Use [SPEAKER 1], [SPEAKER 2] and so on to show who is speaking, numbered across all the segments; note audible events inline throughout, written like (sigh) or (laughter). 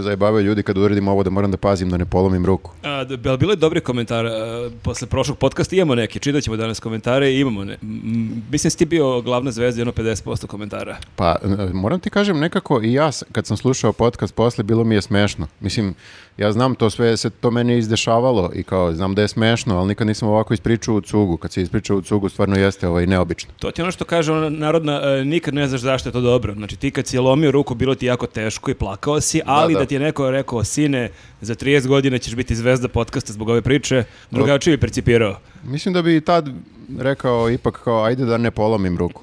[SPEAKER 1] zajebavaju ljudi kad uradim ovo da moram da pazim da ne polomim ruku.
[SPEAKER 2] A, da, jel bilo je dobri komentar posle prošlog podcasta, imamo neke, čitat ćemo danas komentare i imamo. Ne, m, mislim si ti bio glavna zvezda, jedno 50% komentara.
[SPEAKER 1] Pa n- moram ti kažem nekako i ja s- kad sam slušao podcast posle bilo mi je smešno. Mislim, ja znam to sve, se to meni izdešavalo i kao znam da je smešno, ali nikad nisam ovako ispričao u cugu. Kad se ispričao u cugu stvarno jeste ovaj neobično.
[SPEAKER 2] To ti je ono što kaže ona narodna, e, nikad ne znaš zašto je to dobro. Znači ti kad si je lomio ruku, bilo ti je jako teško i plakao si, ali da,
[SPEAKER 1] da.
[SPEAKER 2] ti je neko rekao, sine, za 30 godina ćeš biti zvezda podcasta zbog ove priče, drugačije bi percipirao.
[SPEAKER 1] Mislim da bi i tad rekao ipak kao ajde da ne polomim ruku.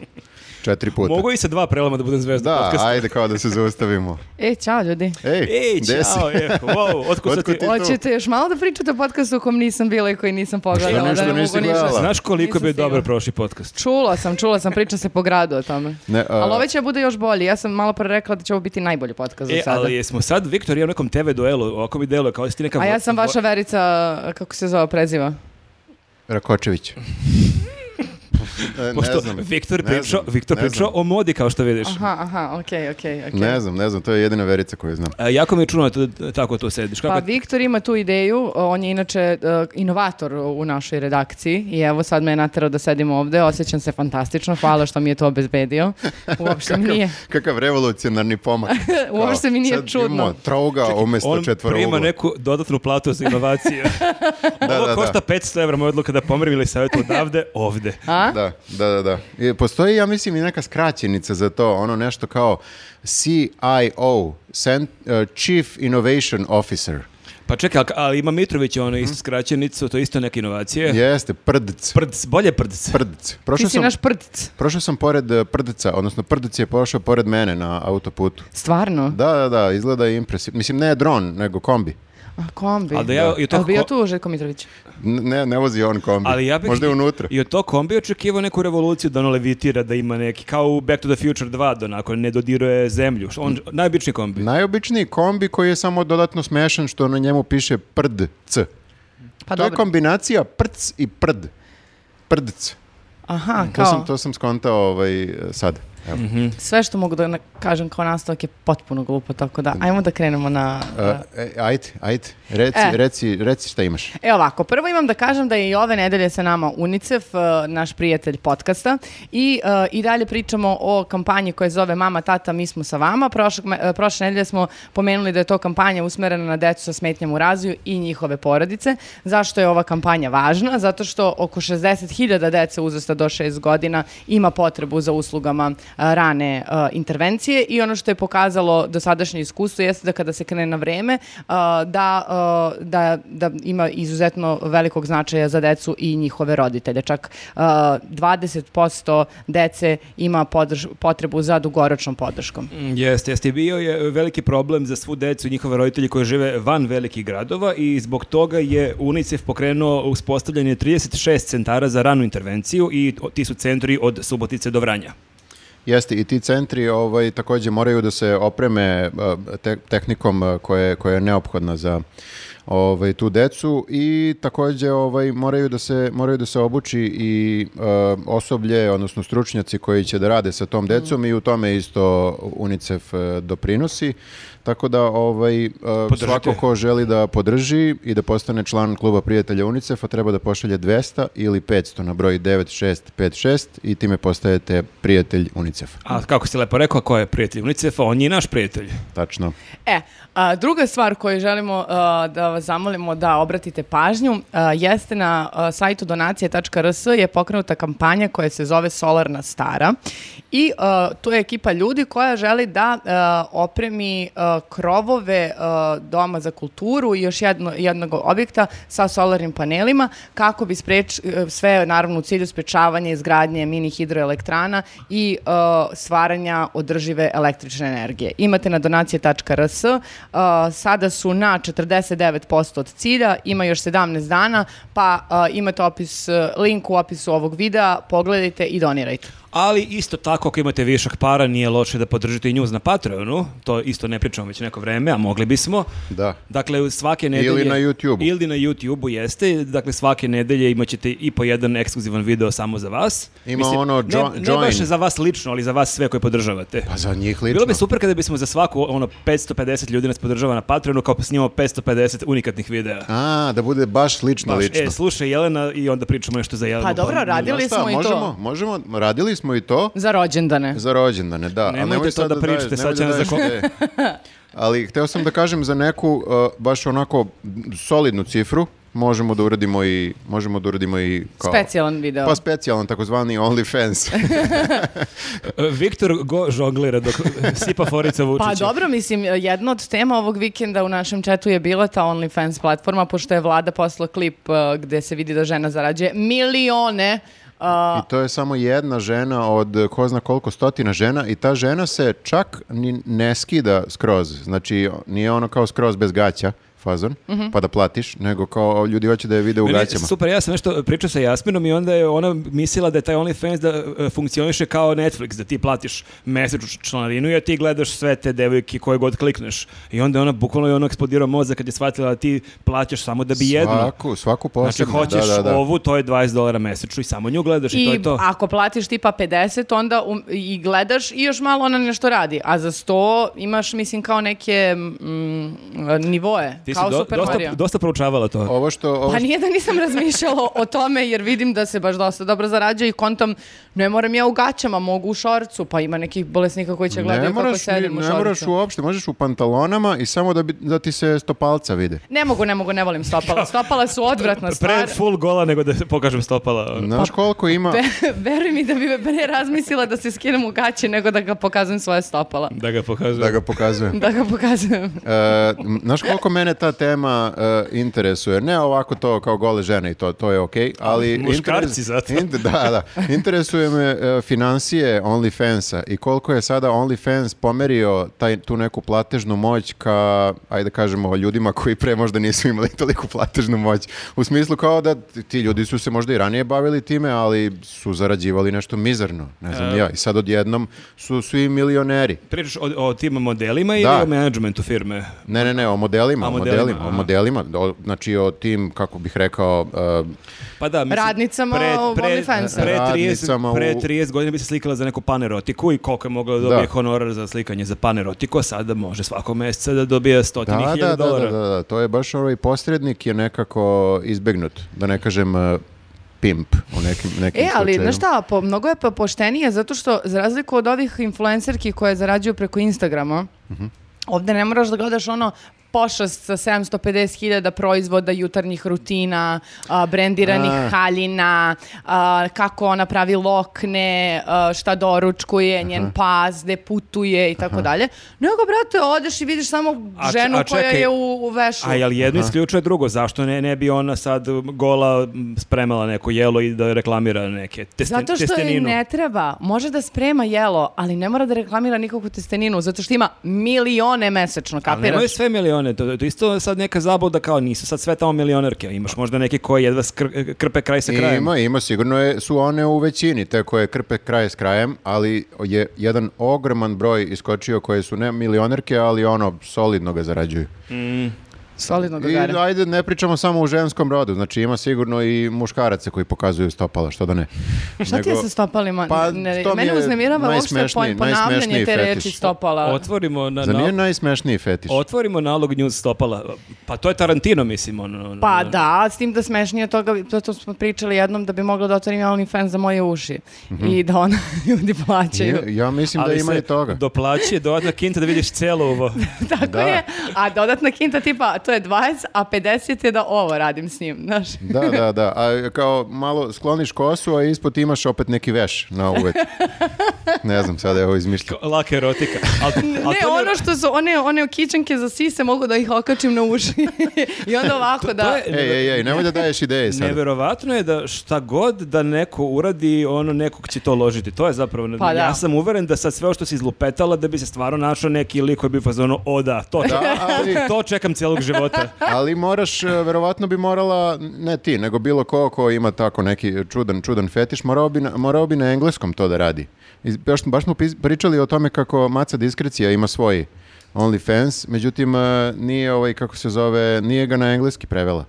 [SPEAKER 1] Četiri puta.
[SPEAKER 2] Mogu i sa dva prelama da budem zvezda
[SPEAKER 1] Da,
[SPEAKER 2] podcasta.
[SPEAKER 1] ajde kao da se zaustavimo.
[SPEAKER 3] E, čao ljudi.
[SPEAKER 1] Ej,
[SPEAKER 2] Ej,
[SPEAKER 1] gde si?
[SPEAKER 2] čao, e, wow,
[SPEAKER 1] (laughs)
[SPEAKER 2] otkud sad
[SPEAKER 1] Otkud
[SPEAKER 2] ti-
[SPEAKER 1] ti-
[SPEAKER 3] Hoćete još malo da pričate o podcastu u kom nisam bila i koji nisam pogledala.
[SPEAKER 1] Pa nešto
[SPEAKER 3] da ne
[SPEAKER 1] nisi
[SPEAKER 3] mogu ništa.
[SPEAKER 1] gledala?
[SPEAKER 2] Znaš koliko
[SPEAKER 3] Nisam
[SPEAKER 2] bi
[SPEAKER 3] stigla.
[SPEAKER 2] dobro prošli podcast?
[SPEAKER 3] Čula sam, čula sam, priča se po gradu o tome.
[SPEAKER 1] Ne, e, a-
[SPEAKER 3] Ali ove će bude još bolji. Ja sam malo pre rekla da će ovo biti najbolji podcast
[SPEAKER 2] E,
[SPEAKER 3] do sada.
[SPEAKER 2] ali jesmo sad, Viktor, ja u nekom TV duelu, ovako mi deluje, kao da si ti neka...
[SPEAKER 3] A ja
[SPEAKER 2] vo-
[SPEAKER 3] sam
[SPEAKER 2] vo-
[SPEAKER 3] vaša Verica, kako se zove, preziva?
[SPEAKER 2] (laughs)
[SPEAKER 1] Rakočević. E, ne
[SPEAKER 2] Pošto
[SPEAKER 1] znam.
[SPEAKER 2] Viktor
[SPEAKER 1] Ne znam,
[SPEAKER 2] pričao, Viktor
[SPEAKER 1] ne
[SPEAKER 2] pričao
[SPEAKER 1] znam.
[SPEAKER 2] o modi, kao što vidiš.
[SPEAKER 3] Aha, aha, okej, okej, okej.
[SPEAKER 1] Ne znam, ne znam, to je jedina verica koju znam.
[SPEAKER 2] A, jako mi je čuno da t- tako tu sediš. Kako
[SPEAKER 3] Pa
[SPEAKER 2] je-
[SPEAKER 3] Viktor ima tu ideju, on je inače e, inovator u našoj redakciji i evo sad me je naterao da sedim ovde, osjećam se fantastično, hvala što mi je
[SPEAKER 1] (laughs)
[SPEAKER 3] to obezbedio. Uopšte mi nije,
[SPEAKER 1] Kakav revolucionarni
[SPEAKER 3] (laughs)
[SPEAKER 1] pomak.
[SPEAKER 3] uopšte mi nije
[SPEAKER 1] Sad
[SPEAKER 3] čudno.
[SPEAKER 1] imamo trouga umesto
[SPEAKER 2] On prima
[SPEAKER 1] četvorogla.
[SPEAKER 2] neku dodatnu platu za
[SPEAKER 3] (laughs)
[SPEAKER 2] inovaciju.
[SPEAKER 1] Da,
[SPEAKER 2] Ovo
[SPEAKER 1] da, da.
[SPEAKER 2] košta 500 evra, moja odluka da pomrem ili savjet odavde, ovde.
[SPEAKER 3] A?
[SPEAKER 1] Da, da, da, da. I postoji, ja mislim, i neka skraćenica za to, ono nešto kao CIO, Cent- eh, Chief Innovation Officer.
[SPEAKER 2] Pa čekaj, ali, ali ima Mitrović, ono isto skraćenicu, to je isto neka inovacija.
[SPEAKER 1] Jeste, prdc.
[SPEAKER 2] Prdc, bolje prdc.
[SPEAKER 1] Prdc.
[SPEAKER 3] Ti
[SPEAKER 1] Prošao
[SPEAKER 3] si
[SPEAKER 1] sam,
[SPEAKER 3] naš prdc.
[SPEAKER 1] prošao sam pored eh, prdca, odnosno prdc je prošao pored mene na autoputu.
[SPEAKER 3] Stvarno?
[SPEAKER 1] Da, da, da, izgleda je impresivno. Mislim, ne dron, nego kombi.
[SPEAKER 3] A kombi.
[SPEAKER 2] Ali da ja- i to
[SPEAKER 3] Ali bio
[SPEAKER 2] ko-
[SPEAKER 3] tu Željko Mitrović?
[SPEAKER 1] N- Ne, ne vozi on kombi.
[SPEAKER 2] Ali ja bih
[SPEAKER 1] Možda je
[SPEAKER 2] i-
[SPEAKER 1] unutra.
[SPEAKER 2] I od to kombi očekivao neku revoluciju da ono levitira, da ima neki, kao u Back to the Future 2, da onako ne dodiruje zemlju. Što On, najobičniji kombi.
[SPEAKER 1] Najobičniji kombi koji je samo dodatno smešan što na njemu piše prd c.
[SPEAKER 3] Pa
[SPEAKER 1] to je
[SPEAKER 3] dobro.
[SPEAKER 1] kombinacija prc i prd. Prdc.
[SPEAKER 3] Aha,
[SPEAKER 1] To
[SPEAKER 3] kao, Mhm.
[SPEAKER 1] sam, to sam skontao ovaj, sad. Evo.
[SPEAKER 3] sve što mogu da na- kažem kao nastavak je potpuno glupo, tako da ajmo da krenemo na...
[SPEAKER 1] Uh, e, ajde, ajde, reci,
[SPEAKER 3] E.
[SPEAKER 1] reci, reci šta imaš.
[SPEAKER 3] E ovako, prvo imam da kažem da je i ove nedelje sa nama UNICEF, e, naš prijatelj podcasta i, e, i dalje pričamo o kampanji koja se zove Mama, tata, mi smo sa vama. Prošlog, me- e, prošle nedelje smo pomenuli da je to kampanja usmerena na decu sa smetnjama u razvoju i njihove porodice. Zašto je ova kampanja važna? Zato što oko 60.000 dece uzrasta do 6 godina ima potrebu za uslugama e, rane e, intervencije i ono što je pokazalo dosadašnje iskustvo jeste da kada se krene na vreme a, da, a, da, da ima izuzetno velikog značaja za decu i njihove roditelje. Čak a, 20% dece ima podrš- potrebu za dugoročnom podrškom.
[SPEAKER 2] Mm, Jeste, jeste. I Bio je veliki problem za svu decu i njihove roditelje koji žive van velikih gradova i zbog toga je UNICEF pokrenuo uspostavljanje 36 centara za ranu intervenciju i o- ti su centri od Subotice do Vranja.
[SPEAKER 1] Jeste, i ti centri ovaj, također moraju da se opreme eh, te- tehnikom eh, koje, koja je neophodna za ovaj, tu decu i također ovaj, moraju, da se, moraju da se obuči i eh, osoblje, odnosno stručnjaci koji će da rade sa tom decom i u tome isto UNICEF eh, doprinosi. Tako da ovaj, eh,
[SPEAKER 2] Podržite.
[SPEAKER 1] svako ko želi da podrži i da postane član kluba prijatelja UNICEF-a treba da pošalje 200 ili 500 na broj 9656 i time postajete prijatelj UNICEF-a.
[SPEAKER 2] A kako si lepo rekao, ko je prijatelj UNICEF-a? On je i naš prijatelj.
[SPEAKER 1] Tačno.
[SPEAKER 3] E, a, druga stvar koju želimo a, da vas zamolimo da obratite pažnju a, jeste na a, sajtu donacije.rs je pokrenuta kampanja koja se zove Solarna stara i a, tu je ekipa ljudi koja želi da a, opremi a, krovove a, doma za kulturu i još jedno, jednog objekta sa solarnim panelima kako bi spreč, e, sve naravno u cilju sprečavanja izgradnje mini hidroelektrana i e, stvaranja održive električne energije. Imate na donacije.rs, e, sada su na 49% od cilja, ima još 17 eh, dana, pa e, imate opis, e, link u opisu ovog videa, pogledajte i donirajte.
[SPEAKER 2] ali isto tako ako imate višak para nije loše da podržite i njuz na Patreonu, to isto ne pričamo već neko vreme, a mogli bismo.
[SPEAKER 1] Da.
[SPEAKER 2] Dakle, svake nedelje...
[SPEAKER 1] Ili na YouTubeu.
[SPEAKER 2] Ili na YouTubeu jeste, dakle svake nedelje imat ćete i po jedan ekskluzivan video samo za vas.
[SPEAKER 1] Ima ono
[SPEAKER 2] ne-
[SPEAKER 1] jo-
[SPEAKER 2] ne,
[SPEAKER 1] join.
[SPEAKER 2] baš za vas lično, ali za vas sve koji podržavate.
[SPEAKER 1] Pa za njih lično.
[SPEAKER 2] Bilo bi super kada bismo za svaku ono 550 ljudi nas podržava na Patreonu kao pa snimamo 550 unikatnih videa.
[SPEAKER 1] A, da bude baš lično,
[SPEAKER 2] Baš,
[SPEAKER 1] lično.
[SPEAKER 2] E, slušaj Jelena i onda pričamo nešto za Jelenu.
[SPEAKER 3] Pa dobro, radili
[SPEAKER 1] Znaš šta,
[SPEAKER 3] smo i
[SPEAKER 1] možemo,
[SPEAKER 3] to.
[SPEAKER 1] Možemo, radili smo i to
[SPEAKER 3] Za rođendane.
[SPEAKER 1] za rođendane, da. ali
[SPEAKER 2] Nemojte
[SPEAKER 1] nemoj
[SPEAKER 2] to
[SPEAKER 1] sad
[SPEAKER 2] da
[SPEAKER 1] daješ-
[SPEAKER 2] pričate,
[SPEAKER 1] nemoj
[SPEAKER 2] sad će
[SPEAKER 1] da
[SPEAKER 2] nas
[SPEAKER 1] daješ te- Ali hteo sam da kažem za neku uh, baš onako solidnu cifru, možemo da uradimo i možemo da uradimo i kao
[SPEAKER 3] Specijalan video.
[SPEAKER 1] Pa specijalan takozvani
[SPEAKER 3] (laughs)
[SPEAKER 1] OnlyFans.
[SPEAKER 2] E, Viktor go žonglira dok (laughs) sipa forica Vučića.
[SPEAKER 3] Pa dobro, mislim, jedna od tema ovog vikenda u našem četu je bila ta OnlyFans platforma, pošto je vlada poslala klip uh, gde se vidi da žena zarađuje milione uh,
[SPEAKER 1] I to je samo jedna žena od eh, ko zna koliko stotina žena i ta žena se čak ni ne skida skroz. Znači nije ono kao skroz bez gaća fazon,
[SPEAKER 3] Mhm.
[SPEAKER 1] pa da platiš, nego kao ljudi hoće da je vide u
[SPEAKER 2] Meni je
[SPEAKER 1] gaćama.
[SPEAKER 2] Super, ja sam nešto pričao sa Jasminom i onda je ona mislila da je taj OnlyFans da e, funkcioniše kao Netflix, da ti platiš mesečnu članarinu i da ti gledaš sve te devojke koje god klikneš. I onda je ona bukvalno je ono eksplodirao mozak kad je shvatila da ti plaćaš samo da bi jedno.
[SPEAKER 1] Svaku, svaku
[SPEAKER 2] Znači,
[SPEAKER 1] posebno.
[SPEAKER 2] hoćeš
[SPEAKER 1] da, da, da.
[SPEAKER 2] ovu, to je 20 dolara mesečno i samo nju gledaš i, to
[SPEAKER 3] i
[SPEAKER 2] je to.
[SPEAKER 3] ako platiš tipa 50, onda um- i gledaš i još malo ona nešto radi. A za 100 imaš, mislim, kao neke mm, nivoe,
[SPEAKER 2] Ti si
[SPEAKER 3] kao
[SPEAKER 2] do-
[SPEAKER 3] Super Mario.
[SPEAKER 2] dosta, dosta proučavala to.
[SPEAKER 1] Ovo što... Ovo
[SPEAKER 3] Pa
[SPEAKER 1] što
[SPEAKER 3] nije da nisam razmišljala o tome jer vidim da se baš dosta dobro zarađuje i kontom ne moram ja u gaćama, mogu u šorcu, pa ima nekih bolesnika koji će
[SPEAKER 1] ne
[SPEAKER 3] gledati kako
[SPEAKER 1] moraš, ni-
[SPEAKER 3] sedim u
[SPEAKER 1] ne moraš
[SPEAKER 3] šorcu.
[SPEAKER 1] uopšte, možeš u pantalonama i samo da, bi, da ti se stopalca vide.
[SPEAKER 3] Ne mogu, ne mogu, ne volim stopala. Stopala su odvratna
[SPEAKER 2] Pre
[SPEAKER 3] stvar.
[SPEAKER 2] full gola nego da pokažem stopala.
[SPEAKER 3] Pa
[SPEAKER 2] ono,
[SPEAKER 1] Znaš koliko ima...
[SPEAKER 3] Ve- (laughs) Veruj mi da bi me pre razmislila da se skinem u gaće nego da ga pokazujem svoje stopala.
[SPEAKER 2] Da ga pokažem.
[SPEAKER 1] Da ga pokazujem.
[SPEAKER 3] Da ga pokazujem.
[SPEAKER 1] E, m, znaš koliko mene ta tema e, interesuje? Ne ovako to kao gole žene i to, to je okej, ali...
[SPEAKER 2] Muškarci zato.
[SPEAKER 1] inter- da, da. Interesuje me e, financije OnlyFansa i koliko je sada OnlyFans pomerio taj, tu neku platežnu moć ka, ajde kažemo, ljudima koji pre možda nisu imali toliku platežnu moć. U smislu kao da t- ti ljudi su se možda i ranije bavili time, ali su zarađivali nešto mizarno, ne znam ja. I sad odjednom su svi milioneri.
[SPEAKER 2] Pričaš o, o tim modelima ili
[SPEAKER 1] Da.
[SPEAKER 2] o menadžmentu firme?
[SPEAKER 1] Ne, ne, ne, o modelima,
[SPEAKER 2] A,
[SPEAKER 1] o
[SPEAKER 2] modelima,
[SPEAKER 1] modelima, o
[SPEAKER 2] aha.
[SPEAKER 1] modelima, o- znači o tim, kako bih rekao, uh,
[SPEAKER 2] Pa da, mislim,
[SPEAKER 3] Radnicama OnlyFansa.
[SPEAKER 2] Pre 30,
[SPEAKER 1] Radnicama
[SPEAKER 2] pre
[SPEAKER 1] u-
[SPEAKER 2] 30 godina bi se slikala za neku panerotiku i koliko je mogla da dobije
[SPEAKER 1] Da.
[SPEAKER 2] honorar za slikanje za panerotiku, a sada može svakog meseca da dobije stotini
[SPEAKER 1] da, da,
[SPEAKER 2] hiljada
[SPEAKER 1] da,
[SPEAKER 2] dolara.
[SPEAKER 1] da, da, da, to je baš ovaj posrednik je nekako izbegnut, da ne kažem uh, pimp u nekim, nekim
[SPEAKER 3] E, ali
[SPEAKER 1] slučajevima.
[SPEAKER 3] znaš šta, po, mnogo je pa poštenije zato što za razliku od ovih influencerki koje zarađuju preko Instagrama,
[SPEAKER 2] Mhm.
[SPEAKER 3] ovdje ne moraš da gledaš ono pošast sa 750.000 proizvoda jutarnjih rutina, a, brendiranih
[SPEAKER 1] A.
[SPEAKER 3] haljina, a, kako ona pravi lokne, a, šta doručkuje, njen pas, gde putuje i tako dalje. Nego, brate, odeš i vidiš samo
[SPEAKER 2] A č-
[SPEAKER 3] ženu
[SPEAKER 2] a
[SPEAKER 3] koja
[SPEAKER 2] čekaj,
[SPEAKER 3] je u, u vešu.
[SPEAKER 2] A jel jedno isključuje drugo? Zašto ne, ne bi ona sad gola m, spremala neko jelo i da reklamira neke teste,
[SPEAKER 3] Zato što joj
[SPEAKER 2] testeninu?
[SPEAKER 3] ne treba. Može da sprema jelo, ali ne mora da reklamira nikakvu testeninu, zato što ima milione mesečno,
[SPEAKER 2] Ali nemaju
[SPEAKER 3] kapiraš?
[SPEAKER 2] sve milione, to, to isto sad neka zabuda kao nisu sad sve tamo milionerke, imaš možda neke koje jedva skr- krpe kraj sa krajem.
[SPEAKER 1] Ima, ima, sigurno je, su one u većini, te koje krpe kraj s krajem, ali je jedan ogroman broj iskočio koje su ne milionerke, ali ono, solidno ga zarađuju.
[SPEAKER 3] Solidno
[SPEAKER 1] I
[SPEAKER 3] dogara.
[SPEAKER 1] ajde, ne pričamo samo u ženskom rodu, znači ima sigurno i muškaraca koji pokazuju stopala, što da ne.
[SPEAKER 3] (laughs) Šta ti je
[SPEAKER 1] Nego-
[SPEAKER 3] sa stopalima?
[SPEAKER 1] Pa,
[SPEAKER 3] ne,
[SPEAKER 1] to mi
[SPEAKER 3] mene
[SPEAKER 1] je
[SPEAKER 3] uznemirava uopšte
[SPEAKER 1] najsmešniji-
[SPEAKER 3] pon- ponavljanje
[SPEAKER 1] najsmešniji
[SPEAKER 3] te
[SPEAKER 1] fetiš.
[SPEAKER 3] reči stopala.
[SPEAKER 2] Otvorimo na,
[SPEAKER 1] Zar
[SPEAKER 2] na-
[SPEAKER 1] nije najsmešniji fetiš?
[SPEAKER 2] Otvorimo nalog news stopala. Pa to je Tarantino, mislim. Ono, ono,
[SPEAKER 3] Pa
[SPEAKER 2] ono.
[SPEAKER 3] da, s tim da smešnije od toga, to, to smo pričali jednom da bi mogla da otvorim OnlyFans za moje uši
[SPEAKER 1] Mhm.
[SPEAKER 3] i da ona (laughs) ljudi plaćaju.
[SPEAKER 1] Ja, ja mislim da
[SPEAKER 2] Ali
[SPEAKER 1] ima
[SPEAKER 2] se
[SPEAKER 1] i toga.
[SPEAKER 2] Doplaći dodatna kinta da vidiš celo
[SPEAKER 3] (laughs)
[SPEAKER 2] ovo.
[SPEAKER 3] Tako
[SPEAKER 1] Da.
[SPEAKER 3] je, a dodatna kinta tipa, to je 20, a 50 je da ovo radim s njim, znaš.
[SPEAKER 1] Da, da, da. A kao malo skloniš kosu, a ispod imaš opet neki veš na
[SPEAKER 2] (laughs)
[SPEAKER 1] uvek. Ne znam, sada je ovo izmišljeno.
[SPEAKER 2] Laka erotika. Al, al
[SPEAKER 3] Ne,
[SPEAKER 2] to
[SPEAKER 3] ono što su, one, one kičanke za sise mogu da ih okačim na uši (laughs) i onda ovako da...
[SPEAKER 2] to je-
[SPEAKER 1] Ej, ej, ej, nemoj da daješ ideje sada.
[SPEAKER 2] Neverovatno je da šta god da neko uradi, ono nekog će to ložiti. To je zapravo,
[SPEAKER 3] Pa da.
[SPEAKER 2] ja sam uveren da sad sve ovo što si izlupetala da bi se stvarno našao neki lik koji bi fazon ono, o da, (laughs) to,
[SPEAKER 1] Da, ali-
[SPEAKER 2] to čekam cijelog života.
[SPEAKER 1] Ali moraš, e, verovatno bi morala, ne ti, nego bilo ko ko ima tako neki čudan, čudan fetiš, morao bi na, morao bi na engleskom to da radi. I baš, baš smo pis- pričali o tome kako Maca Diskrecija ima svoj OnlyFans, međutim e, nije ovaj, kako se zove, nije ga na engleski prevela.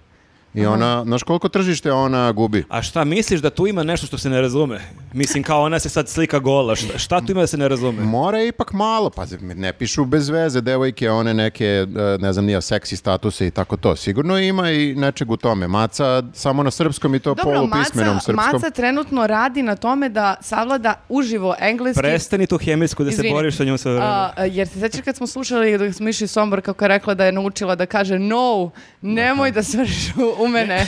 [SPEAKER 1] I ona, znaš koliko tržište ona gubi?
[SPEAKER 2] A šta misliš da tu ima nešto što se ne razume? Mislim kao ona se sad slika gola, šta, šta tu ima da se ne razume?
[SPEAKER 1] Mora je ipak malo, pazi, ne pišu bez veze devojke, one neke, e, ne znam, nije seksi statuse i tako to. Sigurno ima i nečeg u tome. Maca samo na srpskom i to
[SPEAKER 3] Dobro,
[SPEAKER 1] polupismenom
[SPEAKER 3] Maca,
[SPEAKER 1] srpskom.
[SPEAKER 3] Maca trenutno radi na tome da savlada uživo engleski.
[SPEAKER 2] Prestani tu hemijsku da se
[SPEAKER 3] Izvini.
[SPEAKER 2] boriš sa njom sve vreme.
[SPEAKER 3] A, jer se sećaš kad smo slušali dok smo išli u Sombor kako je rekla da je naučila da kaže no, nemoj da svršiš u (laughs) mene.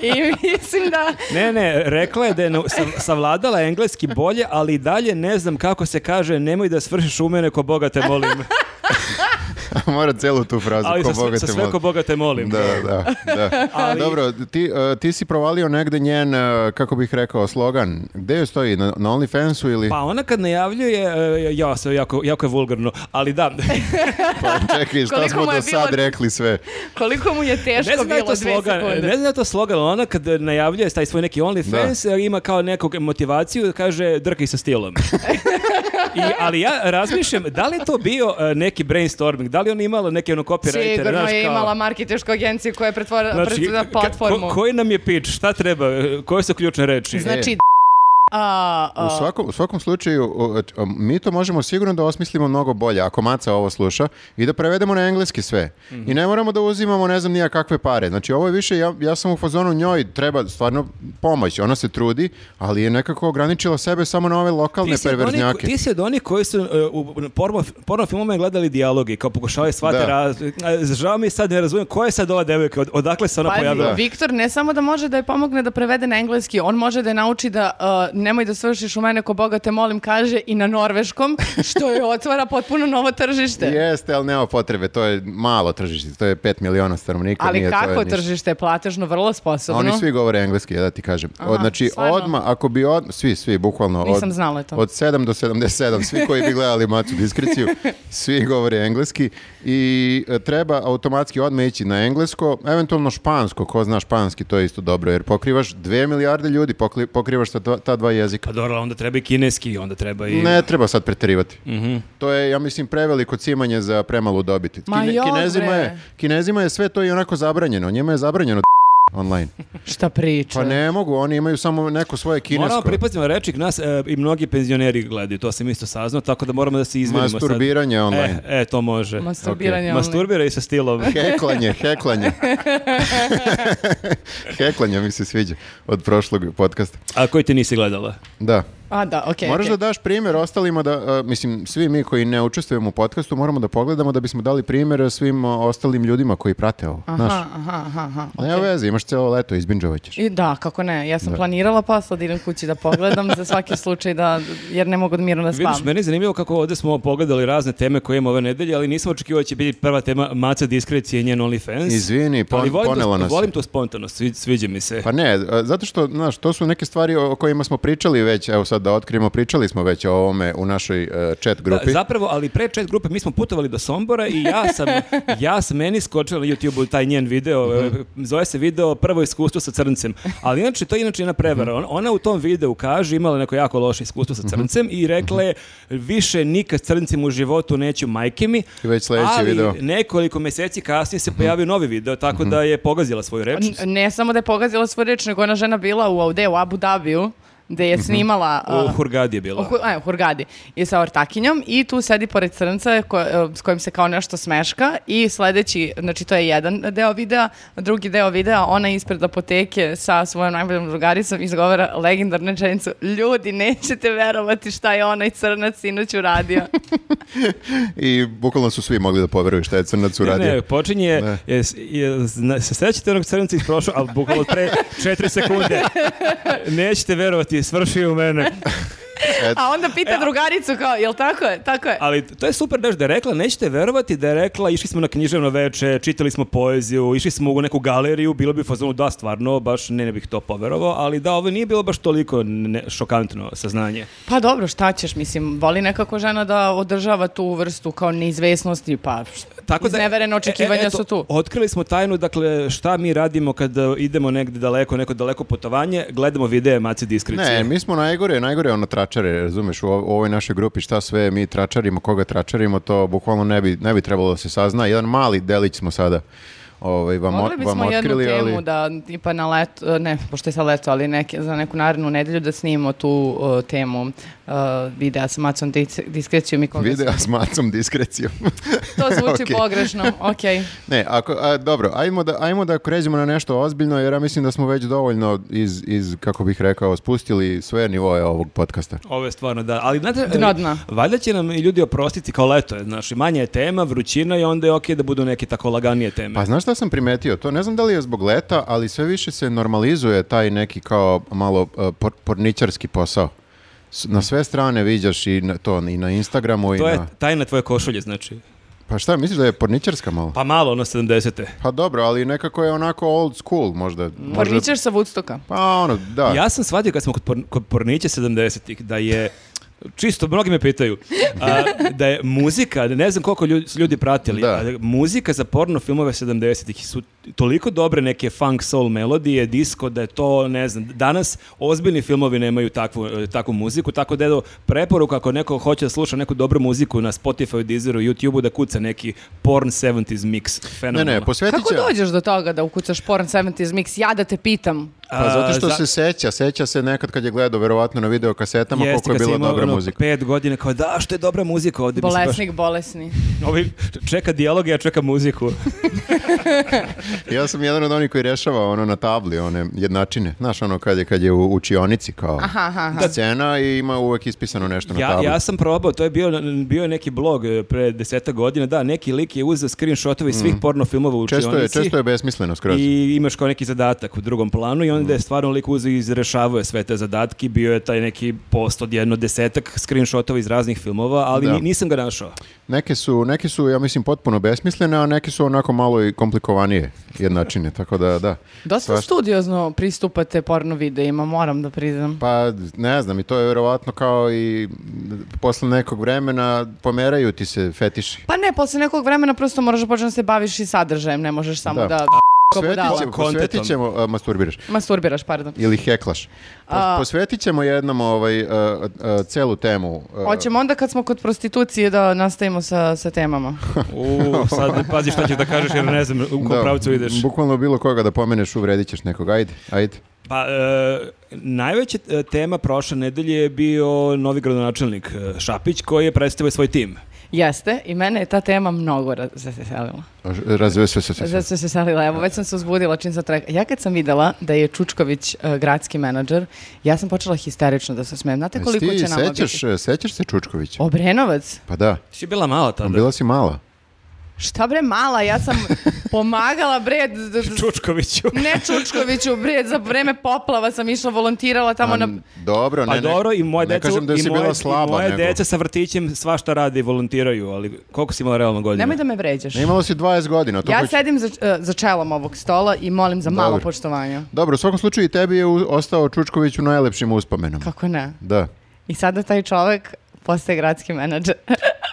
[SPEAKER 3] I mislim da...
[SPEAKER 2] Ne, ne, rekla je da je nau- sav- savladala engleski bolje, ali i dalje ne znam kako se kaže nemoj da svršiš u mene ko Boga te
[SPEAKER 1] (laughs)
[SPEAKER 2] molim.
[SPEAKER 1] Mora celu tu frazu,
[SPEAKER 2] ali
[SPEAKER 1] ko
[SPEAKER 2] sa, sve-
[SPEAKER 1] Boga
[SPEAKER 2] sa
[SPEAKER 1] te
[SPEAKER 2] sve
[SPEAKER 1] moli.
[SPEAKER 2] ko Boga te molim. (laughs)
[SPEAKER 1] Da, da, da.
[SPEAKER 2] Ali-
[SPEAKER 1] Dobro, ti, e, ti si provalio negde njen, e, kako bih rekao, slogan. Gde joj stoji? Na, na OnlyFansu ili?
[SPEAKER 2] Pa ona kad najavljuje, e, ja sve jako, jako je vulgarno, ali da,
[SPEAKER 1] Pa, čekaj, šta
[SPEAKER 3] Koliko
[SPEAKER 1] smo
[SPEAKER 3] mu je
[SPEAKER 1] do sad
[SPEAKER 3] bilo-
[SPEAKER 1] rekli sve?
[SPEAKER 3] Koliko mu je teško
[SPEAKER 2] ne znam da je
[SPEAKER 3] bilo
[SPEAKER 2] to
[SPEAKER 3] dve
[SPEAKER 2] slogan,
[SPEAKER 3] sekunde.
[SPEAKER 2] ne znam da je to slogan, ali ona kad najavljuje taj svoj neki OnlyFans, e, ima kao nekog motivaciju da kaže drkaj sa
[SPEAKER 3] (laughs)
[SPEAKER 2] stilom. I, ali ja razmišljam, da li je to bio e, neki brainstorming, da li on imala neke ono copywriter,
[SPEAKER 3] Sigurno
[SPEAKER 2] znaš,
[SPEAKER 3] je Znači,
[SPEAKER 2] kao- znači,
[SPEAKER 3] imala marketišku agenciju koja je pretvorila pretvorila
[SPEAKER 2] ka-
[SPEAKER 3] platformu.
[SPEAKER 2] ko- koji nam je pitch? Šta treba? E, Koje su ključne reči?
[SPEAKER 3] Znači,
[SPEAKER 1] E.
[SPEAKER 3] d- a, a,
[SPEAKER 1] U svakom, u svakom slučaju, o, o, mi to možemo sigurno da osmislimo mnogo bolje, ako Maca ovo sluša, i da prevedemo na engleski sve.
[SPEAKER 2] Mhm.
[SPEAKER 1] I ne moramo da uzimamo ne znam nija kakve pare. Znači, ovo je više, ja, ja sam u fazonu njoj, treba stvarno pomoć. Ona se trudi, ali je nekako ograničila sebe samo na ove lokalne
[SPEAKER 2] si od onih-
[SPEAKER 1] perverznjake.
[SPEAKER 2] ti si od onih koji su e, u porno, porno filmove gledali dijaloge, kao pokušavaju shvate
[SPEAKER 1] Da.
[SPEAKER 2] raz... e, Žao mi je sad, ne razumijem, koja je sad ova devojka, od, odakle
[SPEAKER 1] Pa
[SPEAKER 2] se ona
[SPEAKER 3] Pazi,
[SPEAKER 2] pojavila?
[SPEAKER 3] Viktor ne samo da može da je pomogne da prevede na engleski, on može da je nauči da uh, nemoj da svršiš u mene ko Boga te molim kaže i na norveškom,
[SPEAKER 1] (laughs)
[SPEAKER 3] što je otvara potpuno novo tržište.
[SPEAKER 1] Jeste, ali nema potrebe, to je malo tržište, to je 5 miliona stanovnika.
[SPEAKER 3] Ali
[SPEAKER 1] nije, to je
[SPEAKER 3] kako
[SPEAKER 1] ništa.
[SPEAKER 3] tržište je platežno, vrlo sposobno.
[SPEAKER 1] Oni svi govore engleski, ja da ti kažem.
[SPEAKER 3] Aha,
[SPEAKER 1] Od, znači,
[SPEAKER 3] stvarno?
[SPEAKER 1] odmah, ako bi od... Svi, svi, bukvalno. Od,
[SPEAKER 3] Nisam znala to.
[SPEAKER 1] Od 7 do 77, svi koji bi gledali Macu Diskriciju,
[SPEAKER 3] (laughs)
[SPEAKER 1] svi govore engleski i e, treba automatski odmah ići na englesko, eventualno špansko, ko zna španski, to je isto dobro, jer pokrivaš 2 milijarde ljudi, pokli- pokrivaš sa dva- ta dva jezika.
[SPEAKER 2] Pa dobro, ali onda treba i kineski, onda treba i... Mhm.
[SPEAKER 1] Ne treba sad preterivati. To je, ja mislim, preveliko cimanje za premalu dobiti.
[SPEAKER 3] Ma jok,
[SPEAKER 1] kinezima,
[SPEAKER 3] bre.
[SPEAKER 1] je, kinezima je sve to i onako zabranjeno. Njima je zabranjeno online.
[SPEAKER 3] Šta priča?
[SPEAKER 1] Pa ne mogu, oni imaju samo neko svoje kinesko.
[SPEAKER 2] Moramo pripaziti na reči, nas e, i mnogi penzioneri gledaju, to sam isto saznao, tako da moramo da se izvinimo sad.
[SPEAKER 1] Masturbiranje online.
[SPEAKER 2] E, e, to može.
[SPEAKER 3] Masturbiranje. online.
[SPEAKER 2] Masturbiraj sa stilom.
[SPEAKER 1] Heklanje,
[SPEAKER 3] (laughs)
[SPEAKER 1] heklanje. heklanje mi se sviđa od prošlog podcasta.
[SPEAKER 2] A koji ti nisi gledala?
[SPEAKER 1] Da.
[SPEAKER 3] A da, okej.
[SPEAKER 1] Moraš
[SPEAKER 3] okej.
[SPEAKER 1] da daš primjer ostalima da, a, mislim, svi mi koji ne učestvujemo u podcastu moramo da pogledamo da bismo dali primjer svim a, ostalim ljudima koji prate ovo. znaš.
[SPEAKER 3] Aha, aha, aha, aha.
[SPEAKER 1] Nema veze, imaš celo leto, izbinđovat ćeš.
[SPEAKER 3] I da, kako ne, ja sam planirala posla da idem kući da pogledam za svaki slučaj da, jer ne mogu da mirno da spavam.
[SPEAKER 2] Vidiš, meni je zanimljivo kako ovdje smo pogledali razne teme koje imamo ove nedelje, ali nisam očekivao da će biti prva tema Maca diskrecije i njen OnlyFans.
[SPEAKER 1] Izvini, pon-
[SPEAKER 2] ali volim
[SPEAKER 1] ponela
[SPEAKER 2] tu,
[SPEAKER 1] nas.
[SPEAKER 2] Volim tu spontanost, svi- sviđa mi se.
[SPEAKER 1] Pa ne, a, zato što, znaš, to su neke stvari o o kojima smo pričali već, evo sad da otkrijemo, pričali smo već o ovome u našoj e, chat
[SPEAKER 2] Da,
[SPEAKER 1] grupi.
[SPEAKER 2] zapravo, ali pre chat grupe mi smo putovali do Sombora i ja
[SPEAKER 1] (laughs)
[SPEAKER 2] sam, ja sam meni skočila na YouTube-u taj njen video, e,
[SPEAKER 1] Mhm.
[SPEAKER 2] zove se video Prvo iskustvo sa crncem. Ali inače, to je inače jedna prevara.
[SPEAKER 1] Mhm.
[SPEAKER 2] On- Ona u tom videu kaže, imala neko jako loše iskustvo sa crncem
[SPEAKER 1] Mhm.
[SPEAKER 2] i rekla je, više nikad s crncem u životu neću majke mi.
[SPEAKER 1] I već sledeći
[SPEAKER 2] ali
[SPEAKER 1] video. Mhm.
[SPEAKER 2] nekoliko mjeseci kasnije se pojavio novi video, tako da je pogazila svoju reč.
[SPEAKER 3] N- Ne samo da je pogazila svoju reč, nego ona žena bila u Aude, u Abu Dhabiju, gde je snimala...
[SPEAKER 2] U
[SPEAKER 3] uh,
[SPEAKER 2] Hurgadi je
[SPEAKER 3] u
[SPEAKER 2] bila.
[SPEAKER 3] Hu- a, u Hurgadi. I sa ortakinjom i tu sedi pored crnca ko- e, s kojim se kao nešto smeška i sledeći, znači to je jedan deo videa, drugi deo videa, ona ispred apoteke sa svojom najboljom drugaricom izgovara legendarnu rečenicu ljudi, nećete verovati šta je onaj crnac sinoć uradio.
[SPEAKER 1] I bukvalno su svi mogli da poveruju šta je crnac
[SPEAKER 2] Ne,
[SPEAKER 1] uradio.
[SPEAKER 2] ne, počinje,
[SPEAKER 1] Ne.
[SPEAKER 2] je, je, zna- se sećate onog crnca iz prošlog, ali bukvalo pre četiri sekunde. Nećete verovati, svrši u mene.
[SPEAKER 3] A onda pita drugaricu kao, jel tako je? Tako je.
[SPEAKER 2] Ali to je super daš da je rekla, nećete verovati da je rekla, išli smo na književno veče, čitali smo poeziju, išli smo u neku galeriju, bilo bi u fazonu da, stvarno, baš ne, ne bih to poverovao, ali da, ovo nije bilo baš toliko ne- šokantno saznanje.
[SPEAKER 3] Pa dobro, šta ćeš, mislim, voli nekako žena da održava tu vrstu kao neizvesnosti, pa
[SPEAKER 2] Tako
[SPEAKER 3] Izneverena očekivanja
[SPEAKER 2] e, eto,
[SPEAKER 3] su tu.
[SPEAKER 2] Otkrili smo tajnu, dakle, šta mi radimo kad e, idemo negde daleko, neko daleko putovanje, gledamo videe Maci Diskrecije.
[SPEAKER 1] Ne, mi smo najgore, najgore ono tračare, razumeš, u o- u ovoj našoj grupi šta sve mi tračarimo, koga tračarimo, to bukvalno ne bi, ne bi trebalo da se sazna. Jedan mali delić smo sada ovaj, vam,
[SPEAKER 3] Mogli
[SPEAKER 1] o- vam
[SPEAKER 3] bismo jednu
[SPEAKER 1] otkrili,
[SPEAKER 3] temu
[SPEAKER 1] ali...
[SPEAKER 3] da tipa na let, ne, pošto je sad leto, ali neke, za neku narednu nedelju da snimimo tu uh, temu uh, videa sa macom dis- diskrecijom i koga
[SPEAKER 1] Videa s macom diskrecijom.
[SPEAKER 3] To
[SPEAKER 1] (laughs)
[SPEAKER 3] zvuči
[SPEAKER 1] Okej.
[SPEAKER 3] pogrešno, ok.
[SPEAKER 1] Ne, ako, a, dobro, ajmo da, ajmo da kređemo na nešto ozbiljno, jer ja mislim da smo već dovoljno iz, iz kako bih rekao, spustili sve nivoje ovog podcasta.
[SPEAKER 2] Ovo je stvarno, da. Ali, znate, e,
[SPEAKER 3] Dno dna.
[SPEAKER 2] valjda će nam i ljudi oprostiti kao leto, je, znaš, i manja je tema, vrućina i onda je okej da budu neke tako laganije teme.
[SPEAKER 1] Pa znaš šta sam primetio? To ne znam da li je zbog leta, ali sve više se normalizuje taj neki kao malo e, por- porničarski posao. S- Na sve strane viđaš i na, to i na Instagramu i
[SPEAKER 2] to je
[SPEAKER 1] na...
[SPEAKER 2] tajna tvoje košulje, znači.
[SPEAKER 1] Pa šta, misliš da je porničarska malo?
[SPEAKER 2] Pa malo, ono 70.
[SPEAKER 1] Pa dobro, ali nekako je onako old school možda. možda-
[SPEAKER 3] Porničar sa Woodstocka.
[SPEAKER 1] Pa ono, da.
[SPEAKER 2] Ja sam shvatio kad smo kod, porn, kod pornića 70-ih da je Čisto, mnogi me pitaju, a, da je muzika, ne znam koliko ljudi, su ljudi pratili,
[SPEAKER 1] Da.
[SPEAKER 2] a, muzika za porno filmove 70-ih su toliko dobre neke funk soul melodije, disco, da je to, ne znam, danas ozbiljni filmovi nemaju takvu, e, takvu muziku, tako da edo, preporuka ako neko hoće da sluša neku dobru muziku na Spotify, Deezeru, YouTubeu, da kuca neki porn 70s mix,
[SPEAKER 1] Ne,
[SPEAKER 2] fenomenalno.
[SPEAKER 1] ne, posvetit
[SPEAKER 3] Kako
[SPEAKER 1] će...
[SPEAKER 3] dođeš do toga da ukucaš porn 70s mix? Ja da te pitam.
[SPEAKER 1] Pa zato što
[SPEAKER 2] A, za-
[SPEAKER 1] se seća, seća se nekad kad je gledao verovatno na videokasetama
[SPEAKER 2] Jeste,
[SPEAKER 1] koliko je
[SPEAKER 2] kad sam
[SPEAKER 1] bila
[SPEAKER 2] imao,
[SPEAKER 1] dobra
[SPEAKER 2] ono,
[SPEAKER 1] muzika.
[SPEAKER 2] Pet godina kao da što je dobra muzika ovdje. mislim, baš-
[SPEAKER 3] Bolesnik, bolesni.
[SPEAKER 2] Ovi čeka dijaloge, ja čekam muziku.
[SPEAKER 1] Ja sam jedan od onih koji rešava ono na tabli, one jednačine. Znaš ono kad je, kad je u učionici kao
[SPEAKER 3] Aha, aha, aha.
[SPEAKER 1] scena i ima uvek ispisano nešto na
[SPEAKER 2] ja,
[SPEAKER 1] tabli.
[SPEAKER 2] ja sam probao, to je bio, bio je neki blog e, pre deseta godina, da, neki lik je uzeo screenshotove iz svih porno filmova u
[SPEAKER 1] Mm. često, je,
[SPEAKER 2] učionici
[SPEAKER 1] često je besmisleno skroz.
[SPEAKER 2] I imaš kao neki zadatak u drugom planu i
[SPEAKER 1] Mm.
[SPEAKER 2] onda je stvarno lik uzeo i izrešavao je sve te zadatke. Bio je taj neki post od jedno desetak screenshotova iz raznih filmova, ali
[SPEAKER 1] Da.
[SPEAKER 2] ni- nisam ga
[SPEAKER 1] (laughs)
[SPEAKER 2] našao.
[SPEAKER 1] Neke, su, neke su, ja mislim, potpuno besmislene, a neke su onako malo i komplikovanije jednačine, tako da, da.
[SPEAKER 3] Dosta
[SPEAKER 1] Svašta.
[SPEAKER 3] studiozno pristupate porno videima, moram da priznam.
[SPEAKER 1] Pa, ne znam, i to je verovatno kao i m, posle nekog vremena pomeraju ti se fetiši.
[SPEAKER 3] Pa ne, posle nekog vremena prosto moraš da počneš da se baviš i sadržajem, ne možeš samo
[SPEAKER 1] Da.
[SPEAKER 3] da, ko
[SPEAKER 1] Posvetit
[SPEAKER 3] budala.
[SPEAKER 1] ćemo,
[SPEAKER 2] Kontetom.
[SPEAKER 1] posvetit ćemo, a, masturbiraš.
[SPEAKER 3] Masturbiraš, pardon.
[SPEAKER 1] Ili heklaš. Po-
[SPEAKER 3] A-
[SPEAKER 1] Posvetit ćemo jednom ovaj, uh, uh, celu temu. uh,
[SPEAKER 3] Hoćemo onda kad smo kod prostitucije da nastavimo sa, sa temama.
[SPEAKER 2] U, sad ne pazi šta ćeš da kažeš jer ne znam u kom
[SPEAKER 1] da,
[SPEAKER 2] pravcu ideš.
[SPEAKER 1] Bukvalno bilo koga da pomeneš uvredit ćeš nekog. Ajde, ajde.
[SPEAKER 2] Pa, e, najveća e, tema prošle nedelje je bio novi gradonačelnik e, Šapić koji je predstavio svoj tim.
[SPEAKER 3] Jeste, i mene je ta tema mnogo raz- zaselila.
[SPEAKER 1] Razve se se se.
[SPEAKER 3] Zato sam se selila, evo već sam se uzbudila čim sam treka. Ja kad sam videla da je Čučković e, gradski menadžer, ja sam počela histerično da se smijem. Znate koliko
[SPEAKER 1] Jesi
[SPEAKER 3] će
[SPEAKER 1] ti
[SPEAKER 3] nama
[SPEAKER 1] sećaš,
[SPEAKER 3] biti?
[SPEAKER 1] e, sećaš se Čučkovića?
[SPEAKER 3] Obrenovac?
[SPEAKER 1] Pa da,
[SPEAKER 2] Ti bila mala tada.
[SPEAKER 1] bila si mala.
[SPEAKER 3] Šta bre mala, ja
[SPEAKER 1] (laughs)
[SPEAKER 3] sam pomagala bre, d- d- d-
[SPEAKER 2] (laughs) Čučkoviću.
[SPEAKER 3] ne Čučkoviću bre, za vreme poplava sam išla volontirala tamo na...
[SPEAKER 1] An- Dobro, ne,
[SPEAKER 2] Pa
[SPEAKER 1] ne.
[SPEAKER 2] dobro, i moje
[SPEAKER 1] ne
[SPEAKER 2] deca,
[SPEAKER 1] kažem da
[SPEAKER 2] i
[SPEAKER 1] si
[SPEAKER 2] moje,
[SPEAKER 1] bila
[SPEAKER 2] i
[SPEAKER 1] slaba.
[SPEAKER 2] moje
[SPEAKER 1] nego.
[SPEAKER 2] deca sa vrtićem svašta rade i volontiraju, ali koliko si imala realno godina?
[SPEAKER 3] Nemoj da me vređaš.
[SPEAKER 1] Ne, Imala si 20 godina. To
[SPEAKER 3] Ja
[SPEAKER 1] hoću-
[SPEAKER 3] sedim za, e, za čelom ovog stola i molim za malo
[SPEAKER 1] Dobro.
[SPEAKER 3] poštovanja.
[SPEAKER 1] Dobro, u svakom slučaju i tebi je u- ostao Čučković u najlepšim uspomenama.
[SPEAKER 3] Kako ne?
[SPEAKER 1] Da.
[SPEAKER 3] I sada taj čovek postaje gradski
[SPEAKER 1] (laughs)
[SPEAKER 3] menadžer.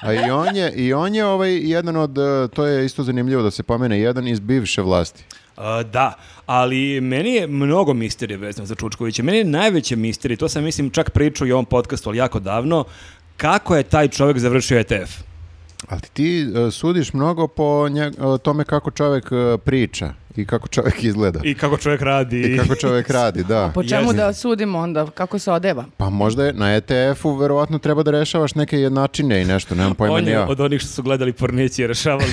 [SPEAKER 1] A i on je, i on je ovaj jedan od, e, to je isto zanimljivo da se pomene, jedan iz bivše vlasti.
[SPEAKER 2] A, da, ali meni je mnogo misterije vezano za Čučkovića. Meni je najveće misterije, to sam mislim čak pričao i u ovom podcastu, ali jako davno, kako je taj čovjek završio E ETF.
[SPEAKER 1] Ali ti e, sudiš mnogo po nje- e, tome kako čovek e, priča i kako čovek izgleda. I,
[SPEAKER 2] I kako čovjek radi.
[SPEAKER 1] kako čovek radi, da.
[SPEAKER 3] Po čemu
[SPEAKER 2] Jezno.
[SPEAKER 3] da sudimo onda? Kako se odeva?
[SPEAKER 1] Pa možda je, na ETF-u verovatno treba da rešavaš neke jednačine i nešto, nemam pojma
[SPEAKER 2] On
[SPEAKER 1] ni
[SPEAKER 2] je
[SPEAKER 1] ja.
[SPEAKER 2] od onih što su gledali pornići
[SPEAKER 1] (laughs)
[SPEAKER 2] i rešavali.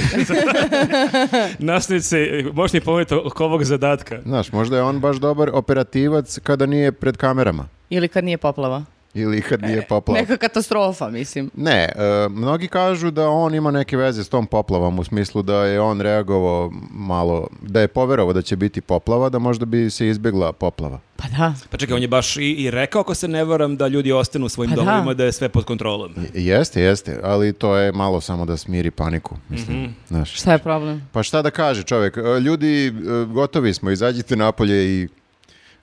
[SPEAKER 2] Nasnice, možeš mi pomijeti oko ovog zadatka.
[SPEAKER 1] Znaš, možda je on baš dobar operativac kada nije pred kamerama
[SPEAKER 3] Ili kad nije poplava?
[SPEAKER 1] ili
[SPEAKER 2] E,
[SPEAKER 1] kad nije poplava.
[SPEAKER 3] Neka katastrofa, mislim.
[SPEAKER 1] Ne, e, mnogi kažu da on ima neke veze s tom poplavom u smislu da je on reagovao malo, da je poverovao da će biti poplava, da možda bi se izbjegla poplava.
[SPEAKER 3] Pa da.
[SPEAKER 2] Pa čekaj, on je baš i, i rekao, ako se ne varam, da ljudi ostanu u svojim
[SPEAKER 3] Pa da.
[SPEAKER 2] domovima, da. je sve pod kontrolom.
[SPEAKER 1] Jeste, jeste, ali to je malo samo da smiri paniku, mislim,
[SPEAKER 2] Mhm.
[SPEAKER 1] znaš.
[SPEAKER 3] Šta je problem?
[SPEAKER 1] Pa šta da kaže čovjek? E, Ljudi, e, gotovi smo, izađite napolje i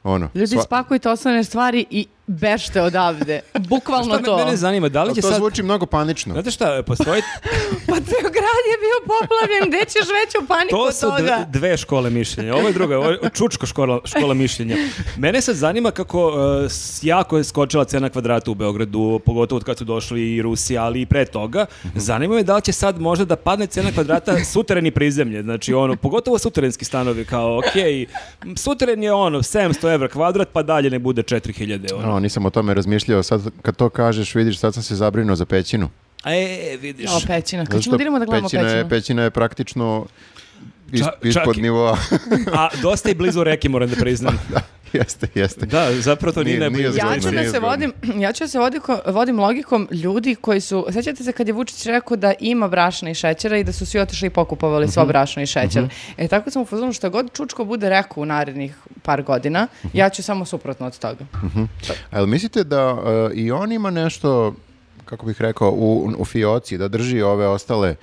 [SPEAKER 1] ono.
[SPEAKER 3] Ljudi,
[SPEAKER 1] sva-
[SPEAKER 3] spakujte osnovne stvari i bešte
[SPEAKER 1] (laughs)
[SPEAKER 3] odavde. Bukvalno
[SPEAKER 2] Šta me-
[SPEAKER 3] to.
[SPEAKER 2] mene zanima, da li će
[SPEAKER 1] to
[SPEAKER 2] sad...
[SPEAKER 1] zvuči mnogo panično.
[SPEAKER 2] Znate šta, postoji...
[SPEAKER 3] Pa ceo grad je bio poplavljen, gde ćeš veću paniku
[SPEAKER 2] To
[SPEAKER 3] od
[SPEAKER 2] su
[SPEAKER 3] toga?
[SPEAKER 2] dve, dve škole mišljenja. Ovo je druga, ovo je čučko škola, škola mišljenja. Mene sad zanima kako uh, s- jako je skočila cena kvadrata u Beogradu, pogotovo od kad su došli i Rusi, ali i pre toga. Zanima me da li će sad možda da padne cena kvadrata suteren i prizemlje. Znači, ono, pogotovo suterenski stanovi, kao, okej, m, suteren je ono, 700 evra kvadrat, pa dalje ne bude 4000.
[SPEAKER 1] No,
[SPEAKER 2] Ono.
[SPEAKER 1] nisam o tome razmišljao. Sad kad to kažeš, vidiš, sad sam se zabrinuo za pećinu.
[SPEAKER 2] E, vidiš.
[SPEAKER 3] O, pećina. Kad
[SPEAKER 1] Zato
[SPEAKER 3] ćemo
[SPEAKER 1] što
[SPEAKER 3] da idemo da gledamo
[SPEAKER 1] pećina
[SPEAKER 3] pećinu?
[SPEAKER 1] je, pećina je praktično is-
[SPEAKER 2] Ča- čak
[SPEAKER 1] ispod
[SPEAKER 2] i-
[SPEAKER 1] nivoa.
[SPEAKER 2] A dosta je blizu reke, moram da priznam.
[SPEAKER 1] (laughs) jeste, jeste.
[SPEAKER 2] Da, zapravo to nije,
[SPEAKER 1] Nije-
[SPEAKER 2] najbliže.
[SPEAKER 1] nije
[SPEAKER 3] Ja
[SPEAKER 1] Zgodno,
[SPEAKER 3] ću da
[SPEAKER 1] nije
[SPEAKER 3] se
[SPEAKER 1] zgodno.
[SPEAKER 3] vodim, (clears throat) ja ću da se vodim, ko- vodim logikom ljudi koji su, sećate se kad je Vučić rekao da ima brašna i šećera i da su svi otišli i pokupovali svo brašno i šećer. E tako sam u fazonu što god Čučko bude rekao u narednih par godina, ja ću samo suprotno od toga.
[SPEAKER 1] Ali mislite da e, i on ima nešto, kako bih rekao, u, u fioci, da drži ove ostale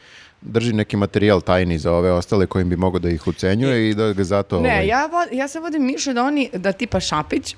[SPEAKER 1] drži neki materijal tajni za ove ostale kojim bi mogao da ih ucenjuje i da ga zato...
[SPEAKER 3] Ne,
[SPEAKER 1] ovaj,
[SPEAKER 3] ja, vo- ja se vodim mišlju da oni, da tipa Šapić,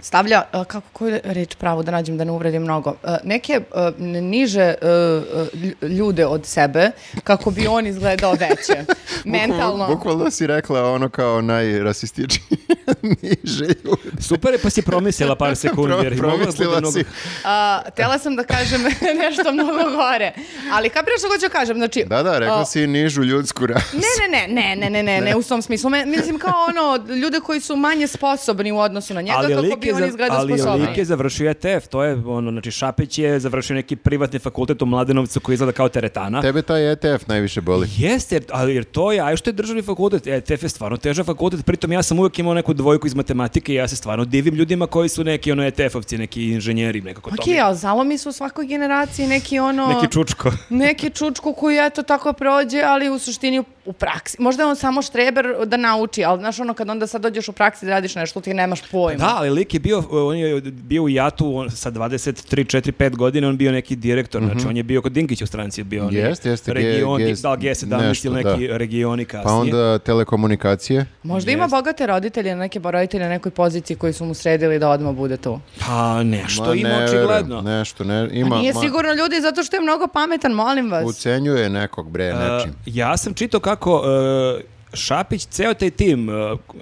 [SPEAKER 3] stavlja, a, kako, koju reč pravu da nađem da ne uvredim mnogo, A, neke a, n- niže a, a, lj- ljude od sebe kako bi on izgledao veće,
[SPEAKER 1] bukvalno-
[SPEAKER 3] mentalno.
[SPEAKER 1] Bukvalno si rekla ono kao najrasističniji (laughs) niže ljudi.
[SPEAKER 2] Super je, pa si promislila (laughs) par sekundi. jer
[SPEAKER 1] Pro-
[SPEAKER 2] je mogla da bude
[SPEAKER 1] promislila
[SPEAKER 2] mnogo-
[SPEAKER 1] si.
[SPEAKER 3] A, tela sam da kažem (laughs) nešto mnogo gore, ali kapiraš što hoću da kažem, znači...
[SPEAKER 1] Da, da, rekla
[SPEAKER 3] a,
[SPEAKER 1] si nižu ljudsku rasu.
[SPEAKER 3] (laughs) Ne, ne, ne, ne, ne, ne, ne, ne, u tom smislu. Me- mislim kao ono, ljude koji su manje sposobni u odnosu na njega,
[SPEAKER 2] ali
[SPEAKER 3] kako
[SPEAKER 2] lik
[SPEAKER 3] bi
[SPEAKER 2] je
[SPEAKER 3] on
[SPEAKER 2] za-
[SPEAKER 3] izgledao
[SPEAKER 2] ali
[SPEAKER 3] sposobniji.
[SPEAKER 2] lik je završio ETF, to je ono, znači Šapeć je završio neki privatni fakultet u Mladenovcu koji izgleda kao teretana.
[SPEAKER 1] Tebe taj ETF najviše boli.
[SPEAKER 2] Jeste, jer- ali jer to je, a što je državni fakultet, ETF je stvarno težak fakultet, pritom ja sam uvijek imao neku dvojku iz matematike i ja se stvarno divim ljudima koji su neki ono ETF-ovci, neki inženjeri, nekako to. mi
[SPEAKER 3] Ok,
[SPEAKER 2] je-
[SPEAKER 3] ali zalomi su u svakoj generaciji neki ono...
[SPEAKER 2] Neki čučko.
[SPEAKER 3] neki čučku koji eto tako prođe, ali u suštini u, u praksi. Možda je on samo štreber da nauči, ali znaš ono kad onda sad dođeš u praksi da radiš nešto, ti nemaš pojma.
[SPEAKER 2] Pa Da, ali lik je bio, on je bio u jatu on, sa 23, 4, 5 godina, on bio neki direktor,
[SPEAKER 1] Mhm.
[SPEAKER 2] znači on je bio kod Dinkića u stranci, bio on
[SPEAKER 1] Jeste, jeste, G-
[SPEAKER 2] region,
[SPEAKER 1] G-
[SPEAKER 2] da, G17 ili
[SPEAKER 1] nešto,
[SPEAKER 2] neki regioni kasnije.
[SPEAKER 1] Pa onda telekomunikacije.
[SPEAKER 3] Možda ima
[SPEAKER 2] Jeste.
[SPEAKER 3] bogate roditelje, neke bo- roditelje na nekoj poziciji koji su mu sredili da odmah bude to.
[SPEAKER 2] Pa nešto
[SPEAKER 1] Ma,
[SPEAKER 2] ima
[SPEAKER 1] ne verujem,
[SPEAKER 2] očigledno.
[SPEAKER 1] Nešto, ne, ima,
[SPEAKER 3] Pa Nije
[SPEAKER 1] ma,
[SPEAKER 3] sigurno ljudi zato što je mnogo pametan, molim vas.
[SPEAKER 1] ucenjuje nekog bre, nečim.
[SPEAKER 2] Uh, ja sam čitao kako uh, Šapić, ceo taj tim, uh,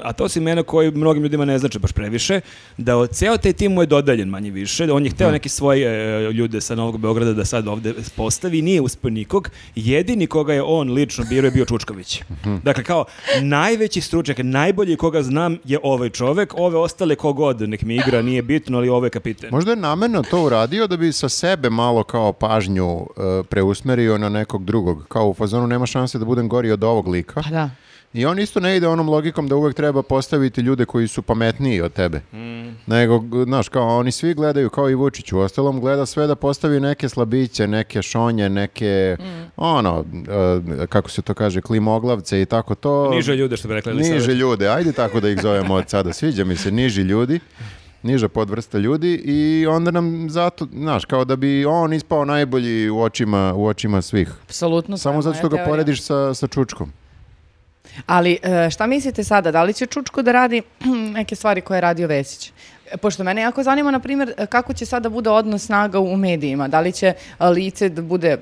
[SPEAKER 2] a to su imena koji mnogim ljudima ne znače baš previše, da od ceo taj tim mu je dodaljen manje više, on je
[SPEAKER 1] Mhm.
[SPEAKER 2] hteo neke svoje uh, ljude sa Novog Beograda da sad ovde postavi, nije uspio nikog, jedini koga je on lično birao je bio Čučković.
[SPEAKER 1] Mhm.
[SPEAKER 2] Dakle, kao najveći stručnjak, najbolji koga znam je ovaj čovek, ove ostale kogod, nek mi igra, nije bitno, ali ovo je kapiten.
[SPEAKER 1] Možda je namerno to uradio da bi sa sebe malo kao pažnju e, preusmerio na nekog drugog. Kao u fazonu nema šanse da budem gori od ovog lika.
[SPEAKER 3] Pa da.
[SPEAKER 1] I on isto ne ide onom logikom da uvek treba postaviti ljude koji su pametniji od tebe.
[SPEAKER 3] Mm.
[SPEAKER 1] Nego, znaš, kao oni svi gledaju, kao i Vučić u ostalom, gleda sve da postavi neke slabiće, neke šonje, neke,
[SPEAKER 3] Mm.
[SPEAKER 1] ono, e, kako se to kaže, klimoglavce i tako to.
[SPEAKER 2] Niže ljude, što bi rekla Elisaveta.
[SPEAKER 1] Niže ljude, ajde tako da ih zovemo od sada, sviđa mi se, niži ljudi, niža podvrsta ljudi i onda nam zato, znaš, kao da bi on ispao najbolji u očima, u očima svih.
[SPEAKER 3] Apsolutno. to
[SPEAKER 1] Samo
[SPEAKER 3] je
[SPEAKER 1] zato
[SPEAKER 3] moja
[SPEAKER 1] što ga
[SPEAKER 3] teorija.
[SPEAKER 1] porediš sa, sa Čučkom.
[SPEAKER 3] Ali e, šta mislite sada, da li će Čučko da radi (clears throat) neke stvari koje je radio Vesić? E, Pošto mene jako zanima, na primjer, e, kako će sada bude odnos snaga u medijima. Da li će e, lice da bude e,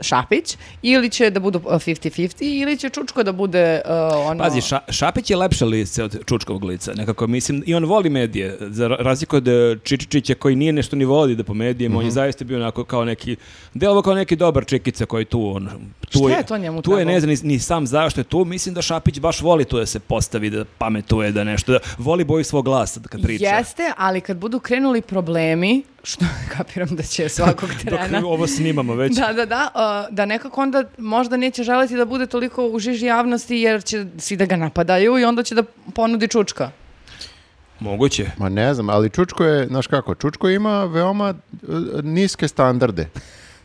[SPEAKER 3] Šapić ili će da budu e, 50-50 ili će Čučko da bude e, ono...
[SPEAKER 2] Pazi, Ša- Šapić je lepše lice od Čučkovog lica, nekako mislim, i on voli medije, za ra- razliku od e, Čičičića koji nije nešto ni voli da po medijima,
[SPEAKER 3] Mhm.
[SPEAKER 2] on je zaista bio onako kao neki, delovo kao neki dobar čikica koji tu, on, tu
[SPEAKER 3] Šta je to njemu
[SPEAKER 2] tu je,
[SPEAKER 3] trebalo?
[SPEAKER 2] ne znam ni, ni sam zašto je tu, mislim da Šapić baš voli tu da se postavi, da pametuje, da nešto, da voli boju svog glasa kad priča.
[SPEAKER 3] Jeste, ali kad budu krenuli problemi, što (laughs) kapiram da
[SPEAKER 1] (laughs)
[SPEAKER 3] će svakog
[SPEAKER 2] Dok
[SPEAKER 3] trena...
[SPEAKER 2] ovo snimamo već.
[SPEAKER 3] Da, da, da, uh, da nekako onda možda neće želiti da bude toliko u žiži javnosti jer će svi da ga napadaju i onda će da ponudi čučka.
[SPEAKER 2] Moguće.
[SPEAKER 1] Ma ne znam, ali Čučko je, znaš kako, Čučko ima veoma e, niske standarde.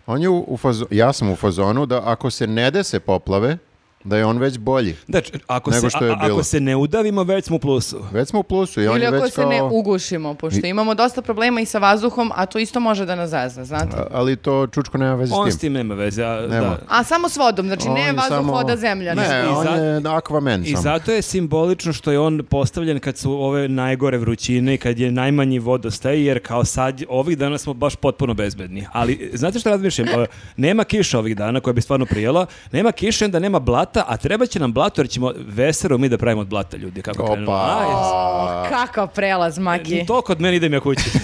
[SPEAKER 1] On je u, u fazo- ja sam u fazonu da ako se ne dese poplave, da je on već bolji.
[SPEAKER 2] Da, č- Znači, ako,
[SPEAKER 1] Nego
[SPEAKER 2] se,
[SPEAKER 1] što je
[SPEAKER 2] a- a- ako
[SPEAKER 1] bilo.
[SPEAKER 2] se ne udavimo, već smo u plusu.
[SPEAKER 1] Već smo u plusu i on
[SPEAKER 3] Ili
[SPEAKER 1] je
[SPEAKER 3] ako
[SPEAKER 1] već
[SPEAKER 3] se ne
[SPEAKER 1] kao...
[SPEAKER 3] ugušimo, pošto imamo dosta problema i sa vazduhom, a to isto može da nas zazna, znate?
[SPEAKER 1] A- Ali to Čučko nema veze
[SPEAKER 2] On
[SPEAKER 1] s
[SPEAKER 2] s
[SPEAKER 1] tim.
[SPEAKER 2] tim nema veze. A,
[SPEAKER 1] Nema.
[SPEAKER 2] da.
[SPEAKER 3] A samo s vodom, znači
[SPEAKER 1] On
[SPEAKER 3] ne
[SPEAKER 1] je
[SPEAKER 3] vazduh,
[SPEAKER 1] samo-
[SPEAKER 3] voda, zemlja.
[SPEAKER 1] Ne,
[SPEAKER 2] I
[SPEAKER 1] on
[SPEAKER 2] za-
[SPEAKER 1] je Aquaman
[SPEAKER 2] I
[SPEAKER 1] samo.
[SPEAKER 2] zato je simbolično što je on postavljen kad su ove najgore vrućine i kad je najmanji vodostaj, jer kao sad, ovih dana smo baš potpuno bezbedni. Ali, znate što
[SPEAKER 1] (laughs)
[SPEAKER 2] razmišljam? E, Nema kiša ovih dana koja bi stvarno prijela, nema kiše, onda nema blata, a treba će nam blato jer ćemo veseru mi da pravimo od blata ljudi. Kako
[SPEAKER 1] Opa.
[SPEAKER 2] krenulo. A, jes-
[SPEAKER 3] O, kakav prelaz, Maki.
[SPEAKER 2] E, To kod mene idem ja kući. (laughs)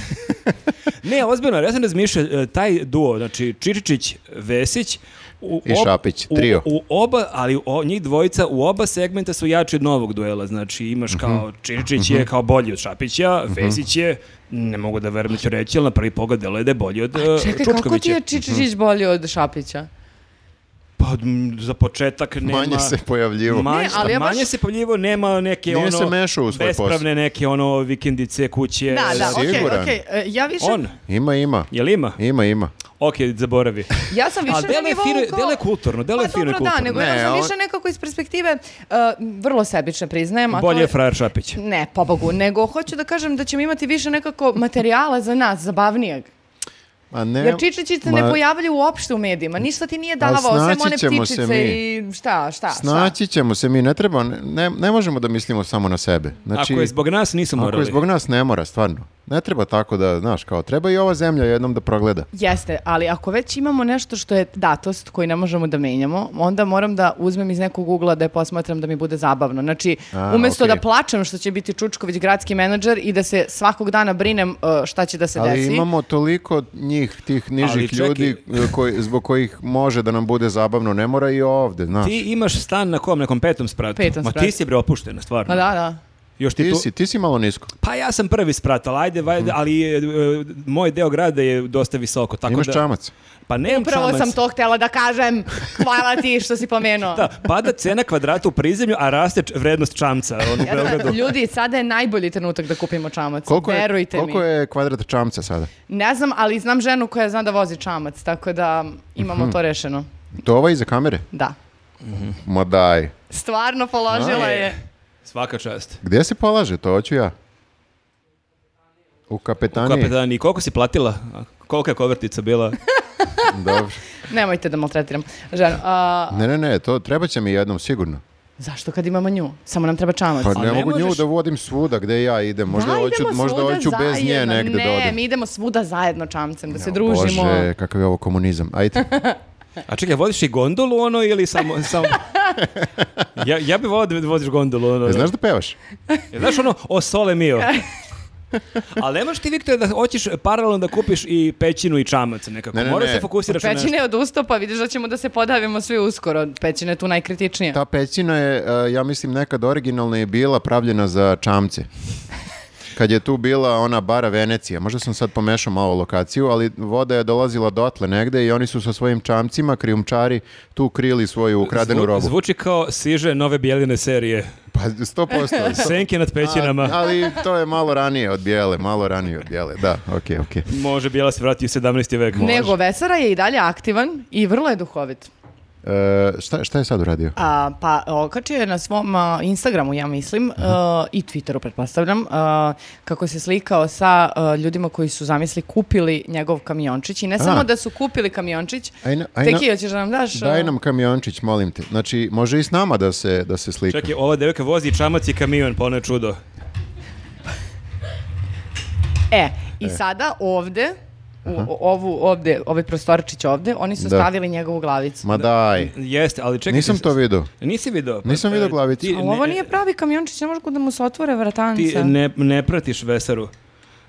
[SPEAKER 2] ne, ozbiljno, ja sam razmišljao, e, taj duo, znači Čičičić, Vesić, u
[SPEAKER 1] I Šapić, trio.
[SPEAKER 2] U, u oba, ali o, njih dvojica u oba segmenta su jači od novog duela, znači
[SPEAKER 1] Mhm.
[SPEAKER 2] imaš kao Čičičić je kao bolji od Šapića, Vesić je, ne mogu da verujem da ću reći, ali na prvi pogled deluje da je bolji od e,
[SPEAKER 3] Čekaj, kako ti
[SPEAKER 2] Čučkovića.
[SPEAKER 3] je Čičičić bolji od Šapića?
[SPEAKER 2] Pa, m, za početak nema...
[SPEAKER 1] Manje se pojavljivo.
[SPEAKER 2] Manje,
[SPEAKER 3] Ne, ali ja baš-
[SPEAKER 2] manje se pojavljivo, nema neke
[SPEAKER 1] Nije
[SPEAKER 2] ono...
[SPEAKER 1] se mešao u svoj posao.
[SPEAKER 2] Bespravne neke ono vikendice, kuće. znači.
[SPEAKER 3] Da, da, okej,
[SPEAKER 1] E, Siguran.
[SPEAKER 3] okej. E, Ja više...
[SPEAKER 2] On,
[SPEAKER 1] Ima, ima.
[SPEAKER 2] jel ima?
[SPEAKER 1] Ima, ima.
[SPEAKER 2] Ok, zaboravi.
[SPEAKER 3] Ja sam (laughs) više
[SPEAKER 2] Ali
[SPEAKER 3] na
[SPEAKER 2] delo je
[SPEAKER 3] nivou
[SPEAKER 2] fino-
[SPEAKER 3] kao-
[SPEAKER 2] delo je kulturno, delo je
[SPEAKER 3] Pa
[SPEAKER 2] fino i
[SPEAKER 3] dobro, da,
[SPEAKER 2] kulturno.
[SPEAKER 3] nego
[SPEAKER 1] Ne,
[SPEAKER 3] ja sam
[SPEAKER 1] on-
[SPEAKER 3] više nekako iz perspektive, uh, vrlo sebične priznajem. a to
[SPEAKER 2] Bolje je frajer Šapić.
[SPEAKER 3] Ne, pobogu, nego hoću da kažem da ćemo imati više nekako materijala za nas, zabavnijeg.
[SPEAKER 1] A ne,
[SPEAKER 3] Jer Čičići se ne
[SPEAKER 1] ma-
[SPEAKER 3] pojavljuju uopšte u medijima, ništa ti nije davao,
[SPEAKER 1] Ali
[SPEAKER 3] osim
[SPEAKER 1] snaći
[SPEAKER 3] one
[SPEAKER 1] ćemo se
[SPEAKER 3] ptičice
[SPEAKER 1] mi.
[SPEAKER 3] i šta, šta, šta.
[SPEAKER 1] Snaći ćemo se mi, ne treba, ne, ne možemo da mislimo samo na sebe. Znači,
[SPEAKER 2] Ako je zbog nas, nisu
[SPEAKER 1] ako
[SPEAKER 2] morali.
[SPEAKER 1] je zbog nas, ne mora, stvarno. Ne treba tako da, znaš, kao, treba i ova zemlja jednom da progleda.
[SPEAKER 3] Jeste, ali ako već imamo nešto što je datost koju ne možemo da menjamo, onda moram da uzmem iz nekog ugla da je posmatram da mi bude zabavno. Znači,
[SPEAKER 1] A,
[SPEAKER 3] umesto
[SPEAKER 1] okej.
[SPEAKER 3] da plačem što će biti Čučković gradski menadžer i da se svakog dana brinem uh, šta će da se
[SPEAKER 1] Ali
[SPEAKER 3] desi.
[SPEAKER 1] imamo toliko njih, tih
[SPEAKER 2] Ali
[SPEAKER 1] nižih
[SPEAKER 2] čekaj.
[SPEAKER 1] ljudi e, koji, zbog kojih može da nam bude zabavno, ne mora i ovde, znaš.
[SPEAKER 2] Ti imaš stan na kom, nekom petom spratu.
[SPEAKER 3] Petom
[SPEAKER 2] Ma
[SPEAKER 3] spratu.
[SPEAKER 2] ti si bre opuštena, stvarno.
[SPEAKER 3] Ma Pa da, da.
[SPEAKER 2] Još ti,
[SPEAKER 1] Ti
[SPEAKER 2] tu-
[SPEAKER 1] si, ti si malo nisko.
[SPEAKER 2] Pa ja sam prvi sprat, ali ajde, vajde,
[SPEAKER 3] Mhm.
[SPEAKER 2] ali e, e, moj deo grada je dosta visoko. Tako
[SPEAKER 1] Imaš
[SPEAKER 2] da,
[SPEAKER 1] čamac.
[SPEAKER 2] Pa nemam
[SPEAKER 3] Upravo
[SPEAKER 2] čamac.
[SPEAKER 3] sam to htela da kažem. Hvala ti što si
[SPEAKER 1] (laughs)
[SPEAKER 3] pomenuo.
[SPEAKER 2] Da, pada cena kvadrata u prizemlju, a raste č- vrednost čamca. Ono, u
[SPEAKER 3] Ja znam,
[SPEAKER 2] Beogradu.
[SPEAKER 3] ljudi, sada je najbolji trenutak da kupimo čamac.
[SPEAKER 1] Koliko je,
[SPEAKER 3] Verujte
[SPEAKER 1] koliko
[SPEAKER 3] mi.
[SPEAKER 1] je kvadrat čamca sada?
[SPEAKER 3] Ne znam, ali znam ženu koja zna da vozi čamac, tako da
[SPEAKER 1] Mhm.
[SPEAKER 3] imamo to rešeno.
[SPEAKER 1] To ovaj iza kamere?
[SPEAKER 3] Da.
[SPEAKER 1] Ma daj.
[SPEAKER 3] Stvarno položila
[SPEAKER 2] A, je.
[SPEAKER 3] je.
[SPEAKER 2] Svaka čast.
[SPEAKER 1] Gdje se polaže? To hoću ja. U kapetaniji.
[SPEAKER 2] Kapetani, koliko si platila? A, Kolika je kovertica bila?
[SPEAKER 1] Dobro.
[SPEAKER 3] Nemojte da maltretiram ženu. A,
[SPEAKER 1] Ne, ne, ne, to treba će mi jednom sigurno.
[SPEAKER 3] zašto kad imamo nju? Samo nam treba čamac.
[SPEAKER 1] Pa
[SPEAKER 2] A
[SPEAKER 1] ne,
[SPEAKER 2] ne
[SPEAKER 1] mogu nju
[SPEAKER 2] možeš-
[SPEAKER 1] da vodim svuda gde ja idem. Možda
[SPEAKER 3] Da,
[SPEAKER 1] hoću,
[SPEAKER 3] idemo
[SPEAKER 1] možda
[SPEAKER 3] svuda
[SPEAKER 1] hoću bez nje
[SPEAKER 3] zajedno.
[SPEAKER 1] negde
[SPEAKER 3] ne,
[SPEAKER 1] da odem.
[SPEAKER 3] mi idemo svuda zajedno čamcem, da se
[SPEAKER 1] O
[SPEAKER 3] družimo.
[SPEAKER 1] Bože, kakav je ovo komunizam. (laughs) Ajde.
[SPEAKER 2] A čekaj, vodiš i gondolu ono ili samo...
[SPEAKER 3] (laughs)
[SPEAKER 2] samo... Ja, ja bih volao da voziš gondolu ono.
[SPEAKER 1] Znaš da pevaš?
[SPEAKER 2] E, Znaš ono, o sole
[SPEAKER 3] (laughs)
[SPEAKER 2] mio. Ali nemaš ti, Viktor, da hoćeš paralelno da kupiš i pećinu i čamac nekako.
[SPEAKER 1] Ne, ne,
[SPEAKER 2] Moraš
[SPEAKER 1] ne.
[SPEAKER 2] se fokusiraš na nešto.
[SPEAKER 3] Pećine je odustao, pa vidiš da ćemo da se podavimo svi uskoro. Pećine je tu najkritičnija.
[SPEAKER 1] Ta pećina je, e, ja mislim, nekad originalno je bila pravljena za čamce. Kad je tu bila ona bara Venecija, možda sam sad pomešao malo lokaciju, ali voda je dolazila dotle negde i oni su sa svojim čamcima, krijumčari, tu krili svoju ukradenu
[SPEAKER 2] Zvu-
[SPEAKER 1] robu.
[SPEAKER 2] Zvuči kao siže nove bijeline serije.
[SPEAKER 1] Pa sto posto.
[SPEAKER 2] Senke nad (laughs) pećinama.
[SPEAKER 1] A- ali to je malo ranije od bijele, malo ranije od bijele, da, okej, okej.
[SPEAKER 2] Može bijela se vrati u 17. vek.
[SPEAKER 3] Nego, Vesara je i dalje aktivan i vrlo je duhovit.
[SPEAKER 1] E, šta, šta je sad uradio?
[SPEAKER 3] A, pa okačio je na svom a, Instagramu, ja mislim, a, i Twitteru, pretpostavljam, a, kako se slikao sa a, ljudima koji su, zamisli, kupili njegov kamiončić. I ne samo da su kupili kamiončić,
[SPEAKER 1] Aj na- aj na-
[SPEAKER 3] Tekio, ćeš da nam daš? e? a?
[SPEAKER 1] Daj nam kamiončić, molim te. Znači, može i s nama da se, da se slika.
[SPEAKER 2] Čekaj, ova devojka vozi i čamac i kamion, pa ono je čudo.
[SPEAKER 3] E, i sada ovde, u, o- ovu ovde, ovaj prostorčić ovde, oni su
[SPEAKER 1] Da.
[SPEAKER 3] stavili njegovu glavicu.
[SPEAKER 1] Ma daj,
[SPEAKER 2] Jeste, ali čekaj.
[SPEAKER 1] nisam
[SPEAKER 2] ti-
[SPEAKER 1] to vidio.
[SPEAKER 2] Nisi video. Pa,
[SPEAKER 1] Nisam video
[SPEAKER 2] e,
[SPEAKER 1] glavicu.
[SPEAKER 2] ti
[SPEAKER 3] Ali ovo
[SPEAKER 2] ne-
[SPEAKER 3] nije pravi kamiončić, ne može da mu se otvore vratanca.
[SPEAKER 2] ti ne, ne pratiš Vesaru.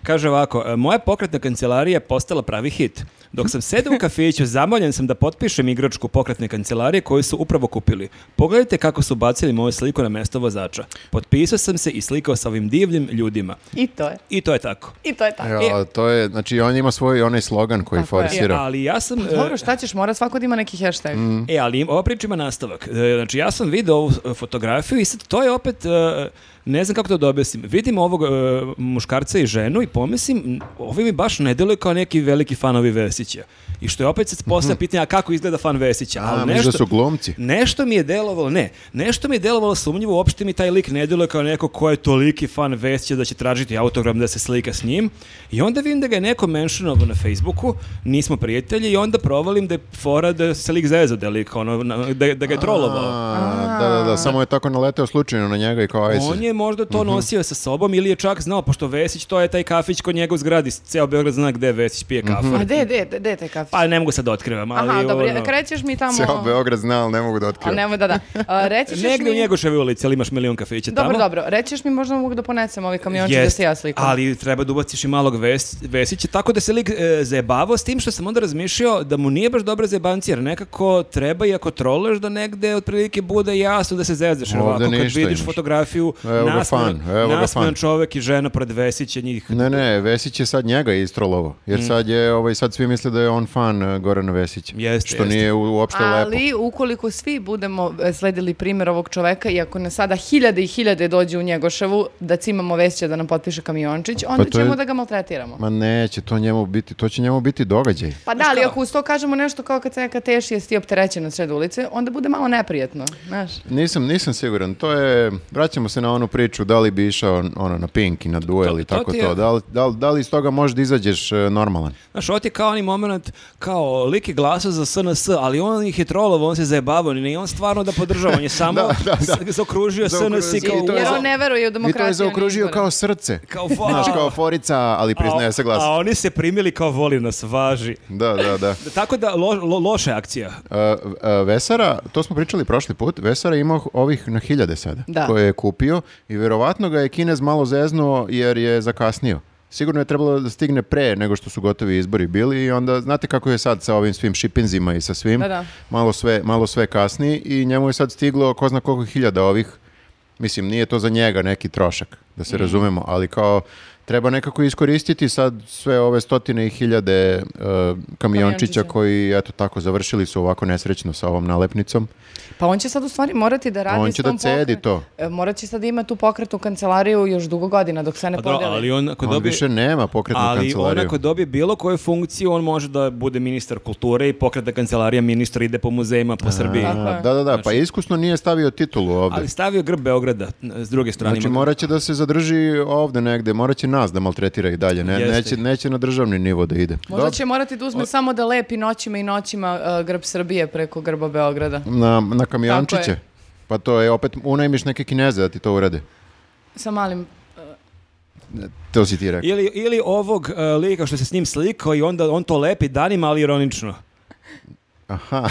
[SPEAKER 2] Kaže ovako, "E, moja pokretna kancelarija je postala pravi hit. Dok sam sedao u kafiću, zamoljen sam da potpišem igračku pokretne kancelarije koju su upravo kupili. Pogledajte kako su bacili moju sliku na mesto vozača. Potpisao sam se i slikao sa ovim divljim ljudima.
[SPEAKER 3] I to je.
[SPEAKER 2] I to je tako.
[SPEAKER 3] I to je tako. E,
[SPEAKER 1] Ja, to je, znači, on ima svoj onaj slogan koji
[SPEAKER 3] Tako je.
[SPEAKER 2] E,
[SPEAKER 1] forsira.
[SPEAKER 2] ali ja sam... e,
[SPEAKER 3] Dobro, šta ćeš, mora svako da ima neki hashtag.
[SPEAKER 1] Mm. Mhm.
[SPEAKER 2] E, ali im- ova priča ima nastavak. E, Znači, ja sam vidio ovu e, fotografiju i sad to je opet... e, Ne znam kako to da objasnim. Vidim ovog e, muškarca i ženu i pomislim, ovi mi baš ne deluje kao neki veliki fanovi Vesića. I što je opet se postavlja pitanje, a kako izgleda fan Vesića?
[SPEAKER 1] Mhm. A, možda su glumci.
[SPEAKER 2] Nešto mi je delovalo, ne, nešto mi je delovalo sumnjivo, uopšte mi taj lik ne deluje kao neko ko je toliki fan Vesića da će tražiti autogram da se slika s njim. I onda vidim da ga je neko mentionovo na Facebooku, nismo prijatelji i onda provalim da je fora da se lik zezao da je lik, ono, na- da, da ga je trolovao.
[SPEAKER 1] A, da, da, da, samo je tako naleteo slučajno na njega i kao ajde.
[SPEAKER 2] On je možda to nosio sa sobom ili je čak znao, pošto Vesić to je taj kafić kod njega u zgradi, ceo Beograd zna gde Vesić pije kafu.
[SPEAKER 3] A gde, gde, gde taj kafić?
[SPEAKER 2] Pa ne mogu sad da otkrivam, ali...
[SPEAKER 3] Aha, dobro,
[SPEAKER 2] ono,
[SPEAKER 3] krećeš mi tamo...
[SPEAKER 1] (laughs) Ceo Beograd zna, ali ne mogu da
[SPEAKER 3] A
[SPEAKER 1] otkrivam.
[SPEAKER 3] nemoj
[SPEAKER 1] (laughs)
[SPEAKER 3] da da. A, reći ćeš
[SPEAKER 2] Negde
[SPEAKER 3] mi...
[SPEAKER 2] u Njegoševoj ulici, ali imaš milion kafića tamo.
[SPEAKER 3] Dobro, dobro. Rećeš mi možda mogu da ponesem ovaj kamiončić da
[SPEAKER 2] Jest,
[SPEAKER 3] se ja slikam.
[SPEAKER 2] Ali treba da ubaciš i malog ves, Vesića, tako da se lik e, zajebavao s tim što sam onda razmišljao da mu nije baš dobra zajebancija, jer nekako treba i ako troleš da negde otprilike bude jasno da se zezdaš. Jer
[SPEAKER 1] Ovde
[SPEAKER 2] ovako kad
[SPEAKER 1] ništa
[SPEAKER 2] vidiš
[SPEAKER 1] imaš.
[SPEAKER 2] fotografiju,
[SPEAKER 1] Evo ga
[SPEAKER 2] nasmejan,
[SPEAKER 1] fan, evo ga fan.
[SPEAKER 2] nasmejan čovek i žena pored Vesića, njih
[SPEAKER 1] Ne, ne, Vesić je sad njega istrolovo,
[SPEAKER 2] Mm.
[SPEAKER 1] jer sad je, ovaj, sad svi misle da je on fan e, Gorana Vesića,
[SPEAKER 2] Jeste,
[SPEAKER 1] što
[SPEAKER 2] jeste.
[SPEAKER 1] nije u- uopšte lepo.
[SPEAKER 3] Ali ukoliko svi budemo e, sledili primjer ovog čoveka i ako nas sada hiljade i hiljade dođe u Njegoševu da cimamo vešća da nam potpiše kamiončić, onda
[SPEAKER 1] Pa to je-
[SPEAKER 3] ćemo da ga maltretiramo.
[SPEAKER 1] Ma neće, to njemu biti, to će njemu biti događaj.
[SPEAKER 3] Pa da, ali ako uz to kažemo nešto kao kad se neka teši, jesi ti opterećen od sred ulice, onda bude malo neprijetno, znaš.
[SPEAKER 1] Nisam, nisam siguran, to je, vraćamo se na onu priču da li bi išao ono, na Pink i na duel
[SPEAKER 2] To-
[SPEAKER 1] i
[SPEAKER 2] to
[SPEAKER 1] tako
[SPEAKER 2] ti je-
[SPEAKER 1] to, da li, da, li- da li iz toga možeš da izađeš e,
[SPEAKER 2] (laughs)
[SPEAKER 1] normalan?
[SPEAKER 2] Znaš, ovo ti je kao onaj moment, kao lik je glasao za SNS, ali on ih je trolovo, on se zajebavao, ni on stvarno da podržava, on
[SPEAKER 1] (laughs)
[SPEAKER 2] je samo
[SPEAKER 1] Da, da, da.
[SPEAKER 2] s-
[SPEAKER 1] Zaokružio.
[SPEAKER 2] zaokružio SNS i kao,
[SPEAKER 1] I to je
[SPEAKER 3] Jer
[SPEAKER 1] za-
[SPEAKER 3] on ne veruje u
[SPEAKER 1] I to
[SPEAKER 3] demokratiju.
[SPEAKER 1] je
[SPEAKER 3] ni
[SPEAKER 1] zaokružio
[SPEAKER 3] izbore.
[SPEAKER 1] kao srce.
[SPEAKER 2] kao,
[SPEAKER 1] Znaš, kao forica, ali priznaje se glas.
[SPEAKER 2] A oni se primili kao voli nas, važi.
[SPEAKER 1] Da, da, da.
[SPEAKER 2] Tako da, lo, lo- loša akcija.
[SPEAKER 1] E, e, Vesara, to smo pričali prošli put, Vesara ima ovih na hiljade sada
[SPEAKER 3] Da.
[SPEAKER 1] koje je kupio i verovatno ga je Kinez malo zeznuo jer je zakasnio. Sigurno je trebalo da stigne pre nego što su gotovi izbori bili i onda znate kako je sad sa ovim svim šipinzima i sa svim.
[SPEAKER 3] Da, da.
[SPEAKER 1] Malo sve, malo sve kasni i njemu je sad stiglo ko zna koliko hiljada ovih. Mislim, nije to za njega neki trošak, da
[SPEAKER 3] Mhm.
[SPEAKER 1] se razumemo, ali kao treba nekako iskoristiti sad sve ove stotine i hiljade uh, kamiončića
[SPEAKER 3] Kamiončića.
[SPEAKER 1] koji, eto tako, završili su ovako nesrećno sa ovom nalepnicom.
[SPEAKER 3] Pa on će sad u stvari morati da radi
[SPEAKER 1] On
[SPEAKER 3] s
[SPEAKER 1] će
[SPEAKER 3] tom
[SPEAKER 1] da cedi
[SPEAKER 3] pokre-
[SPEAKER 1] to.
[SPEAKER 3] E, Morat će sad da ima tu pokretnu kancelariju još dugo godina dok se ne
[SPEAKER 2] Pa dobro,
[SPEAKER 3] podeli.
[SPEAKER 2] ali on ako
[SPEAKER 1] On
[SPEAKER 2] dobije...
[SPEAKER 1] više nema pokretnu
[SPEAKER 2] Ali on
[SPEAKER 1] kancelariju.
[SPEAKER 2] ako dobije bilo koju funkciju, on može da bude ministar kulture i pokreta kancelarija ministra ide po muzejima po Srbiji.
[SPEAKER 3] Tako
[SPEAKER 1] A,
[SPEAKER 3] je.
[SPEAKER 1] Da, da, da, pa iskusno nije stavio titulu ovde.
[SPEAKER 2] Znači- Ali stavio grb Beograda n- s druge strane.
[SPEAKER 1] Znači
[SPEAKER 2] ima-
[SPEAKER 1] morat će da se zadrži ovde negde, morat će nas da maltretira i dalje, ne,
[SPEAKER 2] Jeste.
[SPEAKER 1] neće, neće na državni nivo da ide.
[SPEAKER 3] Možda
[SPEAKER 1] Dobro.
[SPEAKER 3] će morati da uzme samo da lepi noćima i noćima uh, grb Srbije preko grba Beograda.
[SPEAKER 1] Na, na kamiončiće.
[SPEAKER 3] je.
[SPEAKER 1] Pa to je opet, unajmiš neke kineze da ti to urade.
[SPEAKER 3] Sa malim...
[SPEAKER 1] To si ti rekao.
[SPEAKER 2] Ili, ili ovog e, lika što se s njim slikao i onda on to lepi danima, ali ironično. Aha.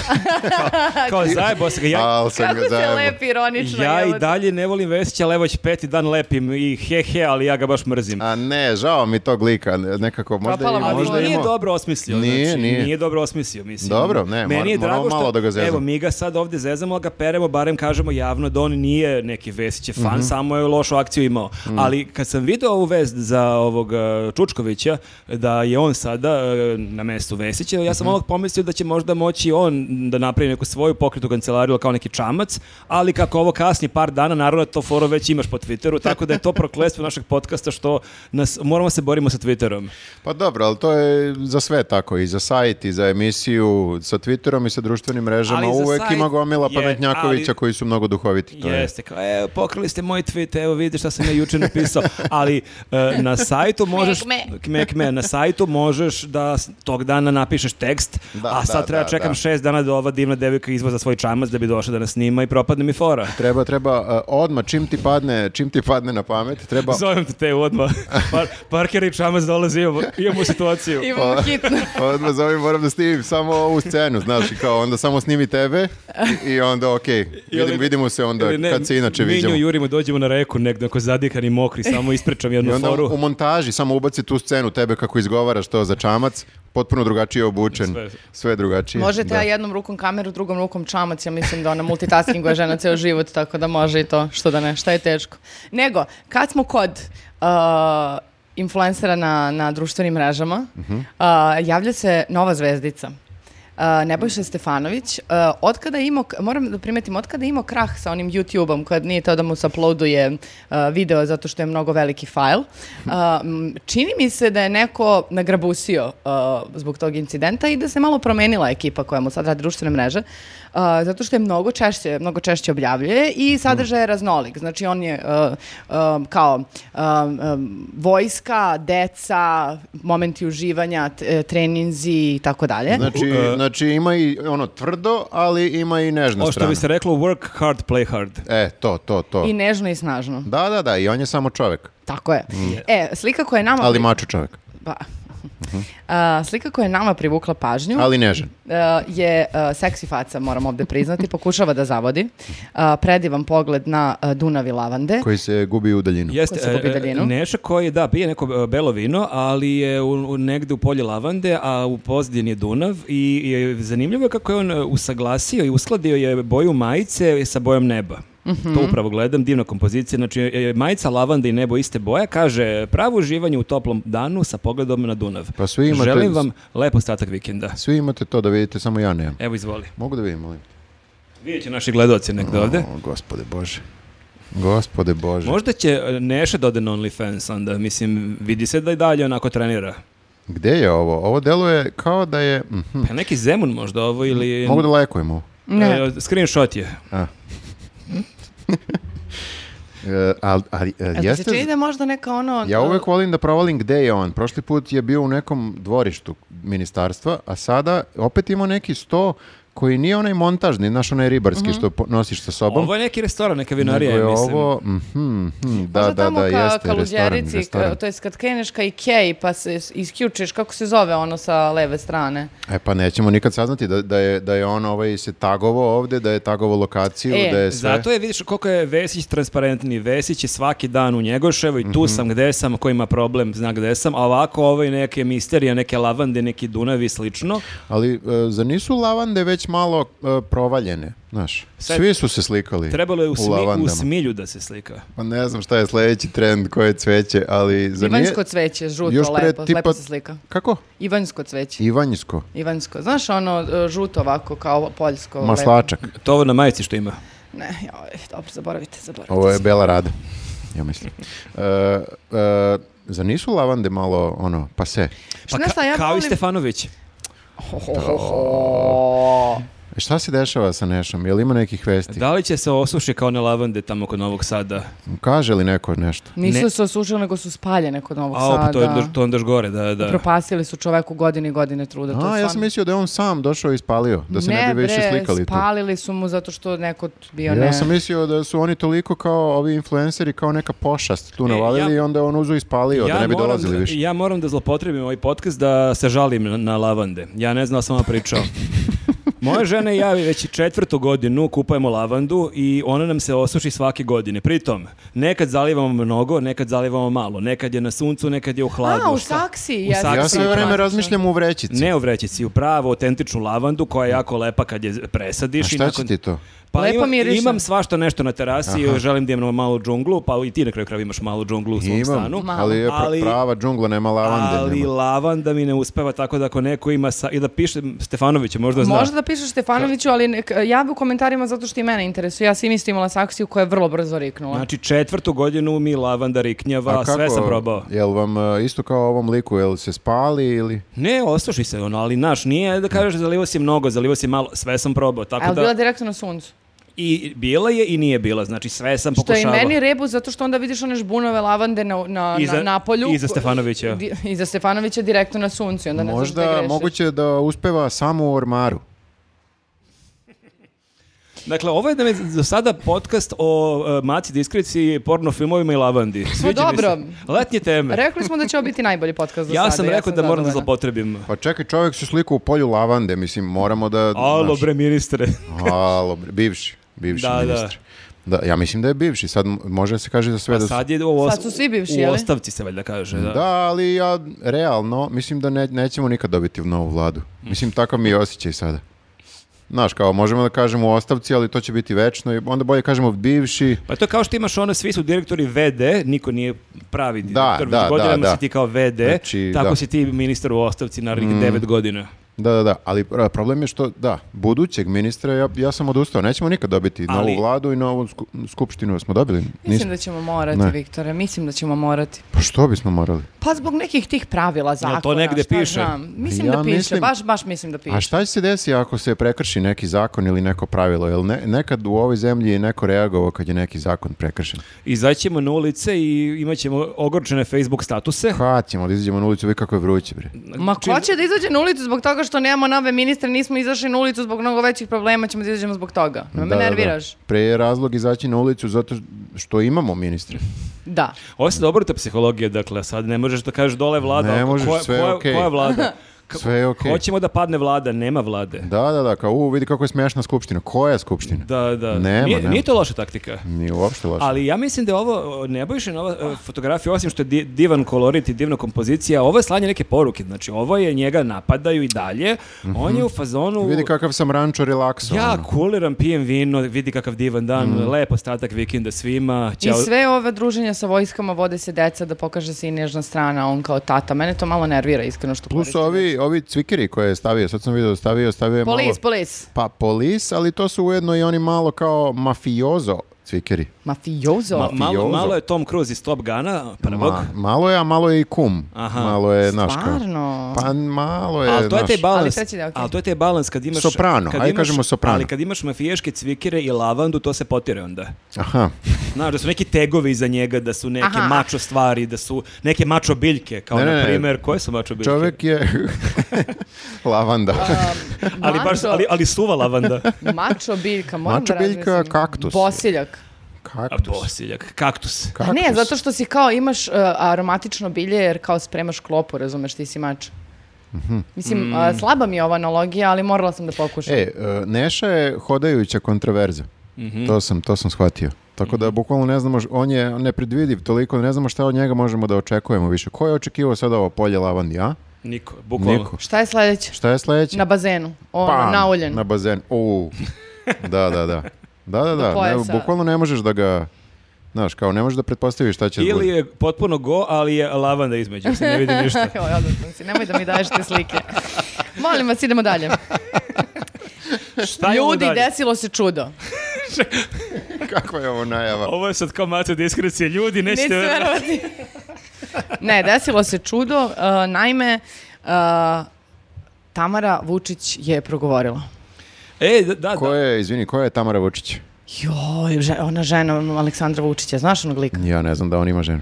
[SPEAKER 2] (laughs) kao zajebo se ga, ja,
[SPEAKER 1] Al sam
[SPEAKER 3] Kako
[SPEAKER 1] ga
[SPEAKER 3] se
[SPEAKER 1] zajebo.
[SPEAKER 3] lepi ironično.
[SPEAKER 2] ja
[SPEAKER 3] jebote.
[SPEAKER 2] i dalje ne volim Vesića, ali evo već peti dan lepim i he he, ali ja ga baš mrzim.
[SPEAKER 1] A ne, žao mi tog lika, ne- nekako možda
[SPEAKER 3] Propala
[SPEAKER 1] i,
[SPEAKER 3] mu
[SPEAKER 2] Ali
[SPEAKER 1] možda
[SPEAKER 3] volja.
[SPEAKER 2] nije
[SPEAKER 1] imao.
[SPEAKER 2] dobro osmislio.
[SPEAKER 1] Nije,
[SPEAKER 2] znači,
[SPEAKER 1] nije.
[SPEAKER 2] dobro osmislio, mislim.
[SPEAKER 1] Dobro, ne, mora-
[SPEAKER 2] Meni je
[SPEAKER 1] moramo
[SPEAKER 2] drago što,
[SPEAKER 1] malo da ga zezamo.
[SPEAKER 2] Evo, mi ga sad ovdje zezamo, ali ga peremo, barem kažemo javno da on nije neki Vesićev fan,
[SPEAKER 1] Mhm.
[SPEAKER 2] samo je lošu akciju imao. Ali kad sam video ovu vest za ovog e, Čučkovića, da je on sada e, na mestu Vesića, ja
[SPEAKER 1] Mhm.
[SPEAKER 2] sam odmah pomislio da će možda moći on da napravi neku svoju pokretu kancelariju kao neki čamac, ali kako ovo kasni par dana, naravno to foro već imaš po Twitteru, tako da je to prokletstvo našeg podcasta što nas, moramo se borimo sa Twitterom.
[SPEAKER 1] Pa dobro, ali to je za sve tako, i za sajt, i za emisiju, sa Twitterom i sa društvenim mrežama.
[SPEAKER 2] Ali za
[SPEAKER 1] Uvek
[SPEAKER 2] sajt
[SPEAKER 1] ima gomila
[SPEAKER 2] je-
[SPEAKER 1] pametnjakovića
[SPEAKER 2] ali-
[SPEAKER 1] koji su mnogo duhoviti. To je.
[SPEAKER 2] Jeste, kao, evo, pokrali ste moj tweet, evo vidi šta sam ja juče napisao, ali e, na sajtu možeš,
[SPEAKER 3] kme.
[SPEAKER 2] (laughs) kme, kme, na sajtu možeš da s- tog dana napišeš tekst,
[SPEAKER 1] Da,
[SPEAKER 2] a sad
[SPEAKER 1] da,
[SPEAKER 2] treba
[SPEAKER 1] da,
[SPEAKER 2] čekam
[SPEAKER 1] da.
[SPEAKER 2] šest dana da ova divna devika izvoza svoj čamac da bi došla da nas snima i propadne mi fora.
[SPEAKER 1] Treba, treba, uh, odmah čim ti padne, čim ti padne na pamet, treba...
[SPEAKER 2] Zovem te te odmah. Par, parker i čamac dolazi, imamo, imamo situaciju.
[SPEAKER 3] (laughs) Imamo hitno.
[SPEAKER 1] Odmah zovem, moram da snimim samo ovu scenu, znaš, i kao onda samo snimi tebe i onda okej, vidim, vidimo se onda
[SPEAKER 2] Ili ne,
[SPEAKER 1] kad se inače
[SPEAKER 2] mi nju
[SPEAKER 1] vidimo.
[SPEAKER 2] jurimo, dođemo na reku negdje ako zadihani mokri, (laughs) samo ispričam
[SPEAKER 1] I
[SPEAKER 2] jednu
[SPEAKER 1] onda
[SPEAKER 2] foru.
[SPEAKER 1] u montaži samo ubaci tu scenu tebe kako izgovaraš to za čamac, potpuno drugačije obučen, sve,
[SPEAKER 2] Sve.
[SPEAKER 1] drugačije.
[SPEAKER 3] Možete
[SPEAKER 1] Znači, da.
[SPEAKER 3] ja jednom rukom kameru, drugom rukom čamac, ja mislim da ona multitaskinguje žena ceo život, tako da može i to, što da ne, šta je teško. Nego, kad smo kod uh, influencera na, na društvenim mrežama, uh, javlja se nova zvezdica. Uh, Nebojša Stefanović, uh, od kada je imao, moram da primetim, od kada je imao krah sa onim YouTube-om, kad nije teo da mu se uploaduje uh, video zato što je mnogo veliki fajl, uh, m, čini mi se da je neko nagrabusio uh, zbog tog incidenta i da se malo promenila ekipa koja mu sad radi društvene mreže, uh, zato što je mnogo češće, mnogo češće objavljuje i sadržaj je raznolik. Znači, on je uh, um, kao um, um, vojska, deca, momenti uživanja, t- e, treninzi i tako dalje.
[SPEAKER 1] Znači, znači ima i ono tvrdo, ali ima i nežna
[SPEAKER 2] O što
[SPEAKER 1] strana.
[SPEAKER 2] bi se reklo, work hard, play hard.
[SPEAKER 1] E, to, to, to.
[SPEAKER 3] I nežno i snažno.
[SPEAKER 1] Da, da, da, i on je samo čovek,
[SPEAKER 3] Tako je. E, slika koja je nama...
[SPEAKER 1] Mm. ali Mhm. mačo čovek,
[SPEAKER 3] Pa. A, slika koja je nama privukla pažnju
[SPEAKER 1] ali nežan.
[SPEAKER 3] a, Eh, je a, seksi faca, moram ovde priznati, pokušava da zavodi. A, predivan pogled na a, Dunav i lavande.
[SPEAKER 1] koji se gubi u daljinu.
[SPEAKER 2] Jeste,
[SPEAKER 3] Ko se popi
[SPEAKER 2] e, e,
[SPEAKER 3] daljinu?
[SPEAKER 2] Neša koji, da, pije neko e, belo vino, ali je u, u, negde u polje lavande, a u pozdini je Dunav i, i zanimljivo je kako je on e, usaglasio i uskladio je boju majice sa bojom neba. To upravo gledam, divna kompozicija. Znači, e, e, majica, lavanda i nebo iste boja kaže pravo uživanje u toplom danu sa pogledom na Dunav.
[SPEAKER 1] Pa svi imate-
[SPEAKER 2] Želim vam lep ostatak vikenda.
[SPEAKER 1] Svi imate to da vidite, samo ja nemam.
[SPEAKER 2] Evo, izvoli.
[SPEAKER 1] Mogu da vidim, molim?
[SPEAKER 2] Vidjet će naši gledoci negde ovde.
[SPEAKER 1] O, gospode Bože. Gospode Bože.
[SPEAKER 2] Možda će e, Neša da ode na OnlyFans onda, mislim, vidi se da i dalje onako trenira.
[SPEAKER 1] Gde je ovo? Ovo deluje kao da je... mhm.
[SPEAKER 2] Pa neki Zemun možda ovo ili...
[SPEAKER 1] Mogu da lajkujem ovo.
[SPEAKER 3] Ne.
[SPEAKER 2] E, screenshot je.
[SPEAKER 1] E, al- ali, e,
[SPEAKER 3] Jel ti se čini da
[SPEAKER 1] jeste...
[SPEAKER 3] je možda neka ono...
[SPEAKER 1] Ja
[SPEAKER 3] a,
[SPEAKER 1] uvek volim da provalim gde je on. Prošli put je bio u nekom dvorištu ministarstva, a sada opet ima neki sto koji nije onaj montažni, znaš onaj ribarski što po- nosiš sa sobom.
[SPEAKER 2] Mhm. Ovo je neki restoran, neka vinarija,
[SPEAKER 1] nego je
[SPEAKER 2] mislim.
[SPEAKER 1] ovo, mhm, mhm, da,
[SPEAKER 3] možda
[SPEAKER 1] da,
[SPEAKER 3] tamo
[SPEAKER 1] da,
[SPEAKER 3] ka,
[SPEAKER 1] jeste,
[SPEAKER 3] ka
[SPEAKER 1] restoran,
[SPEAKER 3] Luđerici,
[SPEAKER 1] restoran.
[SPEAKER 3] ka- to jest kad kreneš ka Ikeji pa se s- isključiš, kako se zove ono sa leve strane?
[SPEAKER 1] E pa nećemo nikad saznati da, da, je, da je on ovaj, se tagovo ovde, da je tagovo lokaciju,
[SPEAKER 3] E,
[SPEAKER 1] da je sve...
[SPEAKER 2] Zato je, vidiš koliko je Vesić transparentni. Vesić je svaki dan u Njegoševu i tu
[SPEAKER 1] Mhm.
[SPEAKER 2] sam gde sam, ko ima problem zna gde sam, a ovako ovo je neke misterije, neke lavande, neki dunavi i slično.
[SPEAKER 1] Ali e, zar nisu lavande već malo e, provaljene, znaš?
[SPEAKER 2] Sad-
[SPEAKER 1] Svi su se slikali
[SPEAKER 2] Trebalo je u,
[SPEAKER 1] u
[SPEAKER 2] smi- u
[SPEAKER 1] lavandama.
[SPEAKER 2] smilju da se slika.
[SPEAKER 1] Pa ne znam šta je sledeći trend, koje cveće, ali zar nije...
[SPEAKER 3] Ivanjsko cveće, žuto,
[SPEAKER 1] Još pre
[SPEAKER 3] lepo,
[SPEAKER 1] tipa-
[SPEAKER 3] lepo se slika.
[SPEAKER 1] Kako?
[SPEAKER 3] Ivanjsko cveće.
[SPEAKER 1] Ivanjsko.
[SPEAKER 3] Ivanjsko. Znaš ono e, žuto ovako kao poljsko? lepo?
[SPEAKER 1] Maslačak.
[SPEAKER 2] To ovo na majici što ima.
[SPEAKER 3] Ne, joj, dobro, zaboravite, zaboravite.
[SPEAKER 1] Ovo je Bela Rada, ja
[SPEAKER 3] (laughs)
[SPEAKER 1] mislim. E, e, zar nisu lavande malo, ono, pase?
[SPEAKER 2] Pa
[SPEAKER 3] Znaš
[SPEAKER 2] ka-
[SPEAKER 3] šta, ja
[SPEAKER 2] kao i
[SPEAKER 3] volim-
[SPEAKER 2] Stefanović.
[SPEAKER 3] Ho, ho, ho, ho.
[SPEAKER 1] Šta se dešava sa Nešom? Je li ima nekih vesti?
[SPEAKER 2] Da li će se osuši kao one lavande tamo kod Novog Sada?
[SPEAKER 1] Kaže li neko nešto?
[SPEAKER 3] Nisu
[SPEAKER 2] Ne.
[SPEAKER 3] se osušili, nego su spaljene kod Novog
[SPEAKER 2] A,
[SPEAKER 3] Sada.
[SPEAKER 2] pa to je, onda- to je onda još gore, da, da.
[SPEAKER 3] Propasili su čoveku godine i godine truda.
[SPEAKER 1] A,
[SPEAKER 3] to je
[SPEAKER 1] ja sam
[SPEAKER 3] stvarno-
[SPEAKER 1] mislio da je on sam došao i spalio, da se ne, bi više
[SPEAKER 3] bre,
[SPEAKER 1] slikali tu.
[SPEAKER 3] spalili su mu zato što neko t- bio ne...
[SPEAKER 1] Ja sam mislio da su oni toliko kao ovi influenceri kao neka pošast
[SPEAKER 3] E,
[SPEAKER 1] tu navalili
[SPEAKER 2] ja-
[SPEAKER 1] i onda je on uzu i spalio da ne bi
[SPEAKER 2] moram
[SPEAKER 1] dolazili
[SPEAKER 2] da-
[SPEAKER 1] više.
[SPEAKER 2] Ja moram da zlopotrebim ovaj podcast da se žalim na, na lavande. Ja ne znam da sam vam
[SPEAKER 1] (laughs)
[SPEAKER 2] pričao. Moja žena i ja već četvrtu godinu kupujemo lavandu i ona nam se osuši svake godine. Pritom, nekad zalivamo mnogo, nekad zalivamo malo. Nekad je na suncu, nekad je u hladu.
[SPEAKER 3] A, u
[SPEAKER 2] Šta-
[SPEAKER 3] saksi.
[SPEAKER 2] U saksiji,
[SPEAKER 1] Ja sve vreme
[SPEAKER 3] praktično.
[SPEAKER 1] razmišljam u vrećici.
[SPEAKER 2] Ne u vrećici, u pravu, autentičnu lavandu koja je jako lepa kad je
[SPEAKER 1] A
[SPEAKER 2] presadiš. i
[SPEAKER 1] šta će
[SPEAKER 2] nakon-
[SPEAKER 1] ti to?
[SPEAKER 2] Pa
[SPEAKER 3] Lepo
[SPEAKER 2] imam,
[SPEAKER 3] miriše.
[SPEAKER 2] imam svašta nešto na terasi, želim da imam malu džunglu, pa i ti na kraju krajeva imaš malu džunglu u svom stanu.
[SPEAKER 1] Imam, ali je pra-
[SPEAKER 2] Ali-
[SPEAKER 1] prava džungla, nema lavande.
[SPEAKER 2] ali
[SPEAKER 1] nema.
[SPEAKER 2] lavanda mi ne uspeva, tako da ako neko ima... Sa, I da piše Stefanovića, možda zna.
[SPEAKER 3] Možda da pišeš Stefanoviću, ali nek, ja bi u komentarima zato što i mene interesuje. Ja sam isto imala saksiju koja je vrlo brzo riknula.
[SPEAKER 2] Znači, četvrtu godinu mi lavanda riknjava,
[SPEAKER 1] A kako,
[SPEAKER 2] sve sam probao.
[SPEAKER 1] Jel vam e, isto kao ovom liku, jel se spali ili...
[SPEAKER 2] Ne, osuši se ono, ali naš, nije da kažeš zalivo si mnogo, zalivo si malo, sve sam probao,
[SPEAKER 3] A je
[SPEAKER 2] tako
[SPEAKER 3] li bila
[SPEAKER 2] da...
[SPEAKER 3] direktno na suncu?
[SPEAKER 2] I bila je i nije bila, znači sve sam
[SPEAKER 3] Što je i
[SPEAKER 2] pokušavao.
[SPEAKER 3] meni rebu, zato što onda vidiš one žbunove lavande na, na,
[SPEAKER 2] Iza-
[SPEAKER 3] na napolju.
[SPEAKER 2] iza Stefanovića.
[SPEAKER 3] Di- Iza Stefanovića direktno na suncu. i Onda ne znaš gde
[SPEAKER 1] Možda
[SPEAKER 3] grešiš.
[SPEAKER 1] moguće da uspeva samo u ormaru.
[SPEAKER 2] Dakle, ovo je da me do sada podcast o uh, maci diskreciji, porno filmovima i lavandi. Sviđa mi se.
[SPEAKER 3] Pa dobro.
[SPEAKER 2] Letnje teme.
[SPEAKER 3] Rekli smo da će ovo biti najbolji podcast do
[SPEAKER 2] ja
[SPEAKER 3] sada.
[SPEAKER 2] sam rekao da moram da
[SPEAKER 3] zadovoljna.
[SPEAKER 2] zlopotrebim.
[SPEAKER 1] Pa čekaj, čovjek se slika u polju lavande, mislim, moramo da...
[SPEAKER 2] Alo
[SPEAKER 1] znaš-
[SPEAKER 2] bre ministre.
[SPEAKER 1] Alo, bre, bivši, bivši
[SPEAKER 2] Da, da.
[SPEAKER 1] ministar. Da, ja mislim da je bivši, sad m- može da se kaže za sve da su...
[SPEAKER 2] Pa Sad je u, os-
[SPEAKER 3] Sad su svi bivši,
[SPEAKER 2] u
[SPEAKER 3] jeli?
[SPEAKER 2] ostavci se valjda kaže. Da.
[SPEAKER 1] Da, ali ja realno mislim da ne, nećemo nikad dobiti novu vladu. Mislim, takav mi je osjećaj sada. Znaš, kao možemo da kažemo u ostavci, ali to će biti večno i onda bolje kažemo bivši.
[SPEAKER 2] Pa to je kao što imaš ono, svi su direktori VD, niko nije pravi direktor,
[SPEAKER 1] da,
[SPEAKER 2] već godinama
[SPEAKER 1] da, da.
[SPEAKER 2] si ti kao VD,
[SPEAKER 1] Znači,
[SPEAKER 2] tako
[SPEAKER 1] da. Mm.
[SPEAKER 2] si ti ministar u ostavci narednih devet godina.
[SPEAKER 1] Da, da, da, ali e, problem je što, da, budućeg ministra, ja, ja sam odustao, nećemo nikad dobiti
[SPEAKER 2] Ali-
[SPEAKER 1] novu vladu i novu sku, skupštinu, smo dobili?
[SPEAKER 3] Mislim
[SPEAKER 1] Nismo.
[SPEAKER 3] da ćemo morati,
[SPEAKER 1] Ne.
[SPEAKER 3] Viktore, mislim da ćemo morati.
[SPEAKER 1] Pa što bismo morali?
[SPEAKER 3] Pa zbog nekih tih pravila zakona.
[SPEAKER 2] negde
[SPEAKER 3] šta
[SPEAKER 2] piše?
[SPEAKER 3] Znam. Mislim
[SPEAKER 1] Ja
[SPEAKER 3] da piše,
[SPEAKER 1] mislim-
[SPEAKER 3] baš, baš mislim da piše.
[SPEAKER 1] A šta će se desiti ako se prekrši neki zakon ili neko pravilo? Jel ne, nekad u ovoj zemlji je neko reagovao kad je neki zakon prekršen?
[SPEAKER 2] Izaćemo na ulice i imat ćemo ogorčene Facebook statuse.
[SPEAKER 1] Kad ćemo da izađemo na ulicu, vi kako je vruće, bre.
[SPEAKER 3] Ma ko će da izađe na ulicu zbog toga što nemamo nove ministre, nismo izašli na ulicu zbog mnogo većih problema, ćemo da izađemo zbog toga. No, me
[SPEAKER 1] Da, da, da.
[SPEAKER 3] nerviraš.
[SPEAKER 1] Pre je razlog izaći na ulicu zato što imamo ministre.
[SPEAKER 3] Da.
[SPEAKER 2] Ovo se dobro ta psihologija, dakle, sad ne možeš da kažeš dole je vlada.
[SPEAKER 1] Ne možeš,
[SPEAKER 2] koja,
[SPEAKER 1] sve je
[SPEAKER 2] koja-
[SPEAKER 1] (laughs) okej.
[SPEAKER 2] koja je vlada? Ka-
[SPEAKER 1] Sve je okej.
[SPEAKER 2] Hoćemo da padne vlada, nema vlade.
[SPEAKER 1] Da, da, da, kao, u, vidi kako je smešna skupština. Koja je skupština?
[SPEAKER 2] Da, da.
[SPEAKER 1] Nema,
[SPEAKER 2] nije,
[SPEAKER 1] nema.
[SPEAKER 2] nije to loša taktika.
[SPEAKER 1] Nije uopšte loše.
[SPEAKER 2] Ali ja mislim da je ovo nebojše nova e, fotografija, osim što je di- divan kolorit i divna kompozicija, ovo je slanje neke poruke. Znači, ovo je njega napadaju i dalje. On je u fazonu...
[SPEAKER 1] Mhm. Vidi kakav sam rančo relakso.
[SPEAKER 2] Ja
[SPEAKER 1] ono. Mhm.
[SPEAKER 2] kuliram, pijem vino, vidi kakav divan dan, lep ostatak vikenda svima. Ćao.
[SPEAKER 3] I sve ove druženja sa vojskama vode se deca da pokaže se i nežna strana, on kao tata. Mene to malo nervira, iskreno što
[SPEAKER 1] Plus ovi, ovi cvikeri koje je stavio, sad sam vidio da stavio, stavio je malo...
[SPEAKER 3] Polis, polis.
[SPEAKER 1] Pa polis, ali to su ujedno i oni malo kao mafiozo cvikeri.
[SPEAKER 3] Mafiozo.
[SPEAKER 2] Ma- malo,
[SPEAKER 1] Mafiozo.
[SPEAKER 2] malo je Tom Cruise iz Top Gana, prvog.
[SPEAKER 1] Ma, malo je, a malo je i kum.
[SPEAKER 2] Aha.
[SPEAKER 1] Malo je, znaš kao.
[SPEAKER 3] Stvarno.
[SPEAKER 1] Pa malo je,
[SPEAKER 2] Ali to je
[SPEAKER 1] znaš,
[SPEAKER 2] taj balans.
[SPEAKER 3] treći deo, okej.
[SPEAKER 2] ali to je taj balans kad imaš
[SPEAKER 1] Soprano,
[SPEAKER 2] kad
[SPEAKER 1] ajde
[SPEAKER 2] imaš-
[SPEAKER 1] kažemo soprano.
[SPEAKER 2] Ali kad imaš mafijaške cvikere i lavandu, to se potire onda.
[SPEAKER 1] Aha.
[SPEAKER 2] Znaš, da su neki tegovi iza njega, da su neke
[SPEAKER 3] Aha.
[SPEAKER 2] mačo stvari, da su neke mačo biljke, kao
[SPEAKER 1] Ne, ne,
[SPEAKER 2] na
[SPEAKER 1] ne.
[SPEAKER 2] primer, koje su mačo biljke?
[SPEAKER 1] Čovek
[SPEAKER 2] (laughs)
[SPEAKER 1] je lavanda. Pa,
[SPEAKER 2] Ali, baš,
[SPEAKER 3] Mačo-
[SPEAKER 2] ali, ali suva lavanda.
[SPEAKER 3] Mačo biljka, moram
[SPEAKER 1] Mačo
[SPEAKER 3] da
[SPEAKER 1] biljka,
[SPEAKER 3] razmislim.
[SPEAKER 1] kaktus.
[SPEAKER 3] Bosiljak.
[SPEAKER 2] A
[SPEAKER 1] (laughs) Kaktus.
[SPEAKER 2] bosiljak, kaktus.
[SPEAKER 3] A
[SPEAKER 1] Kaktus.
[SPEAKER 3] Ne, zato što si kao imaš uh, aromatično bilje jer kao spremaš klopu, razumeš, ti si mač. Mislim, uh, slaba mi je ova analogija, ali morala sam da pokušam.
[SPEAKER 1] E, e, Neša je hodajuća kontroverza.
[SPEAKER 2] Mhm.
[SPEAKER 1] To sam, to sam shvatio. Tako da bukvalno ne znamo, š- on je nepredvidiv toliko, ne znamo šta od njega možemo da očekujemo više. Ko je očekivao sad ovo polje lavandi, a?
[SPEAKER 2] Niko, bukvalno.
[SPEAKER 1] Niko.
[SPEAKER 3] Šta je sledeće?
[SPEAKER 1] Šta je sledeće?
[SPEAKER 3] Na bazenu, ono,
[SPEAKER 1] Pam,
[SPEAKER 3] na uljen.
[SPEAKER 1] Na bazen. U. Da, da, da. Da, da, da. Ne,
[SPEAKER 3] pojasa.
[SPEAKER 1] bukvalno ne možeš da ga... Znaš, kao ne možeš da pretpostaviš šta će da
[SPEAKER 2] Ili
[SPEAKER 1] bude.
[SPEAKER 2] je potpuno go, ali je lavanda između, se ne vidi
[SPEAKER 3] (laughs)
[SPEAKER 2] ništa.
[SPEAKER 3] Evo, odvratno si, nemoj da mi daješ te slike. Molim vas, idemo dalje.
[SPEAKER 2] Šta je ovo
[SPEAKER 3] Ljudi,
[SPEAKER 2] dalje?
[SPEAKER 3] desilo se čudo.
[SPEAKER 1] (laughs) Kakva je ovo najava?
[SPEAKER 2] Ovo je sad kao maca diskrecije. Ljudi, nećete...
[SPEAKER 3] Nećete verovati. ne, desilo se čudo. uh, naime, uh, Tamara Vučić je progovorila.
[SPEAKER 2] E, da, da.
[SPEAKER 1] Ko je, izvini, ko je Tamara Vučić?
[SPEAKER 3] Joj, že- ona žena Aleksandra Vučića, znaš onog lika?
[SPEAKER 1] Ja ne znam da on ima ženu.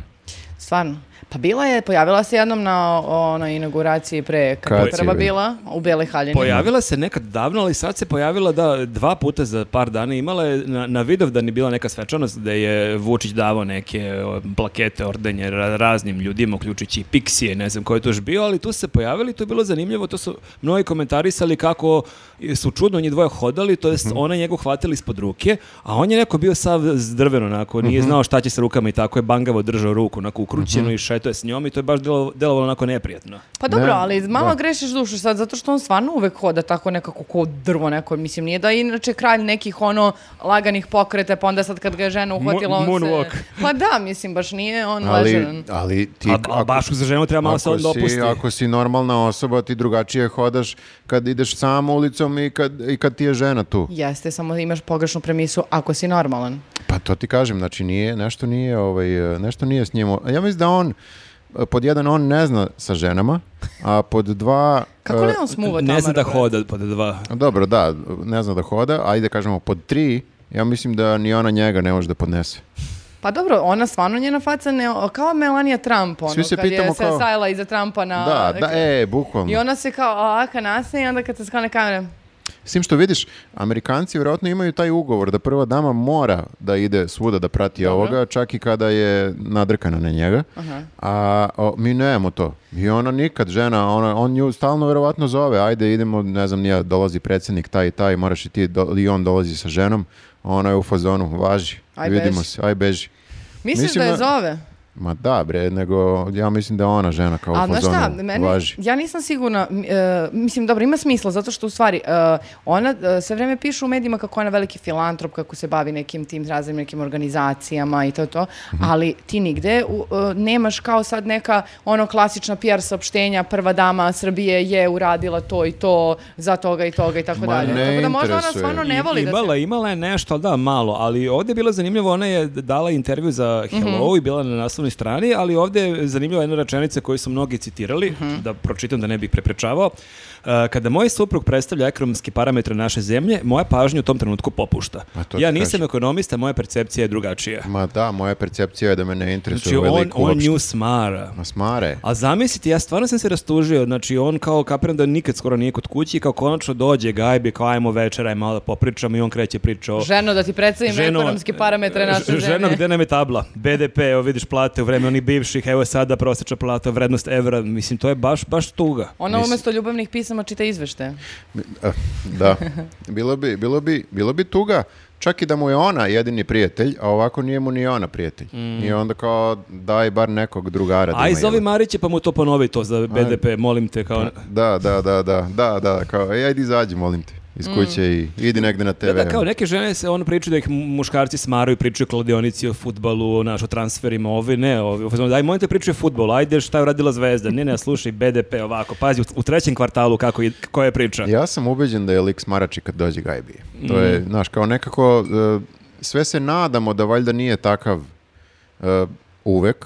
[SPEAKER 3] Stvarno. Pa bila je, pojavila se jednom na onoj inauguraciji pre, kad je
[SPEAKER 1] Kad
[SPEAKER 3] prva
[SPEAKER 1] je?
[SPEAKER 3] bila, u Beloj haljini.
[SPEAKER 2] Pojavila se nekad davno, ali sad se pojavila da dva puta za par dana imala je na, na Vidovdan je bila neka svečanost da je Vučić davao neke o, plakete, ordenje ra- raznim ljudima, uključujući i Pixije, ne znam ko je to još bio, ali tu su se pojavili, to je bilo zanimljivo, to su mnogi komentarisali kako su čudno njih dvoje hodali, to
[SPEAKER 1] Mhm.
[SPEAKER 2] jest ona je njega uhvatila ispod ruke, a on je neko bio sav zdrven onako,
[SPEAKER 1] Mhm.
[SPEAKER 2] nije znao šta će sa rukama i tako je bangavo držao ruku onako ukrućenu i šetao je s njom i to je baš delo- delovalo onako neprijatno.
[SPEAKER 3] Pa dobro,
[SPEAKER 1] Ne,
[SPEAKER 3] ali malo
[SPEAKER 1] da.
[SPEAKER 3] grešiš dušu sad, zato što on stvarno uvek hoda tako nekako ko drvo neko. Mislim, nije da je inače kralj nekih ono laganih pokreta, pa onda sad kad ga je žena uhvatila, on
[SPEAKER 2] Mo-
[SPEAKER 3] se...
[SPEAKER 2] moonwalk.
[SPEAKER 3] (laughs) Pa da, mislim, baš nije on
[SPEAKER 1] Ali,
[SPEAKER 3] ležeran.
[SPEAKER 1] ali ti...
[SPEAKER 2] A, a baš za ženu treba malo se
[SPEAKER 1] ako
[SPEAKER 2] onda
[SPEAKER 1] si,
[SPEAKER 2] opusti.
[SPEAKER 1] ako si normalna osoba, ti drugačije hodaš kad ideš sam ulicom i kad, i kad ti je žena tu.
[SPEAKER 3] Jeste, samo imaš pogrešnu premisu ako si normalan.
[SPEAKER 1] Pa to ti kažem, znači nije, nešto nije, ovaj, nešto nije s njim. Ja mislim da on, pod jedan, on ne zna sa ženama, a pod dva...
[SPEAKER 3] Kako
[SPEAKER 1] e,
[SPEAKER 3] ne on smuva Tamara?
[SPEAKER 2] Ne zna da
[SPEAKER 3] brate?
[SPEAKER 2] hoda pod dva.
[SPEAKER 1] Dobro, da, ne zna da hoda, ajde kažemo pod tri, ja mislim da ni ona njega ne može da podnese.
[SPEAKER 3] Pa dobro, ona stvarno njena faca ne... Kao Melania Trump, ono,
[SPEAKER 1] Svi se
[SPEAKER 3] kad je
[SPEAKER 1] pitamo
[SPEAKER 3] se
[SPEAKER 1] kao-
[SPEAKER 3] sajla iza Trumpa na...
[SPEAKER 1] da, da, e, bukvalno.
[SPEAKER 3] I ona se kao ovaka nasne i onda kad se sklane kamere,
[SPEAKER 1] S tim što vidiš, Amerikanci vjerojatno imaju taj ugovor da prva dama mora da ide svuda da prati ovoga, čak i kada je nadrkana na njega. A o, mi nemamo to. I ona nikad, žena, ona, on nju stalno vjerovatno zove, ajde idemo, ne znam, nija, dolazi predsjednik taj i taj, moraš i ti, do, i on dolazi sa ženom, ona je u fazonu, važi,
[SPEAKER 3] Aj,
[SPEAKER 1] vidimo
[SPEAKER 3] beži.
[SPEAKER 1] se, aj beži.
[SPEAKER 3] misliš
[SPEAKER 1] Mislim
[SPEAKER 3] da
[SPEAKER 1] da-
[SPEAKER 3] je zove?
[SPEAKER 1] Ma da bre, nego ja mislim da je ona žena kao
[SPEAKER 3] A
[SPEAKER 1] u
[SPEAKER 3] znaš
[SPEAKER 1] fazonu
[SPEAKER 3] šta, meni,
[SPEAKER 1] važi.
[SPEAKER 3] ja nisam sigurna, m, e, mislim, dobro, ima smisla, zato što u stvari e, ona e, sve vreme piše u medijima kako je ona veliki filantrop, kako se bavi nekim tim raznim nekim organizacijama i to to,
[SPEAKER 1] Mhm.
[SPEAKER 3] ali ti nigde u, e, nemaš kao sad neka ono klasična PR saopštenja, prva dama Srbije je uradila to i to, za toga i toga i tako
[SPEAKER 1] Ma,
[SPEAKER 3] dalje.
[SPEAKER 1] ne
[SPEAKER 3] Tako da možda ona
[SPEAKER 1] interesuje.
[SPEAKER 3] stvarno ne voli da se...
[SPEAKER 2] imala, imala je nešto, ali da, malo. Ali ovdje je bilo zanimljivo, ona je dala intervju za
[SPEAKER 3] Mhm.
[SPEAKER 2] Hello i bila na naslovnoj strani, ali ovdje je zanimljiva jedna rečenica koju su mnogi citirali,
[SPEAKER 3] Mhm.
[SPEAKER 2] da pročitam da ne bih preprečavao. E, kada moj suprug predstavlja ekonomske parametre naše zemlje, moja pažnja u tom trenutku popušta.
[SPEAKER 1] A to ti
[SPEAKER 2] Ja nisam
[SPEAKER 1] kažem.
[SPEAKER 2] ekonomista, moja percepcija je drugačija.
[SPEAKER 1] Ma da, moja percepcija je da me ne interesuje
[SPEAKER 2] Znači, on,
[SPEAKER 1] veliko
[SPEAKER 2] on
[SPEAKER 1] uopšte.
[SPEAKER 2] nju smara.
[SPEAKER 1] Ma smare.
[SPEAKER 2] A zamislite, ja stvarno sam se rastužio, znači on kao kapiram da nikad skoro nije kod kući, kao konačno dođe gajbi, kao ajmo večera, ajmo malo da popričamo i on kreće priča o...
[SPEAKER 3] Ženo, da ti predstavim ekonomske parametre naše
[SPEAKER 2] ž-
[SPEAKER 3] zemlje.
[SPEAKER 2] Ženo, gde nam je tabla? BDP, evo vidiš plate u vreme onih bivših, evo sada prosječna plata, vrednost evra, mislim, to je baš, baš tuga.
[SPEAKER 3] Ona umesto Ono ljubavnih pisama čita izvešte.
[SPEAKER 1] Eh, Da. Bilo bi, bilo, bi, bilo bi tuga čak i da mu je ona jedini prijatelj, a ovako nije mu ni ona prijatelj. I onda kao daj bar nekog drugara. da
[SPEAKER 2] Aj,
[SPEAKER 1] ima, pa-
[SPEAKER 2] zovi
[SPEAKER 1] jel?
[SPEAKER 2] Mariće pa mu to ponovi to za BDP, molim te, kao...
[SPEAKER 1] Da, da, da, da, da, da, kao, ej, ajde izađi, molim te, iz kuće i idi negde na TV.
[SPEAKER 2] Da, da, kao neke žene se ono pričaju da ih muškarci smaraju, pričaju o kladionici, o futbalu, ono, o našo transferima, ovi ne, ovi, u fazonu, daj, molim te pričaju o futbolu, ajde šta je uradila Zvezda, ne, ne, slušaj, BDP ovako, pazi, u, u trećem kvartalu kako je, koja je priča.
[SPEAKER 1] Ja sam ubeđen da je lik smarači kad dođe Gajbi. To je, znaš, kao nekako, e, sve se nadamo da valjda nije takav e, uvek,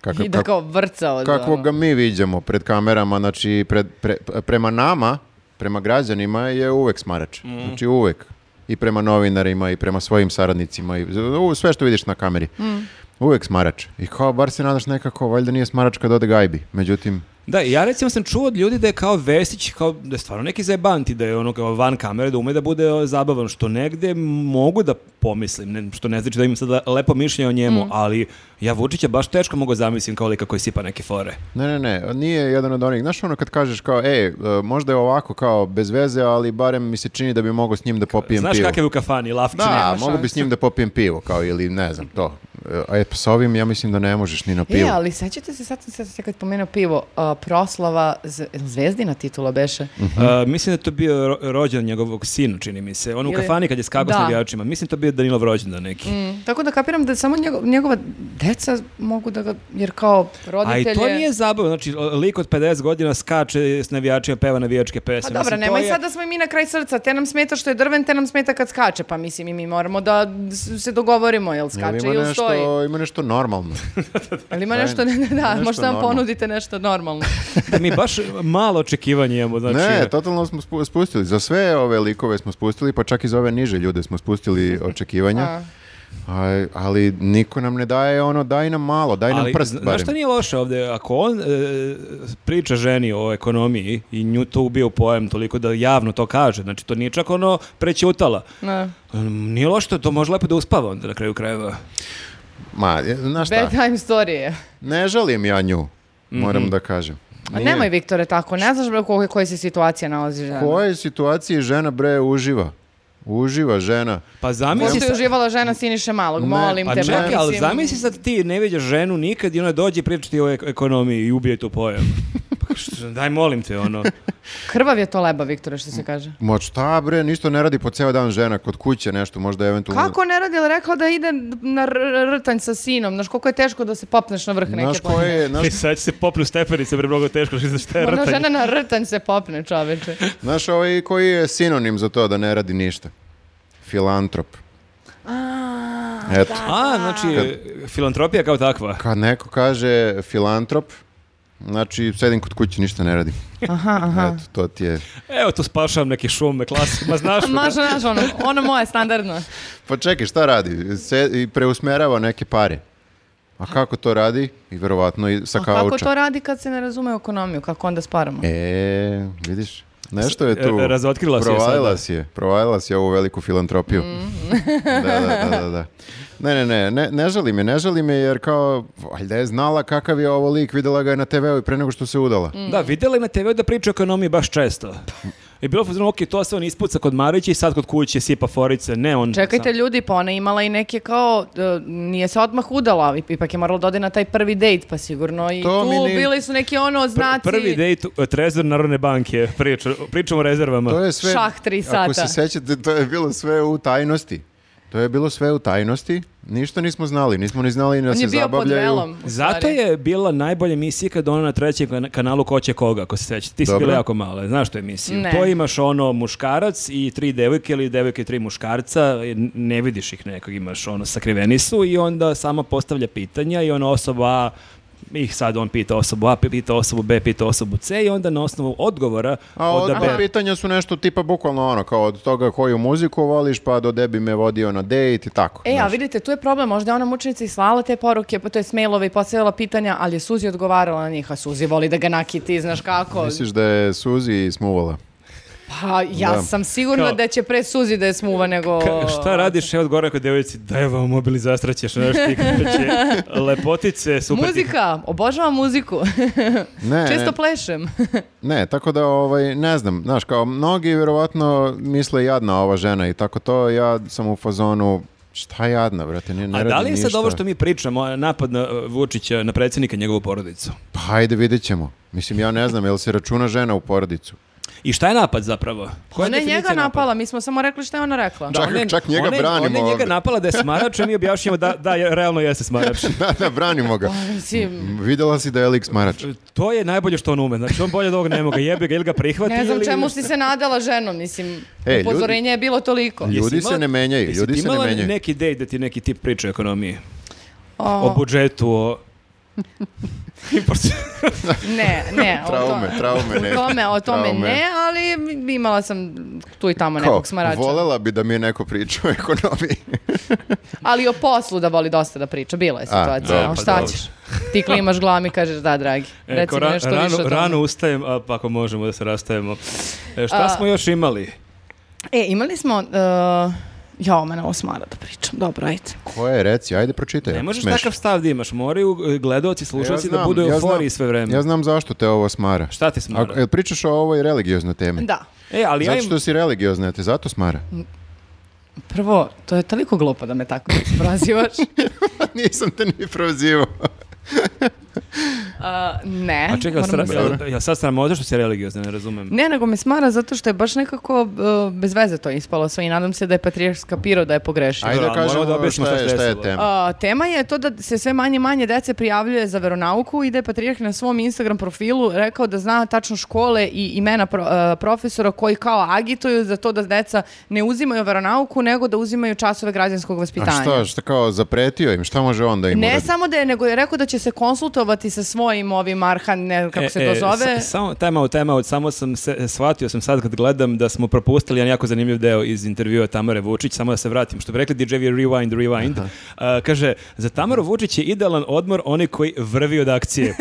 [SPEAKER 1] kakav,
[SPEAKER 3] I da kao vrca od...
[SPEAKER 1] kako
[SPEAKER 3] ono.
[SPEAKER 1] ga mi viđamo pred kamerama, znači pred, pre- prema nama, prema građanima je uvek smarač.
[SPEAKER 2] Mhm.
[SPEAKER 1] Znači uvek. I prema novinarima i prema svojim saradnicima i u, sve što vidiš na kameri.
[SPEAKER 2] Mhm.
[SPEAKER 1] Uvek smarač. I kao bar se nadaš nekako, valjda nije smarač kad ode gajbi. Međutim,
[SPEAKER 2] Da, ja recimo sam čuo od ljudi da je kao Vesić, kao, da je stvarno neki zajebanti, da je ono kao van kamere, da ume da bude o, zabavan, što negde mogu da pomislim, ne, što ne znači da imam sad le- lepo mišljenje o njemu, ali ja Vučića baš teško mogu zamislim kao lika koji sipa neke fore.
[SPEAKER 1] ne, ne, ne, nije jedan od onih. Znaš ono kad kažeš kao, ej, e, možda je ovako kao bez veze, ali barem mi se čini da bi mogao s njim da popijem
[SPEAKER 2] Znaš
[SPEAKER 1] pivo.
[SPEAKER 2] kakav je u kafani, lafčine.
[SPEAKER 1] Da,
[SPEAKER 3] nema
[SPEAKER 1] mogu bi s njim da popijem pivo, kao ili ne znam, to. E, A e, pa s ovim ja mislim da ne možeš ni na pivo.
[SPEAKER 3] E, ali sećate se, sad sam se sad kad pomenuo pivo, a, proslava, z- jel zvezdina titula beše.
[SPEAKER 2] A, Uh, mislim da je to bio ro- rođendan njegovog sina, čini mi se. On u
[SPEAKER 3] Ili-
[SPEAKER 2] kafani kad je skakao s
[SPEAKER 3] Da. Mm,
[SPEAKER 2] navijačima. Mislim da je to bio Danilov rođendan neki.
[SPEAKER 3] Tako da kapiram da samo njego- njegova deca mogu da ga, jer kao
[SPEAKER 2] A i
[SPEAKER 3] roditelje...
[SPEAKER 2] to nije zabavno, znači lik od 50 godina skače s navijačima, peva navijačke
[SPEAKER 3] Pa
[SPEAKER 2] pesme.
[SPEAKER 3] dobro,
[SPEAKER 2] Mislim, to
[SPEAKER 3] nemoj
[SPEAKER 2] je-
[SPEAKER 3] sad da smo i mi na kraj srca. Te nam smeta što je drven, te nam smeta kad skače. Pa mislim i mi moramo da s- se dogovorimo, jel
[SPEAKER 1] Jel
[SPEAKER 3] skače
[SPEAKER 1] ima
[SPEAKER 3] ili
[SPEAKER 1] nešto,
[SPEAKER 3] stoji.
[SPEAKER 1] Ima nešto normalno.
[SPEAKER 3] Ali ima nešto, (laughs) ne, ne, da,
[SPEAKER 1] Nešto
[SPEAKER 3] možda nam
[SPEAKER 1] normalno.
[SPEAKER 3] ponudite nešto normalno.
[SPEAKER 2] (laughs) da mi baš malo očekivanje imamo. Znači,
[SPEAKER 1] ne, totalno smo spu- spustili. Za sve ove likove smo spustili, pa čak i za ove niže ljude smo
[SPEAKER 3] (laughs)
[SPEAKER 1] spustili očekivanja.
[SPEAKER 3] A.
[SPEAKER 1] Aj, ali niko nam ne daje ono, daj nam malo, daj nam
[SPEAKER 2] Ali,
[SPEAKER 1] prst
[SPEAKER 2] zna- znaš
[SPEAKER 1] barem.
[SPEAKER 2] šta nije loše ovdje? Ako on e, priča ženi o ekonomiji i nju to ubio u pojem toliko da javno to kaže, znači to nije čak ono prećutala.
[SPEAKER 3] Da.
[SPEAKER 2] Um, Nije loše, to, to može lepo da uspava onda na kraju krajeva.
[SPEAKER 1] Ma, je- znaš šta,
[SPEAKER 3] Bedtime story.
[SPEAKER 1] ne žalim ja nju, moram
[SPEAKER 2] Mhm.
[SPEAKER 1] da kažem.
[SPEAKER 3] A
[SPEAKER 1] Nije.
[SPEAKER 3] nemoj, Viktore, tako. Ne znaš bre u kojoj, kojoj se situacija nalazi žena.
[SPEAKER 1] U kojoj situaciji žena bre uživa? Uživa žena.
[SPEAKER 2] Pa zamisli...
[SPEAKER 3] Pošto je
[SPEAKER 2] sa-
[SPEAKER 3] uživala žena Siniše Malog,
[SPEAKER 1] Ne,
[SPEAKER 3] molim
[SPEAKER 2] Pa
[SPEAKER 3] te.
[SPEAKER 2] čekaj,
[SPEAKER 3] mislim.
[SPEAKER 2] ali zamisli sad ti ne vidiš ženu nikad i ona dođe pričati o ek- ekonomiji i ubije tu pojam. Pa što- Daj molim te, ono.
[SPEAKER 3] Krvav je to leba, Viktore, što se kaže.
[SPEAKER 1] Ma šta bre, ništa ne radi po ceo dan žena, kod kuće nešto, možda eventualno...
[SPEAKER 3] Kako ne radi, ali rekla da ide na r- r- rtanj sa sinom. Znaš koliko je teško da se popneš na vrh neke
[SPEAKER 1] Znaš koje
[SPEAKER 3] planine.
[SPEAKER 1] je, (laughs) znaš
[SPEAKER 2] I sad će se popnu stepenice, bre, mnogo teško, što šta je
[SPEAKER 3] Ona
[SPEAKER 2] rtanje.
[SPEAKER 3] Ono, žena na rtanj se popne, čoveče.
[SPEAKER 1] Znaš ovaj koji je sinonim za to da ne radi ništa? Filantrop. Eto.
[SPEAKER 2] A, znači, filantropija kao takva.
[SPEAKER 1] Kad neko kaže filantrop, znači sedim kod kuće, ništa ne radim.
[SPEAKER 3] Aha, aha.
[SPEAKER 1] Eto, to ti je.
[SPEAKER 2] Evo, tu spašavam neke šume, klasi, ma
[SPEAKER 3] (laughs)
[SPEAKER 2] znaš me,
[SPEAKER 3] Ma,
[SPEAKER 2] da.
[SPEAKER 3] znaš, ono, ono moje, standardno.
[SPEAKER 1] Pa čekaj, šta radi? Se, i preusmerava neke pare. A kako to radi? I verovatno i sa
[SPEAKER 3] A kako
[SPEAKER 1] kauča.
[SPEAKER 3] to radi kad se ne razume u ekonomiju? Kako onda sparamo?
[SPEAKER 1] E, vidiš? Nešto je tu.
[SPEAKER 2] E, razotkrila si je
[SPEAKER 1] Provalila
[SPEAKER 2] sada.
[SPEAKER 1] si je. Provalila si ovu veliku filantropiju.
[SPEAKER 3] Mhm.
[SPEAKER 1] da, da, da, da, da. Ne, ne, ne, ne, ne žali me, ne žali me jer kao, valjda je znala kakav je
[SPEAKER 3] Mm.
[SPEAKER 1] ovo lik, videla ga je na TV-u i pre nego što se udala.
[SPEAKER 2] Da, videla je na TV da priča o ekonomiji baš često. I bilo fazonu, ok, to se on ispuca kod Marića i sad kod kuće sipa forice, ne on.
[SPEAKER 3] Čekajte
[SPEAKER 2] sam-
[SPEAKER 3] ljudi, pa ona je imala i neke kao, e, nije se odmah udala, ipak je morala da ode na taj prvi dejt, pa sigurno i
[SPEAKER 1] To
[SPEAKER 3] tu
[SPEAKER 1] mi ni-
[SPEAKER 3] bili su neki ono
[SPEAKER 2] Pr-
[SPEAKER 3] znaci.
[SPEAKER 2] Prvi dejt, e, Trezor Narodne banke, priča, pričamo o rezervama.
[SPEAKER 1] To je sve,
[SPEAKER 3] Šah tri
[SPEAKER 1] Ako
[SPEAKER 3] sata.
[SPEAKER 1] se sećate, to je bilo sve u tajnosti. To je bilo sve u tajnosti. Ništa nismo znali. Nismo ni znali da
[SPEAKER 3] On je
[SPEAKER 1] se
[SPEAKER 3] bio pod
[SPEAKER 1] zabavljaju.
[SPEAKER 3] velom. u
[SPEAKER 2] Zato
[SPEAKER 3] stvari.
[SPEAKER 2] je bila najbolja emisija kad ona na trećem kan- kanalu Ko će koga, ako se sećate. Ti si
[SPEAKER 1] Dobro.
[SPEAKER 2] bila jako mala, znaš to emisiju.
[SPEAKER 3] Ne.
[SPEAKER 2] To imaš ono muškarac i tri devojke ili devojke i tri muškarca, e, n- ne vidiš ih nekog, imaš ono sakriveni su i onda sama postavlja pitanja i ona osoba A ih sad on pita osobu A, pita osobu B, pita osobu C i onda na osnovu odgovora
[SPEAKER 1] A od
[SPEAKER 2] odabere.
[SPEAKER 1] pitanja su nešto tipa bukvalno ono, kao od toga koju muziku voliš, pa do debi me vodio na dejt i tako. Znači,
[SPEAKER 3] E, a
[SPEAKER 1] znaš.
[SPEAKER 3] vidite, tu je problem, možda je ona mučenica i slala te poruke, pa to je mailove i postavila pitanja, ali je Suzi odgovarala na njih, a Suzi voli da ga nakiti, znaš kako.
[SPEAKER 1] Misliš da je Suzi smuvala?
[SPEAKER 3] Pa ja
[SPEAKER 1] Da.
[SPEAKER 3] sam sigurna
[SPEAKER 2] Kao-
[SPEAKER 3] da će pre Suzi da je smuva nego...
[SPEAKER 2] Ka- šta radiš, E, evo odgovara kod devojci, daj vam mobil i zastraćeš nešto i
[SPEAKER 3] (laughs)
[SPEAKER 2] kreće. Lepotice, super ti-
[SPEAKER 3] Muzika, obožavam muziku.
[SPEAKER 1] Ne,
[SPEAKER 3] (laughs) Često
[SPEAKER 1] ne,
[SPEAKER 3] plešem.
[SPEAKER 1] ne, tako da ovaj, ne znam, znaš, kao mnogi vjerovatno misle jadna ova žena i tako to, ja sam u fazonu, šta jadna, brate, ne, ne
[SPEAKER 2] A da
[SPEAKER 1] radi
[SPEAKER 2] li je
[SPEAKER 1] ništa.
[SPEAKER 2] sad ovo što mi pričamo, a, napad na e, Vučića, na predsjednika i njegovu porodicu?
[SPEAKER 1] Pa hajde, vidjet ćemo. Mislim, ja ne znam, jel se računa žena u porodicu? (laughs)
[SPEAKER 2] I šta je napad zapravo? Koja
[SPEAKER 3] Ona je
[SPEAKER 2] definicija
[SPEAKER 3] njega
[SPEAKER 2] napada?
[SPEAKER 3] napala, mi smo samo rekli šta je ona rekla.
[SPEAKER 1] Čak-
[SPEAKER 2] ona je-
[SPEAKER 1] čak njega
[SPEAKER 2] ona je-
[SPEAKER 1] branimo
[SPEAKER 2] Ona je njega
[SPEAKER 1] ovde.
[SPEAKER 2] napala da je smarač, a mi objašnjamo da, da, je- realno jeste
[SPEAKER 1] (laughs)
[SPEAKER 2] smarač.
[SPEAKER 1] da, da, branimo ga.
[SPEAKER 3] Pa,
[SPEAKER 1] Mm.
[SPEAKER 3] Mislim,
[SPEAKER 1] Videla si da je lik smarač.
[SPEAKER 2] To je najbolje što on ume. Znači, on bolje od ovog ne moga. Jebi ga ili ga prihvati.
[SPEAKER 3] ne znam
[SPEAKER 2] Pa ili-
[SPEAKER 3] čemu si se nadala ženom, mislim,
[SPEAKER 1] E, ljudi-
[SPEAKER 3] upozorenje je bilo toliko.
[SPEAKER 1] Ljudi
[SPEAKER 2] Jesi
[SPEAKER 1] se ne menjaju,
[SPEAKER 2] jesi
[SPEAKER 1] ljudi
[SPEAKER 2] ti
[SPEAKER 1] se ne
[SPEAKER 2] imala
[SPEAKER 1] menjaju.
[SPEAKER 2] neki dej da ti neki tip priča o ekonomiji?
[SPEAKER 3] O,
[SPEAKER 2] O budžetu,
[SPEAKER 3] (laughs)
[SPEAKER 2] o...
[SPEAKER 3] ne, ne. o
[SPEAKER 1] Traume,
[SPEAKER 3] to-
[SPEAKER 1] traume, ne.
[SPEAKER 3] O tome, o tome
[SPEAKER 1] Traume.
[SPEAKER 3] ne, ali imala sam tu i tamo
[SPEAKER 1] Kao,
[SPEAKER 3] nekog smarača.
[SPEAKER 1] volela bi da mi je neko priča o
[SPEAKER 2] (laughs)
[SPEAKER 1] ekonomiji.
[SPEAKER 3] Ali o poslu da voli dosta da priča, bila je situacija.
[SPEAKER 1] dobro,
[SPEAKER 3] a
[SPEAKER 2] pa
[SPEAKER 3] šta
[SPEAKER 2] dobro.
[SPEAKER 3] ćeš? Ti klimaš glavom i kažeš da, dragi.
[SPEAKER 2] E,
[SPEAKER 3] Reci
[SPEAKER 2] ko
[SPEAKER 3] mi
[SPEAKER 2] ra-
[SPEAKER 3] nešto više o
[SPEAKER 2] rano,
[SPEAKER 3] tome.
[SPEAKER 2] rano ustajem, a pa ako možemo da se rastajemo. E, šta
[SPEAKER 3] A-
[SPEAKER 2] smo još imali?
[SPEAKER 3] E, imali smo... Uh, jao, mene ovo smara da pričam. Dobro, ajde.
[SPEAKER 1] Ko je, reci, ajde pročitaj.
[SPEAKER 2] Ne
[SPEAKER 1] ako
[SPEAKER 2] možeš
[SPEAKER 1] smeš.
[SPEAKER 2] takav stav da imaš. Moraju e, gledaoci, slušalci
[SPEAKER 1] Ja znam,
[SPEAKER 2] da budu u
[SPEAKER 1] ja znam.
[SPEAKER 2] euforiji sve vreme.
[SPEAKER 1] Ja znam zašto te ovo smara.
[SPEAKER 2] Šta te smara?
[SPEAKER 1] Ako- jel pričaš o ovoj religioznoj temi?
[SPEAKER 3] Da.
[SPEAKER 2] E, ali ja
[SPEAKER 1] Zato
[SPEAKER 2] im...
[SPEAKER 1] što si religiozna, te zato smara.
[SPEAKER 3] Mm. Prvo, to je toliko glupo da me tako Uh, prozivaš.
[SPEAKER 1] (laughs) (laughs) Nisam te ni
[SPEAKER 2] (laughs)
[SPEAKER 1] prozivao.
[SPEAKER 3] A, ne.
[SPEAKER 2] A čekaj,
[SPEAKER 3] moram
[SPEAKER 2] sra...
[SPEAKER 3] da se-
[SPEAKER 1] Dobro.
[SPEAKER 2] ja, ja sad sramota što si religiozna, ne razumem.
[SPEAKER 3] Ne, nego me smara zato što je baš nekako uh, bez veze to ispalo sve i nadam se da je Patrijarh skapirao da je pogrešio.
[SPEAKER 1] Ajde da
[SPEAKER 2] ali moramo
[SPEAKER 1] kažemo
[SPEAKER 2] da objasnimo
[SPEAKER 1] šta,
[SPEAKER 2] šta
[SPEAKER 1] je,
[SPEAKER 2] se
[SPEAKER 1] šta je
[SPEAKER 2] desilo.
[SPEAKER 1] tema.
[SPEAKER 3] A, tema je to da se sve manje i manje dece prijavljuje za veronauku i da je Patrijarh na svom Instagram profilu rekao da zna tačno škole i imena pro- e, profesora koji kao agituju za to da deca ne uzimaju veronauku nego da uzimaju časove građanskog
[SPEAKER 1] A
[SPEAKER 3] vaspitanja.
[SPEAKER 1] šta, šta kao, zapretio im, šta može on da im
[SPEAKER 3] Ne
[SPEAKER 1] uradi?
[SPEAKER 3] samo da je, nego je rekao da će se konsultovati sa svojim ovim Arhan, ne znam kako
[SPEAKER 2] E,
[SPEAKER 3] se
[SPEAKER 2] e,
[SPEAKER 3] to zove.
[SPEAKER 2] sa- samo tema u tema, samo sam se, shvatio sam sad kad gledam da smo propustili jedan jako zanimljiv deo iz intervjua Tamare Vučić, samo da se vratim, što bi rekli DJ Rewind, Rewind, A, kaže, za Tamaru Vučić je idealan odmor oni koji vrvi od
[SPEAKER 1] (laughs)
[SPEAKER 2] akcije.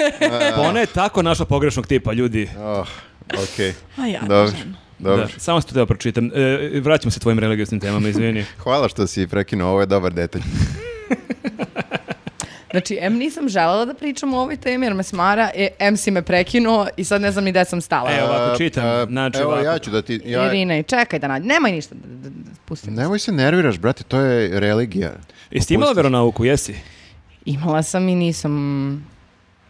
[SPEAKER 2] Pa ona je tako našla pogrešnog tipa, ljudi.
[SPEAKER 1] Oh, okej.
[SPEAKER 3] A ja
[SPEAKER 1] Dobro,
[SPEAKER 3] kažem.
[SPEAKER 1] dobro.
[SPEAKER 2] Da, samo sam to teo pročitam. E, vraćamo se tvojim religioznim
[SPEAKER 1] (laughs)
[SPEAKER 2] temama, izvini.
[SPEAKER 1] Hvala što si prekinuo, ovo je dobar detalj.
[SPEAKER 3] Znači, em nisam želela da pričam o ovoj temi jer me smara, e, em si me prekinuo i sad ne znam ni gde sam stala.
[SPEAKER 2] Evo. (laughs) Ovako čitam,
[SPEAKER 1] E,
[SPEAKER 2] znači
[SPEAKER 1] Evo,
[SPEAKER 2] ovako.
[SPEAKER 1] ja ću da ti... Ja,
[SPEAKER 3] Irina, i čekaj da nađem. Nemoj ništa da, da, da pustim.
[SPEAKER 1] nemoj se nerviraš, brate, to je religija.
[SPEAKER 2] Jesi ti imala veronauku, jesi?
[SPEAKER 3] Imala sam i nisam...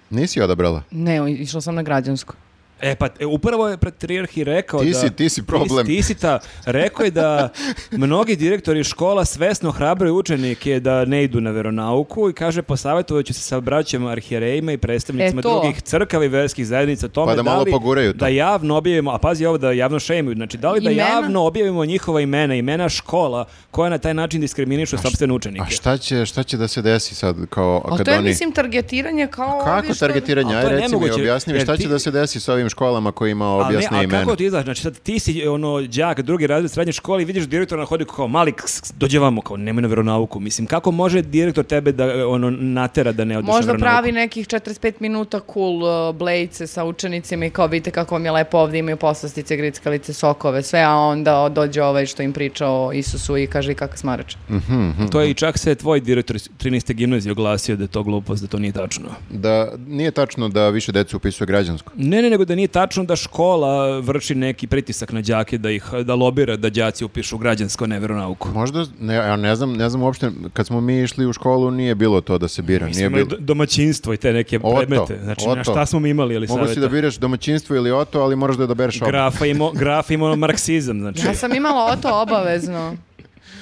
[SPEAKER 1] Nisi odabrala.
[SPEAKER 3] Ne, išla sam na građansku.
[SPEAKER 2] E pa, e, upravo je patrijarh i rekao
[SPEAKER 1] Ti
[SPEAKER 2] da...
[SPEAKER 1] si- ti si problem.
[SPEAKER 2] Ti, si ta, rekao je da mnogi direktori škola svesno hrabraju učenike da ne idu na veronauku i kaže posavjetovat ću se sa braćama arhijerejima i predstavnicima
[SPEAKER 3] E, to.
[SPEAKER 2] drugih crkava i verskih zajednica o tome
[SPEAKER 1] Pa da malo
[SPEAKER 2] li,
[SPEAKER 1] poguraju to.
[SPEAKER 2] da javno objavimo, a pazi ovo da javno šemiju, znači da li da
[SPEAKER 3] Imena?
[SPEAKER 2] javno objavimo njihova imena, imena škola koja na taj način diskriminišu sopstvene učenike.
[SPEAKER 1] A šta će, šta će da se desi sad kao
[SPEAKER 3] Ali
[SPEAKER 1] kad
[SPEAKER 3] to je,
[SPEAKER 1] oni...
[SPEAKER 3] mislim, targetiranje kao... ovi
[SPEAKER 1] Kako
[SPEAKER 3] što-
[SPEAKER 1] targetiranje?
[SPEAKER 2] Ali to
[SPEAKER 1] Aj
[SPEAKER 2] je
[SPEAKER 1] reci mi,
[SPEAKER 2] nemoguće,
[SPEAKER 1] objasni mi
[SPEAKER 2] jer
[SPEAKER 1] šta
[SPEAKER 2] ti-
[SPEAKER 1] će da se desi sa ovim školama kojima objasne
[SPEAKER 2] ali ne, a
[SPEAKER 1] imena.
[SPEAKER 2] kako ti izlaš? Znači sad ti si ono đak drugi razred srednje škole i vidiš direktora na hodniku kao mali ks, ks, dođe vamo kao nemoj na veronauku. Mislim kako može direktor tebe da e, ono natera da ne odeš na
[SPEAKER 3] Možda
[SPEAKER 2] veronauku?
[SPEAKER 3] pravi nekih 45 minuta cool uh, blejce sa učenicima i kao vidite kako vam je lepo ovdje imaju poslastice, grickalice, sokove, sve, a onda dođe ovaj što im priča o Isusu i kaže i kakav smarač.
[SPEAKER 1] Mhm.
[SPEAKER 2] To je i čak se tvoj direktor iz 13. gimnazije oglasio da je to glupost, da to nije tačno.
[SPEAKER 1] Da nije tačno da više decu upisuje građansko.
[SPEAKER 2] Ne, ne, nego da da nije tačno da škola vrši neki pritisak na đake da ih da lobira da đaci upišu građansko neveronauku.
[SPEAKER 1] Možda, ne, ja ne znam, ne znam uopšte, kad smo mi išli u školu nije bilo to da se bira.
[SPEAKER 2] Mislim,
[SPEAKER 1] Nije
[SPEAKER 2] imali
[SPEAKER 1] bilo.
[SPEAKER 2] do- domaćinstvo i te neke
[SPEAKER 1] Oto,
[SPEAKER 2] predmete. Znači, na
[SPEAKER 1] oto.
[SPEAKER 2] šta smo mi imali, ali
[SPEAKER 1] Mogu si da biraš domaćinstvo ili oto, ali moraš da odabereš oba.
[SPEAKER 2] Grafa ima, graf ima marksizam, znači.
[SPEAKER 3] Ja sam imala oto obavezno.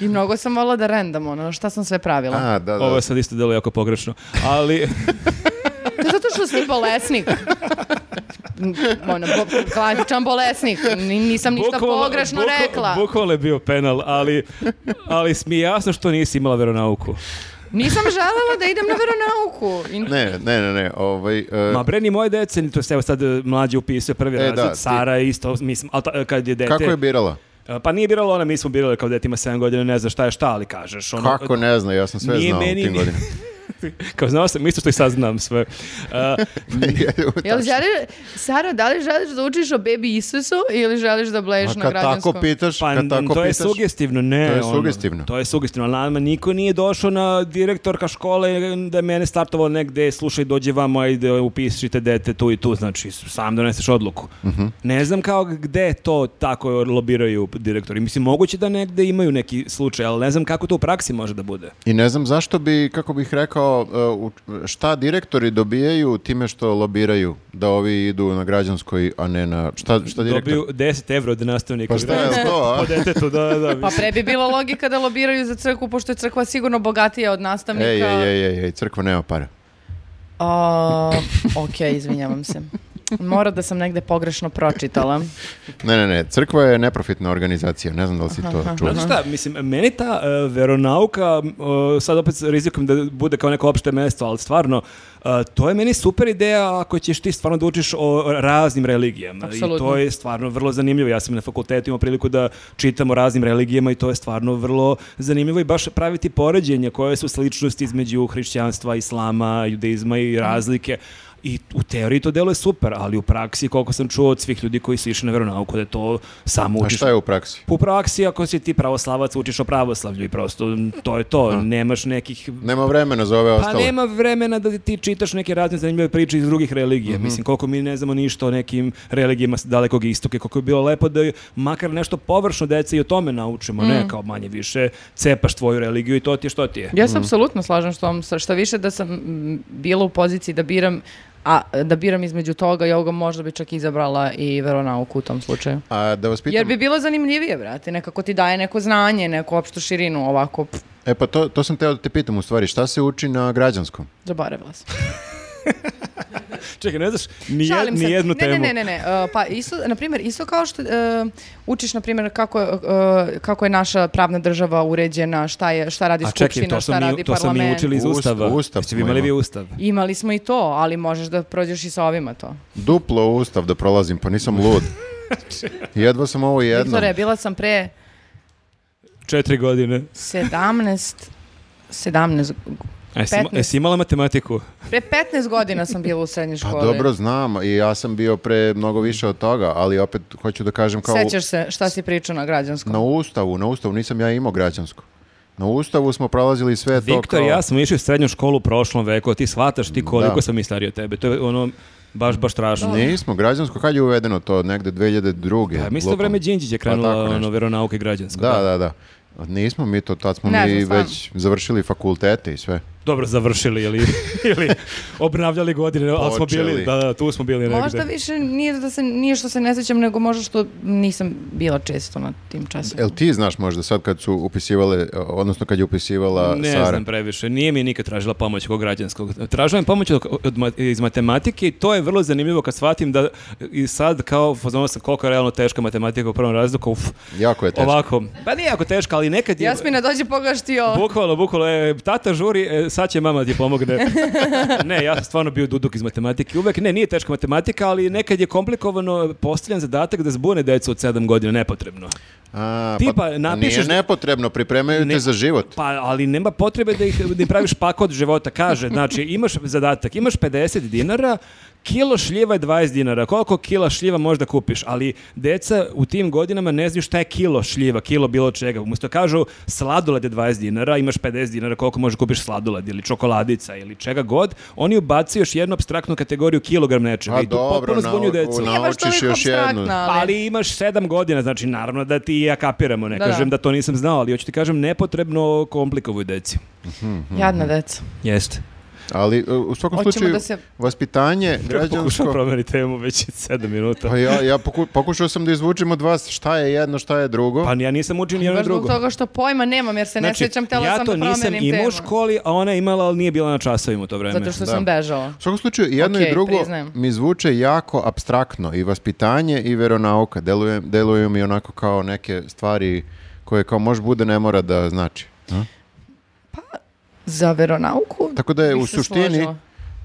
[SPEAKER 3] I mnogo sam volila da rendam ono šta sam sve pravila.
[SPEAKER 1] A, da, da.
[SPEAKER 2] Ovo je sad isto delo jako pogrešno.
[SPEAKER 1] (laughs)
[SPEAKER 2] Ali,
[SPEAKER 3] To je zato što si bolesnik. M, Ono, bo, klasičan bolesnik. Ni- Nisam ništa
[SPEAKER 2] bukvalno-
[SPEAKER 3] pogrešno
[SPEAKER 2] bukva-
[SPEAKER 3] rekla.
[SPEAKER 2] bukvalno je bio penal, ali, ali mi je jasno što nisi imala veronauku.
[SPEAKER 3] Nisam želela da idem na veronauku. I-
[SPEAKER 1] Ne, ne, ne, ne, ovaj... e,
[SPEAKER 2] Ma bre, ni moje dece, ni to se evo sad e, mlađi upisuje prvi
[SPEAKER 1] E,
[SPEAKER 2] razred,
[SPEAKER 1] da, ti-
[SPEAKER 2] Sara isto, mislim, ali ta- e, kad je dete...
[SPEAKER 1] kako je birala?
[SPEAKER 2] E, Pa nije birala ona, mi smo birali kao dete ima 7 godina, ne zna šta je šta, ali kažeš. Ono,
[SPEAKER 1] Kako ne znam, ja sam sve
[SPEAKER 2] Nije
[SPEAKER 1] znao u
[SPEAKER 2] meni
[SPEAKER 1] tim
[SPEAKER 2] ni-
[SPEAKER 1] godinama.
[SPEAKER 2] (laughs)
[SPEAKER 1] (laughs)
[SPEAKER 2] Kao znao sam isto što i sad znam sve. E,
[SPEAKER 3] Jel želi, Sara, da li želiš da učiš o bebi Isusu ili želiš da bleješ
[SPEAKER 1] A
[SPEAKER 3] na
[SPEAKER 1] kad
[SPEAKER 3] građanskom?
[SPEAKER 1] tako pitaš,
[SPEAKER 2] pa
[SPEAKER 1] kad tako
[SPEAKER 2] to je
[SPEAKER 1] pitaš...
[SPEAKER 2] sugestivno, ne.
[SPEAKER 1] To je
[SPEAKER 2] ono,
[SPEAKER 1] sugestivno.
[SPEAKER 2] to je sugestivno, ali nama niko nije došao na direktorka škole da je mene startovao negde, slušaj, dođe vamo, ajde, upišite dete tu i tu, znači sam doneseš odluku.
[SPEAKER 1] Mhm.
[SPEAKER 2] Ne znam kao gde to tako lobiraju direktori. Mislim, moguće da negde imaju neki slučaj, ali ne znam kako to u praksi može da bude.
[SPEAKER 1] I ne znam zašto bi, kako bih rekao, e, u- šta direktori dobijaju time što lobiraju da ovi idu na građanskoj, a ne na... Šta, šta direktor?
[SPEAKER 2] Dobiju 10 evra od nastavnika.
[SPEAKER 1] Pa šta je to, a?
[SPEAKER 2] Po detetu, da, da, da.
[SPEAKER 3] Pa pre bi bila logika da lobiraju za crkvu, pošto je crkva sigurno bogatija od nastavnika.
[SPEAKER 1] Ej, ej, ej, ej, ej, crkva nema para.
[SPEAKER 3] A, ok, izvinjavam se. Mora da sam negde pogrešno pročitala.
[SPEAKER 1] Ne, ne, ne, crkva je neprofitna organizacija, ne znam da li si to čuo.
[SPEAKER 2] Znate Pa šta, mislim, meni ta e, veronauka, m, e, sad opet rizikujem da bude kao neko opšte mesto, ali stvarno, e, to je meni super ideja ako ćeš ti stvarno da učiš o raznim religijama. I
[SPEAKER 3] Apsolutno.
[SPEAKER 2] to je stvarno vrlo zanimljivo. Ja sam na fakultetu imao priliku da čitam o raznim religijama i to je stvarno vrlo zanimljivo i baš praviti poređenje koje su sličnosti između hrišćanstva, islama, judeizma i razlike. I u teoriji to delo je super, ali u praksi, koliko sam čuo od svih ljudi koji su išli na veronauku, da je to samo
[SPEAKER 1] A
[SPEAKER 2] učiš
[SPEAKER 1] Pa šta je u praksi?
[SPEAKER 2] po praksi, ako si ti pravoslavac, učiš o pravoslavlju i prosto m, to je to. Nemaš nekih...
[SPEAKER 1] Nema vremena za ove
[SPEAKER 2] Pa
[SPEAKER 1] ostale.
[SPEAKER 2] nema vremena da ti čitaš neke razne zanimljive priče iz drugih religija. Mislim, koliko mi ne znamo ništa o nekim religijama s dalekog istoka, koliko bi bilo lepo da makar nešto površno deca i o tome naučimo, ne kao manje više cepaš tvoju religiju i to ti je što ti je.
[SPEAKER 3] Ja se apsolutno slažem što vam, što više da sam mm, bila u poziciji da biram a da biram između toga i ovoga možda bi čak izabrala i veronauku u tom slučaju.
[SPEAKER 1] A da vas pitam,
[SPEAKER 3] Jer bi bilo zanimljivije, brate, nekako ti daje neko znanje, neku opštu širinu, ovako, pff,
[SPEAKER 1] e pa to, to sam teo da te pitam u stvari, šta se uči na građanskom?
[SPEAKER 3] zaboravila sam.
[SPEAKER 2] Čekaj, ne znaš ni, jed-
[SPEAKER 3] Šalim
[SPEAKER 2] ni
[SPEAKER 3] se.
[SPEAKER 2] jednu
[SPEAKER 3] ne,
[SPEAKER 2] temu.
[SPEAKER 3] Ne, ne, ne, ne. e, pa isto, na primjer, isto kao što e, učiš, na primjer, kako, je, e, kako je naša pravna država uređena, šta, je, šta radi
[SPEAKER 2] A čekaj,
[SPEAKER 3] skupština,
[SPEAKER 2] to
[SPEAKER 3] šta
[SPEAKER 2] smo mi,
[SPEAKER 3] radi
[SPEAKER 2] to smo mi
[SPEAKER 3] parlament.
[SPEAKER 2] učili iz
[SPEAKER 1] Ust-
[SPEAKER 2] ustava.
[SPEAKER 1] ustav
[SPEAKER 2] Jeste
[SPEAKER 1] smo
[SPEAKER 2] vi imali
[SPEAKER 1] imali.
[SPEAKER 2] vi ustav?
[SPEAKER 3] Imali smo i to, ali možeš da prođeš i sa ovima to.
[SPEAKER 1] Duplo ustav da prolazim, pa nisam lud. Jedva sam ovo jedno.
[SPEAKER 3] Viktore, bila sam pre
[SPEAKER 2] Četiri godine.
[SPEAKER 3] 17 17
[SPEAKER 2] A jesi ima-
[SPEAKER 3] 15.
[SPEAKER 2] jesi imala matematiku?
[SPEAKER 3] pre 15 godina sam bila u srednjoj
[SPEAKER 1] Pa
[SPEAKER 3] školi.
[SPEAKER 1] dobro, znam, i ja sam bio pre mnogo više od toga, ali opet hoću da kažem kao...
[SPEAKER 3] Sećaš se šta si pričao na građanskom?
[SPEAKER 1] Na ustavu, na ustavu, nisam ja imao građansko. Na ustavu smo prolazili sve to
[SPEAKER 2] Viktor,
[SPEAKER 1] kao...
[SPEAKER 2] ja sam išao u srednju školu u prošlom veku, a ti shvataš ti koliko
[SPEAKER 1] Da.
[SPEAKER 2] sam i stariji od tebe. To je ono baš, baš strašno.
[SPEAKER 1] Nismo, građansko, kad je uvedeno to, negde 2002.
[SPEAKER 2] Pa, mi isto
[SPEAKER 1] lupam.
[SPEAKER 2] vreme Đinđić je
[SPEAKER 1] Pa
[SPEAKER 2] krenula
[SPEAKER 1] tako nešto.
[SPEAKER 2] ono, veronauke i građansko.
[SPEAKER 1] Da, da, da. Nismo mi to, tad smo
[SPEAKER 3] Ne
[SPEAKER 1] mi
[SPEAKER 3] znam, stvarno.
[SPEAKER 1] već završili fakultete i sve.
[SPEAKER 2] Dobro završili
[SPEAKER 1] (laughs)
[SPEAKER 2] ili, ili obnavljali godine, ali smo bili,
[SPEAKER 1] Počeli.
[SPEAKER 2] da, da, tu smo bili negde.
[SPEAKER 3] Možda više nije, da se, nije što se ne sećam, nego možda što nisam bila često na tim časovima.
[SPEAKER 1] Jel ti znaš možda sad kad su upisivale, odnosno kad je upisivala
[SPEAKER 2] Ne
[SPEAKER 1] Pa, Sara?
[SPEAKER 2] znam previše, nije mi nikad tražila pomoć kog građanskog. Tražila mi pomoć od, od ma- iz matematike i to je vrlo zanimljivo kad shvatim da i sad kao poznao sam koliko je realno teška matematika u prvom razliku, uf,
[SPEAKER 1] Jako je teško.
[SPEAKER 2] ovako, pa nije jako teška, ali nekad je...
[SPEAKER 3] Jasmina, dođi pogledaš ti ovo.
[SPEAKER 2] Bukvalno, bukvalno, e, tata žuri, e, sad će mama ti pomogne. ne, ja sam stvarno bio duduk iz matematike. Uvek, ne, nije teška matematika, ali nekad je komplikovano postavljan zadatak da zbune decu od 7 godina nepotrebno.
[SPEAKER 1] A,
[SPEAKER 2] Ti pa
[SPEAKER 1] pa,
[SPEAKER 2] napišeš-
[SPEAKER 1] Nije nepotrebno, pripremaju
[SPEAKER 2] Ne-
[SPEAKER 1] te za život.
[SPEAKER 2] Pa, ali nema potrebe da ih da im praviš pakot života. Kaže, znači, imaš zadatak, imaš 50 dinara, kilo šljiva je 20 dinara, koliko kila šljiva možda kupiš, ali deca u tim godinama ne znaju šta je kilo šljiva, kilo bilo čega. Umesto kažu sladoled je 20 dinara, imaš 50 dinara, koliko možeš kupiš sladoled ili čokoladica ili čega god, oni ubacuju još jednu abstraktnu kategoriju kilogram nečega
[SPEAKER 1] Pa
[SPEAKER 2] i tu
[SPEAKER 1] dobro,
[SPEAKER 2] potpuno zbunju
[SPEAKER 1] nau-
[SPEAKER 2] decu.
[SPEAKER 3] Nije baš
[SPEAKER 1] naučiš
[SPEAKER 3] toliko
[SPEAKER 1] još jednu.
[SPEAKER 3] apstraktno,
[SPEAKER 2] Pa, Ali imaš sedam godina, znači naravno da ti i ja kapiramo, ne
[SPEAKER 3] Da, da.
[SPEAKER 2] kažem da to nisam znao, ali hoću ti kažem nepotrebno komplikovuju deci.
[SPEAKER 3] Jadna deca.
[SPEAKER 2] Jeste.
[SPEAKER 1] Ali uh, u svakom
[SPEAKER 3] Hoćemo
[SPEAKER 1] slučaju,
[SPEAKER 3] da se-
[SPEAKER 1] vaspitanje
[SPEAKER 2] Pokušao
[SPEAKER 1] građansko...
[SPEAKER 2] promeni temu već sedam minuta.
[SPEAKER 1] Pa ja, ja poku- pokušao sam da izvučem od vas šta je jedno, šta je drugo.
[SPEAKER 2] Pa ja nisam učio ni jedno
[SPEAKER 3] Baš
[SPEAKER 2] ni drugo. Znači,
[SPEAKER 3] zbog toga što pojma nemam jer se ne sjećam, tela
[SPEAKER 2] ja
[SPEAKER 3] sam
[SPEAKER 2] to
[SPEAKER 3] da
[SPEAKER 2] nisam
[SPEAKER 3] promenim
[SPEAKER 2] imao u
[SPEAKER 3] temu.
[SPEAKER 2] školi, a ona je imala, ali nije bila na časovima u to vreme.
[SPEAKER 3] Zato što
[SPEAKER 1] Da.
[SPEAKER 3] sam bežala.
[SPEAKER 1] U svakom slučaju, i jedno
[SPEAKER 3] Okej,
[SPEAKER 1] i drugo
[SPEAKER 3] priznajem.
[SPEAKER 1] mi zvuče jako abstraktno i vaspitanje i veronauka. Deluje, deluju mi onako kao neke stvari koje kao može bude ne mora da znači.
[SPEAKER 3] Za veronauku?
[SPEAKER 1] Tako da je
[SPEAKER 3] bih
[SPEAKER 1] u
[SPEAKER 3] se
[SPEAKER 1] suštini
[SPEAKER 3] složila.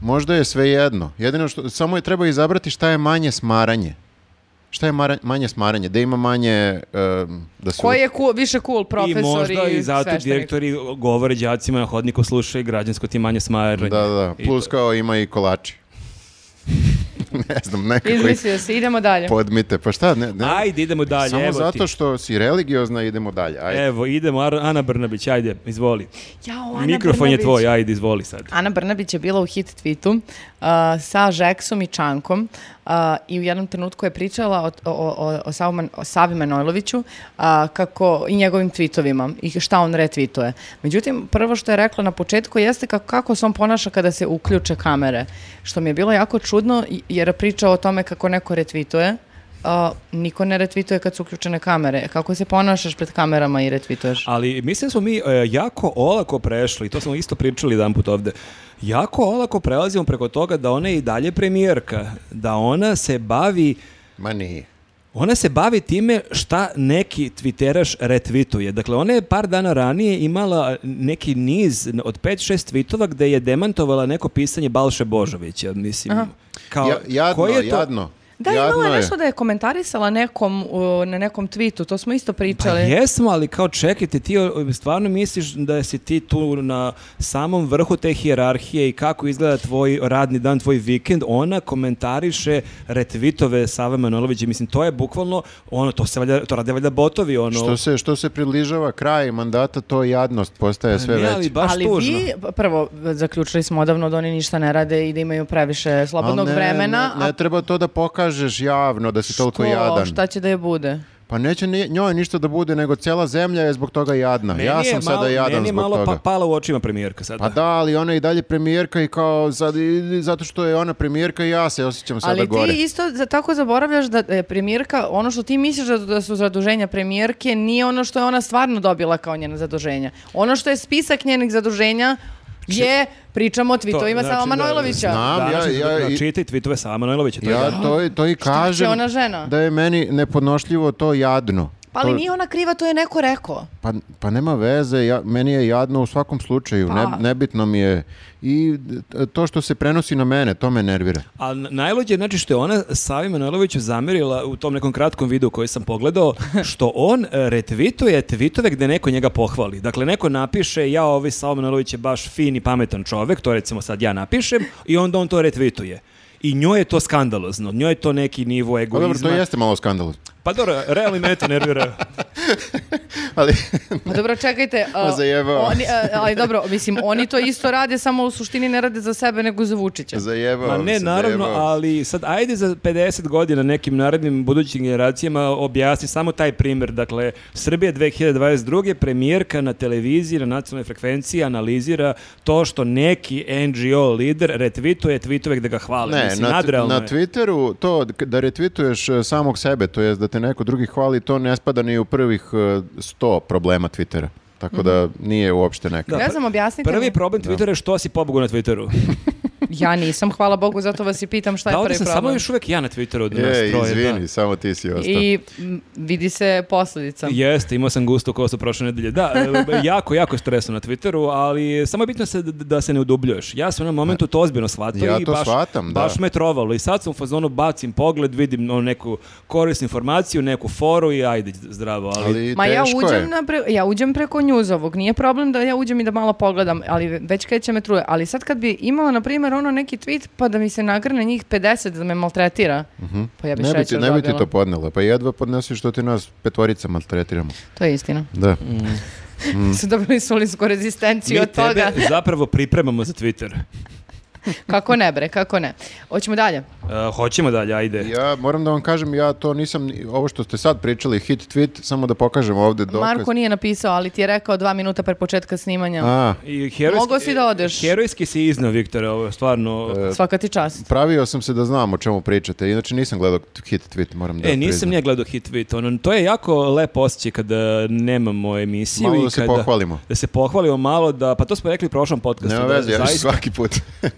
[SPEAKER 1] možda je sve jedno. Jedino što, samo je treba izabrati šta je manje smaranje. Šta je mara- manje smaranje? Da ima manje... em, da su...
[SPEAKER 3] Koji je cool, više cool
[SPEAKER 2] I
[SPEAKER 3] profesor i
[SPEAKER 2] možda i zato
[SPEAKER 3] sveštenik?
[SPEAKER 2] direktori govore đacima na hodniku slušaj građansko ti manje smaranje.
[SPEAKER 1] Da, da,
[SPEAKER 2] I
[SPEAKER 1] plus
[SPEAKER 2] to-
[SPEAKER 1] kao ima i kolači. (laughs) ne znam, nekako ih
[SPEAKER 3] Izmislio si, idemo dalje.
[SPEAKER 1] podmite. Pa šta, ne, ne-
[SPEAKER 2] Ajde, idemo dalje.
[SPEAKER 1] Samo
[SPEAKER 2] evo
[SPEAKER 1] zato
[SPEAKER 2] ti.
[SPEAKER 1] što si religiozna idemo dalje. Ajde.
[SPEAKER 2] Evo, idemo, Ar- Ana Brnabić, ajde, izvoli.
[SPEAKER 3] Jao, Ana
[SPEAKER 2] Mikrofon
[SPEAKER 3] Brnabić.
[SPEAKER 2] je tvoj, ajde, izvoli sad.
[SPEAKER 3] Ana Brnabić je bila u hit tweetu uh, sa Žeksom i Čankom uh, i u jednom trenutku je pričala o, o, o, o, Savi Man- o Savi Manojloviću uh, kako, i njegovim tweetovima i šta on retvituje. Međutim, prvo što je rekla na početku jeste kako, kako se on ponaša kada se uključe kamere, što mi je bilo jako čudno jer priča o tome kako neko retvituje Uh, niko ne retvituje kad su uključene kamere. Kako se ponašaš pred kamerama i retvituješ?
[SPEAKER 2] Ali mislim da smo mi e, jako olako prešli, to smo isto pričali jedan put ovde, jako olako prelazimo preko toga da ona je i dalje premijerka, da ona se bavi
[SPEAKER 1] Ma nije.
[SPEAKER 2] Ona se bavi time šta neki twitteraš retvituje. Dakle, ona je par dana ranije imala neki niz od 5-6 tweetova gde je demantovala neko pisanje Balše Božovića, mislim. Kao,
[SPEAKER 1] Ja, jadno,
[SPEAKER 2] koji je to-
[SPEAKER 1] jadno.
[SPEAKER 3] Da,
[SPEAKER 1] jadno
[SPEAKER 3] imala je
[SPEAKER 1] je.
[SPEAKER 3] nešto da je komentarisala nekom, u, na nekom tweetu, to smo isto
[SPEAKER 2] Pa
[SPEAKER 3] pričali.
[SPEAKER 2] jesmo, ali kao čekajte, ti o, stvarno misliš da si ti tu na samom vrhu te hijerarhije i kako izgleda tvoj radni dan, tvoj vikend, ona komentariše retvitove Save Manolovića, mislim, to je bukvalno, ono, to, se valjda, to rade valjda botovi, ono.
[SPEAKER 1] Što se, što se približava kraj mandata, to jadnost postaje sve
[SPEAKER 2] Ne,
[SPEAKER 1] veća.
[SPEAKER 2] ali baš
[SPEAKER 3] Ali
[SPEAKER 2] tužno.
[SPEAKER 3] vi, prvo, zaključili smo odavno da oni ništa ne rade i da imaju previše slobodnog
[SPEAKER 1] ne,
[SPEAKER 3] vremena.
[SPEAKER 1] Ne, ne treba to da pokažeš javno da si toliko jadan.
[SPEAKER 3] Šta će da je bude?
[SPEAKER 1] Pa neće ni- njoj ništa da bude, nego cijela zemlja je zbog toga jadna.
[SPEAKER 2] Meni
[SPEAKER 1] ja
[SPEAKER 2] je
[SPEAKER 1] sam
[SPEAKER 2] malo-
[SPEAKER 1] sada jadan
[SPEAKER 2] meni je
[SPEAKER 1] zbog
[SPEAKER 2] malo
[SPEAKER 1] toga.
[SPEAKER 2] pa, pala u očima premijerka sada.
[SPEAKER 1] Pa da, ali ona je i dalje premijerka i kao sad, i- i zato što je ona premijerka i ja se osjećam sada
[SPEAKER 3] Ali
[SPEAKER 1] gore.
[SPEAKER 3] ti isto za- tako zaboravljaš da je premijerka, ono što ti misliš da, da su zaduženja premijerke, nije ono što je ona stvarno dobila kao njena zaduženja. Ono što je spisak njenih zaduženja je, pričamo o tweetovima
[SPEAKER 2] znači
[SPEAKER 3] Sava
[SPEAKER 2] da-
[SPEAKER 3] Manojlovića.
[SPEAKER 1] Znam.
[SPEAKER 2] Danas
[SPEAKER 1] ja-
[SPEAKER 2] je
[SPEAKER 1] ja
[SPEAKER 2] dobro,
[SPEAKER 1] i-
[SPEAKER 2] čitaj tweetove Sava Manojlovića, to je
[SPEAKER 1] Ja
[SPEAKER 2] jadno.
[SPEAKER 1] to, i- to i kažem
[SPEAKER 3] ona žena?
[SPEAKER 1] da je meni nepodnošljivo to jadno.
[SPEAKER 3] Pa ali
[SPEAKER 1] To-
[SPEAKER 3] nije ona kriva, to je neko rekao.
[SPEAKER 1] Pa, pa nema veze, ja, meni je jadno u svakom slučaju, ne,
[SPEAKER 3] Pa.
[SPEAKER 1] nebitno mi je. I e, to što se prenosi na mene, to me nervira.
[SPEAKER 2] A n- najluđe je znači što je ona Savi Manojloviću zamerila u tom nekom kratkom videu koji sam
[SPEAKER 1] (laughs)
[SPEAKER 2] pogledao što on e, retvituje tvitove gde neko njega pohvali. Dakle, neko napiše ja ovi Sava Manojlović je baš fin i pametan čovek, to recimo sad ja napišem i onda on to retvituje. I njoj je to skandalozno, njoj je to neki nivo
[SPEAKER 1] Pa dobro, to
[SPEAKER 2] egoizma.
[SPEAKER 1] jeste malo skandalozno.
[SPEAKER 2] Pa dobro, realno me to
[SPEAKER 1] (laughs)
[SPEAKER 2] nervira.
[SPEAKER 1] Ali,
[SPEAKER 3] Pa
[SPEAKER 1] (laughs)
[SPEAKER 3] dobro, čekajte. a,
[SPEAKER 1] zajebao.
[SPEAKER 3] oni, a, ali dobro, mislim, oni to isto rade, samo u suštini ne rade za sebe, nego za Vučića.
[SPEAKER 1] (laughs) zajebao
[SPEAKER 2] Ma
[SPEAKER 1] mi
[SPEAKER 2] ne,
[SPEAKER 1] ono se,
[SPEAKER 2] naravno,
[SPEAKER 1] zajebao mi se.
[SPEAKER 2] ali sad ajde za 50 godina nekim narednim budućim generacijama objasni samo taj primjer. Dakle, Srbija 2022. premijerka na televiziji, na nacionalnoj frekvenciji analizira to što neki NGO lider retvituje tweetove gde ga hvale.
[SPEAKER 1] Ne,
[SPEAKER 2] Mislim,
[SPEAKER 1] na,
[SPEAKER 2] nadrealno
[SPEAKER 1] na
[SPEAKER 2] je.
[SPEAKER 1] Twitteru to d- da retvituješ e, samog sebe, to jest da te neko drugi hvali, to ne spada ni u prvih e, 100 problema Twittera. Tako da
[SPEAKER 2] Mhm.
[SPEAKER 1] nije uopšte neka.
[SPEAKER 3] Ne
[SPEAKER 2] pr-
[SPEAKER 3] znam, objasnite
[SPEAKER 2] Prvi
[SPEAKER 3] mi.
[SPEAKER 2] problem Twittera je što si pobogu na Twitteru.
[SPEAKER 3] Ja nisam, hvala Bogu, zato vas i pitam šta je
[SPEAKER 2] da, ovdje
[SPEAKER 3] prvi
[SPEAKER 2] sam
[SPEAKER 3] problem.
[SPEAKER 2] samo još uvek ja na Twitteru od nas
[SPEAKER 1] Je,
[SPEAKER 2] troje, da.
[SPEAKER 1] izvini, samo ti si ostao.
[SPEAKER 3] I m, vidi se posljedica.
[SPEAKER 2] Jeste, imao sam gusto kosu prošle nedelje.
[SPEAKER 3] (laughs)
[SPEAKER 2] Da, e, jako, jako je stresno na Twitteru, ali samo je bitno se, da, da se ne udubljuješ. Ja sam na momentu to ozbiljno shvatio
[SPEAKER 1] Ja
[SPEAKER 2] i
[SPEAKER 1] to
[SPEAKER 2] baš,
[SPEAKER 1] shvatam, da.
[SPEAKER 2] baš me trovalo. I sad sam u fazonu bacim pogled, vidim ono, neku korisnu informaciju, neku foru i ajde, zdravo. Ali,
[SPEAKER 1] Ali
[SPEAKER 3] Ma ja
[SPEAKER 1] teško je.
[SPEAKER 3] uđem, na pre- ja uđem preko njuzovog, nije problem da ja uđem i da malo pogledam, ali već kreće me truje. Ali sad kad bi imala, na primjer, ono neki tweet pa da mi se nagrne njih 50 da me maltretira. Pa ja bi
[SPEAKER 1] Mhm. Ne bi, ti,
[SPEAKER 3] šećer
[SPEAKER 1] ne bi ti
[SPEAKER 3] dobila.
[SPEAKER 1] to podnela, pa jedva podnesi što ti nas petorica maltretiramo.
[SPEAKER 3] To je istina.
[SPEAKER 1] Da.
[SPEAKER 2] Mm.
[SPEAKER 1] Mhm.
[SPEAKER 3] (laughs) Su dobili solinsku rezistenciju
[SPEAKER 2] Mi
[SPEAKER 3] od toga.
[SPEAKER 2] tebe (laughs) zapravo pripremamo za Twitter.
[SPEAKER 3] Kako ne bre, kako ne. Hoćemo dalje.
[SPEAKER 2] E, hoćemo dalje, ajde.
[SPEAKER 1] Ja moram da vam kažem, ja to nisam, ni- ovo što ste sad pričali, hit tweet, samo da pokažem ovde dokaz.
[SPEAKER 3] Marko nije napisao, ali ti je rekao dva minuta pre početka snimanja.
[SPEAKER 1] A,
[SPEAKER 2] I herojski,
[SPEAKER 3] Mogao si da odeš.
[SPEAKER 2] Herojski si iznao, Viktore, ovo je stvarno...
[SPEAKER 1] E,
[SPEAKER 3] Svaka ti čast.
[SPEAKER 1] pravio sam se da znam o čemu pričate, inače nisam gledao t- hit tweet, moram da
[SPEAKER 2] e, nisam
[SPEAKER 1] priznam.
[SPEAKER 2] nije gledao Hit Tweet. Ono, to je jako lepo osjećaj kada nemamo emisiju.
[SPEAKER 1] Malo
[SPEAKER 2] i
[SPEAKER 1] da se
[SPEAKER 2] kada-
[SPEAKER 1] pohvalimo.
[SPEAKER 2] Da se pohvalimo malo, da, pa to smo rekli u prošlom podcastu.
[SPEAKER 1] Nema
[SPEAKER 2] da,
[SPEAKER 1] veze, ja ću
[SPEAKER 2] zaista-
[SPEAKER 1] svaki
[SPEAKER 2] (laughs)
[SPEAKER 1] put.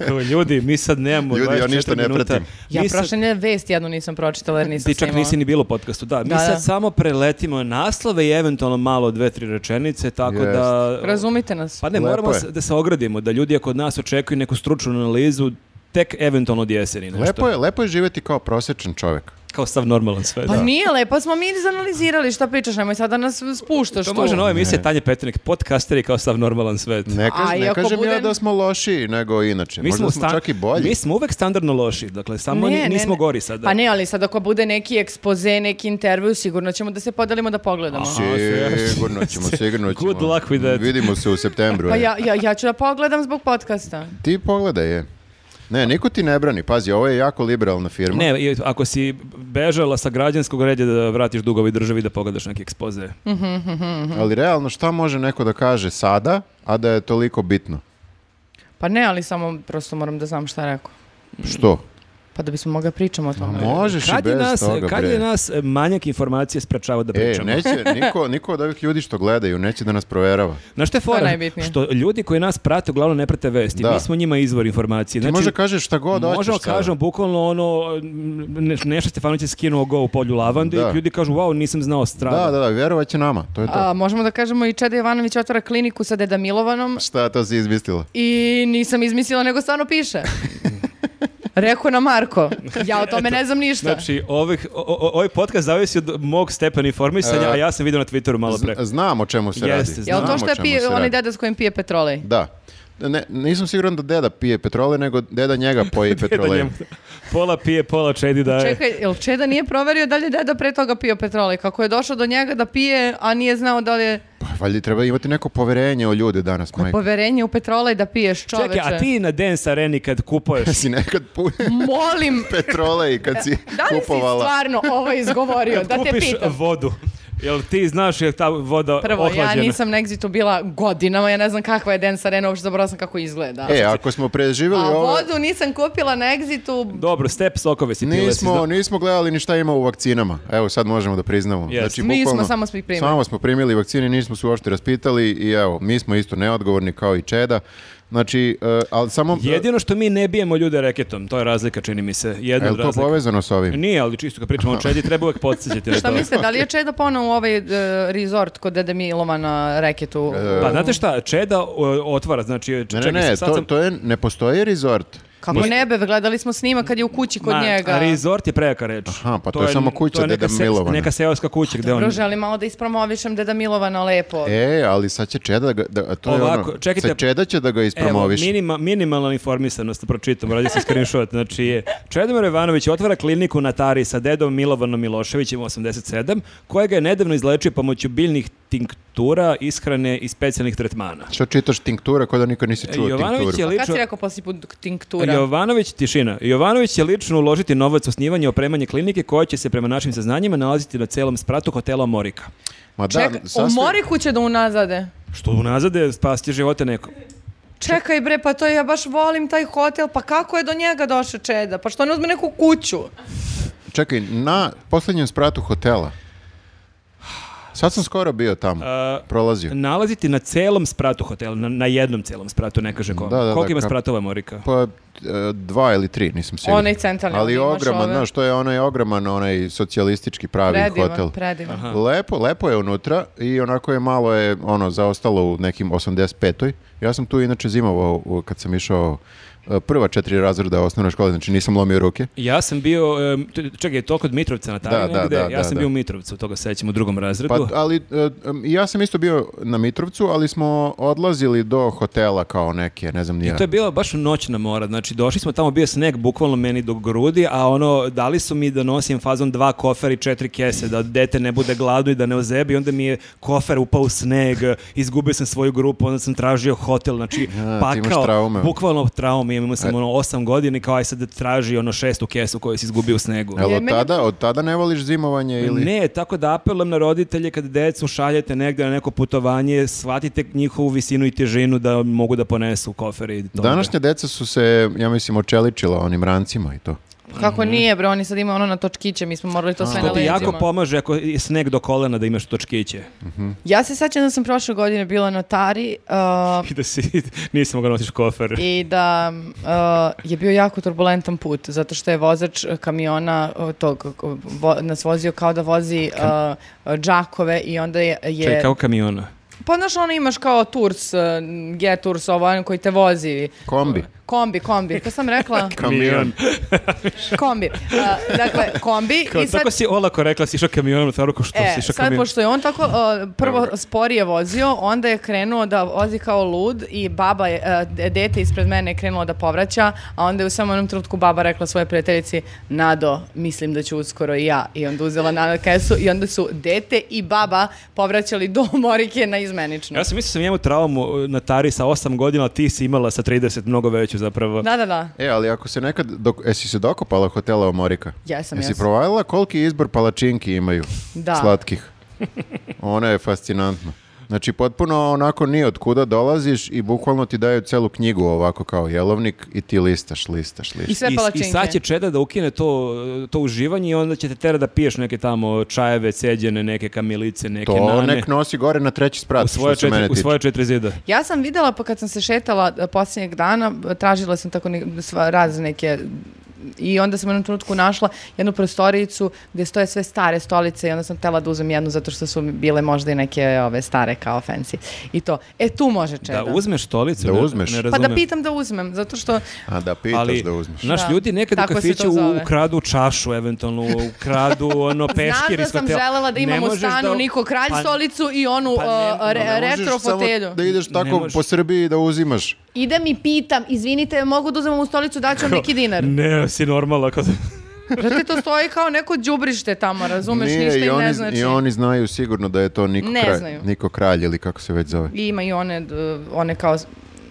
[SPEAKER 2] Evo, ljudi, mi sad nemamo
[SPEAKER 1] Ljudi, ja
[SPEAKER 2] 24
[SPEAKER 1] ništa ne
[SPEAKER 2] minuta.
[SPEAKER 1] pratim.
[SPEAKER 3] Ja
[SPEAKER 2] Mi sad-
[SPEAKER 3] prošle nedelje vest jednu nisam pročitala jer nisam
[SPEAKER 2] Ti čak
[SPEAKER 3] snimala.
[SPEAKER 2] nisi ni bilo u podcastu, da. Mi
[SPEAKER 3] Da,
[SPEAKER 2] sad
[SPEAKER 3] da.
[SPEAKER 2] samo preletimo naslove i eventualno malo dve, tri rečenice, tako
[SPEAKER 1] Jest.
[SPEAKER 2] da...
[SPEAKER 3] Razumite nas.
[SPEAKER 2] Pa ne,
[SPEAKER 1] Lepo
[SPEAKER 2] moramo
[SPEAKER 1] je.
[SPEAKER 2] se- da se ogradimo, da ljudi ako od nas očekuju neku stručnu analizu, tek eventualno od jeseni. Nešto.
[SPEAKER 1] Lepo je, lepo je živjeti kao prosječan čovjek.
[SPEAKER 2] Kao stav normalan sve.
[SPEAKER 3] Pa
[SPEAKER 2] da.
[SPEAKER 3] nije lepo, smo mi izanalizirali šta pričaš, nemoj sad da nas spuštaš
[SPEAKER 2] To
[SPEAKER 3] tu.
[SPEAKER 2] može nova emisija Tanje Petrinik, podcasteri kao stav normalan svet.
[SPEAKER 1] Ne, kaž-
[SPEAKER 3] A i
[SPEAKER 1] ne
[SPEAKER 3] ako
[SPEAKER 1] kažem ja
[SPEAKER 3] budem-
[SPEAKER 1] da smo lošiji nego inače, možda smo
[SPEAKER 2] sta-
[SPEAKER 1] čak i bolji.
[SPEAKER 2] Mi smo uvek standardno loši, dakle, samo
[SPEAKER 3] Ne,
[SPEAKER 2] ni-
[SPEAKER 3] ne,
[SPEAKER 2] nismo
[SPEAKER 3] ne.
[SPEAKER 2] gori sada.
[SPEAKER 3] Pa ne, ali sad ako bude neki ekspoze, neki intervju, sigurno ćemo da se podelimo da pogledamo. Pa
[SPEAKER 2] Aha.
[SPEAKER 1] Sigurno ćemo, sigurno ćemo.
[SPEAKER 2] (laughs) Good luck with that.
[SPEAKER 1] Vidimo se u septembru.
[SPEAKER 3] Pa
[SPEAKER 1] e.
[SPEAKER 3] ja, ja, ja ću da pogledam zbog podcasta.
[SPEAKER 1] Ti pogledaj je. Ne, niko ti ne brani. Pazi, ovo je jako liberalna firma.
[SPEAKER 2] Ne, i ako si bežala sa građanskog reda da vratiš dugovi državi da pogledaš neke ekspoze.
[SPEAKER 3] Mm.
[SPEAKER 1] Mhm. Ali realno šta može neko da kaže sada, a da je toliko bitno?
[SPEAKER 3] Pa ne, ali samo prosto moram da znam šta je rekao.
[SPEAKER 1] Što?
[SPEAKER 3] Pa da bismo mogli da pričamo o tome.
[SPEAKER 1] Možeš i
[SPEAKER 2] Kad je
[SPEAKER 1] bez
[SPEAKER 2] nas,
[SPEAKER 1] toga,
[SPEAKER 2] kad
[SPEAKER 1] bre.
[SPEAKER 2] je nas e, manjak informacije sprečava da
[SPEAKER 1] E,
[SPEAKER 2] pričamo?
[SPEAKER 1] neće, niko, niko od ovih ljudi što gledaju neće da nas proverava.
[SPEAKER 2] Znaš što je
[SPEAKER 3] je
[SPEAKER 2] fora?
[SPEAKER 3] najbitnije.
[SPEAKER 2] Što ljudi koji nas prate uglavnom ne prate vesti.
[SPEAKER 1] Da.
[SPEAKER 2] Mi smo njima izvor informacije.
[SPEAKER 1] Ti
[SPEAKER 2] Znači,
[SPEAKER 1] može kažeš šta god hoćeš
[SPEAKER 2] Možemo
[SPEAKER 1] sada.
[SPEAKER 2] kažem, bukvalno ono, ne, Neša Stefanović je skinuo go u polju lavande
[SPEAKER 1] Da.
[SPEAKER 2] i ljudi kažu, wow, nisam znao stranu.
[SPEAKER 1] Da, da, da, vjerovat će nama, to je to.
[SPEAKER 3] A, možemo da kažemo i Čeda Jovanović otvara kliniku sa Deda Milovanom
[SPEAKER 1] Šta to si izmislila?
[SPEAKER 3] i nisam izmislila nego stvarno
[SPEAKER 1] (laughs)
[SPEAKER 3] piše. Rekao na Marko. Ja o tome ne znam ništa.
[SPEAKER 2] Znači, ovih, o- o- ovaj podcast zavisi od mog stepena informisanja,
[SPEAKER 1] E,
[SPEAKER 2] a ja sam vidio na Twitteru malo pre.
[SPEAKER 1] Z- znam o čemu se
[SPEAKER 2] Jeste,
[SPEAKER 1] radi.
[SPEAKER 2] znam.
[SPEAKER 3] Jel
[SPEAKER 1] Znam
[SPEAKER 3] to
[SPEAKER 1] o
[SPEAKER 3] što je
[SPEAKER 1] čemu
[SPEAKER 3] pije,
[SPEAKER 1] se
[SPEAKER 3] onaj
[SPEAKER 1] radi.
[SPEAKER 3] deda s kojim pije petrolej?
[SPEAKER 1] Da. Ne, nisam siguran da deda pije petrole, nego deda njega
[SPEAKER 2] (laughs)
[SPEAKER 1] poji petrole.
[SPEAKER 2] Njemu- Pola pije, pola čedi daje.
[SPEAKER 3] Čekaj, jel Čeda nije proverio da li je deda pre toga pio petrolej? Kako je došao do njega da pije, a nije znao da li je
[SPEAKER 1] Pa, valjda treba imati neko poverenje u ljude danas, majko.
[SPEAKER 3] poverenje u petrolej da piješ čoveče?
[SPEAKER 2] Čekaj, a ti na Dance Areni kad kupuješ
[SPEAKER 1] (laughs) si nekad pu...
[SPEAKER 3] (laughs) Molim,
[SPEAKER 1] petrole i kad si
[SPEAKER 3] da li si
[SPEAKER 1] kupovala.
[SPEAKER 3] stvarno ovo izgovorio?
[SPEAKER 2] kad
[SPEAKER 3] da te
[SPEAKER 2] kupiš
[SPEAKER 3] pitam.
[SPEAKER 2] vodu, jel ti znaš je ta voda
[SPEAKER 3] Prvo,
[SPEAKER 2] ohlađena?
[SPEAKER 3] ja nisam na Exitu bila godinama, ja ne znam kakva je Dance Arena, uopšte zaboravila sam kako izgleda.
[SPEAKER 1] E, ako smo preživjeli
[SPEAKER 3] a
[SPEAKER 1] ovo...
[SPEAKER 3] vodu nisam kupila na Exitu,
[SPEAKER 2] Dobro, step sokove si pila. si
[SPEAKER 1] Nismo,
[SPEAKER 2] zna-
[SPEAKER 1] nismo gledali ni šta ima u vakcinama. Evo, sad možemo da priznamo. Znači,
[SPEAKER 2] Jeste.
[SPEAKER 3] Mi smo
[SPEAKER 1] bukvalno,
[SPEAKER 3] samo svi primili.
[SPEAKER 1] Samo smo primili vakcine, nismo se uopšte raspitali i evo, mi smo isto neodgovorni kao i Čeda. Znači, e, ali samo...
[SPEAKER 2] Jedino što mi ne bijemo ljude reketom, to je razlika, čini mi se.
[SPEAKER 1] E,
[SPEAKER 2] Jedna
[SPEAKER 1] je
[SPEAKER 2] od
[SPEAKER 1] li to
[SPEAKER 2] razlika.
[SPEAKER 1] povezano s ovim?
[SPEAKER 2] Nije, ali čisto kad pričamo o Čedi, treba
[SPEAKER 3] (laughs)
[SPEAKER 2] uvek podsjećati na
[SPEAKER 3] Šta
[SPEAKER 2] to.
[SPEAKER 3] mislite, da li je Čeda ponovo u ovaj e, resort kod Dede Milova na reketu?
[SPEAKER 2] Pa znate šta, Čeda o, otvara, znači...
[SPEAKER 1] Ne, ne,
[SPEAKER 2] čekaj,
[SPEAKER 1] ne,
[SPEAKER 2] sad
[SPEAKER 1] to,
[SPEAKER 2] sam-
[SPEAKER 1] to je, ne postoji rezort.
[SPEAKER 3] Kako ne bebe, gledali smo snima kad je u kući kod
[SPEAKER 2] Ma,
[SPEAKER 3] njega.
[SPEAKER 2] Resort je prejaka reč.
[SPEAKER 1] Aha, pa to je samo kuća
[SPEAKER 2] to je
[SPEAKER 1] Deda
[SPEAKER 2] neka se-
[SPEAKER 1] Milovana.
[SPEAKER 2] Neka seoska kuća gde on...
[SPEAKER 3] Dobro, želim malo da ispromovišem Deda Milova na lepo.
[SPEAKER 1] E, ali sad će Čeda da ga... Da, to je
[SPEAKER 2] Ovako,
[SPEAKER 1] ono,
[SPEAKER 2] čekajte.
[SPEAKER 1] sad Čeda će da ga
[SPEAKER 2] Evo,
[SPEAKER 1] ispromoviš.
[SPEAKER 2] minima, minimalna informisanost, da pročitam, radi se screenshot. Znači, je, Čedomir Jovanović otvara kliniku na Tari sa dedom Milovanom Miloševićem 87, kojega je nedavno izlečio pomoću biljnih tinktura, ishrane i specijalnih tretmana.
[SPEAKER 1] Što čitaš tinktura, kod da nikad nisi čuo
[SPEAKER 2] Jovanović je
[SPEAKER 1] tinkturu?
[SPEAKER 3] Kad si
[SPEAKER 2] lično...
[SPEAKER 3] rekao poslije put tinktura?
[SPEAKER 2] Jovanović, tišina. Jovanović će lično uložiti novac u osnivanje i opremanje klinike koja će se prema našim saznanjima nalaziti na celom spratu hotela Morika.
[SPEAKER 1] Ma
[SPEAKER 3] Čekaj, o
[SPEAKER 1] sasvim-
[SPEAKER 3] Moriku će da unazade.
[SPEAKER 2] Što unazade spasti živote nekom.
[SPEAKER 3] Čekaj bre, pa to ja baš volim taj hotel, pa kako je do njega došao Čeda? Pa što ne uzme neku kuću?
[SPEAKER 1] Čekaj, na posljednjem spratu hotela. Sad sam skoro bio tamo,
[SPEAKER 2] A,
[SPEAKER 1] prolazio.
[SPEAKER 2] Nalaziti na celom spratu hotela, na, na jednom celom spratu, ne kaže ko.
[SPEAKER 1] Da, da, da,
[SPEAKER 2] Koliko ima
[SPEAKER 1] kap-
[SPEAKER 2] spratova Morika?
[SPEAKER 1] Pa e, dva ili tri, nisam siguran.
[SPEAKER 3] Onaj centralni,
[SPEAKER 1] Ali
[SPEAKER 3] onaj imaš
[SPEAKER 1] ogroman,
[SPEAKER 3] ove.
[SPEAKER 1] znaš, to je onaj ogroman, onaj socijalistički pravi
[SPEAKER 3] Predivan,
[SPEAKER 1] hotel.
[SPEAKER 3] predivan.
[SPEAKER 1] Lepo, lepo je unutra i onako je malo je ono zaostalo u nekim 85-oj. Ja sam tu inače zimovao u- kad sam išao e, prva četiri razreda osnovne škole, znači nisam lomio ruke.
[SPEAKER 2] Ja sam bio, em, t- čekaj, je to kod Mitrovca na taj
[SPEAKER 1] Da, da,
[SPEAKER 2] negde?
[SPEAKER 1] da,
[SPEAKER 2] ja
[SPEAKER 1] da,
[SPEAKER 2] sam
[SPEAKER 1] da.
[SPEAKER 2] bio u Mitrovcu, toga se sećam u drugom razredu.
[SPEAKER 1] Pa, ali e, em, ja sam isto bio na Mitrovcu, ali smo odlazili do hotela kao neke, ne znam ni ja.
[SPEAKER 2] I to je bila baš noćna mora, znači došli smo tamo, bio je sneg bukvalno meni do grudi, a ono, dali su mi da nosim fazom dva kofera i četiri kese, da dete ne bude gladno i da ne ozebi, onda mi je kofer upao u sneg, izgubio sam svoju grupu, onda sam tražio hotel, znači
[SPEAKER 1] A, ti imaš
[SPEAKER 2] pakao,
[SPEAKER 1] traume. E.
[SPEAKER 2] bukvalno traume, imao sam ono osam godina i kao aj sad da traži ono šestu kesu koju si izgubio u snegu.
[SPEAKER 1] Jel
[SPEAKER 3] Je,
[SPEAKER 1] od
[SPEAKER 3] meni-
[SPEAKER 1] tada, od tada ne voliš zimovanje ili...
[SPEAKER 2] Ne, tako da apelujem na roditelje kad decu šaljete negde na neko putovanje, shvatite njihovu visinu i težinu da mogu da ponesu kofere i to.
[SPEAKER 1] Današnja deca su se, ja mislim, očeličila onim rancima i to.
[SPEAKER 3] Pa Kako nije, bre, oni sad imaju ono na točkiće, mi smo morali to sve na
[SPEAKER 2] Što Mhm. ti
[SPEAKER 3] leđima. Mm.
[SPEAKER 2] jako pomaže ako je sneg do kolena da imaš točkiće.
[SPEAKER 3] Ja se sećam da sam prošle godine bila notari uh,
[SPEAKER 2] I da si, (laughs) nisi mogao nosiš kofer.
[SPEAKER 3] i da uh, je bio jako turbulentan put, zato što je vozač uh, kamiona uh, tog, uh, vo- nas vozio kao da vozi uh, uh, džakove i onda je... je
[SPEAKER 2] Čekaj, kako kamiona?
[SPEAKER 3] Pa znaš, ono imaš kao Turs, uh, G-Turs, ovo ono koji te vozi.
[SPEAKER 1] Kombi.
[SPEAKER 3] Kombi, kombi. Kako sam
[SPEAKER 2] (laughs)
[SPEAKER 3] rekla?
[SPEAKER 1] Kamion.
[SPEAKER 3] kombi. Uh, dakle, kombi.
[SPEAKER 2] Kao,
[SPEAKER 3] i sad...
[SPEAKER 2] Tako si olako rekla, si išao kamionom, u stvaru ko što
[SPEAKER 3] E,
[SPEAKER 2] si išao
[SPEAKER 3] sad
[SPEAKER 2] kamionom.
[SPEAKER 3] pošto je on tako uh, prvo sporije vozio, onda je krenuo da vozi kao lud i baba je, uh, de- dete ispred mene je krenulo da povraća, a onda je u samom jednom trenutku baba rekla svoje prijateljici, Nado, mislim da ću uskoro i ja. I onda uzela na kesu i onda su dete i baba povraćali do (laughs) Morike na izmenično.
[SPEAKER 2] Ja sam mislio sam njemu traumu e, na tari sa 8 godina, a ti si imala sa 30 mnogo veću zapravo.
[SPEAKER 3] Da, da, da.
[SPEAKER 1] E, ali ako se nekad, dok, jesi se dokopala hotela Omorika?
[SPEAKER 3] Jesam,
[SPEAKER 1] Jesi
[SPEAKER 3] jesam.
[SPEAKER 1] provalila koliki izbor palačinki imaju?
[SPEAKER 3] Da.
[SPEAKER 1] Slatkih. Ona je fascinantna. Znači, potpuno onako nije od kuda dolaziš i bukvalno ti daju celu knjigu ovako kao jelovnik i ti listaš, listaš,
[SPEAKER 3] I
[SPEAKER 1] listaš.
[SPEAKER 3] sve
[SPEAKER 2] I, I
[SPEAKER 3] palačinke.
[SPEAKER 2] sad će Čeda da ukine to, e, to uživanje i onda će te tera da piješ neke tamo čajeve, ceđene, neke kamilice, neke
[SPEAKER 1] To
[SPEAKER 2] nane.
[SPEAKER 1] nek nosi gore na treći sprat,
[SPEAKER 2] u svoje,
[SPEAKER 1] što se
[SPEAKER 2] četiri,
[SPEAKER 1] mene
[SPEAKER 2] u
[SPEAKER 1] tiče.
[SPEAKER 2] svoje četiri zida.
[SPEAKER 3] Ja sam videla pa kad sam se šetala e, posljednjeg dana, e, tražila sam tako ne, sva, razne neke i onda sam u jednom trenutku našla jednu prostorijicu gdje stoje sve stare stolice i onda sam tela da uzem jednu zato što su mi bile možda i neke ove stare kao fancy. I to. E tu može čeda.
[SPEAKER 2] Da uzmeš stolicu,
[SPEAKER 1] Da
[SPEAKER 2] ne-
[SPEAKER 1] uzmeš.
[SPEAKER 2] ne
[SPEAKER 1] Pa
[SPEAKER 3] pa da
[SPEAKER 2] razumem.
[SPEAKER 3] pitam da uzmem, zato što
[SPEAKER 1] A da pitaš
[SPEAKER 2] ali
[SPEAKER 1] da uzmeš.
[SPEAKER 2] Naš
[SPEAKER 3] Da.
[SPEAKER 2] ljudi nekad u
[SPEAKER 3] Tako se to
[SPEAKER 2] kafiću u-
[SPEAKER 3] zove.
[SPEAKER 2] ukradu čašu, eventualno ukradu ono
[SPEAKER 3] (laughs) znaš
[SPEAKER 2] peškir
[SPEAKER 3] da
[SPEAKER 2] iz
[SPEAKER 3] sam
[SPEAKER 2] hotela.
[SPEAKER 3] želela da
[SPEAKER 2] Ne
[SPEAKER 3] imam u
[SPEAKER 2] možeš
[SPEAKER 3] stanu
[SPEAKER 2] da-
[SPEAKER 3] Niko Kralj
[SPEAKER 2] pa-
[SPEAKER 3] stolicu i onu
[SPEAKER 2] pa ne-
[SPEAKER 3] e,
[SPEAKER 2] pa
[SPEAKER 3] re-
[SPEAKER 1] Ne možeš
[SPEAKER 3] retro
[SPEAKER 1] samo
[SPEAKER 3] fotelju.
[SPEAKER 1] Da ideš tako
[SPEAKER 2] možeš.
[SPEAKER 1] po Srbiji da uzimaš.
[SPEAKER 3] Idem i pitam, izvinite, mogu da uzmem u stolicu, daću
[SPEAKER 2] (laughs)
[SPEAKER 3] vam neki dinar.
[SPEAKER 2] Ne, si normalno. Kao...
[SPEAKER 3] Brate, to stoji kao neko đubrište tamo, razumeš,
[SPEAKER 1] Nije,
[SPEAKER 3] ništa
[SPEAKER 1] i,
[SPEAKER 3] i
[SPEAKER 1] oni,
[SPEAKER 3] ne znači.
[SPEAKER 1] I oni znaju sigurno da je to Niko,
[SPEAKER 3] Ne
[SPEAKER 1] kralj,
[SPEAKER 3] znaju.
[SPEAKER 1] Niko kralj ili kako se već zove.
[SPEAKER 3] I ima i one, d- one kao s-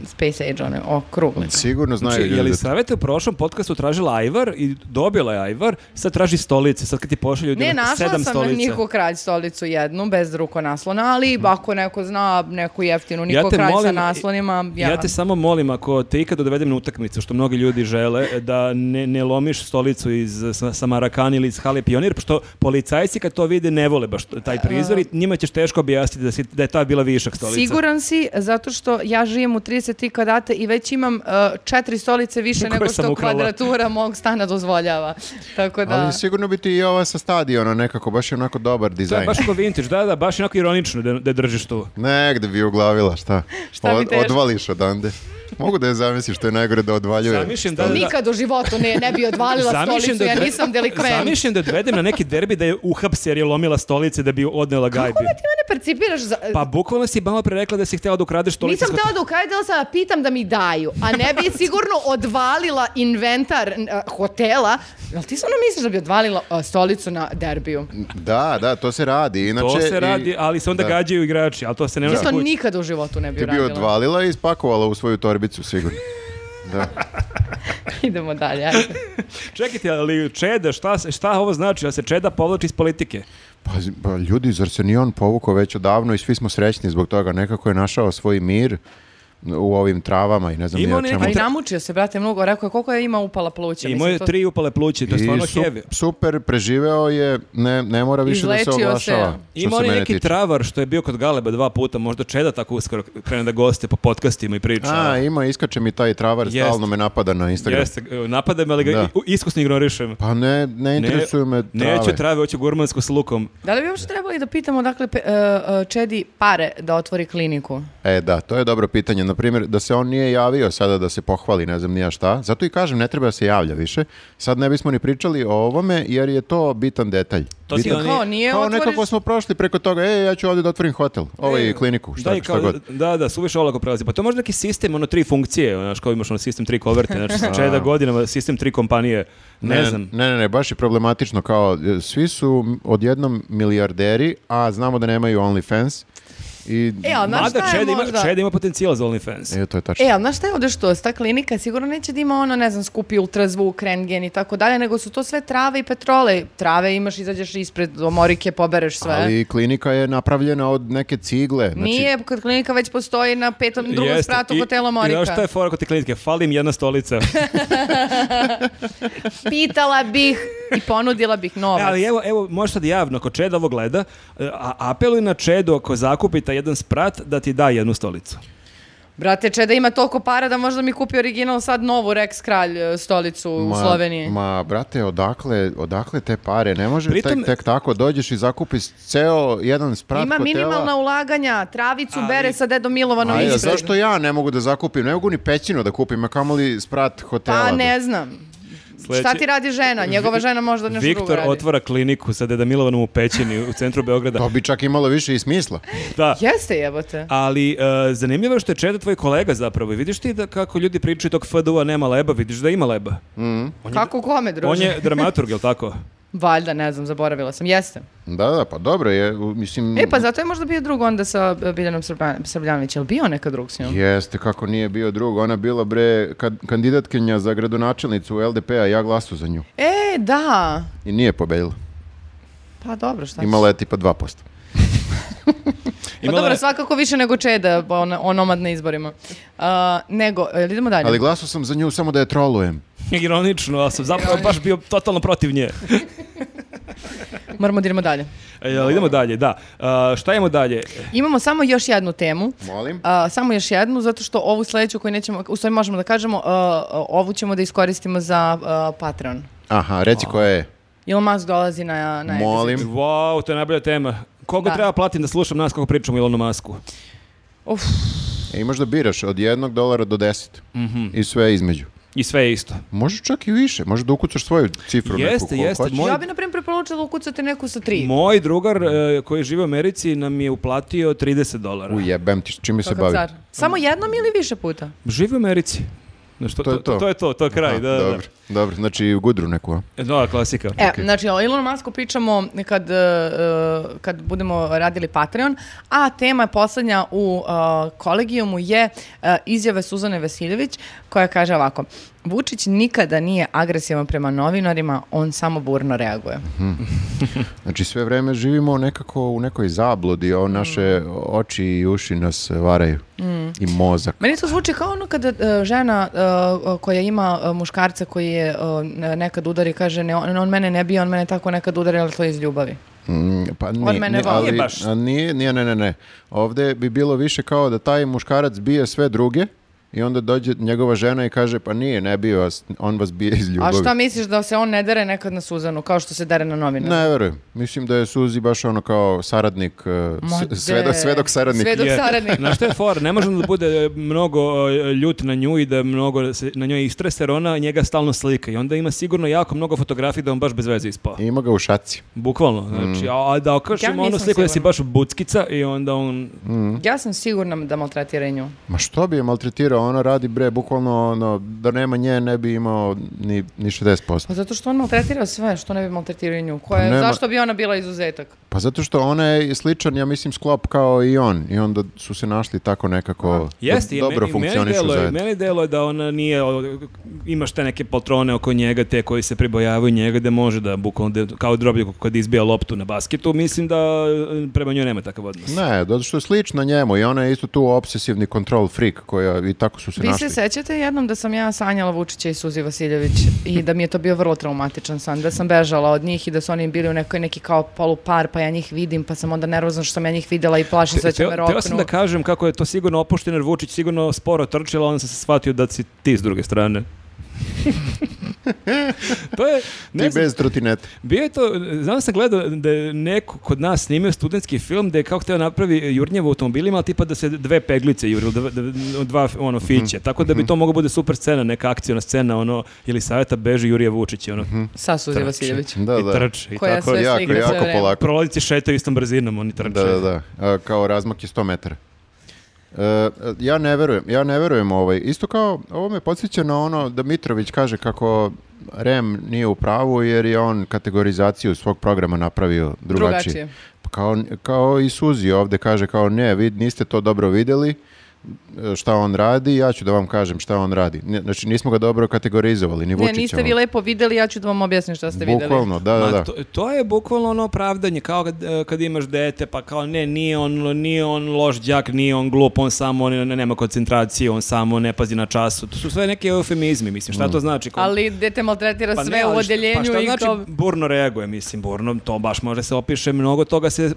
[SPEAKER 3] Space Age, one okrugle.
[SPEAKER 1] Sigurno znaju
[SPEAKER 2] Znači, je
[SPEAKER 1] ljudi
[SPEAKER 2] li
[SPEAKER 1] da-
[SPEAKER 2] savete u prošlom podcastu tražila Ajvar i dobila je Ajvar, sad traži stolice, sad kad ti pošalju ljudi
[SPEAKER 3] Ne,
[SPEAKER 2] sedam
[SPEAKER 3] našla sam
[SPEAKER 2] stolica.
[SPEAKER 3] na Niko Kralj stolicu jednu, bez rukonaslona, ali ako neko zna neku jeftinu Niko
[SPEAKER 2] te
[SPEAKER 3] Kralj sa
[SPEAKER 2] molim-
[SPEAKER 3] naslonima, ja,
[SPEAKER 2] Ja te samo molim, ako te ikada dovedem na utakmicu, što mnogi ljudi žele, da ne, ne lomiš stolicu iz sa, sa Marakani ili iz Hale Pionir, pošto policajci kad to vide ne vole baš taj prizor i njima ćeš teško objasniti da, si, da je ta bila višak stolica.
[SPEAKER 3] Siguran si, zato što ja živim u 33 kvadrate i već imam uh, četiri stolice više
[SPEAKER 2] Koje
[SPEAKER 3] nego
[SPEAKER 2] sam
[SPEAKER 3] što
[SPEAKER 2] ukrala.
[SPEAKER 3] kvadratura mog stana dozvoljava. Tako da...
[SPEAKER 1] Ali sigurno bi ti i ova sa stadiona nekako, baš je onako dobar
[SPEAKER 2] To je
[SPEAKER 1] dizajn.
[SPEAKER 2] baš kao vintage, da, da, baš onako ironično da, da držiš tu.
[SPEAKER 1] Negde bi uglavila, šta?
[SPEAKER 3] (laughs) Šta bi teško?
[SPEAKER 1] odvališ odande. Mogu da je zamisliš što je najgore da odvaljuje.
[SPEAKER 2] Zamišljam da, da, da.
[SPEAKER 3] Nikad u životu ne, ne bi odvalila
[SPEAKER 2] Zamišljam
[SPEAKER 3] stolicu, ja
[SPEAKER 2] dre-
[SPEAKER 3] nisam delikvent.
[SPEAKER 2] Zamišljam da je dovedem na neki derbi da je uhapse jer je lomila stolice da bi odnela gajbi.
[SPEAKER 3] Ti mene percipiraš za,
[SPEAKER 2] Pa bukvalno si malo pre rekla da si htjela da ukradeš stolice.
[SPEAKER 3] Nisam htela da ukradela sam, da pitam da mi daju, a ne bi
[SPEAKER 2] (laughs)
[SPEAKER 3] sigurno odvalila inventar n- a, hotela. Jel ti stvarno misliš da bi odvalila a, stolicu na derbiju?
[SPEAKER 1] Da, da, to se radi. Inače,
[SPEAKER 2] To
[SPEAKER 1] Znači, i-
[SPEAKER 2] se radi, ali se onda
[SPEAKER 1] da.
[SPEAKER 2] gađaju igrači, ali to se ne
[SPEAKER 3] Ja
[SPEAKER 2] nosi
[SPEAKER 3] to
[SPEAKER 2] kući.
[SPEAKER 3] nikada u životu ne bi
[SPEAKER 1] Ti bi
[SPEAKER 3] uradila.
[SPEAKER 1] odvalila i spakovala u svoju torbicu, sigurno. Da.
[SPEAKER 3] (laughs) Idemo dalje. ajde.
[SPEAKER 2] Čekajte, ali Čeda, šta, se- šta ovo znači? Da se Čeda povlači iz politike?
[SPEAKER 1] Pa, z- pa ljudi, zar se ni on povukao već odavno i svi smo srećni zbog toga. Nekako je našao svoj mir u ovim travama i ne znam
[SPEAKER 2] Ima
[SPEAKER 1] ni ja
[SPEAKER 2] on
[SPEAKER 1] čemu.
[SPEAKER 3] Ali
[SPEAKER 2] neki
[SPEAKER 3] namučio se, brate, mnogo. Rekao je koliko je ima upala pluća.
[SPEAKER 2] Imao je
[SPEAKER 3] mislim, to-
[SPEAKER 2] tri upale plući, to je
[SPEAKER 1] I
[SPEAKER 2] stvarno
[SPEAKER 1] su-
[SPEAKER 2] heavy.
[SPEAKER 1] super, preživeo je, ne, ne mora više da se
[SPEAKER 3] Izlečio se.
[SPEAKER 1] oglašava. što
[SPEAKER 2] Ima
[SPEAKER 1] se
[SPEAKER 2] on i
[SPEAKER 1] mene
[SPEAKER 2] neki
[SPEAKER 1] tiče.
[SPEAKER 2] travar što je bio kod Galeba dva puta, možda Čeda tako uskoro krene da goste po podcastima i priča.
[SPEAKER 1] A, ima, iskače mi taj travar,
[SPEAKER 2] Jest.
[SPEAKER 1] stalno me napada na Instagram.
[SPEAKER 2] Jeste, napada me, ali ga
[SPEAKER 1] Da.
[SPEAKER 2] i- iskusno ignorišem.
[SPEAKER 1] Pa ne, ne interesuju me trave.
[SPEAKER 2] Neću trave, hoću gurmansku s lukom.
[SPEAKER 3] Da dakle, li bi uopšte eh, trebali da pitamo odakle pe- e, e, Čedi pare da otvori kliniku?
[SPEAKER 1] E da, to je dobro pitanje. na primjer, da se on nije javio sada da se pohvali, ne znam nija šta, zato i kažem, ne treba da se javlja više, sad ne bismo ni pričali o ovome, jer je to bitan detalj.
[SPEAKER 2] To ti
[SPEAKER 1] bitan...
[SPEAKER 2] oni-
[SPEAKER 3] Kao, nije
[SPEAKER 1] Kao
[SPEAKER 3] otvoriš...
[SPEAKER 1] nekako smo prošli preko toga, e, ja ću ovdje da otvorim hotel, ovaj kliniku, šta,
[SPEAKER 2] da, i
[SPEAKER 1] šta
[SPEAKER 2] kao,
[SPEAKER 1] god.
[SPEAKER 2] Da, da, suviše olako prelazi. Pa to je možda neki sistem, ono, tri funkcije, znaš, kao imaš ono sistem tri koverte,
[SPEAKER 1] (laughs)
[SPEAKER 2] znaš, sa čeda godinama, sistem tri kompanije, ne, znam.
[SPEAKER 1] Ne, ne, ne, baš je problematično kao e, svi su m- odjednom milijarderi, a znamo da nemaju OnlyFans i
[SPEAKER 3] E, ali znaš
[SPEAKER 2] Mada
[SPEAKER 3] šta je
[SPEAKER 2] Čeda ima,
[SPEAKER 3] možda?
[SPEAKER 2] Čeda ima potencijal za OnlyFans.
[SPEAKER 1] E, to je tačno.
[SPEAKER 3] E, ali znaš šta je ovde što? Ta klinika sigurno neće da ima ono, ne znam, skupi ultrazvuk, rentgen i tako dalje, nego su to sve trave i petrole. Trave imaš, izađeš ispred omorike, pobereš sve.
[SPEAKER 1] Ali klinika je napravljena od neke cigle. Znači,
[SPEAKER 3] Nije, kad klinika već postoji na petom, drugom
[SPEAKER 2] Jeste,
[SPEAKER 3] spratu
[SPEAKER 2] i-
[SPEAKER 3] hotela
[SPEAKER 2] I
[SPEAKER 3] Morika.
[SPEAKER 2] znaš šta je fora kod te klinike? Fali im jedna
[SPEAKER 3] (laughs)
[SPEAKER 2] stolica.
[SPEAKER 3] Pitala bih i ponudila
[SPEAKER 2] (laughs)
[SPEAKER 3] bih
[SPEAKER 2] E,
[SPEAKER 3] novac.
[SPEAKER 2] ali evo, evo, možeš sad javno, ako Čeda ovo gleda, e, a, apeluj na Čedu ako zakupite jedan sprat da ti da jednu stolicu.
[SPEAKER 3] Brate, Čeda ima toliko para da možda mi kupi original sad novu Rex Kralj e, stolicu u Sloveniji.
[SPEAKER 1] Ma, brate, odakle, odakle te pare? Ne može
[SPEAKER 2] Pritom-
[SPEAKER 1] tek, tek tako, dođeš i zakupiš ceo jedan sprat
[SPEAKER 3] Ima ono
[SPEAKER 1] hotela.
[SPEAKER 3] minimalna ulaganja, travicu
[SPEAKER 2] Ali-
[SPEAKER 3] bere sa dedom Milovanom
[SPEAKER 1] Ajde,
[SPEAKER 3] ispred.
[SPEAKER 1] zašto ja ne mogu da zakupim? Ne mogu ni pećinu da kupim, a kamoli sprat hotela.
[SPEAKER 3] Pa
[SPEAKER 1] da-
[SPEAKER 3] ne znam.
[SPEAKER 2] Sledeći-
[SPEAKER 3] Šta ti radi žena? Njegova žena možda nešto drugo
[SPEAKER 2] Viktor
[SPEAKER 3] radi.
[SPEAKER 2] otvara kliniku sa Deda Milovanom u Pećini u centru
[SPEAKER 3] (laughs)
[SPEAKER 2] Beograda.
[SPEAKER 1] To bi čak imalo više i smisla.
[SPEAKER 2] Da.
[SPEAKER 3] Jeste jebote.
[SPEAKER 2] Ali e, zanimljivo je što je Čeda tvoj kolega zapravo i vidiš ti da kako ljudi pričaju tog FDU-a nema leba, vidiš da ima leba.
[SPEAKER 3] Kako kome, druže? Pa
[SPEAKER 2] On je dramaturg, jel
[SPEAKER 3] (laughs)
[SPEAKER 2] tako?
[SPEAKER 3] Valjda, ne znam, zaboravila sam. Jeste.
[SPEAKER 1] Da, da, pa dobro je, u- mislim...
[SPEAKER 3] E, pa zato je možda bio drug onda sa e, Biljanom Srban- Srbljanović. Je li bio neka drug s njom?
[SPEAKER 1] Jeste, kako nije bio drug. Ona je bila, bre, kad, kandidatkinja za gradonačelnicu LDP-a, ja glasu za nju.
[SPEAKER 3] E, da.
[SPEAKER 1] I nije pobedila.
[SPEAKER 3] Pa dobro, šta
[SPEAKER 1] Imala je tipa 2%.
[SPEAKER 3] Pa dobro, svakako više nego Čeda, on, onomad na izborima. A, nego, e, idemo dalje.
[SPEAKER 1] Ali glasao sam za nju samo da je trolujem.
[SPEAKER 2] Ironično, ali sam zapravo baš bio totalno protiv nje.
[SPEAKER 3] Moramo da idemo dalje.
[SPEAKER 2] E, ali idemo dalje, da. E, šta imamo dalje?
[SPEAKER 3] Imamo samo još jednu temu.
[SPEAKER 1] Molim.
[SPEAKER 3] A, samo još jednu, zato što ovu sledeću koju nećemo, u stvari možemo da kažemo, a, a, ovu ćemo da iskoristimo za a, Patreon.
[SPEAKER 1] Aha, reci koja je.
[SPEAKER 3] Elon Musk dolazi na, na
[SPEAKER 1] Molim.
[SPEAKER 2] Wow, to je najbolja tema. Koliko
[SPEAKER 3] Da.
[SPEAKER 2] treba platim da slušam nas kako pričamo o Elonu Masku?
[SPEAKER 3] Uf,
[SPEAKER 1] E, imaš da biraš od jednog dolara do deset.
[SPEAKER 3] Mhm.
[SPEAKER 1] I sve između.
[SPEAKER 2] I sve je isto.
[SPEAKER 1] Može čak i više. Može da ukucaš svoju cifru. neku
[SPEAKER 2] Jeste,
[SPEAKER 1] koliko
[SPEAKER 2] jeste,
[SPEAKER 1] hoćeš.
[SPEAKER 2] Moj-
[SPEAKER 3] ja bi na primjer preporučila ukucati neku sa tri.
[SPEAKER 2] Moj drugar e, koji živi u Americi nam je uplatio 30 dolara.
[SPEAKER 1] Ujebem ti, čime se
[SPEAKER 3] Kakav
[SPEAKER 1] bavi?
[SPEAKER 3] car. Samo jednom ili više puta?
[SPEAKER 2] Živi u Americi. Znaš, to,
[SPEAKER 1] To je
[SPEAKER 2] to, to,
[SPEAKER 1] to.
[SPEAKER 2] to je to, to je kraj.
[SPEAKER 1] Aha,
[SPEAKER 2] da, da,
[SPEAKER 1] dobro, dobro, znači u gudru neku, a?
[SPEAKER 2] da. Nova klasika.
[SPEAKER 3] E, znači o Elonu Musku pričamo kad, e, e, kad budemo radili Patreon, a tema poslednja u e, kolegijumu je e, izjave Suzane Vasiljević koja kaže ovako, Vučić nikada nije agresivan prema novinarima, on samo burno reaguje.
[SPEAKER 1] Mhm. Znači sve vreme živimo nekako u nekoj zabludi, a naše oči i uši nas varaju. I mozak.
[SPEAKER 3] Meni to zvuči kao ono kada e, žena e, koja ima e, muškarca koji je e, ne- nekad udari kaže ne, on, on mene ne bije, on mene tako nekad udari, ali to je iz ljubavi.
[SPEAKER 1] Mm, pa nije,
[SPEAKER 3] mene
[SPEAKER 1] nije,
[SPEAKER 3] voli.
[SPEAKER 1] ali-
[SPEAKER 2] Nije baš.
[SPEAKER 1] a nije, nije, ne, ne, ne. Ovde bi bilo više kao da taj muškarac bije sve druge i onda dođe njegova žena i kaže pa nije, ne bio vas, on vas bije iz
[SPEAKER 3] A
[SPEAKER 1] ljubavi.
[SPEAKER 3] šta misliš da se on ne dere nekad na Suzanu kao što se dere na novinara?
[SPEAKER 1] Ne verujem. Mislim da je Suzi baš ono kao saradnik, eh,
[SPEAKER 3] Ma
[SPEAKER 1] s-
[SPEAKER 3] de.
[SPEAKER 1] svedok, svedok saradnik.
[SPEAKER 3] Svedok
[SPEAKER 2] Je.
[SPEAKER 3] saradnik.
[SPEAKER 2] Znaš šta je for? Ne možemo da bude e, mnogo e, ljut na nju i da mnogo se na njoj istrese, jer ona njega stalno slika i onda ima sigurno jako mnogo fotografija da on baš bez veze ispao.
[SPEAKER 1] Ima ga u šaci.
[SPEAKER 2] Bukvalno. Znači,
[SPEAKER 1] Mm.
[SPEAKER 2] a, a da
[SPEAKER 3] Ja
[SPEAKER 2] okašimo
[SPEAKER 3] nisam
[SPEAKER 2] onu sliku da si
[SPEAKER 3] sigurna.
[SPEAKER 2] baš buckica i onda on...
[SPEAKER 1] Mm.
[SPEAKER 3] Ja sam sigurna da maltretira i nju.
[SPEAKER 1] Ma što bi je maltretirao? Ona radi bre, bukvalno ono, da nema nje ne bi imao ni, ni 60%.
[SPEAKER 3] Pa zato što on maltretira sve, što ne bi maltretirao i nju. Koja, je-
[SPEAKER 1] Pa Nema-
[SPEAKER 3] Zašto bi ona bila izuzetak?
[SPEAKER 1] Pa zato što ona je sličan, ja mislim, sklop kao i on. I onda su se našli tako nekako
[SPEAKER 2] Jeste,
[SPEAKER 1] da
[SPEAKER 2] i
[SPEAKER 1] dobro
[SPEAKER 2] meni- i meni
[SPEAKER 1] funkcionišu
[SPEAKER 2] delo je,
[SPEAKER 1] zajedno.
[SPEAKER 2] meni delo je da ona nije, o, imaš te neke poltrone oko njega, te koji se pribojavaju njega, da može da bukvalno, da- kao droblje kad izbija loptu na basketu, mislim da e, prema njoj nema takav odnos.
[SPEAKER 1] Ne, zato što je slična njemu i ona je isto tu obsesivni control freak koja i tako su se
[SPEAKER 3] Vi
[SPEAKER 1] našli.
[SPEAKER 3] se sećate jednom da sam ja sanjala Vučića i Suzi Vasiljević i da mi je to bio vrlo traumatičan san, da sam bežala od njih i da su oni bili u nekoj neki kao polupar, pa ja njih vidim, pa sam onda nervozna što sam ja njih videla i plašim se da će
[SPEAKER 2] Teo-
[SPEAKER 3] me
[SPEAKER 2] Teo sam
[SPEAKER 3] roknu.
[SPEAKER 2] da kažem kako je to sigurno opušteno,
[SPEAKER 1] (laughs)
[SPEAKER 2] jer Vučić sigurno sporo trčila, onda sam se shvatio da si ti s druge strane. to je, ne
[SPEAKER 1] Ti
[SPEAKER 2] znam,
[SPEAKER 1] bez trotineta.
[SPEAKER 2] bio je to, znam sam gledao da je neko kod nas snimio studentski film da je kao hteo napravi jurnjevo u automobilima, ali tipa da se dve peglice jurilo, dva, dva
[SPEAKER 1] Mhm.
[SPEAKER 2] ono, fiće, tako da bi to moglo bude super scena, neka akcijna scena, ono, ili savjeta beži Jurija Vučića, ono,
[SPEAKER 3] Sa Suzi Vasiljević.
[SPEAKER 1] Mhm. Da,
[SPEAKER 2] i
[SPEAKER 1] da.
[SPEAKER 2] trče, i
[SPEAKER 3] Koja
[SPEAKER 2] tako.
[SPEAKER 3] sve
[SPEAKER 1] Jako,
[SPEAKER 3] slika sve
[SPEAKER 1] jako
[SPEAKER 3] vreme.
[SPEAKER 1] polako.
[SPEAKER 2] Prolaznici šetaju istom brzinom, oni trče.
[SPEAKER 1] Da, da, da. A, kao razmak je 100 metara. E, ja ne verujem, ja ne verujem ovaj. Isto kao, ovo me podsjeća na ono da Mitrović kaže kako REM nije u pravu jer je on kategorizaciju svog programa napravio drugačije.
[SPEAKER 3] Drugačije.
[SPEAKER 1] Pa Kao, kao i Suzi ovde kaže kao ne, vi niste to dobro videli, e, šta on radi, ja ću da vam kažem šta on radi. Ne, Znači nismo ga dobro kategorizovali, ni
[SPEAKER 3] Ne,
[SPEAKER 1] Vučićevo.
[SPEAKER 3] niste vi lepo videli, ja ću da vam objasnim šta ste videli.
[SPEAKER 1] Bukvalno, da, da,
[SPEAKER 2] Ma,
[SPEAKER 1] da.
[SPEAKER 2] To, to je bukvalno ono opravdanje, kao kad, e, kad imaš dete, pa kao ne, nije on, nije on loš đak, nije on glup, on samo ne, ne- nema koncentracije, on samo ne pazi na času. To su sve neke eufemizmi, mislim,
[SPEAKER 1] Mhm.
[SPEAKER 2] šta to znači? Kao-
[SPEAKER 3] Ali dete maltretira
[SPEAKER 2] pa ne,
[SPEAKER 3] sve u
[SPEAKER 2] ali šta-
[SPEAKER 3] odeljenju
[SPEAKER 2] pa šta
[SPEAKER 3] i
[SPEAKER 2] znači
[SPEAKER 3] kao...
[SPEAKER 2] burno reaguje, mislim, burno, to baš može se opiše, mnogo toga se e, e,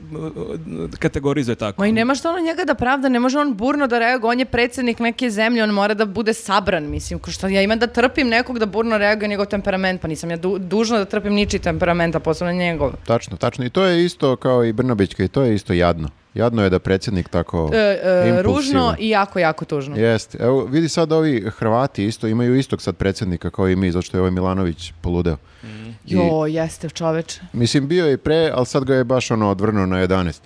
[SPEAKER 2] kategorizuje tako.
[SPEAKER 3] Ma i nema što ono njega da pravda, ne može on burno da reaguje, on je predsjednik neke zemlje, on mora da bude sabran, mislim, ko što ja imam da trpim nekog da burno reaguje na njegov temperament, pa nisam ja du- dužna da trpim ničiji temperament, a posebno njegov.
[SPEAKER 1] Tačno, tačno. I to je isto kao i Brnabićka i to je isto jadno. Jadno je da predsjednik tako
[SPEAKER 3] E, e,
[SPEAKER 1] impulsivan.
[SPEAKER 3] ružno i jako, jako tužno.
[SPEAKER 1] Jeste. Evo, vidi sad ovi Hrvati isto imaju istog sad predsjednika kao i mi, zato što je ovaj Milanović poludeo. I,
[SPEAKER 3] Mm. Jo, jeste čoveče.
[SPEAKER 1] mislim, bio je i pre, ali sad ga je baš ono odvrnuo na 11.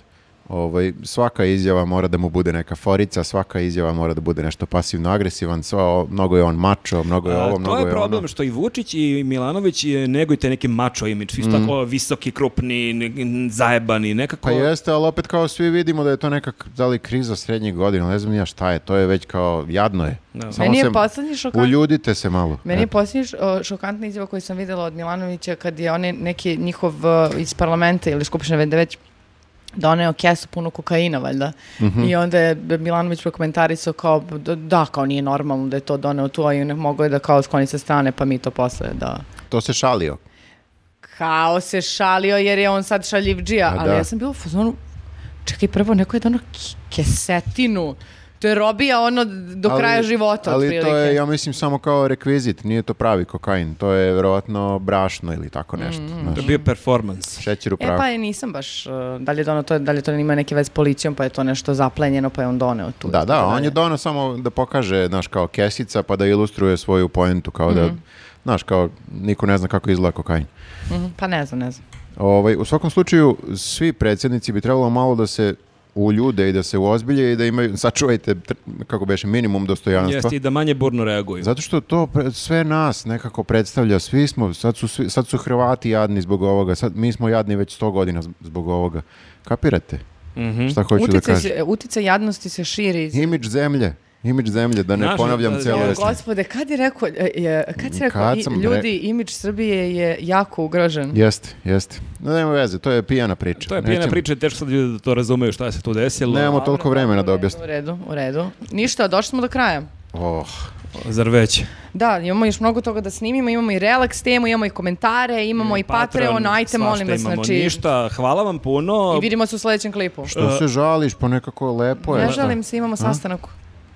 [SPEAKER 1] Ovaj, svaka izjava mora da mu bude neka forica, svaka izjava mora da bude nešto pasivno-agresivan, sva, o- mnogo je on mačo, mnogo je
[SPEAKER 2] A,
[SPEAKER 1] ovo, mnogo
[SPEAKER 2] to
[SPEAKER 1] je,
[SPEAKER 2] je problem
[SPEAKER 1] ono.
[SPEAKER 2] što i Vučić i Milanović e, neguju te neke mačo imidž, isto tako visoki, krupni, n- zajebani, nekako...
[SPEAKER 1] Mhm. Pa jeste, ali opet kao svi vidimo da je to neka, da li kriza srednjih godina, ne znam ni ja šta je, to je već kao, jadno je.
[SPEAKER 2] Da.
[SPEAKER 1] Samo
[SPEAKER 3] Meni je
[SPEAKER 1] se-
[SPEAKER 3] poslednji šokan-
[SPEAKER 1] Uljudite se malo.
[SPEAKER 3] Meni je
[SPEAKER 1] Eto.
[SPEAKER 3] posljednji š- o, šokantna izjava koju sam vidjela od Milanovića kad je on neki njihov e, iz parlamenta ili skupštine vede već doneo kesu puno kokaina, valjda.
[SPEAKER 1] Mhm.
[SPEAKER 3] I onda je Milanović prokomentarisao kao, d- da, kao nije normalno da je to doneo tu, a i ne mogo je da kao skloni sa strane, pa mi to posle da...
[SPEAKER 1] To se šalio.
[SPEAKER 3] Kao se šalio jer je on sad šaljivđija,
[SPEAKER 1] A
[SPEAKER 3] ali
[SPEAKER 1] da.
[SPEAKER 3] ja sam bila u fazonu, čekaj, prvo, neko je doneo ki- kesetinu. To je robija ono d- do
[SPEAKER 1] Ali-
[SPEAKER 3] kraja života,
[SPEAKER 1] Ali
[SPEAKER 3] otprilike.
[SPEAKER 1] to je, ja mislim, samo kao rekvizit, nije to pravi kokain, to je verovatno brašno ili tako nešto. znaš.
[SPEAKER 2] To je bio performans.
[SPEAKER 1] Šećer u
[SPEAKER 3] Mm, E
[SPEAKER 1] prahu.
[SPEAKER 3] pa je nisam baš, uh, da li je dono to, da li to ima neke veze s policijom, pa je to nešto zaplenjeno, pa je on doneo tu.
[SPEAKER 1] Da, da,
[SPEAKER 3] Tako
[SPEAKER 1] on je
[SPEAKER 3] dalje.
[SPEAKER 1] donao samo da pokaže, znaš, kao kesica, pa da ilustruje svoju poentu, kao da,
[SPEAKER 3] Mm.
[SPEAKER 1] znaš, kao niko ne zna kako izgleda kokain.
[SPEAKER 3] Mhm, Pa ne znam, ne znam.
[SPEAKER 1] Ovaj, u svakom slučaju, svi predsjednici bi trebalo malo da se uljude i da se uozbilje i da imaju, (laughs) sačuvajte, tr- kako beše, minimum dostojanstva.
[SPEAKER 2] Jeste i da manje burno reaguju.
[SPEAKER 1] Zato što to pre- sve nas nekako predstavlja, svi smo, sad su, svi, sad su Hrvati jadni zbog ovoga, sad mi smo jadni već 100 godina z- zbog ovoga. Kapirate?
[SPEAKER 2] Mhm.
[SPEAKER 1] Šta hoću da
[SPEAKER 3] Uticaj,
[SPEAKER 1] kažem?
[SPEAKER 3] se- uticaj jadnosti se širi. iz-
[SPEAKER 1] Imidž zemlje, imidž zemlje, da ne
[SPEAKER 2] Naš-
[SPEAKER 1] ponavljam
[SPEAKER 2] da-
[SPEAKER 1] cijelo
[SPEAKER 2] da-
[SPEAKER 3] Jo,
[SPEAKER 1] večer.
[SPEAKER 3] gospode, kad je rekao, e, je, kad si rekao,
[SPEAKER 1] Kad
[SPEAKER 3] i-
[SPEAKER 1] sam
[SPEAKER 3] ljudi,
[SPEAKER 1] re-
[SPEAKER 3] imidž Srbije je jako ugrožen.
[SPEAKER 1] Jeste, jeste. No, nema veze, to je pijana priča.
[SPEAKER 2] To je pijena
[SPEAKER 1] Nećemo-
[SPEAKER 2] priča, teško sad ljudi da to razumeju šta se tu desilo.
[SPEAKER 1] Nemamo toliko vremena da
[SPEAKER 3] Ono, U redu,
[SPEAKER 1] objasnim.
[SPEAKER 3] U redu, u redu. Ništa, došli smo do kraja.
[SPEAKER 1] Oh,
[SPEAKER 2] Zar već?
[SPEAKER 3] Da, imamo još mnogo toga da snimimo, imamo i relax temu, imamo i komentare, imamo i Patreon, ajte,
[SPEAKER 2] svašta
[SPEAKER 3] molim vas,
[SPEAKER 2] imamo.
[SPEAKER 3] znači...
[SPEAKER 2] Ništa, hvala vam puno.
[SPEAKER 3] I vidimo se u sljedećem klipu.
[SPEAKER 1] što
[SPEAKER 2] Uh,
[SPEAKER 1] se žališ, pa nekako lepo je.
[SPEAKER 3] Ne želim se, imamo sastanak.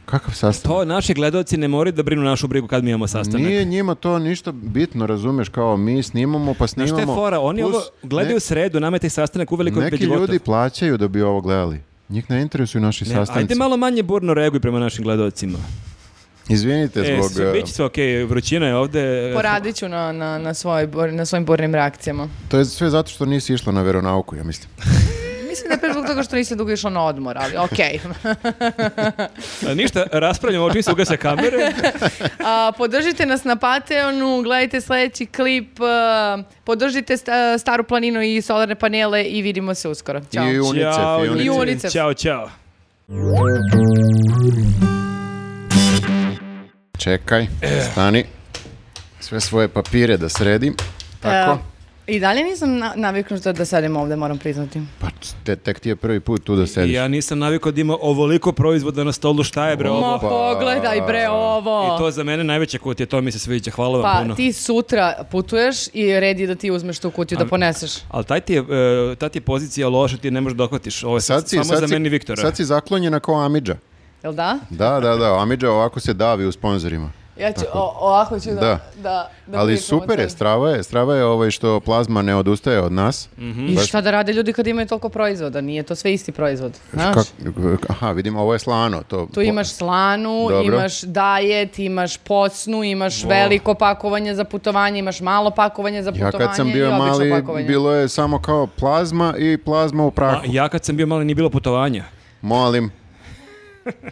[SPEAKER 1] Kakav sastanak?
[SPEAKER 2] To naši gledaoci ne moraju da brinu našu brigu kad mi imamo sastanak.
[SPEAKER 1] Nije njima to ništa bitno, razumeš, kao mi snimamo pa
[SPEAKER 2] Znaš
[SPEAKER 1] snimamo.
[SPEAKER 2] šta je fora? Oni
[SPEAKER 1] plus
[SPEAKER 2] ovo gledaju
[SPEAKER 1] ne-
[SPEAKER 2] sredu, nama je taj sastanak uveliko
[SPEAKER 1] Neki
[SPEAKER 2] pred
[SPEAKER 1] ljudi
[SPEAKER 2] gotov.
[SPEAKER 1] plaćaju da bi ovo gledali. Njih ne interesuju naši
[SPEAKER 2] Ne,
[SPEAKER 1] sastanci.
[SPEAKER 2] Ajde malo manje burno reaguj prema našim gledaocima.
[SPEAKER 1] Izvinite
[SPEAKER 2] E,
[SPEAKER 1] zbog...
[SPEAKER 2] sve, bit će sve okej, vrućina je ovde.
[SPEAKER 3] Poradit ću na, na, na, svoj, bor- na svojim bornim reakcijama.
[SPEAKER 1] To je sve zato što nisi išla na veronauku, ja mislim.
[SPEAKER 3] Mislim da je prvo zbog toga što nisam dugo išla na odmor, (laughs) ali okej.
[SPEAKER 2] A, (laughs) Ništa, raspravljamo, očin se ugasa kamere.
[SPEAKER 3] A, Podržite nas na Patreonu, gledajte sljedeći klip, a, podržite sta- Staru planinu i solarne panele i vidimo se uskoro. Ćao.
[SPEAKER 1] I (laughs) UNICEF.
[SPEAKER 2] Ćao, ljudi.
[SPEAKER 3] I UNICEF.
[SPEAKER 2] Ćao, ćao.
[SPEAKER 1] Čekaj,
[SPEAKER 2] E.
[SPEAKER 1] stani. Sve svoje papire da sredim. Tako.
[SPEAKER 3] E, I dalje nisam na, naviknuta da sedim ovdje, moram priznati.
[SPEAKER 1] Pa te, tek ti je prvi put tu da
[SPEAKER 2] I
[SPEAKER 1] sediš.
[SPEAKER 2] Ja nisam navikao da ima ovoliko proizvoda na stolu, šta je bre
[SPEAKER 3] Ma
[SPEAKER 2] ovo?
[SPEAKER 3] pogledaj bre ovo.
[SPEAKER 2] I to za mene najveća kutija, to mi se sviđa, hvala vam
[SPEAKER 3] Pa
[SPEAKER 2] puno.
[SPEAKER 3] ti sutra putuješ i red je da ti uzmeš tu kutiju da poneseš.
[SPEAKER 2] Ali taj ti je, e, ta ti je pozicija loša, ti je ne možeš da dohvatiš. Ovo je
[SPEAKER 1] Sad si,
[SPEAKER 2] samo
[SPEAKER 1] sad
[SPEAKER 2] za
[SPEAKER 1] si-
[SPEAKER 2] meni Viktora.
[SPEAKER 1] Sad si zaklonjena kao Amidža.
[SPEAKER 3] Jel da?
[SPEAKER 1] Da, da, da, Amidža ovako se davi u sponzorima.
[SPEAKER 3] Ja ću, o, ovako ću da,
[SPEAKER 1] Da.
[SPEAKER 3] da, da,
[SPEAKER 1] Ali
[SPEAKER 3] pričam o
[SPEAKER 1] super je,
[SPEAKER 3] tome.
[SPEAKER 1] strava je, strava je ovaj što plazma ne odustaje od nas.
[SPEAKER 2] Mhm.
[SPEAKER 3] I šta da rade ljudi kad imaju toliko proizvoda? Nije to sve isti proizvod, znaš?
[SPEAKER 1] Znači, Kak- aha, vidim, ovo je slano. To,
[SPEAKER 3] Tu imaš slanu,
[SPEAKER 1] Dobro.
[SPEAKER 3] imaš dajet, imaš pocnu, imaš veliko pakovanje za putovanje, imaš malo pakovanje za
[SPEAKER 1] Ja
[SPEAKER 3] putovanje
[SPEAKER 1] kad sam
[SPEAKER 3] i
[SPEAKER 1] bio
[SPEAKER 3] obično
[SPEAKER 1] mali,
[SPEAKER 3] pakovanje.
[SPEAKER 1] bilo je samo kao plazma i plazma u
[SPEAKER 2] A,
[SPEAKER 1] prahu.
[SPEAKER 2] ja kad sam bio mali nije bilo putovanja.
[SPEAKER 1] Molim.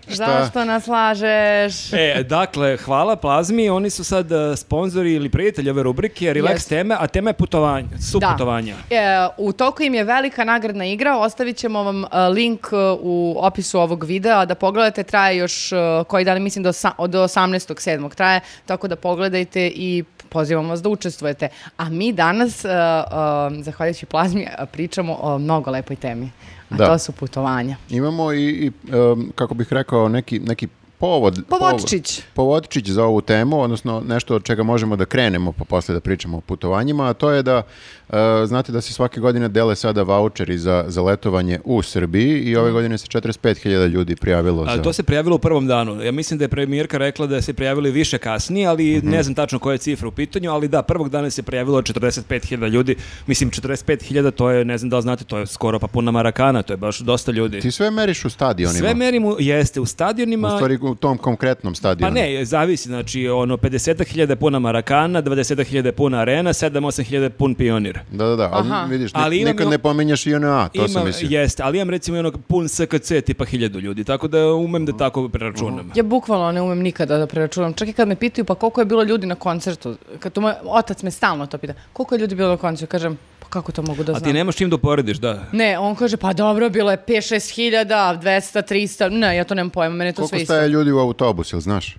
[SPEAKER 3] Zašto nas lažeš?
[SPEAKER 2] E, dakle, hvala Plazmi, oni su sad e, sponzori ili prijatelji ove rubrike, relax
[SPEAKER 3] Jest.
[SPEAKER 2] teme, a tema je putovanje, su
[SPEAKER 3] Da.
[SPEAKER 2] putovanja.
[SPEAKER 3] E, u toku im je velika nagradna igra, ostavit ćemo vam e, link e, u opisu ovog videa da pogledate, traje još e, koji dan, mislim do, sa, do 18.7. traje, tako da pogledajte i pozivamo vas da učestvujete. A mi danas, e, e, zahvaljujući plazmi, e, pričamo o mnogo lepoj temi, a
[SPEAKER 1] Da.
[SPEAKER 3] to su putovanja.
[SPEAKER 1] Imamo i, i, em, kako bih rekao, neki, neki povod.
[SPEAKER 3] Povodčić.
[SPEAKER 1] povod- povodčić za ovu temu, odnosno nešto od čega možemo da krenemo pa posle da pričamo o putovanjima, a to je da, e, znate da se svake godine dele sada voucheri za, za letovanje u Srbiji i ove godine se 45.000 ljudi prijavilo
[SPEAKER 2] A,
[SPEAKER 1] za...
[SPEAKER 2] to se prijavilo u prvom danu. Ja mislim da je premijerka rekla da se prijavili više kasnije, ali
[SPEAKER 1] Mhm.
[SPEAKER 2] ne znam tačno koja je cifra u pitanju, ali da, prvog dana se prijavilo 45.000 ljudi. Mislim, 45.000 to je, ne znam da li znate, to je skoro pa puna Marakana, to je baš dosta ljudi.
[SPEAKER 1] Ti sve meriš u stadionima.
[SPEAKER 2] Sve merimo, jeste, u
[SPEAKER 1] U
[SPEAKER 2] stadionima
[SPEAKER 1] stvari u tom konkretnom
[SPEAKER 2] Pa
[SPEAKER 1] stadionu.
[SPEAKER 2] ne, zavisi, znači ono 50.000 je puna Marakana, 20.000 je puna Arena, 7-8.000 je pun Pionir.
[SPEAKER 1] Da, da, da, ali
[SPEAKER 3] Aha.
[SPEAKER 1] vidiš, nik-
[SPEAKER 2] Ali imam
[SPEAKER 1] nikad
[SPEAKER 2] i-
[SPEAKER 1] ne pominješ INA, to sam
[SPEAKER 2] Imam-
[SPEAKER 1] mislio.
[SPEAKER 2] Jeste, ali imam recimo i onog pun SKC tipa 1000 ljudi, tako da umem da tako preračunam.
[SPEAKER 3] Ja bukvalno ne umem nikada da preračunam. Čak i kad me pitaju pa koliko je bilo ljudi na koncertu, kad to moj otac me stalno to pita, koliko je ljudi bilo na koncertu, kažem, pa kako to mogu da
[SPEAKER 2] A
[SPEAKER 3] znam?
[SPEAKER 2] ti nemaš čim da uporediš, da.
[SPEAKER 3] Ne, on kaže, pa dobro, bilo je 5-6 hiljada, 200, 300, ne, ja to nemam pojma, mene je to sve
[SPEAKER 1] Koliko
[SPEAKER 3] isto.
[SPEAKER 1] staje ljudi u autobus, jel znaš?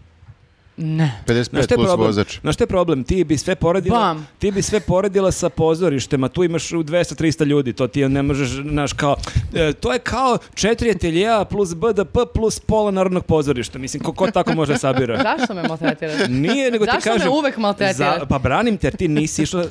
[SPEAKER 3] Ne.
[SPEAKER 1] 55
[SPEAKER 2] šta je
[SPEAKER 1] plus
[SPEAKER 2] problem?
[SPEAKER 1] vozač.
[SPEAKER 2] Znaš šta je problem? Ti bi sve poredila,
[SPEAKER 3] Bam.
[SPEAKER 2] ti bi sve poredila sa pozorištem, a tu imaš u 200-300 ljudi, to ti ne možeš, znaš, kao, e, to je kao četiri ateljeja plus BDP plus pola narodnog pozorišta. Mislim, ko, ko tako može da
[SPEAKER 3] (laughs)
[SPEAKER 2] sabira?
[SPEAKER 3] Zašto me
[SPEAKER 1] (laughs)
[SPEAKER 3] maltretiraš?
[SPEAKER 2] Nije, nego ti
[SPEAKER 3] Zašto me
[SPEAKER 2] kažem...
[SPEAKER 3] uvek maltretiraš?
[SPEAKER 2] pa branim te, jer ti nisi išla e,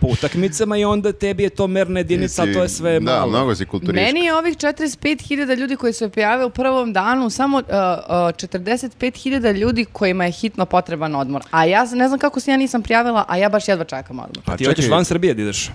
[SPEAKER 2] po utakmicama i onda tebi je to merna jedinica, a to je sve
[SPEAKER 1] da,
[SPEAKER 2] malo.
[SPEAKER 1] mnogo si kulturiška.
[SPEAKER 3] Meni je ovih 45.000 ljudi koji su se prijave u prvom danu samo uh, uh, 45.000 ljudi kojima je hitno potreban odmor. A ja z- ne znam kako se ja nisam prijavila, a ja baš jedva čekam odmor.
[SPEAKER 1] Pa
[SPEAKER 2] Ti
[SPEAKER 1] čekaj,
[SPEAKER 2] hoćeš van Srbije da ideš.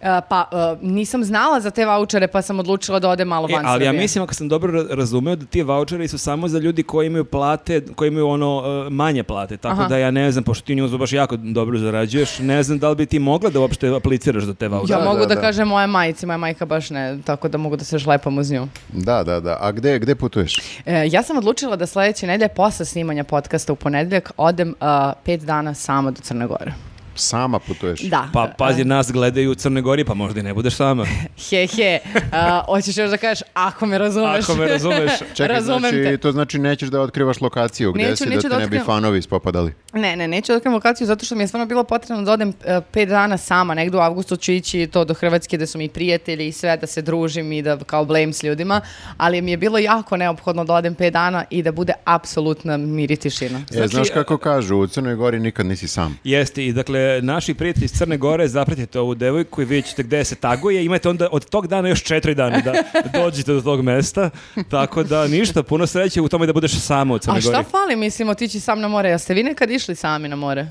[SPEAKER 3] Uh, pa uh, nisam znala za te vouchere pa sam odlučila da ode malo
[SPEAKER 2] E,
[SPEAKER 3] van
[SPEAKER 2] ali ja
[SPEAKER 3] Srbije.
[SPEAKER 2] mislim, ako sam dobro ra- razumeo, da ti voucheri su samo za ljudi koji imaju plate, koji imaju ono e, manje plate. Tako
[SPEAKER 3] Aha.
[SPEAKER 2] da ja ne znam, pošto ti njuzu baš jako dobro zarađuješ, ne znam da li bi ti mogla da uopšte apliciraš za te
[SPEAKER 3] Ja
[SPEAKER 2] vouchere.
[SPEAKER 1] Da,
[SPEAKER 3] mogu
[SPEAKER 1] da,
[SPEAKER 3] da,
[SPEAKER 1] da.
[SPEAKER 3] kažem moje majici, moja majka baš ne, tako da mogu da se žlepam uz nju.
[SPEAKER 1] Da, da, da. A gde, gde putuješ?
[SPEAKER 3] E, ja sam odlučila da sledeće nedelje posle snimanja podcasta u ponedeljak odem uh, pet dana samo do Crne Gore.
[SPEAKER 1] Sama putuješ?
[SPEAKER 3] Da.
[SPEAKER 2] Pa
[SPEAKER 3] E.
[SPEAKER 2] pazi, nas gledaju u Crnoj Gori, pa možda i ne budeš
[SPEAKER 3] (laughs)
[SPEAKER 2] sama.
[SPEAKER 3] He, he. A, hoćeš još da kažeš, ako me razumeš.
[SPEAKER 2] Ako me
[SPEAKER 3] (laughs)
[SPEAKER 2] razumeš.
[SPEAKER 1] Čekaj,
[SPEAKER 3] Razumem
[SPEAKER 1] znači,
[SPEAKER 3] te.
[SPEAKER 1] to znači nećeš da otkrivaš lokaciju gde
[SPEAKER 3] Neću,
[SPEAKER 1] si,
[SPEAKER 3] neću
[SPEAKER 1] da te
[SPEAKER 3] da
[SPEAKER 1] ne bi
[SPEAKER 3] otkrivam.
[SPEAKER 1] fanovi ispopadali.
[SPEAKER 3] Ne, ne, neću da otkrijem lokaciju zato što mi je stvarno bilo potrebno da odem e, pet dana sama. Negde u avgustu ću ići to do Hrvatske da su mi prijatelji i sve, da se družim i da kao blame s ljudima. Ali mi je bilo jako neophodno da odem pet dana i da bude apsolutna mir i tišina.
[SPEAKER 1] e,
[SPEAKER 2] Znači,
[SPEAKER 1] znaš kako kažu, u Crnoj Gori nikad nisi sam.
[SPEAKER 2] Jeste, i dakle, naši prijatelji iz Crne Gore, zapratite ovu devojku i vidjet ćete gde se taguje. Imate onda od tog dana još četiri dana
[SPEAKER 3] (laughs)
[SPEAKER 2] da dođete do tog mesta. Tako da ništa, puno sreće u tome da budeš samo u Crnoj
[SPEAKER 3] A šta
[SPEAKER 2] Gori.
[SPEAKER 3] fali, mislim, otići sam na more? Jeste vi nekad išli sami na more?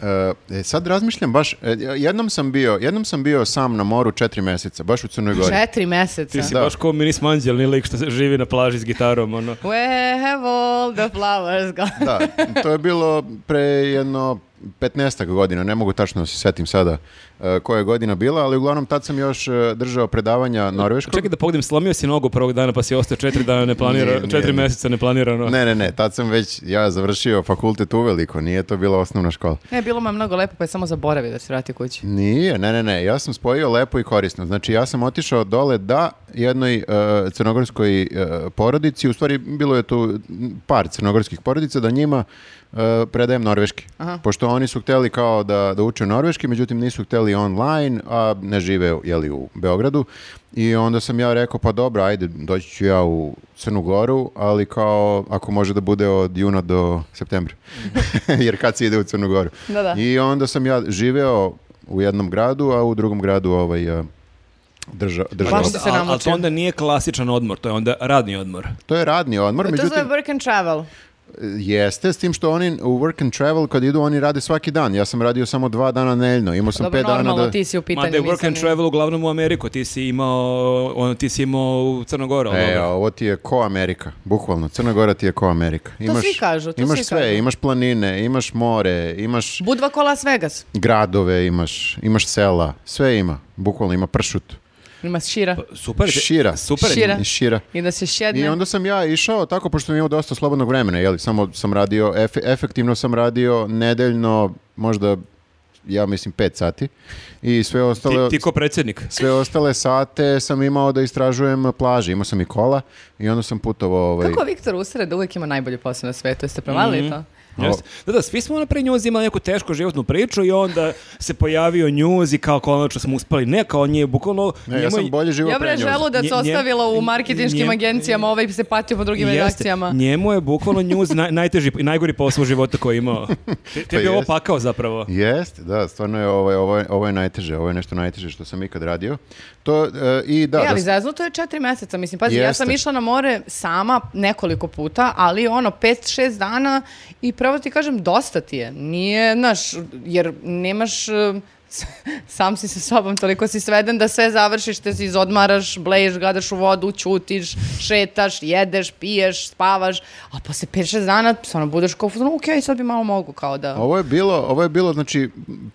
[SPEAKER 1] E, e, sad razmišljam baš, e, jednom sam bio, jednom sam bio sam na moru četiri meseca, baš u Crnoj Gori.
[SPEAKER 3] Četiri meseca.
[SPEAKER 2] Ti si
[SPEAKER 1] Da.
[SPEAKER 2] baš ko mini smanđelni lik što se- živi na plaži s gitarom, ono.
[SPEAKER 3] Where have all the flowers gone?
[SPEAKER 1] (laughs) Da, to je bilo pre jedno 15 godina, ne mogu tačno da se setim sada e, koja je godina bila, ali uglavnom tad sam još e, držao predavanja norveškog.
[SPEAKER 2] Čekaj da pogledam, slomio si nogu prvog dana pa si ostao četiri dana neplanirano,
[SPEAKER 1] Nije, nije,
[SPEAKER 2] četiri
[SPEAKER 1] nije.
[SPEAKER 2] mjeseca neplanirano.
[SPEAKER 1] Ne, ne, ne, tad sam već ja završio fakultet uveliko, nije to bila osnovna škola.
[SPEAKER 3] Ne, bilo mu je mnogo lepo, pa je samo zaboravio da se vrati kući.
[SPEAKER 1] Nije, ne, ne, ne, ja sam spojio lepo i korisno. Znači, ja sam otišao dole da jednoj e, crnogorskoj e, porodici, u stvari bilo je tu par crnogorskih porodica, da njima e, predajem norveški. Pošto oni su hteli kao da, da uče norveški, međutim nisu hteli online, a ne žive jeli, u Beogradu. I onda sam ja rekao, pa dobro, ajde, doći ću ja u Crnu Goru, ali kao ako može da bude od juna do septembra. (laughs) Jer kad se ide u Crnu Goru.
[SPEAKER 3] Da, da.
[SPEAKER 1] I onda sam ja živeo u jednom gradu, a u drugom gradu ovaj, eh, drža, držao.
[SPEAKER 3] Baš ste Pa se
[SPEAKER 2] Al- al
[SPEAKER 3] namučili.
[SPEAKER 2] to onda nije klasičan odmor, to je onda radni odmor.
[SPEAKER 1] To je radni odmor,
[SPEAKER 3] To se
[SPEAKER 1] međutim,
[SPEAKER 3] zove work and travel.
[SPEAKER 1] Jeste, s tim što oni u work and travel kad idu, oni rade svaki dan. Ja sam radio samo dva dana neljno, imao sam
[SPEAKER 3] Dobro,
[SPEAKER 1] pet dana
[SPEAKER 3] normalno,
[SPEAKER 1] da...
[SPEAKER 3] ti si u pitanju.
[SPEAKER 2] Mada je work
[SPEAKER 3] nisam
[SPEAKER 2] and
[SPEAKER 3] ni-
[SPEAKER 2] travel uglavnom u Ameriku, ti si imao, ono, ti si imao u Crnogoru. ali
[SPEAKER 1] E,
[SPEAKER 2] dobro.
[SPEAKER 1] a ovo ti je ko Amerika, bukvalno. Crna Gora ti je ko Amerika.
[SPEAKER 3] svi kažu, to
[SPEAKER 1] Imaš
[SPEAKER 3] svi
[SPEAKER 1] sve,
[SPEAKER 3] kažu.
[SPEAKER 1] imaš planine, imaš more, imaš
[SPEAKER 3] Budva ko Las Vegas.
[SPEAKER 1] gradove, imaš, imaš sela, sve ima. Bukvalno ima pršut,
[SPEAKER 3] Ima šira.
[SPEAKER 2] Pa, Super.
[SPEAKER 1] Šira.
[SPEAKER 2] Super.
[SPEAKER 3] Šira.
[SPEAKER 1] i šira.
[SPEAKER 3] I da se šedne.
[SPEAKER 1] I onda sam ja išao tako, pošto sam imao dosta slobodnog vremena, jeli, samo sam radio, efe- efektivno sam radio nedeljno, možda, ja mislim, pet sati. I sve
[SPEAKER 2] Ti,
[SPEAKER 1] ostale...
[SPEAKER 2] ti ko predsjednik.
[SPEAKER 1] Sve ostale sate sam imao da istražujem plaže. Imao sam i kola i onda sam putovao... Ovaj,
[SPEAKER 3] Kako Viktor usred da uvijek ima najbolji posao na svetu? Jeste provalili to?
[SPEAKER 2] Jeste. Da, da, svi smo ono naprej njuz imali neku tešku životnu priču i onda se pojavio njuz i kao konačno smo uspali. Ne, kao on je bukvalno...
[SPEAKER 1] Ne, ja
[SPEAKER 2] njemu
[SPEAKER 1] sam
[SPEAKER 2] je-
[SPEAKER 1] bolje živo
[SPEAKER 3] Ja
[SPEAKER 1] pre
[SPEAKER 3] bre
[SPEAKER 1] njoza.
[SPEAKER 3] želudac
[SPEAKER 2] Nje- nje-
[SPEAKER 3] ostavila u marketinškim
[SPEAKER 2] nje-
[SPEAKER 3] agencijama, ovaj se patio po drugim
[SPEAKER 2] Jeste.
[SPEAKER 3] redakcijama.
[SPEAKER 2] Njemu je bukvalno njuz naj, najteži i najgori posao u životu koji je imao. Ti, ti
[SPEAKER 1] (laughs) Pa
[SPEAKER 2] bi ovo
[SPEAKER 1] jest.
[SPEAKER 2] pakao zapravo.
[SPEAKER 1] Jeste, da, stvarno je ovo, ovo, je- ovo je najteže, ovo je nešto najteže što sam ikad radio. To, e, i da,
[SPEAKER 3] Da,
[SPEAKER 1] da
[SPEAKER 3] ali
[SPEAKER 1] s-
[SPEAKER 3] zeznuto je četiri meseca, mislim, pazi, ja sam
[SPEAKER 1] Jeste.
[SPEAKER 3] išla na more sama nekoliko puta, ali ono, pet, šest dana i pravo ti kažem, dosta ti je, nije, znaš, jer nemaš, eh, s- (laughs) sam si sa sobom, toliko si sveden da sve završiš, te si izodmaraš, bleješ, gadaš u vodu, ćutiš, šetaš, jedeš, piješ, spavaš, a posle pet, šest dana, stvarno, budeš kao, no, okej, sad bi malo mogu, kao da...
[SPEAKER 1] ovo je bilo, ovo je bilo znači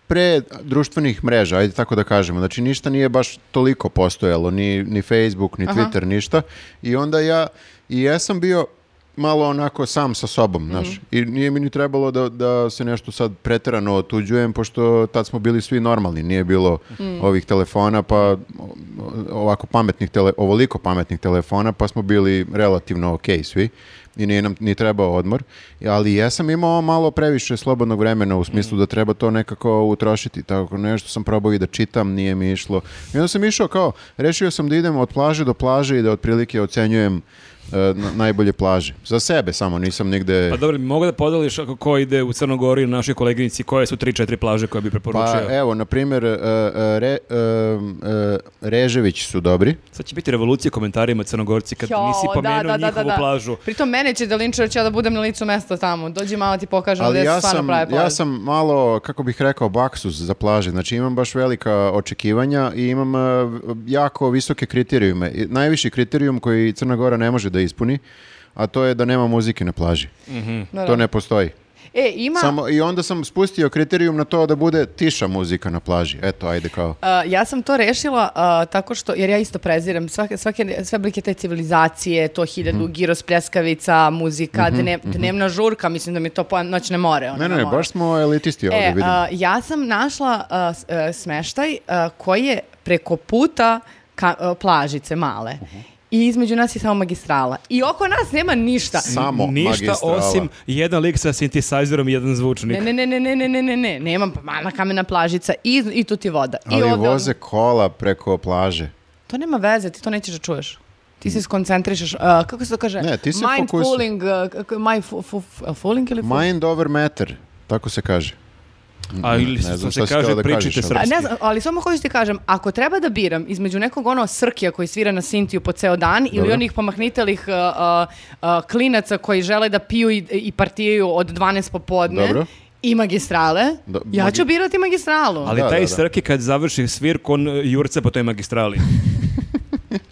[SPEAKER 1] pre društvenih mreža, ajde tako da kažemo. Znači ništa nije baš toliko postojalo, ni ni Facebook, ni Twitter, ništa. I onda ja i ja sam bio malo onako sam sa sobom, znaš. I nije mi ni trebalo da, da se nešto sad preterano otuđujem, pošto tad smo bili svi normalni, nije bilo ovih telefona, pa o- ovako pametnih, tele, ovoliko pametnih telefona, pa smo bili relativno ok svi i nije nam ni trebao odmor, ali ja sam imao malo previše slobodnog vremena u smislu da treba to nekako utrošiti, tako nešto sam probao i da čitam, nije mi išlo. I onda sam išao kao, rešio sam da idem od plaže do plaže i da otprilike ocenjujem e, na- najbolje plaže. Za sebe samo, nisam nigde...
[SPEAKER 2] Pa dobro, mi mogu da podeliš ako ko ide u Crnogoru i našoj koleginici koje su 3-4 plaže koje bi preporučio?
[SPEAKER 1] Pa evo, na primjer, e, e, Re- e, e, Reževići su dobri.
[SPEAKER 2] Sad će biti revolucija komentarima Crnogorci kad
[SPEAKER 3] Jao,
[SPEAKER 2] nisi pomenuo njihovu plažu.
[SPEAKER 3] Pritom mene će da linče, jer ću ja da budem na licu mesta tamo. Dođi malo ti pokažem
[SPEAKER 1] Ali
[SPEAKER 3] gde
[SPEAKER 1] ja
[SPEAKER 3] se stvarno
[SPEAKER 1] sam,
[SPEAKER 3] prave plaže.
[SPEAKER 1] ja sam malo, kako bih rekao, baksus za plaže. Znači imam baš velika očekivanja i imam e, jako visoke kriterijume. I Najviši kriterijum koji Crna Gora ne može da ispuni, a to je da nema muzike na plaži.
[SPEAKER 3] Da, da.
[SPEAKER 1] To ne postoji.
[SPEAKER 3] E, ima...
[SPEAKER 1] Samo, I onda sam spustio kriterijum na to da bude tiša muzika na plaži. Eto, ajde kao.
[SPEAKER 3] a, ja sam to rešila a, tako što, jer ja isto prezirem svake, svake, sve oblike te civilizacije, to hiljadu,
[SPEAKER 1] Mhm.
[SPEAKER 3] giros, pljeskavica, muzika, dne- dnevna žurka, mislim da mi je to pojam, noćne more. ono,
[SPEAKER 1] Ne,
[SPEAKER 3] na
[SPEAKER 1] ne,
[SPEAKER 3] moru.
[SPEAKER 1] baš smo elitisti ovdje,
[SPEAKER 3] E,
[SPEAKER 1] vidim.
[SPEAKER 3] a, ja sam našla a, s- e, smeštaj a, koji je preko puta ka- a, plažice male.
[SPEAKER 1] Mhm.
[SPEAKER 3] I između nas je samo magistrala. I oko nas nema ništa.
[SPEAKER 1] Samo
[SPEAKER 2] Ništa
[SPEAKER 1] magistrala.
[SPEAKER 2] osim jedan lik sa sintesajzerom i jedan zvučnik.
[SPEAKER 3] Ne, ne, ne, ne, ne, ne, ne, ne, ne, nemam pa mala kamena plažica i, i tu ti voda. I
[SPEAKER 1] Ali
[SPEAKER 3] ovde ono-
[SPEAKER 1] voze kola preko plaže.
[SPEAKER 3] To nema veze, ti to nećeš da čuješ. Ti se skoncentrišeš, uh, kako se to kaže?
[SPEAKER 1] Mm. Ne, ti se
[SPEAKER 3] Mind
[SPEAKER 1] fokusi-
[SPEAKER 3] fooling, uh, k- k- mind fu, fu, fu- uh, fooling ili fu-
[SPEAKER 1] Mind over matter, tako se kaže.
[SPEAKER 2] A ili
[SPEAKER 1] Ne
[SPEAKER 2] se,
[SPEAKER 1] znam šta
[SPEAKER 2] što se
[SPEAKER 1] si hteo
[SPEAKER 2] kaže,
[SPEAKER 1] da
[SPEAKER 2] pričajte
[SPEAKER 1] kažeš, ali-
[SPEAKER 2] srpski.
[SPEAKER 3] A, ne znam, ali samo hoću ti kažem, ako treba da biram između nekog ono srkija koji svira na sintiju po ceo dan ili
[SPEAKER 1] Dobro.
[SPEAKER 3] onih pomahnitelih uh, uh, uh, klinaca koji žele da piju i, i partijaju od 12 popodne
[SPEAKER 1] Dobro.
[SPEAKER 3] i magistrale,
[SPEAKER 1] Do-
[SPEAKER 3] ja ću
[SPEAKER 1] magi-
[SPEAKER 3] birati magistralu.
[SPEAKER 2] Ali
[SPEAKER 1] Da,
[SPEAKER 2] taj
[SPEAKER 1] da, da.
[SPEAKER 2] Srki kad završi svirku, on e, jurca po toj
[SPEAKER 1] (laughs)
[SPEAKER 2] magistrali.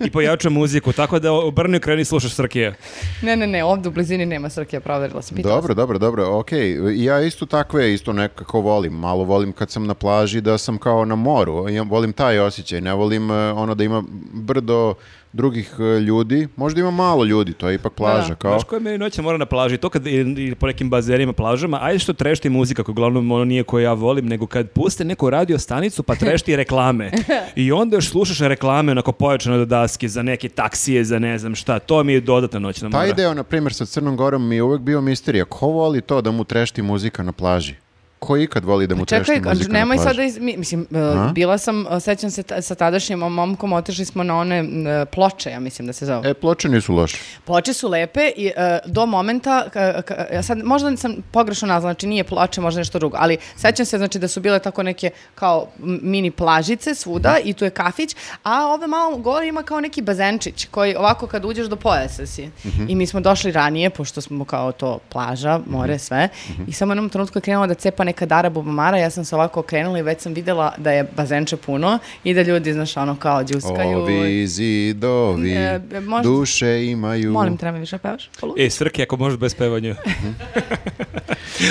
[SPEAKER 2] I pojača muziku, tako da obrni kreni slušaš Srkije.
[SPEAKER 3] Ne, ne, ne, ovdje u blizini nema srkija, proverila sam. pitala
[SPEAKER 1] Dobro, dobro, dobro, okej. I Ja isto takve, isto nekako volim. Malo volim kad sam na plaži da sam kao na moru. Ja volim taj osjećaj, ne volim e, ono da ima brdo drugih e, ljudi. Možda ima malo ljudi, to je ipak plaža.
[SPEAKER 3] Da, da.
[SPEAKER 1] Kao,
[SPEAKER 2] Znaš koja meni noća mora na plaži, to kad ili po nekim bazenima, plažama, ajde što trešti muzika, koja uglavnom ono nije koju ja volim, nego kad puste neku radio stanicu pa
[SPEAKER 1] (laughs)
[SPEAKER 2] trešti reklame. I onda još slušaš reklame onako pojačano do daske za neke taksije, za ne znam šta, to mi je dodatna noćna mora.
[SPEAKER 1] taj deo, na primjer, sa Crnom Gorom mi je uvek bio misterija. Ko voli to da mu trešti muzika na plaži? ko ikad voli da mu trešti
[SPEAKER 3] Pa Čekaj,
[SPEAKER 1] muzika na plaži.
[SPEAKER 3] nemoj sad da iz, mi- mislim, e,
[SPEAKER 1] A?
[SPEAKER 3] bila sam, e, sećam se ta- sa tadašnjim momkom, otišli smo na one m, e, ploče, ja mislim da se zove.
[SPEAKER 1] E, ploče nisu loše.
[SPEAKER 3] Ploče su lepe i e, do momenta, ka- ka- ja sad možda sam pogrešno nazvala, znači nije ploče, možda nešto drugo, ali sećam se znači da su bile tako neke kao m- mini plažice svuda i tu je kafić, a ove malo gore ima kao neki bazenčić koji ovako kad uđeš do pojasa si. I mi smo došli ranije, pošto smo kao to plaža, more, sve, i samo u jednom trenutku je krenula da cepa neka Dara Bubamara, ja sam se ovako okrenula i već sam videla da je bazenče puno i da ljudi, znaš, ono kao džuskaju.
[SPEAKER 1] Ovi zidovi,
[SPEAKER 3] E, možda-
[SPEAKER 1] duše imaju...
[SPEAKER 3] Molim, treba mi više pevaš? Polu?
[SPEAKER 2] E, Srki, ako možeš bez pevanja.
[SPEAKER 1] Mhm.
[SPEAKER 2] (laughs)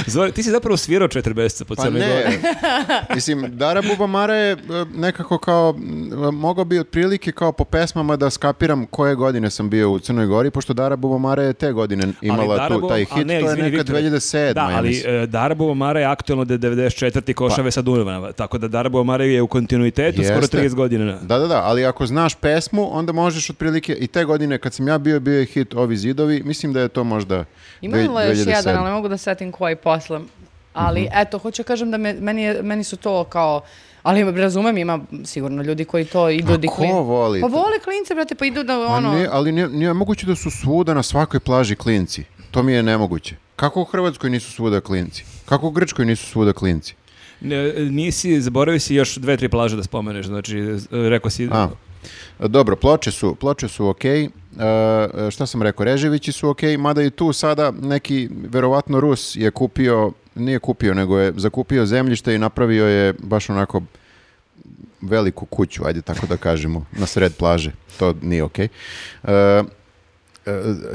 [SPEAKER 2] Zoran, ti si zapravo svirao četribesca po
[SPEAKER 1] Pa
[SPEAKER 2] celoj gori.
[SPEAKER 1] ne, mislim, Dara Bubamara je e, nekako kao, m, mogao bi otprilike kao po pesmama da skapiram koje godine sam bio u Crnoj Gori, pošto Dara Bubamara je te godine imala
[SPEAKER 2] Dara
[SPEAKER 1] tu,
[SPEAKER 2] Bo-
[SPEAKER 1] taj
[SPEAKER 2] a
[SPEAKER 1] hit,
[SPEAKER 2] ne,
[SPEAKER 1] to je
[SPEAKER 2] izvini,
[SPEAKER 1] neka
[SPEAKER 2] Viktore.
[SPEAKER 1] 2007.
[SPEAKER 2] Da,
[SPEAKER 1] ja
[SPEAKER 2] ali
[SPEAKER 1] mislim. Pa.
[SPEAKER 2] e, Dara Bovomara je aktualno da je 94. Košave sa Dunavama, tako da Dara Bovomara e, je u kontinuitetu
[SPEAKER 1] Jeste.
[SPEAKER 2] skoro 30 godina.
[SPEAKER 1] Da, da, da, ali ako znaš pesmu, onda možeš otprilike, i te godine kad sam ja bio, bio je hit Ovi zidovi, mislim da je to možda
[SPEAKER 3] Ima li još
[SPEAKER 1] 2007.
[SPEAKER 3] jedan, ali ne mogu da setim koji posle. Ali
[SPEAKER 1] Mhm.
[SPEAKER 3] eto, hoću da kažem da me, meni, je- meni su to kao... Ali razumem, ima sigurno ljudi koji to idu...
[SPEAKER 1] A
[SPEAKER 3] di
[SPEAKER 1] ko
[SPEAKER 3] klin-
[SPEAKER 1] voli
[SPEAKER 3] Pa
[SPEAKER 1] to?
[SPEAKER 3] vole klince, brate, pa idu da
[SPEAKER 1] Pa
[SPEAKER 3] ono...
[SPEAKER 1] nije- ali nije, nije moguće da su svuda na svakoj plaži klinci. To mi je nemoguće. Kako u Hrvatskoj nisu svuda klinci? Kako u Grčkoj nisu svuda klinci?
[SPEAKER 2] Ne, nisi, zaboravio si još dve, tri plaže da spomeneš, znači, e, rekao si...
[SPEAKER 1] A, dobro, ploče su, ploče su ok, e, šta sam rekao, Reževići su ok, mada i tu sada neki, verovatno Rus je kupio, nije kupio, nego je zakupio zemljište i napravio je baš onako veliku kuću, ajde tako da kažemo, na sred plaže. To nije ok. E,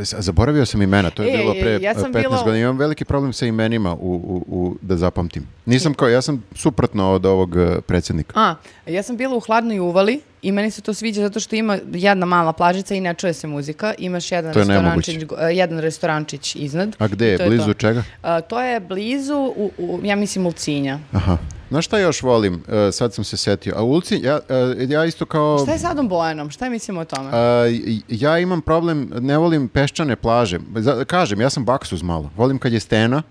[SPEAKER 1] zaboravio sam imena, to je
[SPEAKER 3] E,
[SPEAKER 1] bilo pre
[SPEAKER 3] ja sam
[SPEAKER 1] 15
[SPEAKER 3] bila u-
[SPEAKER 1] godina. Imam veliki problem sa imenima u, u, u- da zapamtim. Nisam kao, ja sam suprotno od ovog e, predsjednika.
[SPEAKER 3] A, ja sam bila u hladnoj uvali i meni se to sviđa zato što ima jedna mala plažica i ne čuje se muzika. Imaš jedan,
[SPEAKER 1] To je
[SPEAKER 3] restorančić, go- e, jedan restorančić iznad.
[SPEAKER 1] A gde je?
[SPEAKER 3] To je
[SPEAKER 1] Blizu
[SPEAKER 3] to.
[SPEAKER 1] čega?
[SPEAKER 3] A, to je blizu, u, u- ja mislim, Ulcinja.
[SPEAKER 1] Aha. Znaš šta još volim? E, sad sam se setio. A Ulci, ja, e, ja isto kao...
[SPEAKER 3] Šta je sa Adom Bojanom? Šta mislimo o tome?
[SPEAKER 1] E, j- ja imam problem, ne volim peščane plaže. Za- kažem, ja sam baksuz malo. Volim kad je stena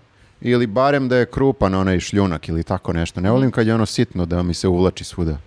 [SPEAKER 1] ili barem da je krupan onaj šljunak ili tako nešto.
[SPEAKER 3] Mhm.
[SPEAKER 1] Ne volim kad je ono sitno da mi se uvlači svuda.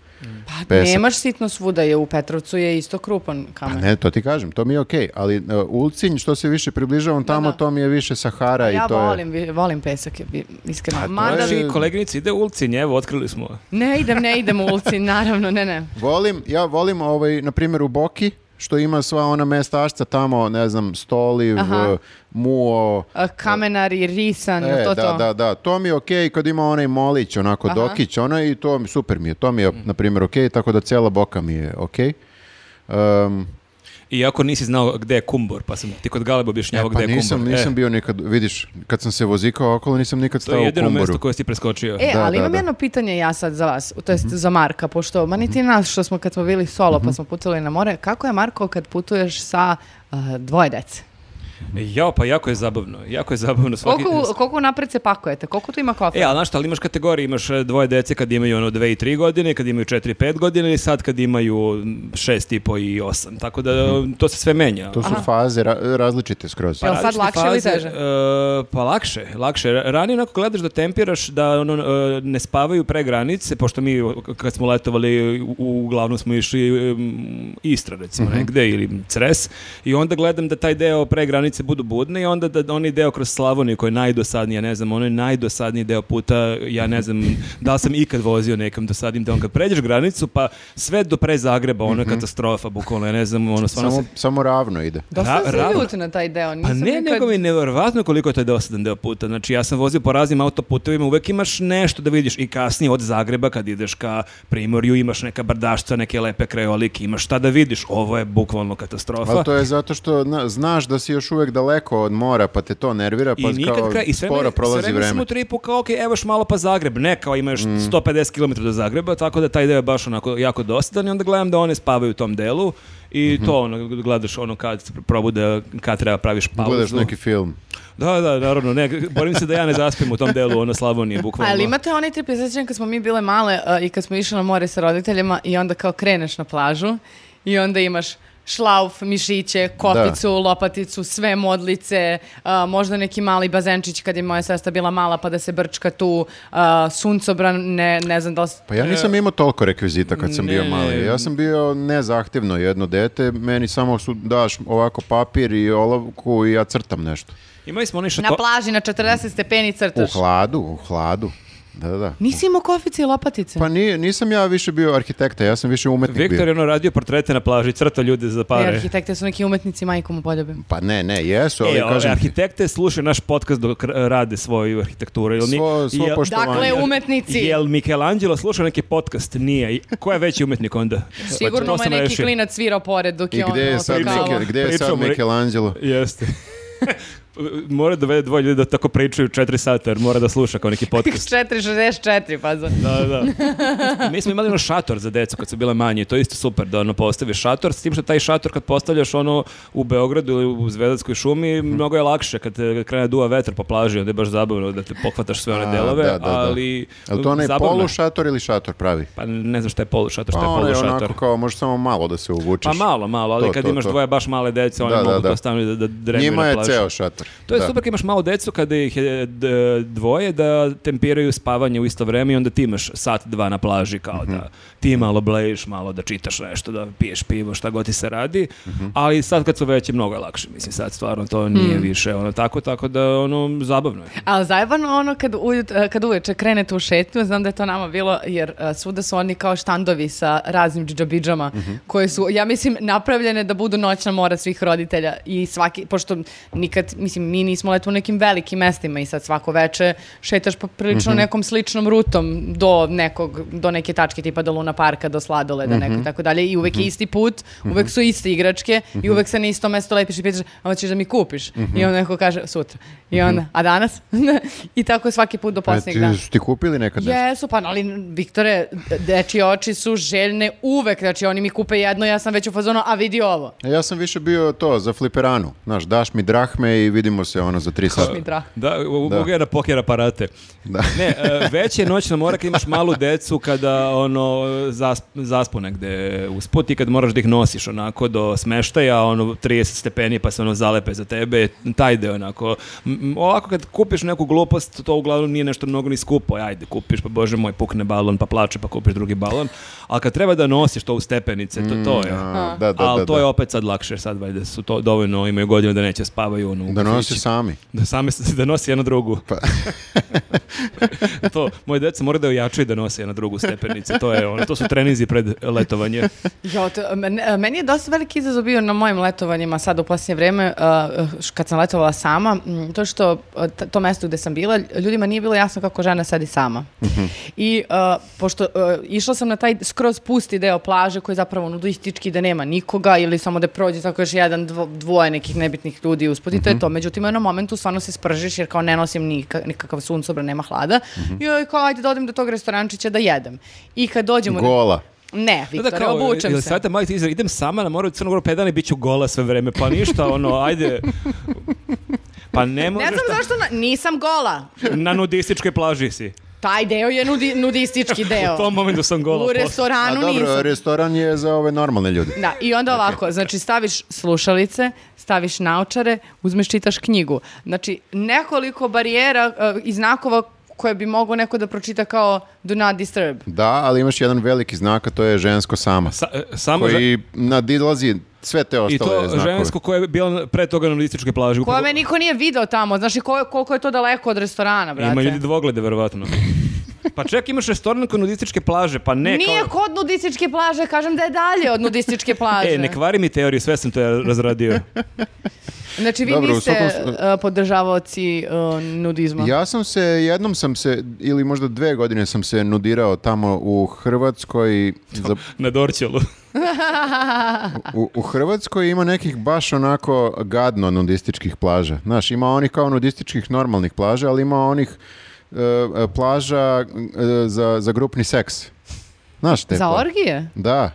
[SPEAKER 3] Pa
[SPEAKER 1] Pesak.
[SPEAKER 3] nemaš sitno svuda, je u Petrovcu je isto krupan
[SPEAKER 1] Pa
[SPEAKER 3] kamen.
[SPEAKER 1] ne, to ti kažem, to mi je okej. Ali e, Ulcinj, što se više približavam tamo,
[SPEAKER 3] da.
[SPEAKER 1] to mi je više Sahara
[SPEAKER 3] ja
[SPEAKER 1] i to je...
[SPEAKER 3] volim, vi- volim pesak, je bi- iskreno. Mada,
[SPEAKER 1] je-
[SPEAKER 2] Znači, koleginici, ide u Ulcinj, evo, otkrili smo.
[SPEAKER 3] ne idem, ne idem u
[SPEAKER 1] (laughs)
[SPEAKER 3] ulici, naravno, ne, ne.
[SPEAKER 1] Volim, ja volim ovaj, na primjer u Boki, što ima sva ona mestašca tamo, ne znam, Stoliv,
[SPEAKER 3] Aha.
[SPEAKER 1] e, Muo,
[SPEAKER 3] A, Kamenari, risan,
[SPEAKER 1] E,
[SPEAKER 3] to,
[SPEAKER 1] da,
[SPEAKER 3] to.
[SPEAKER 1] da, da, to mi je okej kad ima onaj molić, onako
[SPEAKER 3] Aha.
[SPEAKER 1] dokić, ona i to mi, super mi je, to
[SPEAKER 2] Mm.
[SPEAKER 1] mi je, na primjer, okej, tako da cijela boka mi je okej. Um,
[SPEAKER 2] Iako nisi znao gde je Kumbor, pa sam ti kod Galeba
[SPEAKER 1] e,
[SPEAKER 2] objašnjavao
[SPEAKER 1] pa
[SPEAKER 2] gde je
[SPEAKER 1] nisam,
[SPEAKER 2] Kumbor.
[SPEAKER 1] nisam
[SPEAKER 2] E,
[SPEAKER 1] bio nikad, vidiš, kad sam se vozikao okolo, nisam nikad
[SPEAKER 2] to
[SPEAKER 1] stao
[SPEAKER 2] je
[SPEAKER 1] u
[SPEAKER 2] jedino mesto
[SPEAKER 1] kumboru.
[SPEAKER 2] koje si preskočio.
[SPEAKER 3] E,
[SPEAKER 1] Da,
[SPEAKER 3] ali
[SPEAKER 1] da,
[SPEAKER 3] imam
[SPEAKER 1] da. Mhm.
[SPEAKER 3] jedno pitanje ja sad za vas, to jest za Marka, pošto, ma niti nas što smo kad smo bili solo pa smo putovali na more, kako je Marko kad putuješ sa a, dvoje dece?
[SPEAKER 2] Jao, pa jako je zabavno, jako je zabavno. Svaki,
[SPEAKER 3] Koliko, koliko napred se pakujete? Koliko tu ima kofa?
[SPEAKER 2] E, ali znaš šta, ali imaš kategorije, imaš e, dvoje dece kad imaju ono dve i tri godine, kad imaju četiri i pet godine i sad kad imaju m, šest i po i osam, tako da e, to se sve menja.
[SPEAKER 1] Mhm. To su faze ra- različite skroz.
[SPEAKER 3] Pa- Jel sad
[SPEAKER 2] različite
[SPEAKER 3] lakše ili teže?
[SPEAKER 2] e, pa lakše, lakše. Ra- Ranije onako gledaš da tempiraš, da ono, e, ne spavaju pre granice, pošto mi o, k- kad smo letovali, u- uglavnom smo išli em, Istra recimo negde ili Cres i onda gledam da taj deo pre granice budu budni i onda da onaj deo kroz Slavoniju koji je najdosadniji, ja ne znam, onaj najdosadniji deo puta, ja ne znam (laughs) da li sam ikad vozio nekom dosadnim deom. Kad pređeš granicu, pa sve do pre Zagreba, ono je katastrofa, bukvalno, ja ne znam, ono stvarno
[SPEAKER 1] samo,
[SPEAKER 2] se-
[SPEAKER 1] samo ravno ide.
[SPEAKER 3] Dosta
[SPEAKER 2] ra-
[SPEAKER 3] se
[SPEAKER 2] ravno.
[SPEAKER 3] ljut na taj deo.
[SPEAKER 2] pa
[SPEAKER 3] nisam
[SPEAKER 2] ne,
[SPEAKER 3] nikad-
[SPEAKER 2] nego mi je nevjerovatno koliko je to dosadan deo puta. Znači, ja sam vozio po raznim autoputovima, uvek imaš nešto da vidiš i kasnije od Zagreba kad ideš ka Primorju, imaš neka brdašca, neke lepe krajolike, imaš šta da vidiš. Ovo je bukvalno katastrofa.
[SPEAKER 1] Ali to je zato što na- znaš da si još uvek daleko od mora, pa te to nervira, pa
[SPEAKER 2] I nikad
[SPEAKER 1] kao
[SPEAKER 2] kraj, i sve
[SPEAKER 1] sporo
[SPEAKER 2] vreme- sve
[SPEAKER 1] prolazi
[SPEAKER 2] vreme
[SPEAKER 1] vreme. Mm.
[SPEAKER 2] smo u tripu kao, ok, evo još malo pa Zagreb, ne, kao ima još 150 km do Zagreba, tako da taj deo je baš onako jako dosadan i onda gledam da one spavaju u tom delu i
[SPEAKER 1] Mhm.
[SPEAKER 2] to ono, gledaš ono kad se probude, kad treba praviš pauzu.
[SPEAKER 1] Gledaš neki film.
[SPEAKER 2] Da, da, naravno, ne, borim se da ja ne zaspim u tom delu, ono Slavonije, bukvalno.
[SPEAKER 3] Ali Pa imate onaj trip, ja se sjećam kad smo mi bile male uh, i kad smo išli na more sa roditeljima i onda kao kreneš na plažu i onda imaš šlauf, mišiće, kopicu, lopaticu, sve modlice, a, možda neki mali bazenčić kad je moja sestra bila mala pa da se brčka tu, a, suncobran, ne, ne znam da li...
[SPEAKER 1] Pa ja nisam imao toliko rekvizita kad sam bio
[SPEAKER 2] E, Ne.
[SPEAKER 1] mali. Ja sam bio nezahtevno jedno dete, meni samo su daš ovako papir i olovku i ja crtam nešto.
[SPEAKER 2] Imali smo ono onaj šato...
[SPEAKER 3] Na plaži na 40 stepeni
[SPEAKER 1] Pa- U
[SPEAKER 3] crtaš.
[SPEAKER 1] hladu, u hladu. Da, da, da.
[SPEAKER 3] Nisi imao kofice i lopatice?
[SPEAKER 1] Pa nije, nisam ja više bio arhitekta, ja sam više umetnik
[SPEAKER 2] Viktor
[SPEAKER 1] bio.
[SPEAKER 2] je ono radio portrete na plaži, crta ljude za
[SPEAKER 3] E,
[SPEAKER 2] pare.
[SPEAKER 3] arhitekte su neki umetnici, majkom u poljubim.
[SPEAKER 1] Pa ne, ne, jesu, ali
[SPEAKER 2] E, ove,
[SPEAKER 1] kažem... ti,
[SPEAKER 2] arhitekte slušaju naš podcast dok r- rade svoju arhitekturu. Jel mi-
[SPEAKER 1] Svo- svo
[SPEAKER 2] jel-
[SPEAKER 1] poštovanje.
[SPEAKER 3] Dakle, umetnici.
[SPEAKER 2] Jel Michelangelo slušao neki podcast? Nije. I Ko je veći umetnik onda? Pa
[SPEAKER 3] Sigurno
[SPEAKER 2] To
[SPEAKER 3] mu je
[SPEAKER 2] sam
[SPEAKER 3] neki
[SPEAKER 2] rešio.
[SPEAKER 3] klinac svirao pored dok
[SPEAKER 1] I
[SPEAKER 3] je on...
[SPEAKER 1] gde je
[SPEAKER 3] ono
[SPEAKER 1] sad,
[SPEAKER 3] kao-
[SPEAKER 1] Mikel- gde je sad
[SPEAKER 2] Pričamo-
[SPEAKER 1] Michelangelo?
[SPEAKER 2] Jeste. (laughs) mora da vede dvoje ljudi da tako pričaju četiri sata, jer mora da sluša kao neki podcast.
[SPEAKER 3] 464, pa za...
[SPEAKER 2] Da, da. Mi smo imali ono šator za decu kad su bile manje, to je isto super da ono postaviš šator, s tim što taj šator kad postavljaš ono u Beogradu ili u Zvezdanskoj šumi,
[SPEAKER 1] Mhm.
[SPEAKER 2] mnogo je lakše kad te krene duva vetar po plaži, onda je baš zabavno da te pohvataš sve one
[SPEAKER 1] A,
[SPEAKER 2] delove,
[SPEAKER 1] da, da, da.
[SPEAKER 2] ali
[SPEAKER 1] Ali to onaj
[SPEAKER 2] zabavno je.
[SPEAKER 1] polušator ili šator pravi?
[SPEAKER 2] Pa ne znam šta je polušator, šta
[SPEAKER 1] Pa
[SPEAKER 2] je
[SPEAKER 1] onaj
[SPEAKER 2] polušator.
[SPEAKER 1] onako kao može samo malo da se uvučeš.
[SPEAKER 2] Pa malo, malo, ali
[SPEAKER 1] To,
[SPEAKER 2] kad
[SPEAKER 1] to,
[SPEAKER 2] imaš
[SPEAKER 1] to.
[SPEAKER 2] dvoje baš male dece, one
[SPEAKER 1] Da, da,
[SPEAKER 2] mogu
[SPEAKER 1] da.
[SPEAKER 2] to stavljaju da, da drebaju
[SPEAKER 1] Njima
[SPEAKER 2] na
[SPEAKER 1] je
[SPEAKER 2] plaži.
[SPEAKER 1] ceo šator.
[SPEAKER 2] To je
[SPEAKER 1] da.
[SPEAKER 2] super kad imaš malu decu kada ih je d- dvoje da tempiraju spavanje u isto vreme i onda ti imaš sat, dva na plaži kao
[SPEAKER 1] Mhm.
[SPEAKER 2] da ti malo blejiš, malo da čitaš nešto, da piješ pivo, šta god ti se radi,
[SPEAKER 1] Mhm.
[SPEAKER 2] ali sad kad su veće mnogo je lakše, mislim sad stvarno to nije više ono tako, tako da ono zabavno je.
[SPEAKER 3] Ali zajebano ono kad, ujut, kad uveče krenete u šetnju, znam da je to nama bilo, jer e, svuda su oni kao štandovi sa raznim džidžabidžama, koje su, ja mislim, napravljene da budu noćna mora svih roditelja i svaki, pošto nikad, mislim, mi nismo leto u nekim velikim mestima i sad svako veče šetaš po
[SPEAKER 1] Mhm.
[SPEAKER 3] prilično nekom sličnom rutom do nekog, do neke tačke tipa do Luna Parka, do Sladoleda,
[SPEAKER 1] Mhm.
[SPEAKER 3] neko i tako dalje i uvek je isti put, uvek su iste igračke i
[SPEAKER 1] Mhm.
[SPEAKER 3] uvek se na isto mesto lepiš i pitaš, a hoćeš da mi kupiš? I onda neko kaže, sutra. I onda, a danas? (laughs) I tako svaki put do
[SPEAKER 1] Mhm. Pa
[SPEAKER 3] posljednjeg dana.
[SPEAKER 1] ti, su ti kupili nekad nešto?
[SPEAKER 3] Jesu, pa ali Viktore, dečije oči su željne uvek, znači oni mi kupe jedno, ja sam već u fazonu, a vidi ovo.
[SPEAKER 1] Ja sam više bio to, za fliperanu. Znaš, daš mi drahme i vidimo se ono za tri sata.
[SPEAKER 3] mi drah.
[SPEAKER 2] Da, u-
[SPEAKER 1] Da.
[SPEAKER 2] mogu ja na poker aparate.
[SPEAKER 1] Da.
[SPEAKER 2] Ne, e, već je noćna mora kad imaš malu decu kada ono zasp, zaspu negde usput i kad moraš da ih nosiš onako do smeštaja, ono 30 stepeni pa se ono zalepe za tebe, taj deo onako. M- m, Ovako kad kupiš neku glupost, to uglavnom nije nešto mnogo ni skupo, ajde kupiš pa bože moj pukne balon pa plače pa kupiš drugi balon, ali kad treba da nosiš to u stepenice, to to je.
[SPEAKER 1] Mm, A, da, da,
[SPEAKER 2] ali
[SPEAKER 1] da,
[SPEAKER 2] to
[SPEAKER 1] da.
[SPEAKER 2] je opet sad lakše, sad valjda su to dovoljno, imaju godinu da neće spavaju ono, u
[SPEAKER 1] Da nosi
[SPEAKER 2] kafićima.
[SPEAKER 1] sami.
[SPEAKER 2] Da same se- da nosi jednu drugu. (laughs) to, moje deca moraju da ojačaju da nose jednu drugu stepenicu. To, je, ono, to su trenizi pred letovanje.
[SPEAKER 3] Jo, to- e, men- meni je dosta veliki izazov bio na mojim letovanjima sad u posljednje vrijeme, uh, š- kad sam letovala sama, mm, to što uh, t- to mesto gde sam bila, ljudima nije bilo jasno kako žena sedi sama. I uh, pošto uh, išla sam na taj skroz pusti deo plaže koji je zapravo nudistički da nema nikoga ili samo da prođe tako još jedan dvo- dvoje nekih nebitnih ljudi usput i to je to. Međutim, u jednom momentu stvarno se spržiš jer kao ne nosim nika- nikakav suncobran, nema hlada. I ovaj, kao ajde da odem do tog restorančića da jedem. I kad dođemo...
[SPEAKER 1] Gola.
[SPEAKER 3] Ne, Viktore, obučem se.
[SPEAKER 2] Sada mali teaser, idem sama na moru u Crnu Goru pet dana i bit ću gola sve vreme. Pa ništa, ono, ajde. Pa ne možeš...
[SPEAKER 3] Ne znam
[SPEAKER 2] ta-
[SPEAKER 3] zašto, na- nisam gola.
[SPEAKER 2] Na nudističkoj plaži si.
[SPEAKER 3] Taj deo je nudi-
[SPEAKER 2] (laughs)
[SPEAKER 3] nudistički deo.
[SPEAKER 2] U tom momentu sam gola.
[SPEAKER 3] U
[SPEAKER 2] posle.
[SPEAKER 1] A
[SPEAKER 3] restoranu nisam.
[SPEAKER 1] dobro, restoran je za ove normalne ljude.
[SPEAKER 3] Da, i onda ovako, znači staviš slušalice, staviš naučare, uzmeš čitaš knjigu. Znači, nekoliko barijera e, i znakova koje bi mogao neko da pročita kao do not disturb.
[SPEAKER 1] Da, ali imaš jedan veliki znak, a to je žensko sama.
[SPEAKER 2] Sa- e, samo žen-
[SPEAKER 1] Koji nadilazi sve te
[SPEAKER 2] I
[SPEAKER 1] ostale
[SPEAKER 2] to
[SPEAKER 1] znakove.
[SPEAKER 2] žensko koje je bilo pre toga na nudističkoj plaži.
[SPEAKER 3] Koja
[SPEAKER 2] Upravo-
[SPEAKER 3] me niko nije video tamo, znači ko, koliko je to daleko od restorana, brate.
[SPEAKER 2] Ima ljudi dvoglede, verovatno. Pa čak imaš restoran kod nudističke plaže, pa ne
[SPEAKER 3] Nije
[SPEAKER 2] kao...
[SPEAKER 3] kod nudističke plaže, kažem da je dalje od
[SPEAKER 2] (laughs)
[SPEAKER 3] nudističke plaže.
[SPEAKER 2] E, ne kvari mi teoriju, sve sam to ja
[SPEAKER 3] (laughs)
[SPEAKER 2] razradio.
[SPEAKER 3] Znači, vi
[SPEAKER 1] Dobro, u
[SPEAKER 3] niste
[SPEAKER 1] svakom
[SPEAKER 3] e, podržavaoci e, nudizma.
[SPEAKER 1] Ja sam se, jednom sam se, ili možda dve godine sam se nudirao tamo u Hrvatskoj. Za,
[SPEAKER 2] Na Dorćolu.
[SPEAKER 1] u, u Hrvatskoj ima nekih baš onako gadno nudističkih plaža. Znaš, ima onih kao nudističkih normalnih plaža, ali ima onih e, e, plaža e, za, za grupni seks. Znaš te
[SPEAKER 3] Za
[SPEAKER 1] pla-
[SPEAKER 3] orgije?
[SPEAKER 1] Da.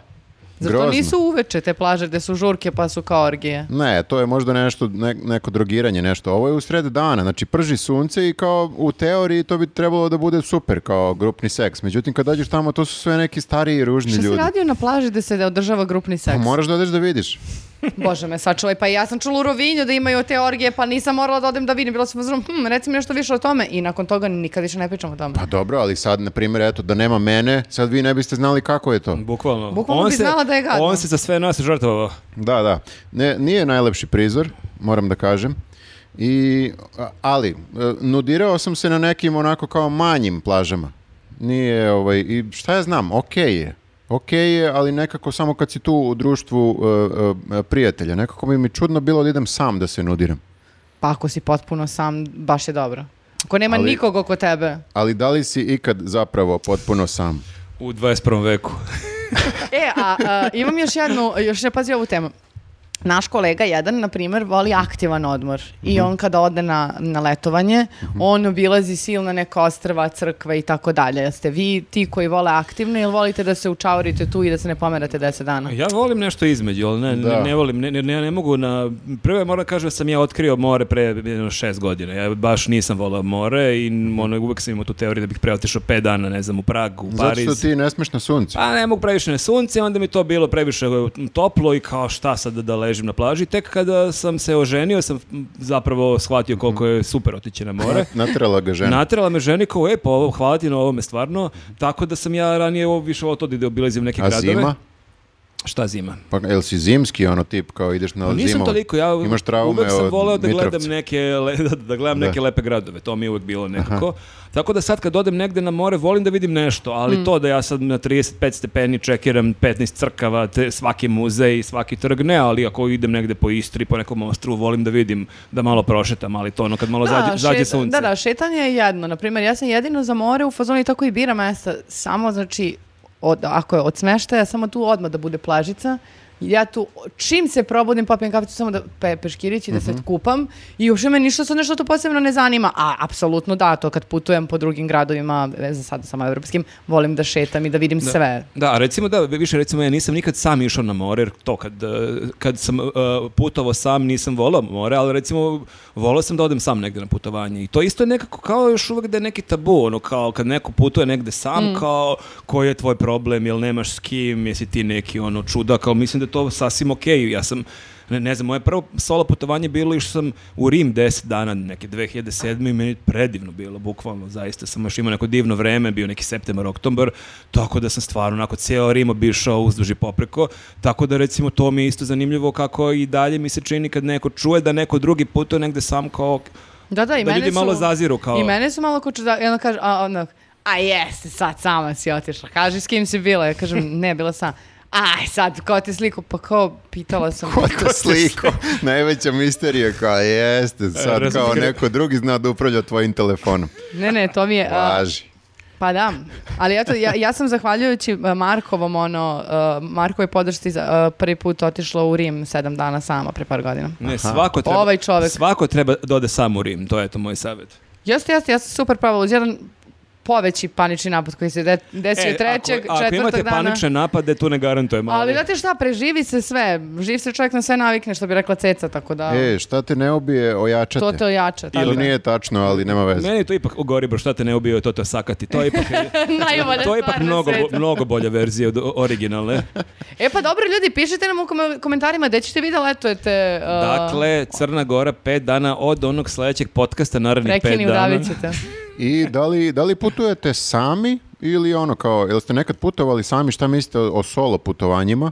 [SPEAKER 3] Zato
[SPEAKER 1] Grozno.
[SPEAKER 3] nisu uveče te plaže gde su žurke pa su kao orgije.
[SPEAKER 1] Ne, to je možda nešto, ne- neko drogiranje, nešto. Ovo je u sred dana, znači prži sunce i kao u teoriji to bi trebalo da bude super, kao grupni seks. Međutim, kad dođeš tamo, to su sve neki stariji i ružni
[SPEAKER 3] Šta si
[SPEAKER 1] ljudi.
[SPEAKER 3] radio na plaži gde se održava grupni
[SPEAKER 1] Pa
[SPEAKER 3] seks?
[SPEAKER 1] moraš da odeš da vidiš.
[SPEAKER 3] Bože me sačuvaj, pa i ja sam čula u Rovinju da imaju te orgije, pa nisam morala da odem da vidim, bila sam u fazonu, hm, reci mi nešto više o tome i nakon toga nikad više ne pričamo o tome.
[SPEAKER 1] Pa dobro, ali sad, na primjer, eto, da nema mene, sad vi ne biste znali kako je to.
[SPEAKER 2] Bukvalno.
[SPEAKER 3] Bukvalno bi znala da je gadno.
[SPEAKER 2] On se za sve nas žrtvovao.
[SPEAKER 1] Da, da. Ne, nije najlepši prizor, moram da kažem. I, a- ali, e, nudirao sam se na nekim onako kao manjim plažama. Nije, ovaj, i šta ja znam, okej je. Okej je, ali nekako samo kad si tu u društvu e, e, prijatelja. Nekako bi mi čudno bilo da idem sam da se nudiram.
[SPEAKER 3] Pa ako si potpuno sam, baš je dobro. Ako nema
[SPEAKER 1] Ali-
[SPEAKER 3] nikog oko tebe.
[SPEAKER 1] Ali da li si ikad zapravo potpuno sam?
[SPEAKER 2] U 21. veku.
[SPEAKER 3] E, a, a, imam još jednu, još ne pazi ovu temu. Naš kolega jedan, na primjer, voli aktivan odmor i on kada ode na, na letovanje, on obilazi silna neka ostrva, crkve i tako dalje. Jeste vi ti koji vole aktivno ili volite da se učaurite tu i da se ne pomerate 10 dana?
[SPEAKER 2] Ja volim nešto između, ali ne, ne-
[SPEAKER 1] Da.
[SPEAKER 2] ne, volim, ne, ne, ne, ne mogu na... Prvo je moram da kažem da sam ja otkrio more pre jedno, šest godina. Ja baš nisam volao more i ono, uvek sam imao tu teoriju da bih preotišao pet dana, ne znam, u Pragu, u
[SPEAKER 1] Zato
[SPEAKER 2] Pariz.
[SPEAKER 1] što ti ne smeš na suncu.
[SPEAKER 2] Pa ne mogu previše na sunce, onda mi to bilo previše e, toplo i kao šta sad da ležim na plaži. Tek kada sam se oženio sam m, zapravo shvatio koliko je super otići na more.
[SPEAKER 1] Natrala ga žena.
[SPEAKER 2] Natrala me ženi kao, e, pa ovo, hvala ti na ovome stvarno. Tako da sam ja ranije ovo više ovo to da obilazim neke
[SPEAKER 1] A
[SPEAKER 2] gradove.
[SPEAKER 1] zima?
[SPEAKER 2] Šta zima?
[SPEAKER 1] Pa jel si zimski ono tip kao ideš na
[SPEAKER 2] Pa
[SPEAKER 1] zimu?
[SPEAKER 2] nisam toliko, ja
[SPEAKER 1] Imaš traume
[SPEAKER 2] uvek sam
[SPEAKER 1] od
[SPEAKER 2] voleo da
[SPEAKER 1] Mitrovca.
[SPEAKER 2] gledam,
[SPEAKER 1] (laughs)
[SPEAKER 2] neke, le- (laughs) da, da gledam
[SPEAKER 1] Da.
[SPEAKER 2] neke lepe gradove, to mi je uvek bilo nekako. Tako da sad kad odem negde na more, volim da vidim nešto,
[SPEAKER 3] Mm.
[SPEAKER 2] ali to da ja sad na 35 stepeni čekiram 15 crkava, te, svaki muzej, svaki trg, ne, ali ako idem negde po Istri, po nekom ostru, volim da vidim, da malo prošetam, ali to ono kad malo zađe, zađe
[SPEAKER 3] šeta-
[SPEAKER 2] sunce.
[SPEAKER 3] Da, da, šetanje je jedno. Naprimjer, ja sam jedino za more u fazoni tako i biram mesta. Samo, znači, od, ako je od smeštaja, samo tu odmah da bude plažica. Ja tu, čim se probudim, popijem kaficu samo da pe, peškirić i da
[SPEAKER 2] Mhm.
[SPEAKER 3] se kupam. I uopšte me ništa sad nešto to posebno ne zanima. A, apsolutno da, to kad putujem po drugim gradovima, e, za sada samo evropskim, volim da šetam i da vidim sve.
[SPEAKER 2] Da, a recimo da, više recimo ja nisam nikad sam išao na more, jer to kad, eh, kad sam eh, putovao sam nisam volao more, ali recimo volao sam da odem sam negde na putovanje i to isto je nekako kao još uvek da je neki tabu, ono kao kad neko putuje negde sam, kao koji je tvoj problem, jel nemaš s kim, jesi ti neki ono čuda, kao mislim da je to sasvim okej, ja sam Ne, ne znam, moje prvo solo putovanje bilo išao sam u Rim 10 dana, neke 2007. i meni predivno bilo, bukvalno, zaista sam još imao neko divno vreme, bio neki septembar, oktobar, tako da sam stvarno onako ceo Rim obišao uzduži popreko, tako da recimo to mi je isto zanimljivo kako i dalje mi se čini kad neko čuje da neko drugi putuje negde sam kao,
[SPEAKER 3] Da, da, i
[SPEAKER 2] Da
[SPEAKER 3] mene
[SPEAKER 2] ljudi
[SPEAKER 3] su,
[SPEAKER 2] malo zaziru kao-
[SPEAKER 3] I mene su malo kuću da, i onda kaže, a, onda, a jeste, sad sama si otišla. Kaže, s kim si bila? Ja kažem, ne, bila sam. Aj, sad, ko ti sliku? Pa kao, pitala sam.
[SPEAKER 1] Ko to sliko? (laughs) Najveća misterija kao
[SPEAKER 2] E,
[SPEAKER 1] jeste, sad
[SPEAKER 2] razotkrio.
[SPEAKER 1] kao neko drugi zna da upravlja tvojim telefonom.
[SPEAKER 3] Ne, ne, to mi je... a,
[SPEAKER 1] Važi.
[SPEAKER 3] pa da, ali eto, ja, ja sam zahvaljujući a, Markovom, ono, a, Markovoj podršci za, a, prvi put otišla u Rim sedam dana sama pre par godina.
[SPEAKER 2] ne, svako treba,
[SPEAKER 3] Ovaj čovek.
[SPEAKER 2] svako treba da ode sam u Rim, to je to moj savjet.
[SPEAKER 3] Jeste, jeste, ja sam super pravila uz jedan poveći panični napad koji se de, desio
[SPEAKER 2] E,
[SPEAKER 3] trećeg,
[SPEAKER 2] ako, ako imate
[SPEAKER 3] četvrtog dana.
[SPEAKER 2] panične napade, tu ne garantujem.
[SPEAKER 3] Ali znate šta, preživi se sve. Živ se čovjek na sve navikne, što bi rekla ceca, tako da
[SPEAKER 1] E, šta te ne ubije, ojačate.
[SPEAKER 3] to te ojača. Tako
[SPEAKER 1] Ili
[SPEAKER 3] (laughs) da.
[SPEAKER 1] nije tačno, ali nema veze.
[SPEAKER 2] Meni je to ipak ogoribo, šta te ne ubio, to te sakati. To je ipak,
[SPEAKER 3] (laughs) Najbolja
[SPEAKER 2] to je
[SPEAKER 3] stvar
[SPEAKER 2] ipak
[SPEAKER 3] na
[SPEAKER 2] mnogo,
[SPEAKER 3] svetu.
[SPEAKER 2] mnogo bolja verzija od o-
[SPEAKER 3] (laughs)
[SPEAKER 2] originalne.
[SPEAKER 3] E pa dobro ljudi, pišite nam u kom- komentarima gde ćete vi da letujete. uh,
[SPEAKER 2] Dakle, Crna Gora pet dana od onog sledećeg podcasta, narednih pet
[SPEAKER 3] prekini,
[SPEAKER 2] dana.
[SPEAKER 3] udavit ćete.
[SPEAKER 1] I da li, da li putujete sami ili ono kao, jel ste nekad putovali sami, šta mislite o, o solo putovanjima?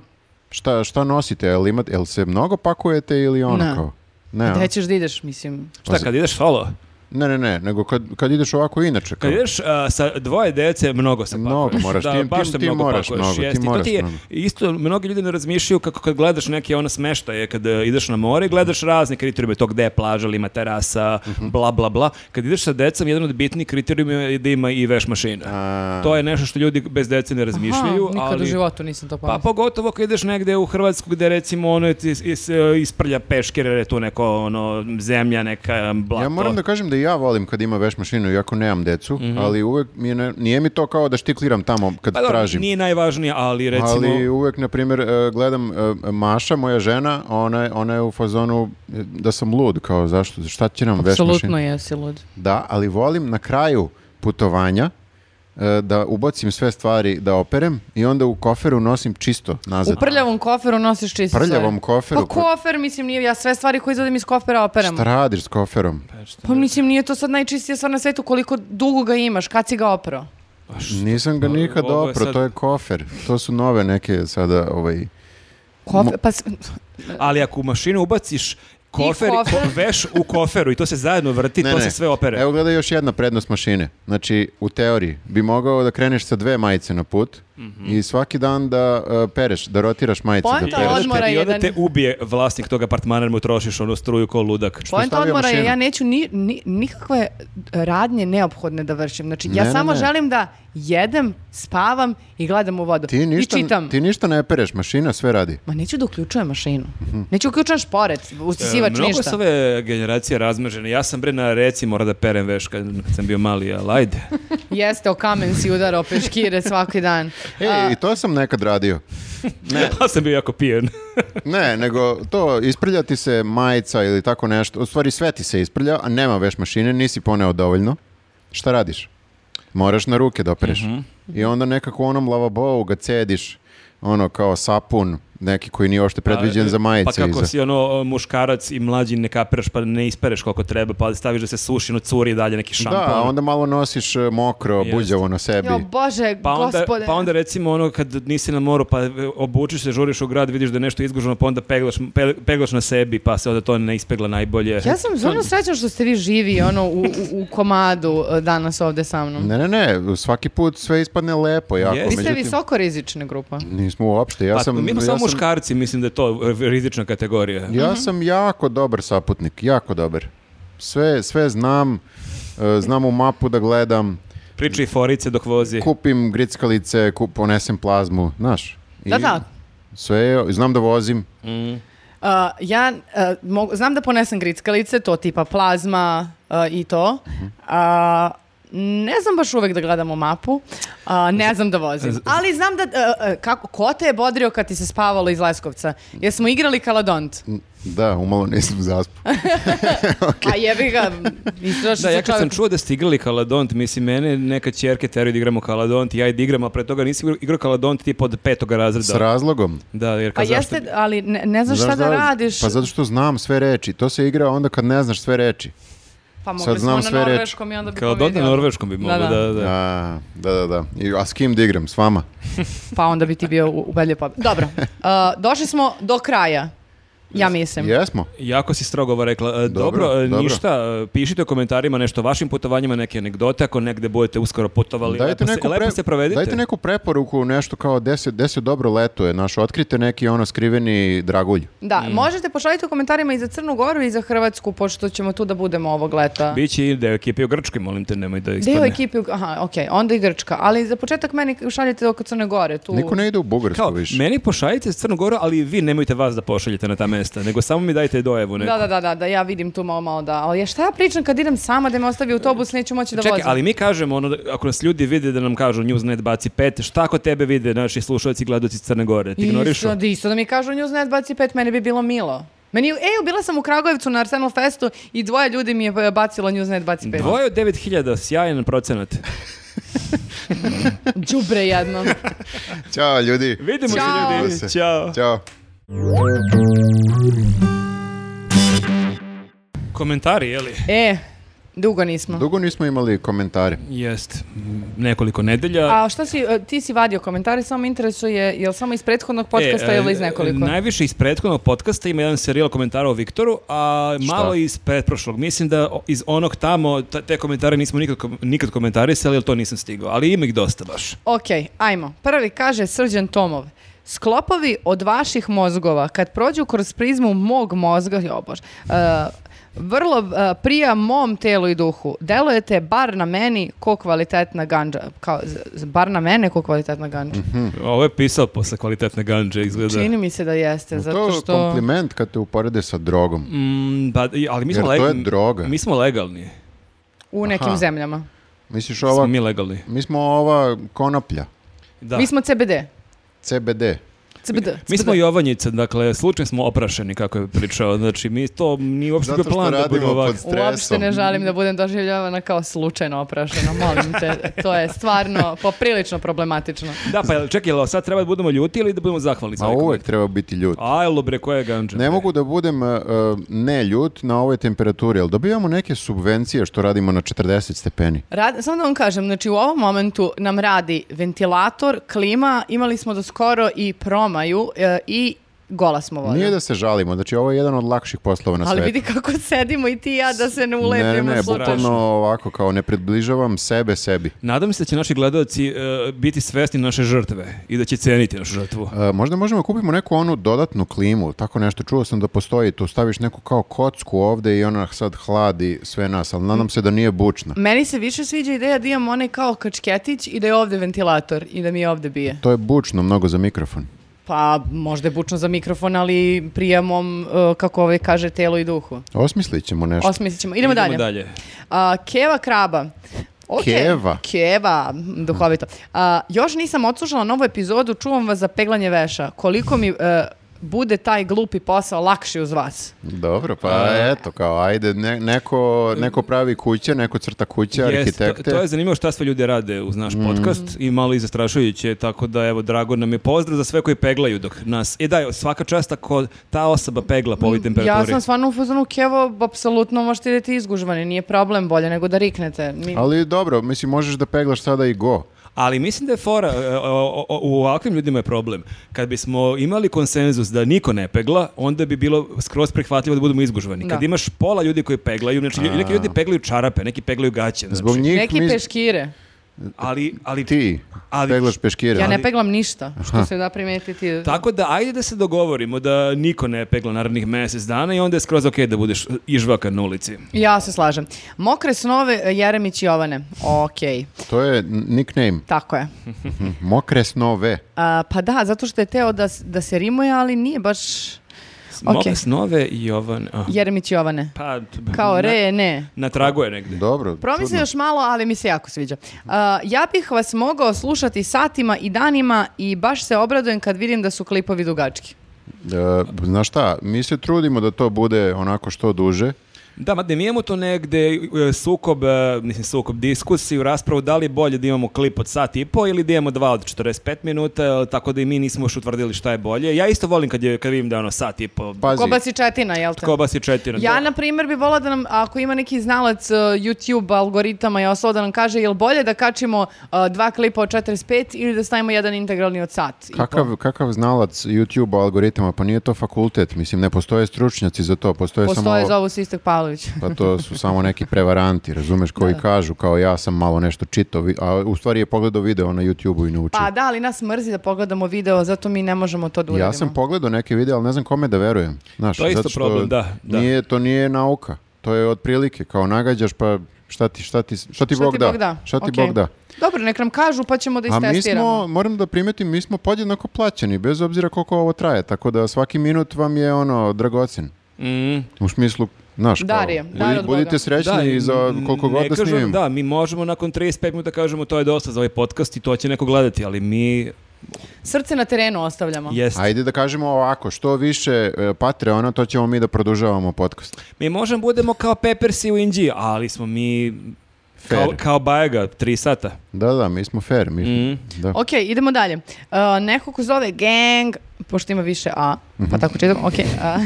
[SPEAKER 1] Šta, šta nosite, jel, imate, jel se mnogo pakujete ili ono
[SPEAKER 3] Ne.
[SPEAKER 1] kao? Ne, a?
[SPEAKER 3] Gde ćeš da ideš, mislim.
[SPEAKER 2] Šta, kad ideš solo?
[SPEAKER 1] ne, ne, ne, nego kad, kad ideš ovako inače. kao.
[SPEAKER 2] Kad ideš a, sa dvoje dece, mnogo se pakuješ.
[SPEAKER 1] Mnogo moraš,
[SPEAKER 2] da,
[SPEAKER 1] ti-
[SPEAKER 2] baš
[SPEAKER 1] ti-
[SPEAKER 2] se
[SPEAKER 1] ti
[SPEAKER 2] mnogo
[SPEAKER 1] moraš
[SPEAKER 2] pakuješ,
[SPEAKER 1] mnogo, ti
[SPEAKER 2] jeste. I to
[SPEAKER 1] moraš
[SPEAKER 2] ti je
[SPEAKER 1] mnogo.
[SPEAKER 2] Isto, mnogi ljudi ne razmišljaju kako kad gledaš neke ona smeštaje, kad e, ideš na more, gledaš razne kriterijume, to gde je plaža, ili ima terasa,
[SPEAKER 1] Mhm.
[SPEAKER 2] bla, bla, bla. Kad ideš sa decom, jedan od bitnijih kriterijuma je da ima i veš mašina.
[SPEAKER 1] A,
[SPEAKER 2] To je nešto što ljudi bez dece ne razmišljaju,
[SPEAKER 3] Aha, nikad
[SPEAKER 2] ali...
[SPEAKER 3] u životu nisam to
[SPEAKER 2] Pa
[SPEAKER 3] pomislila.
[SPEAKER 2] pogotovo kad ideš negde u Hrvatsku gde recimo ono ti is, is- isprlja peškir jer je tu neko ono zemlja neka blato.
[SPEAKER 1] Ja moram da kažem da da i ja volim kad ima veš mašinu, iako nemam decu, ali uvek mi je ne- nije mi to kao da štikliram tamo kad
[SPEAKER 2] Mhm. Pa dobro,
[SPEAKER 1] tražim.
[SPEAKER 2] nije najvažnije, ali recimo...
[SPEAKER 1] Ali uvek, na primjer, e, gledam e, Maša, moja žena, ona, je- ona je u fazonu e, da sam lud, kao zašto, šta će nam veš mašina?
[SPEAKER 3] Apsolutno jesi lud.
[SPEAKER 1] Da, ali volim na kraju putovanja e, da ubacim sve stvari da operem i onda u koferu nosim čisto nazad.
[SPEAKER 3] U prljavom koferu nosiš čisto
[SPEAKER 1] Prljavom
[SPEAKER 3] stvari.
[SPEAKER 1] koferu?
[SPEAKER 3] Pa kofer, mislim, nije, ja sve stvari koje izvadim iz kofera operam.
[SPEAKER 1] Šta radiš s koferom?
[SPEAKER 3] Pa mislim, nije to sad najčistija stvar na svetu koliko dugo ga imaš, kad si ga oprao.
[SPEAKER 1] Nisam ga nikad
[SPEAKER 2] ovo pa je
[SPEAKER 1] oprao,
[SPEAKER 2] sad-
[SPEAKER 1] to je kofer. To su nove neke sada, ovaj...
[SPEAKER 3] Kofer, pa, s-
[SPEAKER 2] Ali ako u mašinu ubaciš kofer,
[SPEAKER 3] kofer. (laughs)
[SPEAKER 2] ko- veš u koferu i to se zajedno vrti, to se sve opere.
[SPEAKER 1] Evo gledaj još jedna prednost mašine. Znači, u teoriji bi mogao da kreneš sa dve majice na put
[SPEAKER 2] Mhm.
[SPEAKER 1] i svaki dan da e, pereš, da rotiraš majice.
[SPEAKER 3] Poenta
[SPEAKER 1] da pereš.
[SPEAKER 3] odmora- odmora
[SPEAKER 2] I onda te
[SPEAKER 3] jedan.
[SPEAKER 2] ubije vlasnik tog apartmana jer mu trošiš ono struju ko ludak.
[SPEAKER 3] Poenta
[SPEAKER 1] stavio
[SPEAKER 3] odmora je,
[SPEAKER 1] mašinu.
[SPEAKER 3] ja neću ni, ni- nikakve radnje neophodne da vršim. Znači, ja
[SPEAKER 1] Ne, ne,
[SPEAKER 3] samo
[SPEAKER 1] ne.
[SPEAKER 3] želim da jedem, spavam i gledam u vodu.
[SPEAKER 1] Ti ništa,
[SPEAKER 3] I čitam.
[SPEAKER 1] ti ništa ne pereš, mašina sve radi.
[SPEAKER 3] Ma neću da uključujem mašinu.
[SPEAKER 1] Mhm.
[SPEAKER 3] Neću uključujem šporet, usisivač,
[SPEAKER 2] E, mnogo
[SPEAKER 3] ništa.
[SPEAKER 2] su ove generacije razmežene. Ja sam bre na reci mora da perem veš kad, kad sam bio mali, ali ajde.
[SPEAKER 3] Jeste, o kamen si udarao peškire svaki dan.
[SPEAKER 1] E,
[SPEAKER 3] A,
[SPEAKER 1] i to sam nekad radio. Ne,
[SPEAKER 2] (laughs) Ja sam bio jako pijen.
[SPEAKER 1] ne, nego to, isprljati se majica ili tako nešto, u stvari sve ti se isprlja, a nema veš mašine, nisi poneo dovoljno. Šta radiš? Moraš na ruke da opereš.
[SPEAKER 2] Mhm.
[SPEAKER 1] I onda nekako u onom lavabovu ga cediš, ono kao sapun, neki koji nije ošte predviđen za majice.
[SPEAKER 2] Pa kako
[SPEAKER 1] iza.
[SPEAKER 2] si ono muškarac i mlađi ne kapiraš pa ne ispereš koliko treba pa staviš da se suši, no curi dalje neki šampon.
[SPEAKER 1] Da, onda malo nosiš e, mokro,
[SPEAKER 2] Jeste.
[SPEAKER 1] buđavo na sebi.
[SPEAKER 3] jo, bože,
[SPEAKER 2] Pa onda,
[SPEAKER 3] gospode.
[SPEAKER 2] pa onda recimo ono kad nisi na moru pa obučiš se, žuriš u grad, vidiš da je nešto izguženo pa onda peglaš, pe- peglaš na sebi pa se onda to ne ispegla najbolje.
[SPEAKER 3] Ja sam stvarno srećna što ste vi živi ono, u, u, u komadu eh, danas ovde sa mnom. E,
[SPEAKER 1] Ne, ne, ne, svaki put sve ispadne lepo jako.
[SPEAKER 2] Jeste.
[SPEAKER 3] Vi ste
[SPEAKER 1] međutim,
[SPEAKER 3] visoko rizična grupa.
[SPEAKER 1] Nismo uopšte, ja
[SPEAKER 2] Pa,
[SPEAKER 1] sam...
[SPEAKER 2] mi
[SPEAKER 1] ja
[SPEAKER 2] smo samo
[SPEAKER 1] sam-
[SPEAKER 2] muškarci, mislim da je to e, rizična kategorija.
[SPEAKER 1] Ja
[SPEAKER 3] Mhm.
[SPEAKER 1] sam jako dobar saputnik, jako dobar. Sve, sve znam, e, znam u mapu da gledam,
[SPEAKER 2] Priča i forice dok vozi.
[SPEAKER 1] kupim grickalice, kup, ponesem plazmu, znaš. I
[SPEAKER 3] Da, da.
[SPEAKER 1] Sve, je- znam da vozim.
[SPEAKER 3] Uh, ja uh, mogu- znam da ponesem grickalice, to tipa plazma uh, i to.
[SPEAKER 1] Mhm.
[SPEAKER 3] A, ne znam baš uvek da gledam u mapu. A, ne znam da vozim. Ali znam da... uh, uh, kako, ko te je bodrio kad ti se spavalo iz Leskovca? Jer smo igrali
[SPEAKER 1] (laughs)
[SPEAKER 3] Kaladont.
[SPEAKER 1] Da, umalo nisam
[SPEAKER 3] (laughs)
[SPEAKER 1] zaspao.
[SPEAKER 3] A Pa jebi ga, istrašio
[SPEAKER 2] Da,
[SPEAKER 3] se
[SPEAKER 2] ja kad sam
[SPEAKER 3] čovjek.
[SPEAKER 2] čuo da ste igrali Kaladont, mislim, mene neka čerke teraju da igramo Kaladont i ja i da igram, a pre toga nisi igrao- igrao Kaladont tipa od petoga razreda.
[SPEAKER 1] S razlogom.
[SPEAKER 2] Da, jer
[SPEAKER 3] Pa
[SPEAKER 2] kao zašto...
[SPEAKER 3] jeste, ali ne, ne znaš šta da, radiš.
[SPEAKER 1] Pa zato što znam sve reči. To se igra onda kad ne znaš sve reči.
[SPEAKER 3] Pa mogli
[SPEAKER 1] sad
[SPEAKER 3] smo
[SPEAKER 1] znam
[SPEAKER 3] na
[SPEAKER 1] sve reči.
[SPEAKER 3] norveškom i onda bi
[SPEAKER 2] Kaladont na
[SPEAKER 3] pobedio.
[SPEAKER 2] norveškom bi mogao, da, da.
[SPEAKER 1] A, da, da, da. I, a s kim da igram? S vama?
[SPEAKER 3] Pa onda bi ti bio u- ubedljiv
[SPEAKER 2] (laughs)
[SPEAKER 3] pobjed. Dobro, A, došli smo do kraja. Ja mislim.
[SPEAKER 1] Jesmo.
[SPEAKER 2] Jako si strogo ovo rekla. E, Dobro,
[SPEAKER 1] Dobro,
[SPEAKER 2] e,
[SPEAKER 1] dobro.
[SPEAKER 2] ništa, e, pišite u komentarima nešto o vašim putovanjima, neke anegdote, ako negde budete uskoro putovali,
[SPEAKER 1] Dajte
[SPEAKER 2] lepo, se,
[SPEAKER 1] neku,
[SPEAKER 2] lepo
[SPEAKER 1] pre-
[SPEAKER 2] se provedite.
[SPEAKER 1] dajte neku preporuku, nešto kao deset, deset dobro letuje, naš, otkrite neki ono skriveni dragulj.
[SPEAKER 3] Da,
[SPEAKER 2] Mm.
[SPEAKER 3] možete pošaljiti u komentarima i za Crnu Goru i za Hrvatsku, pošto ćemo tu da budemo ovog leta.
[SPEAKER 2] Biće i deo ekipe u Grčkoj, molim te, nemoj da ispadne.
[SPEAKER 3] Deo ekipe, u- aha, okej, onda i Grčka. Ali za početak meni šaljite oko Crne Gore. Tu.
[SPEAKER 1] Niko ne ide u Bugarsku
[SPEAKER 2] Kao,
[SPEAKER 1] više.
[SPEAKER 2] meni pošaljite s Crnu Goru, ali vi nemojte vas da pošaljete na ta mesta, nego samo mi dajte dojevu neku.
[SPEAKER 3] Da, da, da, da, da, ja vidim tu malo, malo da. Ali ja šta ja pričam kad idem sama da me ostavi autobus, neću moći da
[SPEAKER 2] Čekaj,
[SPEAKER 3] vozim.
[SPEAKER 2] ali mi kažemo, ono, da- ako nas ljudi vide da nam kažu Newsnet baci pet, šta ako tebe vide naši slušalci i gledaoci iz Crne Gore? Ti ignorišu?
[SPEAKER 3] Isto, da, isto da mi kažu Newsnet 25, meni bi bilo milo. Meni, ej, bila sam u Kragujevcu na Arsenal Festu i dvoje ljudi mi je e, bacilo Newsnet 25.
[SPEAKER 2] Dvoje od 9000, sjajan
[SPEAKER 3] (laughs)
[SPEAKER 2] procenat.
[SPEAKER 3] Đubre jedno.
[SPEAKER 1] Ćao ljudi.
[SPEAKER 2] Vidimo se
[SPEAKER 3] Ćao.
[SPEAKER 2] ljudi. Ćao.
[SPEAKER 1] Ćao.
[SPEAKER 2] Komentari, je li?
[SPEAKER 3] E, dugo nismo.
[SPEAKER 1] Dugo nismo imali komentare.
[SPEAKER 2] Jest. Nekoliko nedelja.
[SPEAKER 3] A šta si, e, ti si vadio komentari, samo me interesuje, je li samo iz prethodnog podcasta
[SPEAKER 2] E,
[SPEAKER 3] ili iz
[SPEAKER 2] e,
[SPEAKER 3] nekoliko?
[SPEAKER 2] Najviše iz prethodnog podcasta ima jedan serijal komentara o Viktoru, a malo iz pretprošlog. Mislim da o- iz onog tamo ta- te komentare nismo nikad, kom- nikad komentarisali, jer to nisam stigao. Ali ima ih dosta baš.
[SPEAKER 3] Ok, ajmo. Prvi kaže Srđan Tomov. Sklopovi od vaših mozgova, kad prođu kroz prizmu mog mozga, jo bože, e, vrlo e, prija mom telu i duhu. Delujete bar na meni ko kvalitetna ganđa. Kao, z- z- bar na mene ko kvalitetna ganđa.
[SPEAKER 1] Hmm.
[SPEAKER 2] Ovo je pisao posle kvalitetne ganđe, izgleda.
[SPEAKER 3] Čini mi se da jeste,
[SPEAKER 1] to
[SPEAKER 3] zato
[SPEAKER 1] je
[SPEAKER 3] što...
[SPEAKER 1] kompliment kad te uporede sa drogom.
[SPEAKER 2] Mm, pa, i- ali mi
[SPEAKER 1] Jer
[SPEAKER 2] smo
[SPEAKER 1] to je
[SPEAKER 2] leg-
[SPEAKER 1] droga.
[SPEAKER 2] Mi smo legalni.
[SPEAKER 3] u nekim
[SPEAKER 1] Aha.
[SPEAKER 3] zemljama.
[SPEAKER 1] Misliš ova,
[SPEAKER 2] Smo mi legalni.
[SPEAKER 1] mi smo ova konoplja,
[SPEAKER 2] Da.
[SPEAKER 3] Mi smo CBD.
[SPEAKER 1] CBD.
[SPEAKER 3] CBD.
[SPEAKER 2] Mi smo Jovanjica, dakle, slučajno smo oprašeni, kako je pričao. Znači, mi to nije uopšte bio
[SPEAKER 1] Zato što
[SPEAKER 2] plan da budemo
[SPEAKER 1] radimo
[SPEAKER 2] ovako.
[SPEAKER 1] pod stresom.
[SPEAKER 3] Uopšte ne želim da budem doživljavana kao slučajno oprašena, molim te. To je stvarno poprilično problematično.
[SPEAKER 2] Da, pa jel, čekaj, jel sad treba da budemo ljuti ili da budemo zahvalni?
[SPEAKER 1] A uvek treba biti ljut.
[SPEAKER 2] Ajlo bre, koja je ganđa?
[SPEAKER 1] Ne
[SPEAKER 2] bre?
[SPEAKER 1] mogu da budem e, e, ne ljut na ovoj temperaturi, ali dobijamo neke subvencije što radimo na 40 stepeni.
[SPEAKER 3] Rad, samo da vam kažem, znači u ovom momentu nam radi ventilator, klima, imali smo do skoro i promaju e, i gola smo voda.
[SPEAKER 1] Nije da se žalimo, znači ovo je jedan od lakših poslova na
[SPEAKER 3] Ali
[SPEAKER 1] svetu.
[SPEAKER 3] vidi kako sedimo i ti i ja da se ne ulepimo.
[SPEAKER 1] ne, ne, ne,
[SPEAKER 3] slučajno.
[SPEAKER 1] bukvalno ovako, kao ne približavam sebe sebi.
[SPEAKER 2] Nadam se da će naši gledalci e, biti svesni naše žrtve i da će ceniti našu žrtvu.
[SPEAKER 1] E, možda možemo da kupimo neku onu dodatnu klimu, tako nešto. Čuo sam da postoji, tu staviš neku kao kocku ovde i ona sad hladi sve nas, ali nadam se da nije bučna.
[SPEAKER 3] Meni se više sviđa ideja da imam onaj kao kačketić i da je ovde ventilator i da mi je ovde bije.
[SPEAKER 1] To je bučno mnogo za mikrofon.
[SPEAKER 3] Pa možda je bučno za mikrofon, ali prijemom, e, kako ovaj kaže, telu i duhu.
[SPEAKER 1] Osmislit ćemo nešto.
[SPEAKER 3] Osmislit ćemo. Idemo, dalje. A, keva kraba. Ok.
[SPEAKER 1] Keva.
[SPEAKER 3] Keva, mm, duhovito. A, još nisam odslušala novu epizodu, čuvam vas za peglanje veša. Koliko mi e, bude taj glupi posao lakši uz vas.
[SPEAKER 1] Dobro, pa eto, kao ajde, ne- neko, neko pravi kuće, neko crta kuće,
[SPEAKER 2] Jest, to,
[SPEAKER 1] arhitekte. Mm.
[SPEAKER 2] to je zanimljivo šta sve ljudi rade uz naš podcast i malo i zastrašujuće, tako da evo, drago nam je pozdrav za sve koji peglaju dok nas. I da, svaka čast ako ta osoba pegla po ovoj temperaturi.
[SPEAKER 3] Mm, Ja sam stvarno u fazonu Kevo, apsolutno možete idete izgužvani, nije problem, bolje nego da riknete. Mi-
[SPEAKER 1] Ali dobro, mislim, možeš da peglaš sada i go.
[SPEAKER 2] Ali mislim da je fora, e, o- o- u ovakvim ljudima je problem. Kad bismo imali konsenzus da niko ne pegla, onda bi bilo skroz prihvatljivo da budemo izgužvani. Kad
[SPEAKER 3] Da.
[SPEAKER 2] imaš pola ljudi koji peglaju, znači lju- neki ljudi peglaju čarape, neki peglaju gaće. Znači,
[SPEAKER 1] Zbog njih
[SPEAKER 3] Neki
[SPEAKER 1] mi-
[SPEAKER 3] peškire.
[SPEAKER 2] ali, ali
[SPEAKER 1] ti
[SPEAKER 2] Ali-
[SPEAKER 1] peglaš peškire.
[SPEAKER 3] Ja ne peglam ništa, što se da primetiti.
[SPEAKER 2] Tako da, ajde da se dogovorimo da niko ne pegla narednih mjesec dana i onda je skroz okej da budeš ižvakan na ulici.
[SPEAKER 3] Ja se slažem. Mokre snove e, Jeremić Jovane. Okej,
[SPEAKER 1] To je
[SPEAKER 2] (laughs)
[SPEAKER 1] nickname.
[SPEAKER 3] tako je.
[SPEAKER 1] Mokre snove.
[SPEAKER 3] A, pa da, zato što je teo da, s- da se rimuje, ali nije baš
[SPEAKER 2] Smoke
[SPEAKER 3] Okej.
[SPEAKER 2] snove i Jovan... ah,
[SPEAKER 3] Jeremić Jovane.
[SPEAKER 2] Pa, t-
[SPEAKER 3] Kao
[SPEAKER 2] na-
[SPEAKER 3] re, ne.
[SPEAKER 2] Na tragu je negde.
[SPEAKER 1] Dobro.
[SPEAKER 3] Promisli
[SPEAKER 1] čudno.
[SPEAKER 3] još malo, ali mi se jako sviđa. A, ja bih vas mogao slušati satima i danima i baš se obradujem kad vidim da su klipovi dugački.
[SPEAKER 1] E, znaš šta, mi se trudimo da to bude onako što duže.
[SPEAKER 2] Da, mada mi imamo to negde e, sukob, e, mislim sukob diskusiju, raspravu da li je bolje da imamo klip od sat i po ili da imamo dva od 45 minuta, e, tako da i mi nismo još utvrdili šta je bolje. Ja isto volim kad, je, kad vidim da je ono sat i po...
[SPEAKER 1] Pazi,
[SPEAKER 3] Kobaci četina, jel te?
[SPEAKER 2] Kobas i četina.
[SPEAKER 3] Ja,
[SPEAKER 2] to-
[SPEAKER 3] na primjer, bi volao da nam, ako ima neki znalac uh, YouTube algoritama i ostalo, da nam kaže jel bolje da kačimo uh, dva klipa od 45 ili da stavimo jedan integralni od sat. i po?
[SPEAKER 1] Kakav, kakav znalac YouTube algoritama, pa nije to fakultet, mislim ne postoje stručnjaci za to, postoje, samo...
[SPEAKER 3] Postoje, zovu se Istok Pavlović.
[SPEAKER 1] Pa to su samo neki prevaranti, razumeš, koji kažu kao ja sam malo nešto čitao, vi- a u stvari je pogledao video na YouTube-u i naučio.
[SPEAKER 3] Pa da, ali nas mrzi da pogledamo video, zato mi ne možemo to da uradimo.
[SPEAKER 1] ja sam pogledao neke video, ali ne znam kome da verujem. Znaš,
[SPEAKER 2] To je isto
[SPEAKER 1] zato što
[SPEAKER 2] problem, da, da.
[SPEAKER 1] Nije, to nije nauka, to je otprilike, kao nagađaš pa šta ti, šta ti, šta ti
[SPEAKER 3] Šta
[SPEAKER 1] Bog,
[SPEAKER 3] ti
[SPEAKER 1] da.
[SPEAKER 3] Bog da?
[SPEAKER 1] Šta ti
[SPEAKER 3] Okej.
[SPEAKER 1] Bog da.
[SPEAKER 3] Dobro, nek nam kažu pa ćemo da
[SPEAKER 1] A mi
[SPEAKER 3] istestiramo.
[SPEAKER 1] smo, moram da primetim, mi smo podjednako plaćeni, bez obzira koliko ovo traje, tako da svaki minut vam je ono, dragocen.
[SPEAKER 2] Mm.
[SPEAKER 1] U smislu, znaš, kao,
[SPEAKER 3] Dar je, dar
[SPEAKER 1] budi-
[SPEAKER 3] od Boga.
[SPEAKER 1] budite srećni
[SPEAKER 2] Da,
[SPEAKER 1] i za
[SPEAKER 2] n-
[SPEAKER 1] koliko
[SPEAKER 2] ne
[SPEAKER 1] god da
[SPEAKER 2] kažem-
[SPEAKER 1] snimimo.
[SPEAKER 2] Da, mi možemo nakon 35 minuta kažemo to je dosta za ovaj podcast i to će neko gledati, ali mi
[SPEAKER 3] Srce na terenu ostavljamo.
[SPEAKER 2] jest.
[SPEAKER 1] Ajde da kažemo ovako, što više e, Patreona, to ćemo mi da produžavamo podcast.
[SPEAKER 2] Mi možemo budemo kao Peppersi u Inđiji, ali smo mi kao,
[SPEAKER 1] Fair.
[SPEAKER 2] kao Bajaga, 3
[SPEAKER 3] (laughs)
[SPEAKER 2] sata.
[SPEAKER 1] Da, da, mi smo fair. Mi,
[SPEAKER 2] Mm.
[SPEAKER 1] da.
[SPEAKER 3] Ok, idemo dalje. Uh, neko ko zove gang, pošto ima više A,
[SPEAKER 1] Mhm.
[SPEAKER 3] pa tako čitam, ok. a,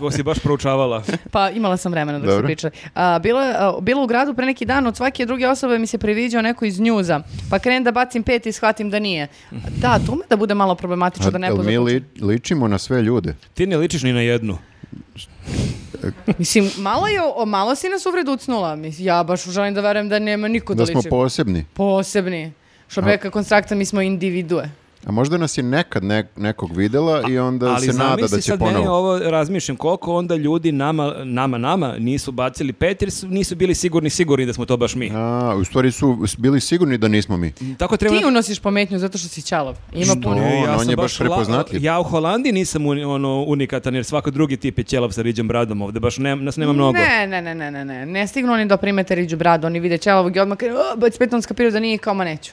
[SPEAKER 2] Ovo si baš proučavala.
[SPEAKER 3] pa imala sam vremena dok se
[SPEAKER 1] Dobro.
[SPEAKER 3] priča. A, bilo, je, a, bilo u gradu pre neki dan, od svake druge osobe mi se priviđao neko iz njuza, pa krenem da bacim pet i shvatim da nije. Da, to ume da bude malo problematično da
[SPEAKER 1] A,
[SPEAKER 3] ne
[SPEAKER 1] jel mi
[SPEAKER 3] poznakućem.
[SPEAKER 1] li- ličimo na sve ljude.
[SPEAKER 2] Ti ne ličiš ni na jednu.
[SPEAKER 3] Mislim, malo, je, o, malo si nas uvreducnula. Mislim, ja baš želim da verujem da nema niko da,
[SPEAKER 1] Da smo
[SPEAKER 3] liči.
[SPEAKER 1] posebni.
[SPEAKER 3] Posebni. Što bi rekao konstrakta, mi smo individue.
[SPEAKER 1] A možda nas je nekad ne- nekog videla i onda
[SPEAKER 2] Ali
[SPEAKER 1] se nada da
[SPEAKER 2] zamisli
[SPEAKER 1] će
[SPEAKER 2] sad meni
[SPEAKER 1] ponovo.
[SPEAKER 2] ovo razmišljam koliko onda ljudi nama nama nama nisu bacili pet jer su, nisu bili sigurni sigurni da smo to baš mi.
[SPEAKER 1] A, u stvari su bili sigurni da nismo mi.
[SPEAKER 2] Tako treba
[SPEAKER 3] Ti unosiš pometnju zato što si ćalav. Ima
[SPEAKER 1] Što?
[SPEAKER 3] puno.
[SPEAKER 1] Ne, on
[SPEAKER 2] sam
[SPEAKER 1] je baš
[SPEAKER 2] la-
[SPEAKER 1] prepoznatljiv.
[SPEAKER 2] Ja u Holandiji nisam uni- ono, unikatan jer svako drugi tip je ćelav sa riđom bradom ovde, baš ne, nas nema mnogo.
[SPEAKER 3] Ne, ne, ne, ne, ne, ne. Ne stignu oni da primete riđu bradu, oni vide ćelavog i odmah krenu, "O, već petom skapiraju da nije kao, ma neću.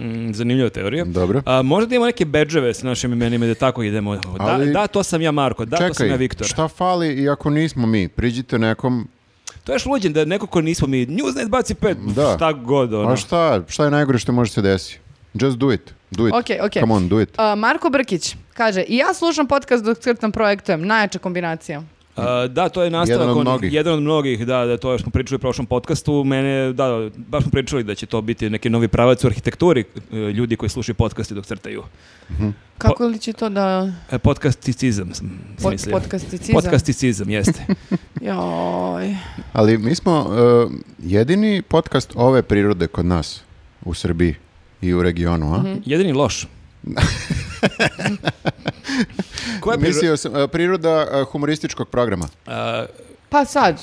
[SPEAKER 2] Mm, zanimljiva teorija.
[SPEAKER 1] Dobro.
[SPEAKER 2] A, možda da imamo neke bedževe s našim imenima i da tako idemo. Da,
[SPEAKER 1] Ali-
[SPEAKER 2] da, to sam ja Marko, da, to sam ja
[SPEAKER 1] Čekaj,
[SPEAKER 2] Viktor.
[SPEAKER 1] šta fali i ako nismo mi? Priđite nekom,
[SPEAKER 2] To je šluđen da neko ko nismo mi, Newsnet baci pet,
[SPEAKER 1] Da.
[SPEAKER 2] šta god ono.
[SPEAKER 1] a šta, šta je najgore što može se desi? Just do it, do it.
[SPEAKER 3] Okej, okej.
[SPEAKER 1] Come on, do it.
[SPEAKER 3] A, Marko Brkić kaže, i ja slušam podcast dok crtam projektujem, najjača kombinacija.
[SPEAKER 2] A, da, to je nastavak.
[SPEAKER 1] Jedan od
[SPEAKER 2] onih-
[SPEAKER 1] mnogih.
[SPEAKER 2] Jedan od mnogih, da, da, to smo pričali u prošlom podcastu. Mene, da, baš smo pričali da će to biti neki novi pravac u arhitekturi e, ljudi koji slušaju podcaste dok crtaju.
[SPEAKER 3] Kako li će to da...
[SPEAKER 2] E, Podcasticizam sam
[SPEAKER 3] Po-
[SPEAKER 2] mislio.
[SPEAKER 3] podcasticizam?
[SPEAKER 2] Podcasticizam,
[SPEAKER 3] (laughs)
[SPEAKER 2] jeste.
[SPEAKER 3] Joj.
[SPEAKER 1] Ali mi smo uh, jedini podcast ove prirode kod nas u Srbiji i u regionu, a?
[SPEAKER 2] Jedini
[SPEAKER 1] (laughs)
[SPEAKER 2] loš. Koja je priro-
[SPEAKER 1] Mislio sam, e, priroda e, humorističkog programa.
[SPEAKER 2] A,
[SPEAKER 3] Pa sad,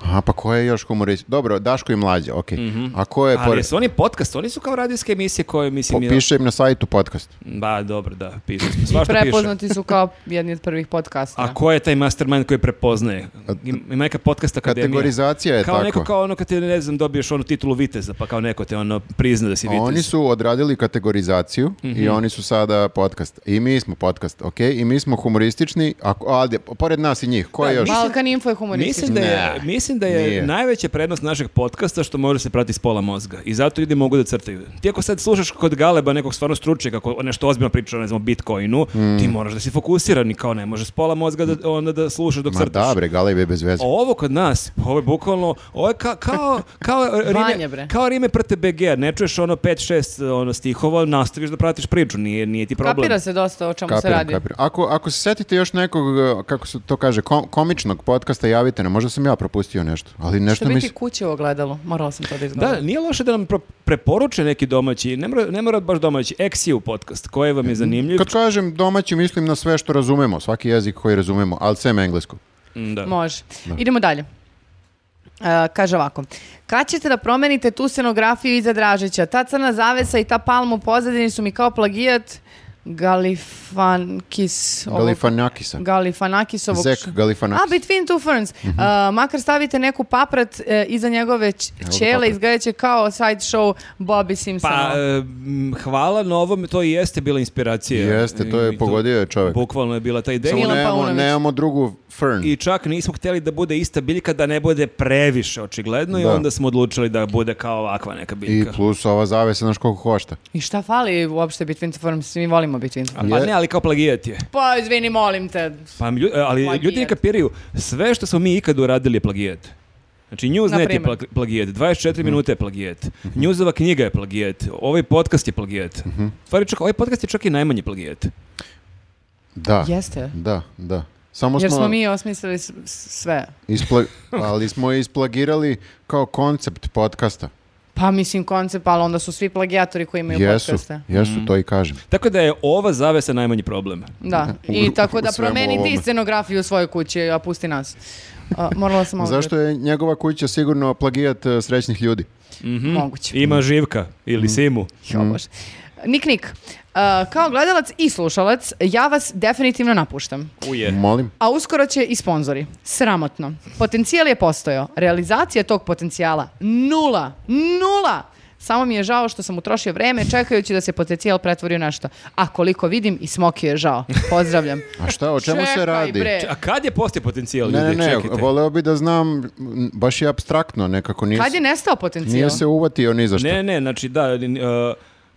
[SPEAKER 1] Aha, pa ko je još humorist? Dobro, Daško i Mlađa, okej. A ko je
[SPEAKER 2] Mhm. ali
[SPEAKER 1] pored?
[SPEAKER 2] su oni podcast, oni su kao radijske emisije koje, mislim, je-
[SPEAKER 1] Piše im na sajtu podcast.
[SPEAKER 2] Ba, dobro, da, piše. Svašta piše.
[SPEAKER 3] prepoznati su kao jedni od prvih podcasta.
[SPEAKER 2] A ko je taj mastermind koji prepoznaje? Im- Ima neka podcast akademija.
[SPEAKER 1] Kategorizacija je
[SPEAKER 2] kao
[SPEAKER 1] E, tako.
[SPEAKER 2] neko kao ono kad ti ne znam dobiješ onu titulu viteza pa kao neko te ono prizna da si vitez.
[SPEAKER 1] Oni su odradili kategorizaciju i oni su sada podcast. I mi smo podcast, ok? I mi smo humoristični, a, a pored nas i njih, ko je
[SPEAKER 2] Da,
[SPEAKER 1] Pa još?
[SPEAKER 2] mislim-
[SPEAKER 3] Balkan Info je humorističan.
[SPEAKER 2] Mislim da je,
[SPEAKER 1] Ne,
[SPEAKER 2] mislim da je
[SPEAKER 1] nije.
[SPEAKER 2] najveća prednost našeg podcasta što može se prati s pola mozga i zato ljudi mogu da crtaju. Ti ako sad slušaš kod Galeba nekog stvarno stručnjaka kako nešto ozbiljno priča o ne znam, Bitcoinu,
[SPEAKER 1] Hmm.
[SPEAKER 2] ti moraš da si fokusiran i kao ne možeš s pola mozga da, onda da slušaš dok
[SPEAKER 1] Ma
[SPEAKER 2] crtaš.
[SPEAKER 1] da, bre, Galeb je bez veze.
[SPEAKER 2] A Ovo kod nas, ovo je bukvalno, ovo je ka- kao, kao,
[SPEAKER 3] (laughs) Vanja,
[SPEAKER 2] rime,
[SPEAKER 3] bre.
[SPEAKER 2] kao rime prte BG, ne čuješ ono 5-6 ono, stihova, nastaviš da pratiš priču, nije, nije ti problem.
[SPEAKER 3] Kapira se dosta o čemu se
[SPEAKER 1] Kapiram,
[SPEAKER 3] radi.
[SPEAKER 1] kapiram. Ako, ako se setite još nekog, e, kako se to kaže, kom- komičnog podcasta, javite nam. Možda sam ja propustio nešto, ali
[SPEAKER 3] Što
[SPEAKER 1] nešto mi
[SPEAKER 3] biti
[SPEAKER 1] se...
[SPEAKER 3] kuće u ogledalu, morala sam to da izgledam.
[SPEAKER 2] Da, nije loše da nam pro- preporuče neki domaći, ne mora, ne mora baš domaći, Exiju podcast, koji vam je zanimljiv.
[SPEAKER 1] Kad kažem domaći, mislim na sve što razumemo, svaki jezik koji razumemo, ali sem englesku.
[SPEAKER 2] Mm, Da.
[SPEAKER 3] Može. Idemo dalje. E, kaže ovako, kad ćete da promenite tu scenografiju iza Dražića? Ta crna zavesa i ta palma u pozadini su mi kao plagijat Galifankis. ovog-
[SPEAKER 1] Galifanjakisa.
[SPEAKER 3] Galifanakisovog.
[SPEAKER 1] Zek Galifanakis. Mhm.
[SPEAKER 3] A, Between Two Ferns. E, makar stavite neku paprat e, iza njegove ć-
[SPEAKER 1] Evo ga
[SPEAKER 3] ćele,
[SPEAKER 1] paprat.
[SPEAKER 3] izgledat će kao side show Bobby Simpsona.
[SPEAKER 2] Pa, e, m, hvala na ovom, to i jeste bila inspiracija.
[SPEAKER 1] Jeste, to je
[SPEAKER 2] I
[SPEAKER 1] pogodio je čovjek.
[SPEAKER 2] Bukvalno je bila ta ideja.
[SPEAKER 1] Samo
[SPEAKER 3] Milan
[SPEAKER 1] nemamo,
[SPEAKER 3] Paunović.
[SPEAKER 1] nemamo drugu Fern.
[SPEAKER 2] I čak nismo htjeli da bude ista biljka, da ne bude previše, očigledno, i
[SPEAKER 1] Da.
[SPEAKER 2] onda smo odlučili da bude kao ovakva neka
[SPEAKER 1] I
[SPEAKER 2] biljka.
[SPEAKER 1] plus ova zavesa, znaš koliko košta.
[SPEAKER 3] I šta fali uopšte Between Two Ferns? Mi volimo Between Two
[SPEAKER 2] A Pa
[SPEAKER 1] Je-
[SPEAKER 2] ne, ali kao plagijat je.
[SPEAKER 3] Pa, izvini, molim te.
[SPEAKER 2] Pa lju- ali
[SPEAKER 3] Plagijat.
[SPEAKER 2] ljudi ne kapiraju, sve što smo mi ikad uradili je plagijat. Znači, Newsnet je
[SPEAKER 3] Naprimer?
[SPEAKER 2] plag- plagijet, 24
[SPEAKER 1] Mhm.
[SPEAKER 2] minute je plagijet, Newsova knjiga je plagijet, ovaj podcast je plagijet.
[SPEAKER 1] Mhm.
[SPEAKER 2] Stvari čak, ovaj podcast je čak i najmanji plagijet.
[SPEAKER 1] Da.
[SPEAKER 3] Jeste.
[SPEAKER 1] Da, da. Samo
[SPEAKER 3] Jer
[SPEAKER 1] Pa. smo,
[SPEAKER 3] smo mi osmislili s- s- sve. (laughs)
[SPEAKER 1] ispla- ali smo isplagirali kao koncept podcasta.
[SPEAKER 3] Pa mislim koncept, ali onda su svi plagijatori koji imaju
[SPEAKER 1] jesu,
[SPEAKER 3] podcaste. Mhm.
[SPEAKER 1] jesu, to i kažem.
[SPEAKER 2] Tako da je ova zavesa najmanji problem.
[SPEAKER 3] Da,
[SPEAKER 1] U-
[SPEAKER 3] i tako da
[SPEAKER 1] u svemu
[SPEAKER 3] promeni ti
[SPEAKER 1] ovome.
[SPEAKER 3] scenografiju u svojoj kući, a pusti nas. A,
[SPEAKER 1] (laughs)
[SPEAKER 3] morala sam malo
[SPEAKER 1] Zašto je njegova kuća sigurno plagijat e, srećnih ljudi? Mm.
[SPEAKER 3] da- moguće.
[SPEAKER 2] Ima živka
[SPEAKER 1] Mhm.
[SPEAKER 2] ili simu.
[SPEAKER 3] Jo, Bože. Nik, Nik, a, kao gledalac i slušalac, ja vas definitivno napuštam.
[SPEAKER 2] Uje.
[SPEAKER 1] Molim?
[SPEAKER 3] A uskoro će i sponzori. Sramotno. Potencijal je postojao. Realizacija tog potencijala nula. Nula! Samo mi je žao što sam utrošio vreme čekajući da se potencijal pretvori u nešto. A koliko vidim i Smoki je žao. Pozdravljam.
[SPEAKER 1] A šta, o čemu se
[SPEAKER 3] Čekaj,
[SPEAKER 1] radi?
[SPEAKER 3] bre.
[SPEAKER 2] E, A kad je postao potencijal,
[SPEAKER 1] Ne, ne,
[SPEAKER 2] ljudi?
[SPEAKER 1] ne,
[SPEAKER 2] Čekajte.
[SPEAKER 1] voleo bi da znam, m, baš je abstraktno nekako, nije,
[SPEAKER 3] Kad je
[SPEAKER 1] se-
[SPEAKER 3] nestao potencijal?
[SPEAKER 1] nije se uvatio ni za što.
[SPEAKER 2] Ne, ne, znači da, uh,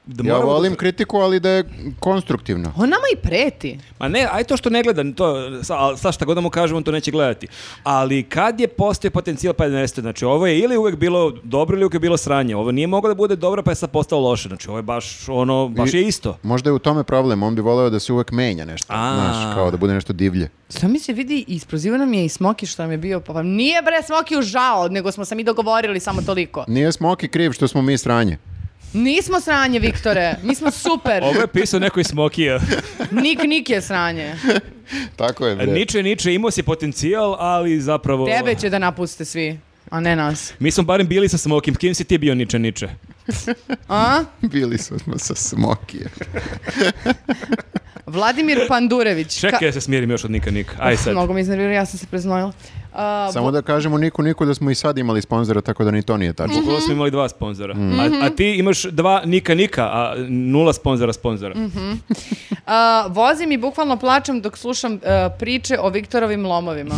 [SPEAKER 2] da
[SPEAKER 1] ja
[SPEAKER 2] moramo-
[SPEAKER 1] volim kritiku, ali da je konstruktivno.
[SPEAKER 3] On nama i preti.
[SPEAKER 2] Ma ne, aj to što ne gleda, to, sa, al sad šta god da mu kažem, on to neće gledati. Ali kad je postoje potencijal pa je nestao, znači ovo je ili uvek bilo dobro ili uvek je bilo sranje. Ovo nije moglo da bude dobro pa je sad postalo loše. Znači ovo je baš ono, baš
[SPEAKER 1] I-
[SPEAKER 2] je isto.
[SPEAKER 1] Možda je u tome problem, on bi voleo da se uvek menja nešto,
[SPEAKER 2] A.
[SPEAKER 1] znaš, kao da bude nešto divlje.
[SPEAKER 3] Što mi se vidi, isproziva nam je i Smoki što nam je bio. Pa, pa nije bre Smoki žao, nego smo se mi dogovorili samo toliko.
[SPEAKER 1] Nije Smoki kriv što smo mi sranje.
[SPEAKER 3] Nismo sranje, Viktore. Mi smo
[SPEAKER 1] (laughs)
[SPEAKER 3] super.
[SPEAKER 2] Ovo je pisao neko iz Smokija.
[SPEAKER 3] Nik, nik je sranje.
[SPEAKER 1] Tako
[SPEAKER 2] E,
[SPEAKER 1] je, bre.
[SPEAKER 2] Niče, niče, imao si potencijal, ali zapravo...
[SPEAKER 3] Tebe će da napuste svi, a ne nas.
[SPEAKER 2] Mi smo barem bili sa Smokim. Kim si ti bio, Niče, Niče?
[SPEAKER 3] A?
[SPEAKER 1] Bili smo sa Smokijem.
[SPEAKER 3] Vladimir Pandurević.
[SPEAKER 2] Čekaj,
[SPEAKER 3] Ka-
[SPEAKER 2] ja se smirim još od Nika, Nika. Aj sad.
[SPEAKER 3] Mnogo mi iznervirao, ja sam se preznojila. Um, A,
[SPEAKER 1] Samo da kažemo Niku Niku da smo i sad imali sponzora, tako da ni to nije tačno.
[SPEAKER 2] Bukvalno
[SPEAKER 3] Mhm.
[SPEAKER 2] smo imali dva sponzora. A, a ti imaš dva Nika, Nika, a nula sponzora, sponzora.
[SPEAKER 3] Mhm. a, vozim i uh, bukvalno plačem dok slušam e, priče o Viktorovim lomovima.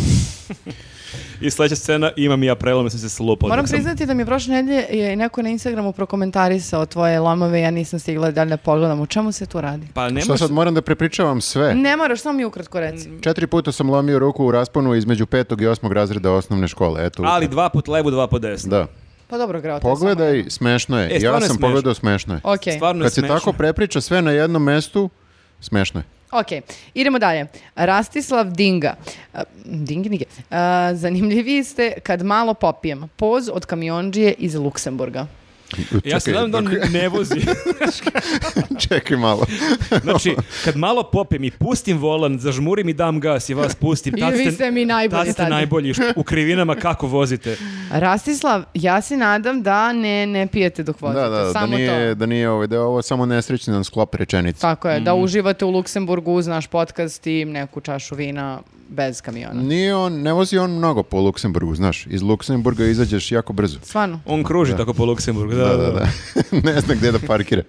[SPEAKER 2] I sledeća scena, imam i ja prelome, sam se slupao.
[SPEAKER 3] Moram
[SPEAKER 2] dok sam-
[SPEAKER 3] priznati da mi je prošle nedelje je neko na Instagramu prokomentarisao tvoje lomove, ja nisam stigla da ne pogledam. U čemu se tu radi?
[SPEAKER 2] Pa ne
[SPEAKER 1] Šta
[SPEAKER 2] možeš...
[SPEAKER 1] sad moram da prepričavam
[SPEAKER 2] E.
[SPEAKER 1] sve?
[SPEAKER 3] Ne moraš, samo mi ukratko reci.
[SPEAKER 2] Mm.
[SPEAKER 1] Četiri puta sam lomio ruku u rasponu između petog i osmog razreda osnovne škole. Eto,
[SPEAKER 2] Ali dva put levo, dva put desno.
[SPEAKER 1] da.
[SPEAKER 3] Pa dobro, grao to je
[SPEAKER 1] Pogledaj, smešno je.
[SPEAKER 2] E, stvarno
[SPEAKER 1] ja
[SPEAKER 2] je
[SPEAKER 1] sam
[SPEAKER 2] smešno.
[SPEAKER 1] pogledao, smešno je.
[SPEAKER 3] samo. Ok,
[SPEAKER 2] Stvarno je
[SPEAKER 1] Kad se
[SPEAKER 2] smešno.
[SPEAKER 1] tako prepriča sve na jednom mestu, smešno je.
[SPEAKER 3] ok. Idemo dalje. Rastislav Dinga. Uh, A, Dingi, Dingi. A, Uh, zanimljiviji ste kad malo popijem. Poz od kamionđije iz Luksemburga.
[SPEAKER 2] Ja se
[SPEAKER 1] (laughs)
[SPEAKER 2] nadam da on ne vozi.
[SPEAKER 1] Čekaj malo.
[SPEAKER 2] Znači, kad malo popim i pustim volan, zažmurim i dam gas i vas pustim.
[SPEAKER 3] I
[SPEAKER 2] tad
[SPEAKER 3] vi ste mi najbolji
[SPEAKER 2] Tad ste
[SPEAKER 3] tada.
[SPEAKER 2] najbolji š- u krivinama kako vozite.
[SPEAKER 3] Rastislav, ja se nadam da ne, ne pijete dok vozite.
[SPEAKER 1] Da, da, da
[SPEAKER 3] Samo
[SPEAKER 1] nije,
[SPEAKER 3] to.
[SPEAKER 1] da nije ovaj, da je ovo samo nesrećni nam sklop rečenica.
[SPEAKER 3] Tako je,
[SPEAKER 1] Mm.
[SPEAKER 3] da uživate u Luksemburgu uz naš podcast i neku čašu vina bez kamiona.
[SPEAKER 1] Nije on, ne vozi on mnogo po Luksemburgu, znaš. Iz Luksemburga izađeš jako brzo.
[SPEAKER 3] Stvarno.
[SPEAKER 2] On kruži tako po Luksemburgu. Da, da, da.
[SPEAKER 1] (laughs) ne zna gde da
[SPEAKER 2] (laughs)
[SPEAKER 1] parkira.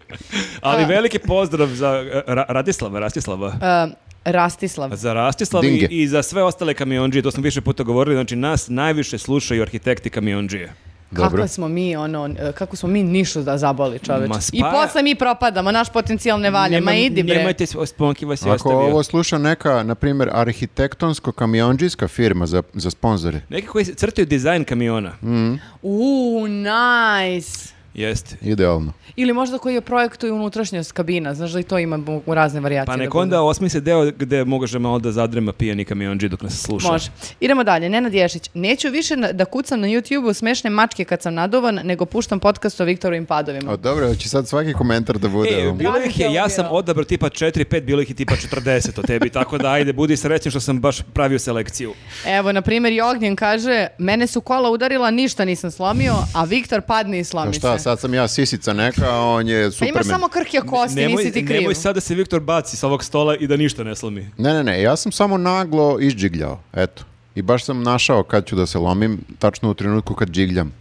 [SPEAKER 2] Ali veliki pozdrav za e, Ra- Radislava, Rastislava.
[SPEAKER 3] E, Rastislav.
[SPEAKER 2] Za Rastislav i,
[SPEAKER 1] Dinge.
[SPEAKER 2] i za sve ostale kamionđije, to smo više puta govorili, znači nas najviše slušaju arhitekti kamionđije.
[SPEAKER 1] Dobro.
[SPEAKER 3] Kako smo mi ono, e, kako smo mi nišu da zaboli čoveče.
[SPEAKER 2] Ma spaja-
[SPEAKER 3] I posle mi propadamo, naš potencijal ne valja. Ma
[SPEAKER 2] Nemam-
[SPEAKER 3] idi bre.
[SPEAKER 2] Nemojte, s- Sponki vas je
[SPEAKER 1] Ako
[SPEAKER 2] ostavio.
[SPEAKER 1] ovo sluša neka, na primjer, arhitektonsko-kamionđijska firma za, za sponzore,
[SPEAKER 2] Neki koji crtaju dizajn kamiona.
[SPEAKER 3] Mm. Uuu, nice.
[SPEAKER 2] Jeste.
[SPEAKER 1] idealno.
[SPEAKER 3] Ili možda koji je projektuju unutrašnjost kabina, znaš da i to ima bu- u razne varijacije.
[SPEAKER 2] Pa
[SPEAKER 3] Znači, da
[SPEAKER 2] nek
[SPEAKER 3] bude.
[SPEAKER 2] onda osmisli deo gde može malo da zadrema pijani kamionđi dok nas sluša.
[SPEAKER 3] Može. Idemo dalje, Nenad Ješić. Neću više na- da kucam na YouTube-u smešne mačke kad sam nadovan, nego puštam podcast o Viktorovim padovima.
[SPEAKER 1] O, dobro, hoće sad svaki komentar da bude. ono.
[SPEAKER 2] E,
[SPEAKER 1] ovom.
[SPEAKER 2] bilo ih je, ja
[SPEAKER 3] Pravi
[SPEAKER 2] sam
[SPEAKER 3] deo.
[SPEAKER 2] odabrao tipa 4, 5, bilo ih je tipa 40 od tebi, tako da ajde, budi srećen što sam baš pravio selekciju.
[SPEAKER 3] Evo, na primjer, Jognjen kaže, mene su kola udarila, ništa nisam slomio, a Viktor padne i slomi
[SPEAKER 1] A šta,
[SPEAKER 3] se.
[SPEAKER 1] sad sam ja sisica neka, a on je
[SPEAKER 3] Pa imaš
[SPEAKER 1] supermen.
[SPEAKER 3] samo krhke kosti,
[SPEAKER 2] nemoj,
[SPEAKER 3] nisi ti kriv.
[SPEAKER 2] nemoj sad da se Viktor baci sa ovog stola i da ništa ne slomi.
[SPEAKER 1] Ne, ne, ne, ja sam samo naglo izđigljao, eto. I baš sam našao kad ću da se lomim, tačno u trenutku kad
[SPEAKER 3] (laughs)
[SPEAKER 1] džigljam.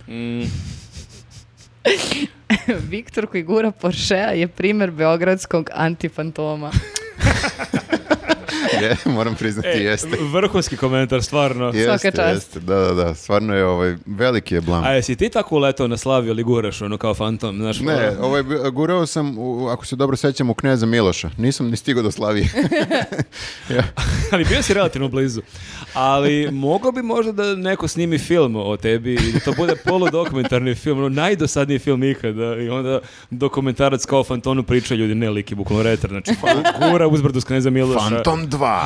[SPEAKER 3] Viktor koji gura Porschea je primjer beogradskog
[SPEAKER 2] (laughs)
[SPEAKER 3] antifantoma.
[SPEAKER 1] Je, moram priznati,
[SPEAKER 2] E,
[SPEAKER 1] jeste.
[SPEAKER 2] Vrhunski komentar, stvarno.
[SPEAKER 1] Jeste,
[SPEAKER 3] svaka čast.
[SPEAKER 1] jeste, da, da, da, stvarno je ovaj, veliki je blam.
[SPEAKER 2] A jesi ti tako uletao na Slaviju ili guraš ono kao fantom, znaš?
[SPEAKER 1] Ne,
[SPEAKER 2] ono-
[SPEAKER 1] ovaj, b- gurao sam, u- ako se dobro sećam, u Kneza Miloša. Nisam ni stigao do Slavije.
[SPEAKER 2] (laughs) ali bio si relativno blizu. Ali mogao bi možda da neko snimi film o tebi i da to bude poludokumentarni film, ono najdosadniji film ikada i onda dokumentarac kao Fantonu priča ljudi, ne liki, bukvalno retar, znači gura uzbrdu s kneza Miloša.
[SPEAKER 1] Phantom 2. (laughs)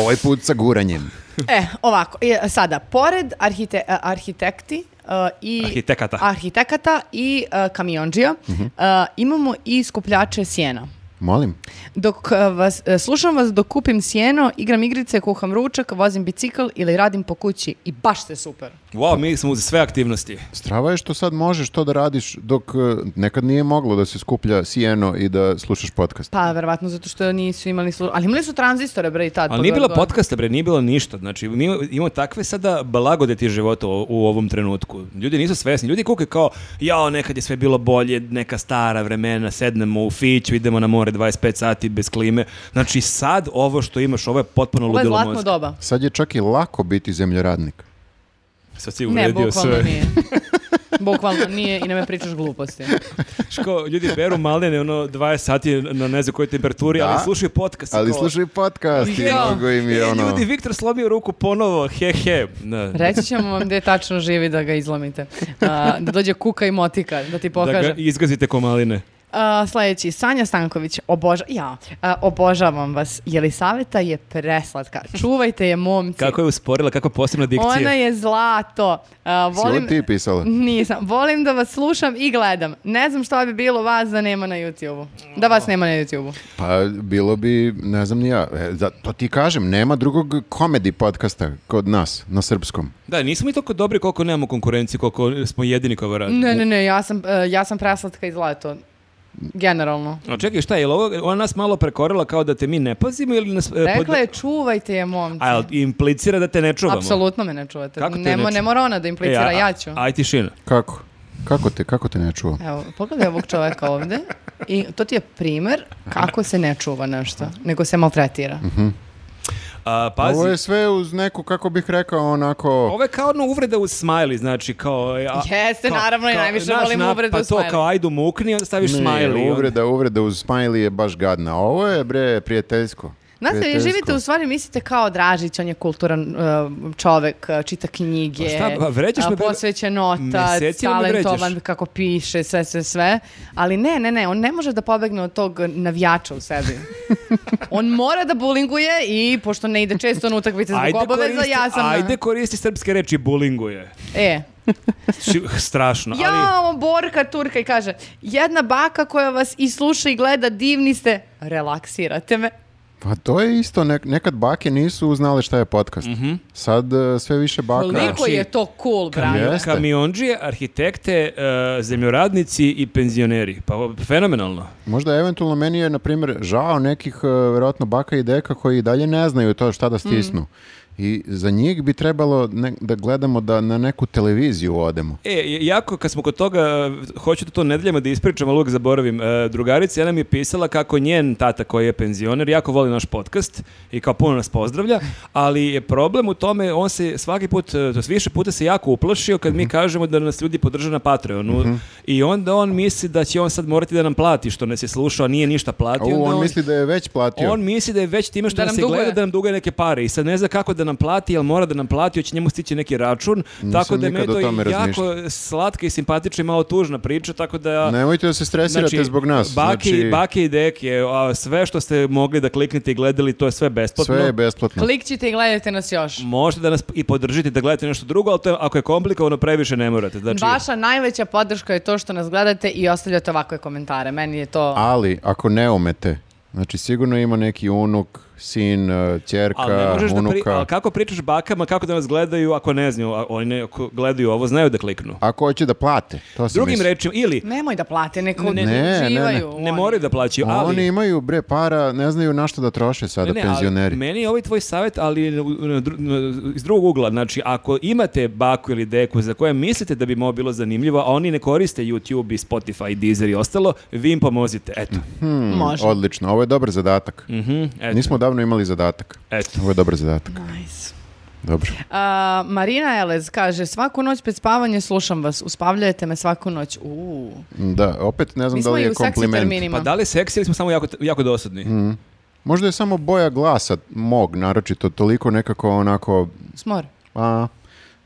[SPEAKER 1] ovaj put sa guranjem.
[SPEAKER 3] E, ovako, e, sada, pored arhite, e, arhitekti e, i...
[SPEAKER 2] Arhitekata.
[SPEAKER 3] Arhitekata i e, kamionđija
[SPEAKER 1] Mhm.
[SPEAKER 3] e, imamo i skupljače sjena.
[SPEAKER 1] Molim.
[SPEAKER 3] Dok e, vas, e, slušam vas dok kupim sjeno, igram igrice, kuham ručak, vozim bicikl ili radim po kući i baš ste super.
[SPEAKER 2] Wow, mi smo uz sve aktivnosti.
[SPEAKER 1] Strava je što sad možeš to da radiš dok eh, nekad nije moglo da se skuplja sjeno i da slušaš podcast.
[SPEAKER 3] Pa, verovatno zato što nisu imali služ... Ali imali su tranzistore, bre, i tad. pa
[SPEAKER 2] Ali nije bilo
[SPEAKER 3] pogotovo.
[SPEAKER 2] podcasta, bre, nije bilo ništa. Znači, mi imamo takve sada blagodeti života u, u ovom trenutku. Ljudi nisu svesni. Ljudi kuke kao, jao, nekad je sve bilo bolje, neka stara vremena, sednemo u fiću, idemo na more 25 sati bez klime. Znači, sad ovo što imaš, ovo je potpuno
[SPEAKER 3] Ovo je
[SPEAKER 2] ono ludilo
[SPEAKER 3] zlatno
[SPEAKER 2] mozga.
[SPEAKER 3] doba.
[SPEAKER 2] (laughs)
[SPEAKER 1] Sad je čak i lako biti zemljoradnik.
[SPEAKER 2] Sad si
[SPEAKER 3] Ne,
[SPEAKER 2] uvredio
[SPEAKER 3] bukvalno
[SPEAKER 2] sve.
[SPEAKER 3] nije.
[SPEAKER 2] (laughs)
[SPEAKER 3] Bukvalno nije i ne me pričaš gluposti.
[SPEAKER 2] Znaš kao, ljudi beru malene, ono, 20 sati na ne znam kojoj temperaturi,
[SPEAKER 1] Da.
[SPEAKER 2] ali slušaju podcast. i
[SPEAKER 1] Ali
[SPEAKER 2] kao,
[SPEAKER 1] slušaj podcast i
[SPEAKER 3] Ja.
[SPEAKER 1] mnogo im je
[SPEAKER 2] "E,
[SPEAKER 1] ono...
[SPEAKER 2] Ljudi, Viktor slomio ruku ponovo, he he. Da,
[SPEAKER 3] Reći ćemo vam gde tačno
[SPEAKER 2] (laughs)
[SPEAKER 3] živi da ga izlomite. A, da Eh, dođe kuka i motika, da ti
[SPEAKER 2] da ga
[SPEAKER 3] pokaže.
[SPEAKER 2] izgazite ko maline.
[SPEAKER 3] Uh, sledeći, Sanja Stanković, oboža, ja, uh, obožavam vas. Jelisaveta je preslatka. Čuvajte je, momci.
[SPEAKER 2] Kako je usporila, kako posebna dikcija.
[SPEAKER 3] Ona je zlato. Uh,
[SPEAKER 1] Si
[SPEAKER 3] volim,
[SPEAKER 1] ovo ti pisala?
[SPEAKER 3] Nisam. Volim da vas slušam i gledam. Ne znam šta bi bilo vas da nema na YouTube-u. Da vas nema na YouTube-u.
[SPEAKER 1] Pa bilo bi, ne znam ni ja, E, za- to ti kažem, nema drugog komedi podcasta kod nas, na srpskom.
[SPEAKER 2] Da, nismo mi toliko dobri koliko nemamo konkurenciju, koliko smo jedini koji ovo radi.
[SPEAKER 3] Ne, ne, ne, ja sam, e, ja sam preslatka i zlato. Generalno.
[SPEAKER 2] A čekaj, šta je, jel ovo, ona nas malo prekorila kao da te mi ne pazimo ili nas... e, pod-
[SPEAKER 3] Rekla je čuvajte je momci.
[SPEAKER 2] A jel implicira da te ne čuvamo?
[SPEAKER 3] Apsolutno me ne čuvate.
[SPEAKER 2] Kako te
[SPEAKER 3] ne,
[SPEAKER 2] ne
[SPEAKER 3] mo- ne
[SPEAKER 2] čuva?
[SPEAKER 3] mora ona
[SPEAKER 2] E,
[SPEAKER 3] da implicira,
[SPEAKER 2] a-
[SPEAKER 3] ja ću.
[SPEAKER 2] Aj tišina.
[SPEAKER 1] Kako? Kako te, kako te ne čuo?
[SPEAKER 3] Evo, pogledaj ovog čoveka ovde i to ti je primer kako se ne čuva nešto, nego se maltretira.
[SPEAKER 2] A, pazi,
[SPEAKER 1] Ovo je sve uz neku, kako bih rekao, onako...
[SPEAKER 2] kao ono uvreda uz smiley, znači kao... e, A,
[SPEAKER 3] Jeste, naravno, i najviše
[SPEAKER 2] znaš,
[SPEAKER 3] volim
[SPEAKER 2] na-
[SPEAKER 3] uvredu
[SPEAKER 2] Pa
[SPEAKER 3] uz
[SPEAKER 2] to
[SPEAKER 3] smiley.
[SPEAKER 2] kao ajdu mukni, onda staviš smiley.
[SPEAKER 1] Ne,
[SPEAKER 2] onda-
[SPEAKER 1] uvreda, uvreda uz smiley je baš gadna. Ovo je, bre, prijateljsko.
[SPEAKER 3] Znate, vi
[SPEAKER 1] Prijateljsko.
[SPEAKER 3] živite u stvari, mislite kao Dražić, on je kulturan e, čovek, e, čita knjige,
[SPEAKER 2] Pa šta, pa vređaš
[SPEAKER 3] e,
[SPEAKER 2] me, bre,
[SPEAKER 3] posvećen otac,
[SPEAKER 2] mesecima me vređaš.
[SPEAKER 3] talentovan, kako piše, sve, sve, sve. Ali ne, ne, ne, on ne može da pobegne od tog navijača u
[SPEAKER 2] (laughs)
[SPEAKER 3] sebi. on mora da bulinguje i pošto ne ide često na utakmice zbog obaveza,
[SPEAKER 2] koristi,
[SPEAKER 3] ja sam... na-
[SPEAKER 2] ajde koristi srpske reči, bulinguje.
[SPEAKER 3] E,
[SPEAKER 2] Ši- strašno,
[SPEAKER 3] ja,
[SPEAKER 2] ali...
[SPEAKER 3] ovo Borka Turka i kaže, jedna baka koja vas i sluša i gleda, divni ste, relaksirate me.
[SPEAKER 1] Pa to je isto, nek- nekad bake nisu znale šta je podcast.
[SPEAKER 2] Mhm.
[SPEAKER 1] Sad e, sve više baka...
[SPEAKER 3] Koliko
[SPEAKER 2] Znači,
[SPEAKER 3] je to cool, brate.
[SPEAKER 1] jeste.
[SPEAKER 2] Kamionđije, arhitekte, e, zemljoradnici i penzioneri. Pa o, fenomenalno.
[SPEAKER 1] Možda eventualno meni je, na primjer, žao nekih, e, verovatno, baka i deka koji i dalje ne znaju to šta da stisnu. I za njih bi trebalo ne- da gledamo da na neku televiziju odemo.
[SPEAKER 2] E, jako kad smo kod toga, e, hoću da to nedeljama da ispričam, ali uvijek zaboravim. E, drugarica jedna mi je pisala kako njen tata koji je penzioner jako voli naš podcast i kao puno nas pozdravlja, ali je problem u tome, on se svaki put, e, to jest više puta se jako uplašio kad
[SPEAKER 1] Mhm.
[SPEAKER 2] mi kažemo da nas ljudi podrže na Patreonu i onda on misli da će on sad morati da nam plati što nas je slušao, a nije ništa
[SPEAKER 1] A
[SPEAKER 2] platio.
[SPEAKER 1] u,
[SPEAKER 2] onda
[SPEAKER 1] on misli da je već platio.
[SPEAKER 2] On misli da je već time što
[SPEAKER 3] Da
[SPEAKER 2] nas
[SPEAKER 3] nam
[SPEAKER 2] je
[SPEAKER 3] duguje.
[SPEAKER 2] gleda da nam duguje neke pare i sad ne zna kako da nam plati, jel mora da nam plati, hoće njemu stići neki račun. tako da je
[SPEAKER 1] nikad
[SPEAKER 2] meni
[SPEAKER 1] o
[SPEAKER 2] to
[SPEAKER 1] tome
[SPEAKER 2] jako slatka i simpatična i malo tužna priča, tako da...
[SPEAKER 1] Nemojte da se stresirate zbog nas.
[SPEAKER 2] Znači, Baki,
[SPEAKER 1] znači,
[SPEAKER 2] baki i deke, a sve što ste mogli da kliknete i gledali, to je sve besplatno.
[SPEAKER 1] sve je besplatno.
[SPEAKER 3] Klikćite i gledajte nas još.
[SPEAKER 2] Možete da nas i podržite da gledate nešto drugo, ali to je, ako je komplikovano, previše ne morate. Znači,
[SPEAKER 3] Vaša najveća podrška je to što nas gledate i ostavljate ovakve komentare. Meni je to...
[SPEAKER 1] Ali, ako ne umete, znači sigurno ima neki unuk, sin, e,
[SPEAKER 2] Ali ne
[SPEAKER 1] ćerka,
[SPEAKER 2] možeš da pri,
[SPEAKER 1] unuka.
[SPEAKER 2] ali kako pričaš bakama, kako da nas gledaju ako ne znaju, a oni ne, ako gledaju ovo, znaju da kliknu.
[SPEAKER 1] Ako hoće da plate, to sam
[SPEAKER 2] Drugim
[SPEAKER 1] mislio.
[SPEAKER 2] rečima, ili
[SPEAKER 3] Nemoj da plate, neko
[SPEAKER 1] Ne, ne, ne.
[SPEAKER 3] uživaju
[SPEAKER 2] ne
[SPEAKER 3] oni.
[SPEAKER 2] moraju da plaćaju, ali...
[SPEAKER 1] Oni imaju bre para, ne znaju na što da troše sada
[SPEAKER 2] Ne, ne, ali
[SPEAKER 1] penzioneri.
[SPEAKER 2] meni je ovaj tvoj savjet, ali u- na dru- na- iz drugog ugla. Znači, ako imate baku ili deku za koje mislite da bi mu ovo bilo zanimljivo, a oni ne koriste YouTube i Spotify i Deezer i ostalo, vi im pomozite. Eto.
[SPEAKER 1] Hmm,
[SPEAKER 3] Može.
[SPEAKER 1] Odlično, ovo je dobar zadatak.
[SPEAKER 2] Mhm, eto.
[SPEAKER 1] Nismo davno imali zadatak.
[SPEAKER 2] Eto.
[SPEAKER 1] Ovo je dobar zadatak.
[SPEAKER 3] Nice.
[SPEAKER 1] Dobro.
[SPEAKER 3] A, Marina Elez kaže, svaku noć pred spavanje slušam vas, uspavljajte me svaku noć. Uuu.
[SPEAKER 1] Da, opet ne znam da
[SPEAKER 3] Mi smo
[SPEAKER 1] li
[SPEAKER 3] i
[SPEAKER 1] je
[SPEAKER 3] u seksi
[SPEAKER 1] kompliment.
[SPEAKER 3] terminima.
[SPEAKER 2] Pa da li je seksi ili smo samo jako, jako dosadni?
[SPEAKER 1] Mhm. Možda je samo boja glasa mog, naročito, toliko nekako onako,
[SPEAKER 3] Smor.
[SPEAKER 1] a,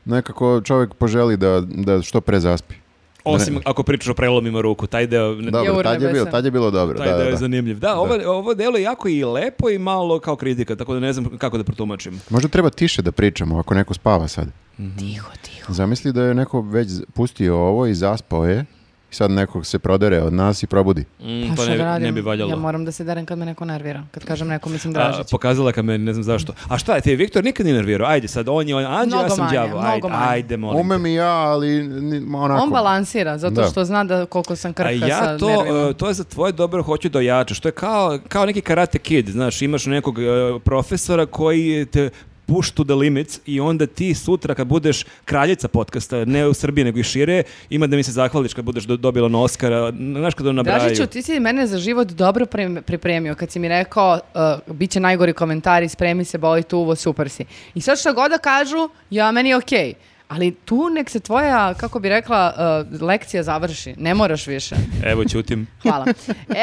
[SPEAKER 1] nekako čovjek poželi da, da što pre zaspi.
[SPEAKER 2] Osim
[SPEAKER 1] Ne.
[SPEAKER 2] ako pričaš o prelomima ruku, taj deo...
[SPEAKER 1] Dobro,
[SPEAKER 2] ne-
[SPEAKER 1] tad je,
[SPEAKER 3] urnebesam.
[SPEAKER 1] bilo, tad je bilo dobro.
[SPEAKER 2] Taj
[SPEAKER 1] Da,
[SPEAKER 2] deo
[SPEAKER 1] da,
[SPEAKER 2] je
[SPEAKER 1] da.
[SPEAKER 2] zanimljiv. Da, Ovo, ovo delo je jako i lepo i malo kao kritika, tako da ne znam kako da protumačim.
[SPEAKER 1] Možda treba tiše da pričamo ako neko spava sad.
[SPEAKER 3] Tiho, tiho.
[SPEAKER 1] Zamisli da je neko već z- pustio ovo i zaspao je i sad nekog se prodere od nas i probudi.
[SPEAKER 2] Mm,
[SPEAKER 3] Pa
[SPEAKER 2] to
[SPEAKER 3] šta
[SPEAKER 2] ne,
[SPEAKER 3] da
[SPEAKER 2] bi-
[SPEAKER 3] radim?
[SPEAKER 2] ne bi valjalo.
[SPEAKER 3] Ja moram da se derem kad me neko nervira. Kad kažem neko, mislim
[SPEAKER 2] A,
[SPEAKER 3] Dražić.
[SPEAKER 1] pa-
[SPEAKER 2] pokazala ka meni, ne znam zašto. A šta je, te je Viktor nikad nije nervirao? Ajde sad, on je on, anđeo, ja
[SPEAKER 3] Mnogo
[SPEAKER 2] sam
[SPEAKER 3] manje,
[SPEAKER 2] đavo. Ajde,
[SPEAKER 3] mnogo manje.
[SPEAKER 2] ajde, molim. te.
[SPEAKER 1] Umem i ja, ali ni- ma onako.
[SPEAKER 3] On balansira, zato
[SPEAKER 1] Da.
[SPEAKER 3] što zna da koliko sam
[SPEAKER 2] A
[SPEAKER 3] krhka
[SPEAKER 2] ja
[SPEAKER 3] sa
[SPEAKER 2] to,
[SPEAKER 3] nervima.
[SPEAKER 2] e, to je za tvoje dobro hoću da ojačaš. To je kao, kao neki karate kid, znaš, imaš nekog e, profesora koji te push to the limits i onda ti sutra kad budeš kraljica podcasta, ne u Srbiji nego i šire, ima da mi se zahvališ kad budeš do- dobila na Oscara, znaš kad ono nabraju.
[SPEAKER 3] Dražiću, ti si mene za život dobro prim- pripremio kad si mi rekao uh, bit će najgori komentari, spremi se, boli tu uvo, super si. I sad što god da kažu, ja, meni je okej. Ali tu nek se tvoja, kako bi rekla, uh, lekcija završi. Ne moraš više.
[SPEAKER 2] Evo, ćutim. (laughs)
[SPEAKER 3] Hvala.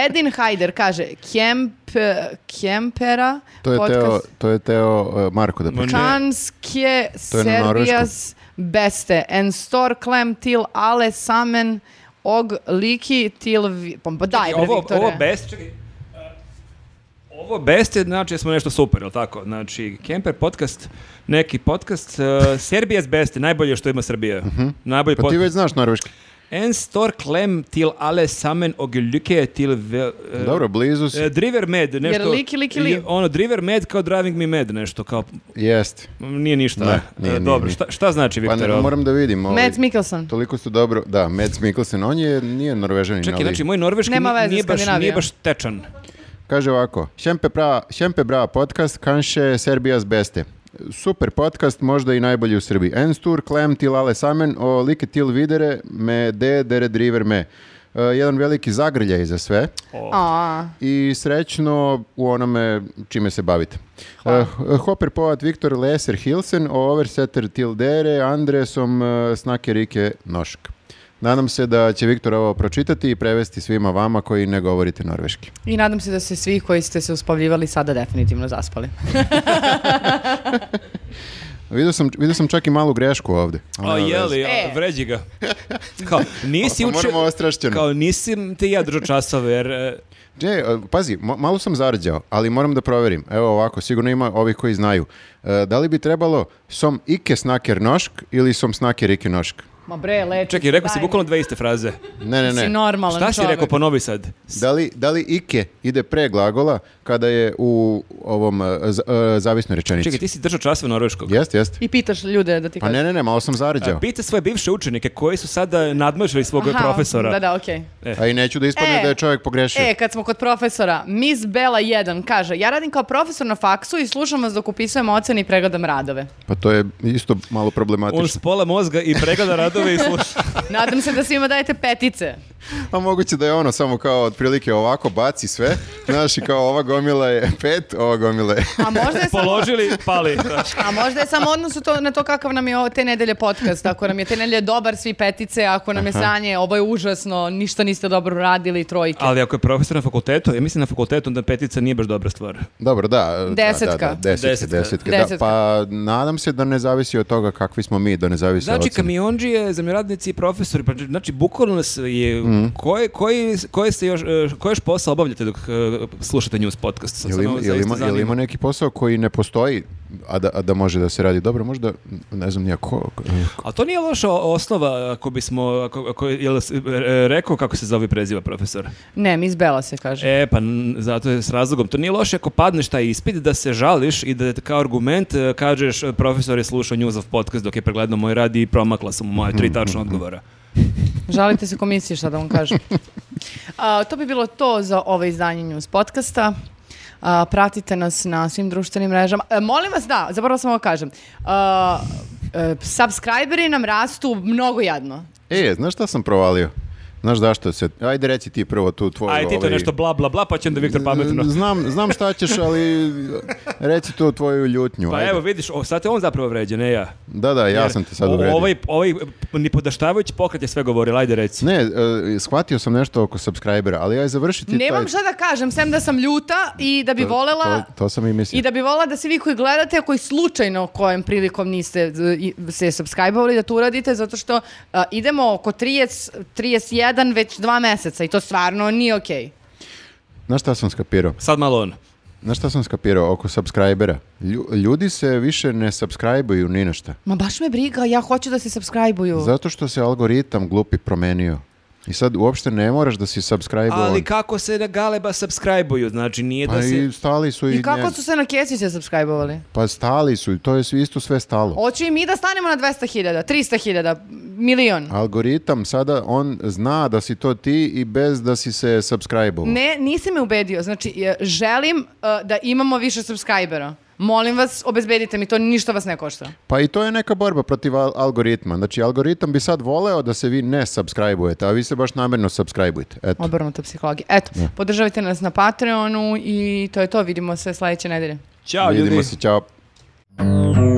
[SPEAKER 3] Edin Hajder kaže, Kemp, Kempera,
[SPEAKER 1] To je teo,
[SPEAKER 3] podcast-
[SPEAKER 1] to je teo e, Marko da
[SPEAKER 2] Ma
[SPEAKER 1] priča.
[SPEAKER 2] ne.
[SPEAKER 3] Kanskje
[SPEAKER 1] To je na norveškom.
[SPEAKER 3] Serbias beste en stor klem til ale sammen og liki til... vi- Pa pa daj, bre,
[SPEAKER 2] ovo,
[SPEAKER 3] Viktore.
[SPEAKER 2] ovo best, čekaj, uh, ovo best je, znači, da smo nešto super, jel tako? Znači, Kemper podcast, neki
[SPEAKER 3] (laughs)
[SPEAKER 2] podcast, uh, Serbija's best je najbolje što ima Srbija. Najbolji
[SPEAKER 1] Pa ti
[SPEAKER 2] podcast.
[SPEAKER 1] već znaš norveški.
[SPEAKER 2] En stor klem til alle sammen og lykke til... Vel, uh,
[SPEAKER 1] Dobro, blizu si.
[SPEAKER 2] E, Driver Med, nešto...
[SPEAKER 3] Jer liki, liki, li-
[SPEAKER 2] je- Ono, Driver Med kao Driving Me Med, nešto, kao...
[SPEAKER 1] Jeste.
[SPEAKER 2] m, Nije ništa.
[SPEAKER 1] Ne,
[SPEAKER 2] e,
[SPEAKER 1] nije, nije,
[SPEAKER 2] Dobro,
[SPEAKER 1] nije.
[SPEAKER 2] Šta, šta znači,
[SPEAKER 1] Pa
[SPEAKER 2] Viktor?
[SPEAKER 1] ne,
[SPEAKER 2] ovo?
[SPEAKER 1] moram da vidim. Ovaj,
[SPEAKER 3] Mads Mikkelsen.
[SPEAKER 1] Toliko ste dobro, da, Mads Mikkelsen, on je, nije norvežanin,
[SPEAKER 2] Čekaj,
[SPEAKER 1] ali
[SPEAKER 2] znači, moj norveški
[SPEAKER 3] Nema
[SPEAKER 2] ni-
[SPEAKER 3] veze,
[SPEAKER 2] nije baš, nije
[SPEAKER 3] Skandinavija.
[SPEAKER 2] baš tečan.
[SPEAKER 1] kaže ovako, Šempe, pra, Šempe Bra podcast, kanše Serbija's beste. Super podcast, možda i najbolji u Srbiji. Enstur, Klem, Til Ale Samen, o like Til Videre, me de, dere driver me. E, jedan veliki zagrljaj za sve
[SPEAKER 3] A,
[SPEAKER 1] i srećno u onome čime se bavite. E, Hopper Poat, Viktor Leser Hilsen, o Oversetter Tildere, Andresom e, Snake Rike Nošk. Nadam se da će Viktor ovo pročitati i prevesti svima vama koji ne govorite norveški.
[SPEAKER 3] I nadam se da se svi koji ste se uspavljivali sada definitivno zaspali.
[SPEAKER 1] Vidio sam, vidio sam čak i malu grešku Ono, ovde. ali
[SPEAKER 2] A
[SPEAKER 1] nema veze.
[SPEAKER 2] jeli, a,
[SPEAKER 3] E.
[SPEAKER 1] (laughs)
[SPEAKER 2] vređi ga. Kao, nisi
[SPEAKER 1] Pa
[SPEAKER 2] uče...
[SPEAKER 1] Moramo ostrašćeno.
[SPEAKER 2] Kao, nisam ti ja držao časove, jer... e,
[SPEAKER 1] Dje, e, pazi, mo- malo sam zarđao, ali moram da proverim. Evo ovako, sigurno ima ovih koji znaju. E, da li bi trebalo som ike snaker nošk ili som snaker ike nošk?
[SPEAKER 3] Ma bre, leči.
[SPEAKER 2] Čekaj, rekao si
[SPEAKER 3] daj,
[SPEAKER 2] bukvalno dve iste fraze.
[SPEAKER 1] Ne, ne,
[SPEAKER 3] Si
[SPEAKER 1] ne.
[SPEAKER 3] normalan
[SPEAKER 2] Šta si
[SPEAKER 3] čovek.
[SPEAKER 2] rekao, ponovi sad.
[SPEAKER 1] Da li, da li ike ide pre glagola kada je u ovom e, z- e, zavisnoj rečenici?
[SPEAKER 2] Čekaj, ti si držao časove norveškog. E,
[SPEAKER 1] Jeste, jeste.
[SPEAKER 3] I pitaš ljude da ti
[SPEAKER 1] Pa
[SPEAKER 3] kažu.
[SPEAKER 1] ne, ne, ne, malo sam zarđao.
[SPEAKER 2] Pita svoje bivše učenike koji su sada nadmažili svog
[SPEAKER 3] Aha,
[SPEAKER 2] profesora.
[SPEAKER 3] Da, da, okej.
[SPEAKER 1] A i neću da ispadne
[SPEAKER 3] E.
[SPEAKER 1] da je čovjek pogrešio.
[SPEAKER 3] E, kad smo kod profesora, Miss Bela 1 kaže, ja radim kao profesor na faksu i slušam vas dok upisujem ocene i pregledam radove.
[SPEAKER 1] Pa to je isto malo
[SPEAKER 2] On
[SPEAKER 1] problematično.
[SPEAKER 2] s pola mozga i pregleda radove i
[SPEAKER 3] (laughs)
[SPEAKER 2] sluša.
[SPEAKER 3] Nadam se da svima dajete petice.
[SPEAKER 1] A moguće da je ono samo kao otprilike ovako baci sve. Znaš, i kao ova gomila je pet, ova gomila je...
[SPEAKER 3] A možda
[SPEAKER 2] (laughs)
[SPEAKER 3] je samo,
[SPEAKER 2] Položili, pali. znaš.
[SPEAKER 3] a možda je samo odnos u to, na to kakav nam je ovo te nedelje podcast. Ako nam je te nedelje dobar, svi petice. Ako nam je sanje, ovo je užasno, ništa niste dobro radili, trojke.
[SPEAKER 2] Ali ako je profesor na fakultetu, ja mislim na fakultetu, onda petica nije baš dobra stvar.
[SPEAKER 1] Dobro, da. Da,
[SPEAKER 3] Desetka.
[SPEAKER 1] da, da, desetke,
[SPEAKER 2] Desetka.
[SPEAKER 1] desetke, Da.
[SPEAKER 3] Desetka.
[SPEAKER 1] Pa nadam se da ne zavisi od toga kakvi smo mi, da ne zavisi
[SPEAKER 2] Znači,
[SPEAKER 1] od ocene.
[SPEAKER 2] kamionđije, zemljoradnici i profesori, pa znači, bukvalno nas je,
[SPEAKER 1] Mhm.
[SPEAKER 2] koje, koji, koje se još, e, koji još posao obavljate dok e, slušate news podcast? Sad
[SPEAKER 1] Jel
[SPEAKER 2] sam
[SPEAKER 1] ima,
[SPEAKER 2] ovo
[SPEAKER 1] jel
[SPEAKER 2] zaista
[SPEAKER 1] ima, jel
[SPEAKER 2] zanima.
[SPEAKER 1] ima neki posao koji ne postoji, a da, a da može da se radi dobro? Možda, ne znam nija ko...
[SPEAKER 2] A to nije loša o- osnova ako bismo, ako, ako, jel s- e, e, rekao kako se zove i preziva profesor?
[SPEAKER 3] Ne, Miss Bela se kaže.
[SPEAKER 2] E, pa n- zato je s razlogom. To nije loše ako padneš taj ispit da se žališ i da te kao argument e, kažeš e, profesor je slušao News of podcast dok je pregledao moj rad i promakla sam mu moje tri tačna
[SPEAKER 1] Mhm.
[SPEAKER 2] odgovora.
[SPEAKER 3] Žalite se komisiji šta da vam kažem. A, to bi bilo to za ovo izdanje News podcasta. A, pratite nas na svim društvenim mrežama. E, molim vas, da, zapravo samo ovo kažem. A, e, subscriberi nam rastu mnogo jadno.
[SPEAKER 1] E, znaš šta sam provalio? Znaš zašto se... Ajde reci ti prvo tu tvoju...
[SPEAKER 2] Aj ti to
[SPEAKER 1] ovaj-
[SPEAKER 2] nešto bla bla bla pa će onda Viktor pametno.
[SPEAKER 1] (laughs) Znam, znam šta ćeš, ali reci tu tvoju ljutnju.
[SPEAKER 2] Pa
[SPEAKER 1] ajde.
[SPEAKER 2] evo vidiš, o, sad te on zapravo vređa, ne ja.
[SPEAKER 1] Da, da, ja
[SPEAKER 2] Jer
[SPEAKER 1] sam te sad
[SPEAKER 2] o-
[SPEAKER 1] uvredio.
[SPEAKER 2] Ovaj, ovaj nipodaštavajući pokret je sve govorila, ajde reci.
[SPEAKER 1] Ne, e, shvatio sam nešto oko subscribera, ali aj završiti taj...
[SPEAKER 3] Nemam šta da kažem, sem da sam ljuta i da bi volela...
[SPEAKER 1] To, to sam i mislio.
[SPEAKER 3] I da bi voljela da svi vi koji gledate, a koji slučajno kojom prilikom niste z- i- se subscribe-ovali, da to uradite, zato što a, idemo oko 30, 31 već dva meseca i to stvarno nije okej.
[SPEAKER 1] Znaš šta sam skapirao?
[SPEAKER 2] Sad malo on.
[SPEAKER 1] Znaš šta sam skapirao oko subscribera? Lju- ljudi se više ne subscribe-uju ni na šta.
[SPEAKER 3] Ma baš me briga, ja hoću da se subscribe-uju.
[SPEAKER 1] Zato što se algoritam glupi promenio. I sad uopšte ne moraš da si subscribe
[SPEAKER 2] Ali kako se na galeba subscribe-uju, znači nije
[SPEAKER 1] Pa
[SPEAKER 2] da se...
[SPEAKER 1] i stali su i,
[SPEAKER 3] I kako
[SPEAKER 1] nje-
[SPEAKER 3] su se na Kesića subscribe-ovali?
[SPEAKER 1] Pa stali su i to je sve- isto sve stalo.
[SPEAKER 3] Hoću i mi da stanemo na 200.000, 300.000, milion.
[SPEAKER 1] Algoritam sada, on zna da si to ti i bez da si se subscribe
[SPEAKER 3] Ne, nisi me ubedio. Znači, je, želim e, da imamo više subscribera. Molim vas, obezbedite mi to, ništa vas ne košta.
[SPEAKER 1] Pa i to je neka borba protiv al- algoritma. Znači, algoritam bi sad voleo da se vi ne subscribe-ujete, a vi se baš namjerno subscribe-ujete. Eto.
[SPEAKER 3] Obrnuta psihologija. Eto, podržavajte nas na Patreonu i to je to. Vidimo se sledeće nedelje.
[SPEAKER 2] Ćao
[SPEAKER 1] Vidimo
[SPEAKER 2] ljudi.
[SPEAKER 1] se, čao.